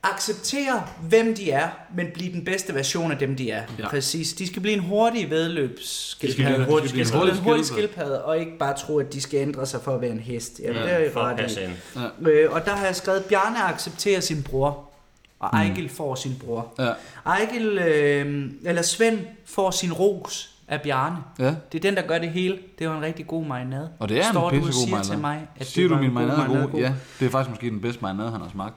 Speaker 3: acceptere, hvem de er, men blive den bedste version af dem, de er.
Speaker 2: Ja.
Speaker 3: Ja. Præcis. De skal blive en hurtig
Speaker 2: De skal
Speaker 3: vedløbsskildpadde.
Speaker 2: blive en hurtig-
Speaker 3: de skal
Speaker 2: hurtig
Speaker 3: blive en hurtig
Speaker 2: skildpadde.
Speaker 3: skildpadde, og ikke bare tro, at de skal ændre sig for at være en hest. Jamen, ja, det er
Speaker 1: Ja,
Speaker 3: jo
Speaker 1: for at
Speaker 3: ret i.
Speaker 1: passe ind.
Speaker 3: Øh, og der har jeg skrevet, Bjarne accepterer sin bror, og Ejgil får sin bror.
Speaker 2: Mm. Ja.
Speaker 3: Ejgil, øh, eller Svend, får sin ros af Bjarne.
Speaker 2: Ja.
Speaker 3: Det er den, der gør det hele. Det var en rigtig god marinade.
Speaker 2: Og det er
Speaker 3: Står
Speaker 2: en
Speaker 3: du og
Speaker 2: pissegod
Speaker 3: siger
Speaker 2: marinade.
Speaker 3: til mig, at
Speaker 2: siger
Speaker 3: det
Speaker 2: du,
Speaker 3: var
Speaker 2: min
Speaker 3: en god
Speaker 2: marinade er god?
Speaker 3: marinade? God.
Speaker 2: Ja, det er faktisk måske den bedste marinade, han har smagt.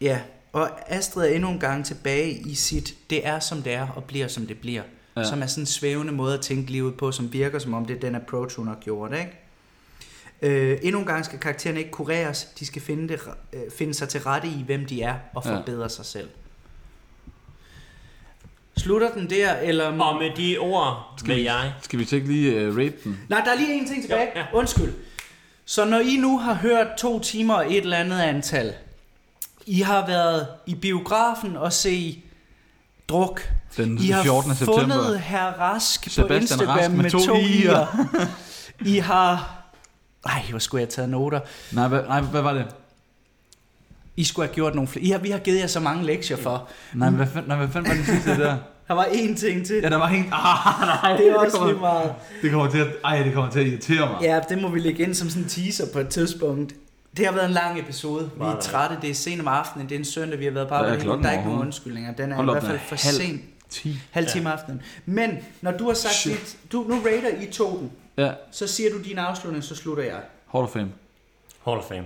Speaker 3: Ja, og Astrid er endnu en gang tilbage i sit, det er som det er, og bliver som det bliver.
Speaker 2: Ja.
Speaker 3: Ja. Som er sådan en svævende måde at tænke livet på, som virker som om det er den approach, hun har gjort, ikke? Øh, endnu en gang skal karaktererne ikke kureres, de skal finde, det, øh, finde sig til rette i, hvem de er, og
Speaker 2: Ja.
Speaker 3: forbedre ja. sig selv. Slutter den der, eller...
Speaker 1: Og med de ord vil jeg...
Speaker 2: Skal vi tjekke lige uh, rate den?
Speaker 3: Nej, der er lige en ting tilbage.
Speaker 1: Jo, ja.
Speaker 3: Undskyld. Så når I nu har hørt to timer og et eller andet antal, I har været i biografen og se druk.
Speaker 2: Den
Speaker 3: I har
Speaker 2: 14. september.
Speaker 3: fundet herr Rask på
Speaker 2: Sebastian
Speaker 3: Instagram
Speaker 2: Rask med
Speaker 3: med,
Speaker 2: to
Speaker 3: to
Speaker 2: i'er.
Speaker 3: i'er. I har... Ej, hvor skulle jeg have taget noter.
Speaker 2: Nej, hvad, nej, hvad var det?
Speaker 3: I skulle have gjort nogle flere. I har, vi har givet jer så mange lektier for.
Speaker 2: Nej, hvad, fanden- nej, hvad fanden var den sidste der?
Speaker 3: Der var én ting til.
Speaker 2: Ja, der var en... Ah, nej,
Speaker 3: det er også
Speaker 2: kommer,
Speaker 3: lige meget.
Speaker 2: det kommer til at, ej, det kommer til at irritere mig.
Speaker 3: Ja, det må vi lægge ind som sådan en teaser på et tidspunkt. Det har været en lang episode. Vi
Speaker 1: Meget
Speaker 3: er
Speaker 1: lang.
Speaker 3: trætte. Det er sent om aftenen. Det er en søndag, vi har været på
Speaker 2: Hvad er
Speaker 3: arbejde. hele ugen.
Speaker 2: klokken
Speaker 3: Der er ikke nogen
Speaker 2: overhovedet?
Speaker 3: undskyldninger. Den er
Speaker 2: Hold
Speaker 3: i
Speaker 2: op,
Speaker 3: hvert
Speaker 2: den
Speaker 3: fald
Speaker 2: er
Speaker 3: for
Speaker 2: halv-
Speaker 3: sent.
Speaker 2: 10.
Speaker 3: Halv time ja. aftenen. Men når du har sagt
Speaker 2: Shit.
Speaker 3: dit, du, nu rater I to den,
Speaker 2: Ja,
Speaker 3: så siger du din afslutning, så slutter jeg.
Speaker 2: Hall of Fame.
Speaker 1: Hall of Fame.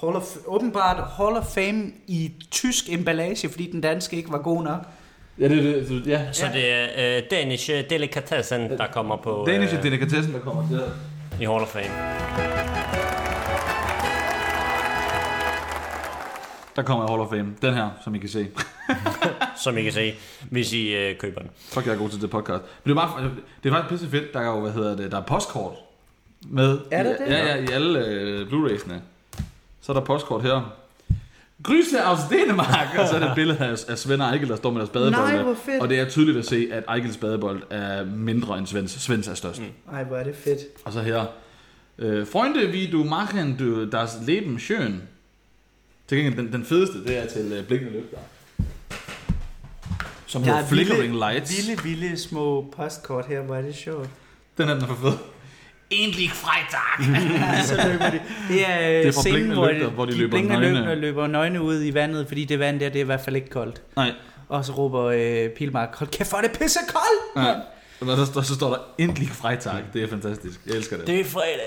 Speaker 3: Hall of, åbenbart Hall of Fame i tysk emballage, fordi den danske ikke var god nok.
Speaker 2: Ja, det er det. Ja.
Speaker 1: Så det er uh, Danish øh, Delicatessen, der kommer på øh,
Speaker 2: Danish delikatessen, der kommer til at...
Speaker 1: i Hall of Fame.
Speaker 2: Der kommer Hall of Fame. Den her, som I kan se.
Speaker 1: som I kan se, hvis I øh, køber den.
Speaker 2: Fuck, jeg er god til det podcast. Men det er, bare, det er faktisk pisse fedt, der er jo, hvad hedder det, der er postkort med.
Speaker 3: Er der det?
Speaker 2: Ja, ja, i alle øh, Blu-raysene. Så er der postkort her. Gryse aus Dänemark! og så er det et billede af, af Svend og Ejkel, der står med deres badebold.
Speaker 6: Nej, hvor fedt.
Speaker 2: Og det er tydeligt at se, at Ejkels badebold er mindre end Svends. Svends er størst. Mm.
Speaker 6: Ej, hvor er det fedt.
Speaker 2: Og så her. Øh, Freunde, wie du machen du das Leben schön. Til gengæld, den, den fedeste, det er til øh, Blinkende Lygter. Som
Speaker 3: Der
Speaker 2: hedder
Speaker 3: er vilde-
Speaker 2: Flickering Lights.
Speaker 3: Vilde, vilde små postkort her, hvor er det sjovt.
Speaker 2: Den er den er for fed.
Speaker 4: Endlich Freitag!
Speaker 3: så løber de. Det er,
Speaker 2: Det
Speaker 3: det
Speaker 2: er
Speaker 3: er
Speaker 2: fra
Speaker 3: scenen,
Speaker 2: Blinkende
Speaker 3: hvor,
Speaker 2: Lygter,
Speaker 3: de, hvor de, de løber,
Speaker 2: nøgne.
Speaker 3: nøgne. Løbende løber nøgne ud i vandet, fordi det vand der, det er i hvert fald ikke koldt.
Speaker 2: Nej.
Speaker 3: Og så råber øh, Pilmark, hold kæft, hvor er det pisse koldt!
Speaker 2: Ja. Og der, der, så står der endelig Freitag. Det er fantastisk. Jeg elsker det.
Speaker 1: Det er fredag.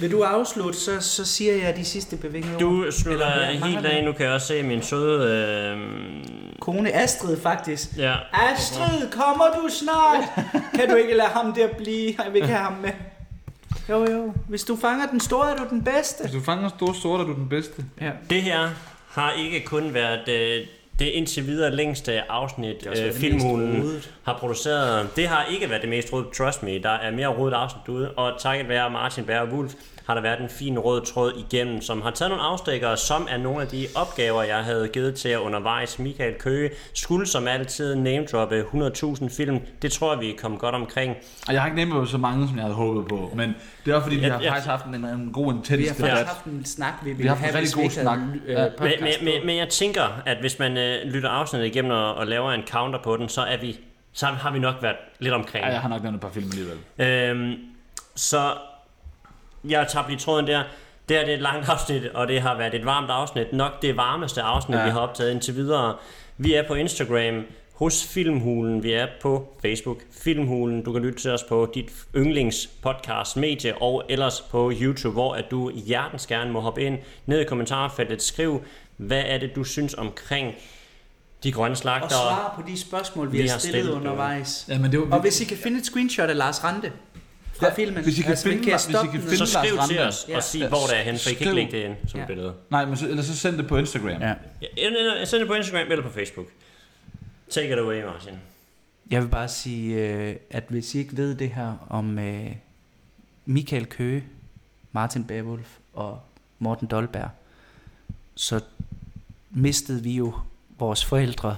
Speaker 3: Vil du afslutte, så, så siger jeg de sidste bevingede ord.
Speaker 1: Du slutter
Speaker 3: Eller, ja,
Speaker 1: helt
Speaker 3: mangler
Speaker 1: af.
Speaker 3: det?
Speaker 1: Nu kan jeg også se min søde... Øh,
Speaker 3: Kone Astrid, faktisk.
Speaker 1: ja.
Speaker 3: Astrid, kommer du snart? Kan du ikke lade ham der blive? Jeg vil ikke have ham med. Jo, jo. Hvis du fanger den store, er du den bedste.
Speaker 2: Hvis du fanger en stor sort, er du den bedste.
Speaker 3: Ja.
Speaker 1: Det her har ikke kun været øh, Det er indtil videre længste afsnit,
Speaker 3: også
Speaker 1: øh,
Speaker 3: været det mest
Speaker 1: Filmhulen
Speaker 3: rodede.
Speaker 1: har produceret. Det har ikke været det mest røde, trust me. Der er mere rødt afsnit ude, og takket være Martin Bær og Wulf har der været en fin rød tråd igennem, som har taget nogle afstikker, som er nogle af de opgaver, jeg havde givet til jer undervejs. Michael Køge skulle som altid name droppe 100.000 film. Det tror jeg, vi kom godt omkring.
Speaker 2: Og jeg har ikke nemt så mange, som jeg havde håbet på, men det er også fordi, vi
Speaker 1: Jeg-
Speaker 2: har
Speaker 1: jeg-
Speaker 2: faktisk haft en, en god, intens
Speaker 6: Vi har faktisk
Speaker 2: debat.
Speaker 6: haft en snak, vi ville
Speaker 2: Vi har haft
Speaker 6: have,
Speaker 2: en rigtig
Speaker 6: hvis vi
Speaker 2: god
Speaker 6: ikke havde en,
Speaker 2: snak.
Speaker 6: øh,
Speaker 2: Ja.
Speaker 1: Men, men,
Speaker 6: podcast på.
Speaker 1: men, men jeg tænker, at hvis man øh, lytter afsnittet igennem og, og laver en counter på den, så er vi så har vi nok været lidt omkring.
Speaker 2: Ja, jeg har nok nævnt et par film alligevel.
Speaker 1: Øhm, så jeg tager lige tråden der. Det her det er et langt afsnit, og det har været et varmt afsnit. Nok det varmeste afsnit, ja. vi har optaget indtil videre. Vi er på Instagram hos Filmhulen. Vi er på Facebook Filmhulen. Du kan lytte til os på dit yndlings podcast medie og ellers på YouTube, hvor at du hjertens gerne må hoppe ind ned i kommentarfeltet. Skriv, hvad er det, du synes omkring de grønne
Speaker 6: Og
Speaker 1: slagter?
Speaker 6: svare på de spørgsmål, vi, vi har stillet,
Speaker 1: stillet,
Speaker 6: undervejs.
Speaker 2: Ja, men det var,
Speaker 6: Og hvis I kan finde et screenshot af Lars Rante fra
Speaker 2: Ja,
Speaker 6: filmen, altså,
Speaker 2: hvis I kan finde
Speaker 6: jeg
Speaker 2: Lars- hvis I
Speaker 6: stoppe
Speaker 2: kan
Speaker 6: den?
Speaker 2: finde-
Speaker 1: Så
Speaker 2: Lars
Speaker 1: skriv til
Speaker 2: Ranthe.
Speaker 1: os og
Speaker 6: Ja.
Speaker 1: sig, hvor det er henne, for I kan
Speaker 2: Skriv.
Speaker 1: ikke lægge det ind som
Speaker 6: Ja.
Speaker 1: ja. billede.
Speaker 2: Nej, men så, eller så send det på Instagram.
Speaker 3: Ja.
Speaker 1: Ja, eller- eller- Send det på Instagram eller på Facebook. Take it away, Martin.
Speaker 3: Jeg vil bare sige, øh, at hvis I ikke ved det her om øh, Michael Køge, Martin Bærwulf og Morten Dolberg, så mistede vi jo vores forældre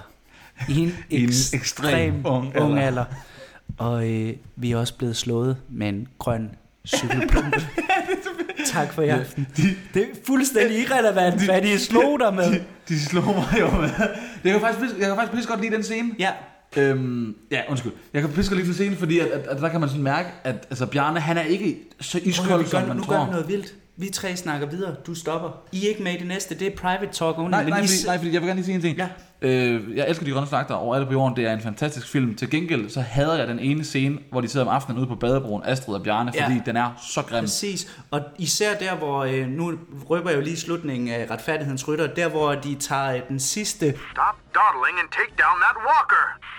Speaker 3: i en,
Speaker 2: I en
Speaker 3: ekstrem,
Speaker 2: ekstrem ung
Speaker 3: ung
Speaker 2: alder.
Speaker 3: alder. Og øh, vi er også blevet slået med en grøn cykelpumpe. tak for i aften. Det er fuldstændig irrelevant, hvad de slog dig med.
Speaker 2: De, de slog mig jo med. Jeg kan faktisk, jeg kan faktisk pisse godt lide den scene.
Speaker 3: Ja,
Speaker 2: Øhm, ja, undskyld. Jeg kan pisse godt lide den scene, fordi at, at, at der kan man sådan mærke, at altså, Bjarne, han er ikke så
Speaker 6: Prøv at
Speaker 2: iskold,
Speaker 6: vi gør,
Speaker 2: som
Speaker 6: nu-
Speaker 2: man
Speaker 6: nu
Speaker 2: tror.
Speaker 6: gør vi noget vildt. Vi tre snakker videre, du stopper. I er ikke med i det næste, det er private talk only.
Speaker 2: Nej,
Speaker 6: men
Speaker 2: nej,
Speaker 6: I...
Speaker 2: fordi, nej, fordi jeg vil gerne lige sige en ting.
Speaker 6: Ja.
Speaker 2: Øh, jeg elsker de grønne slagter over alle på jorden. Det er en fantastisk film. Til gengæld så hader jeg den ene scene, hvor de sidder om aftenen ude på badebroen, Astrid og Bjarne, fordi
Speaker 6: Ja.
Speaker 2: den er så grim.
Speaker 6: Præcis, og især der, hvor, øh, nu røber jeg jo lige slutningen af retfærdighedens rytter, der hvor de tager øh, den sidste
Speaker 4: Stop dawdling and take down that walker.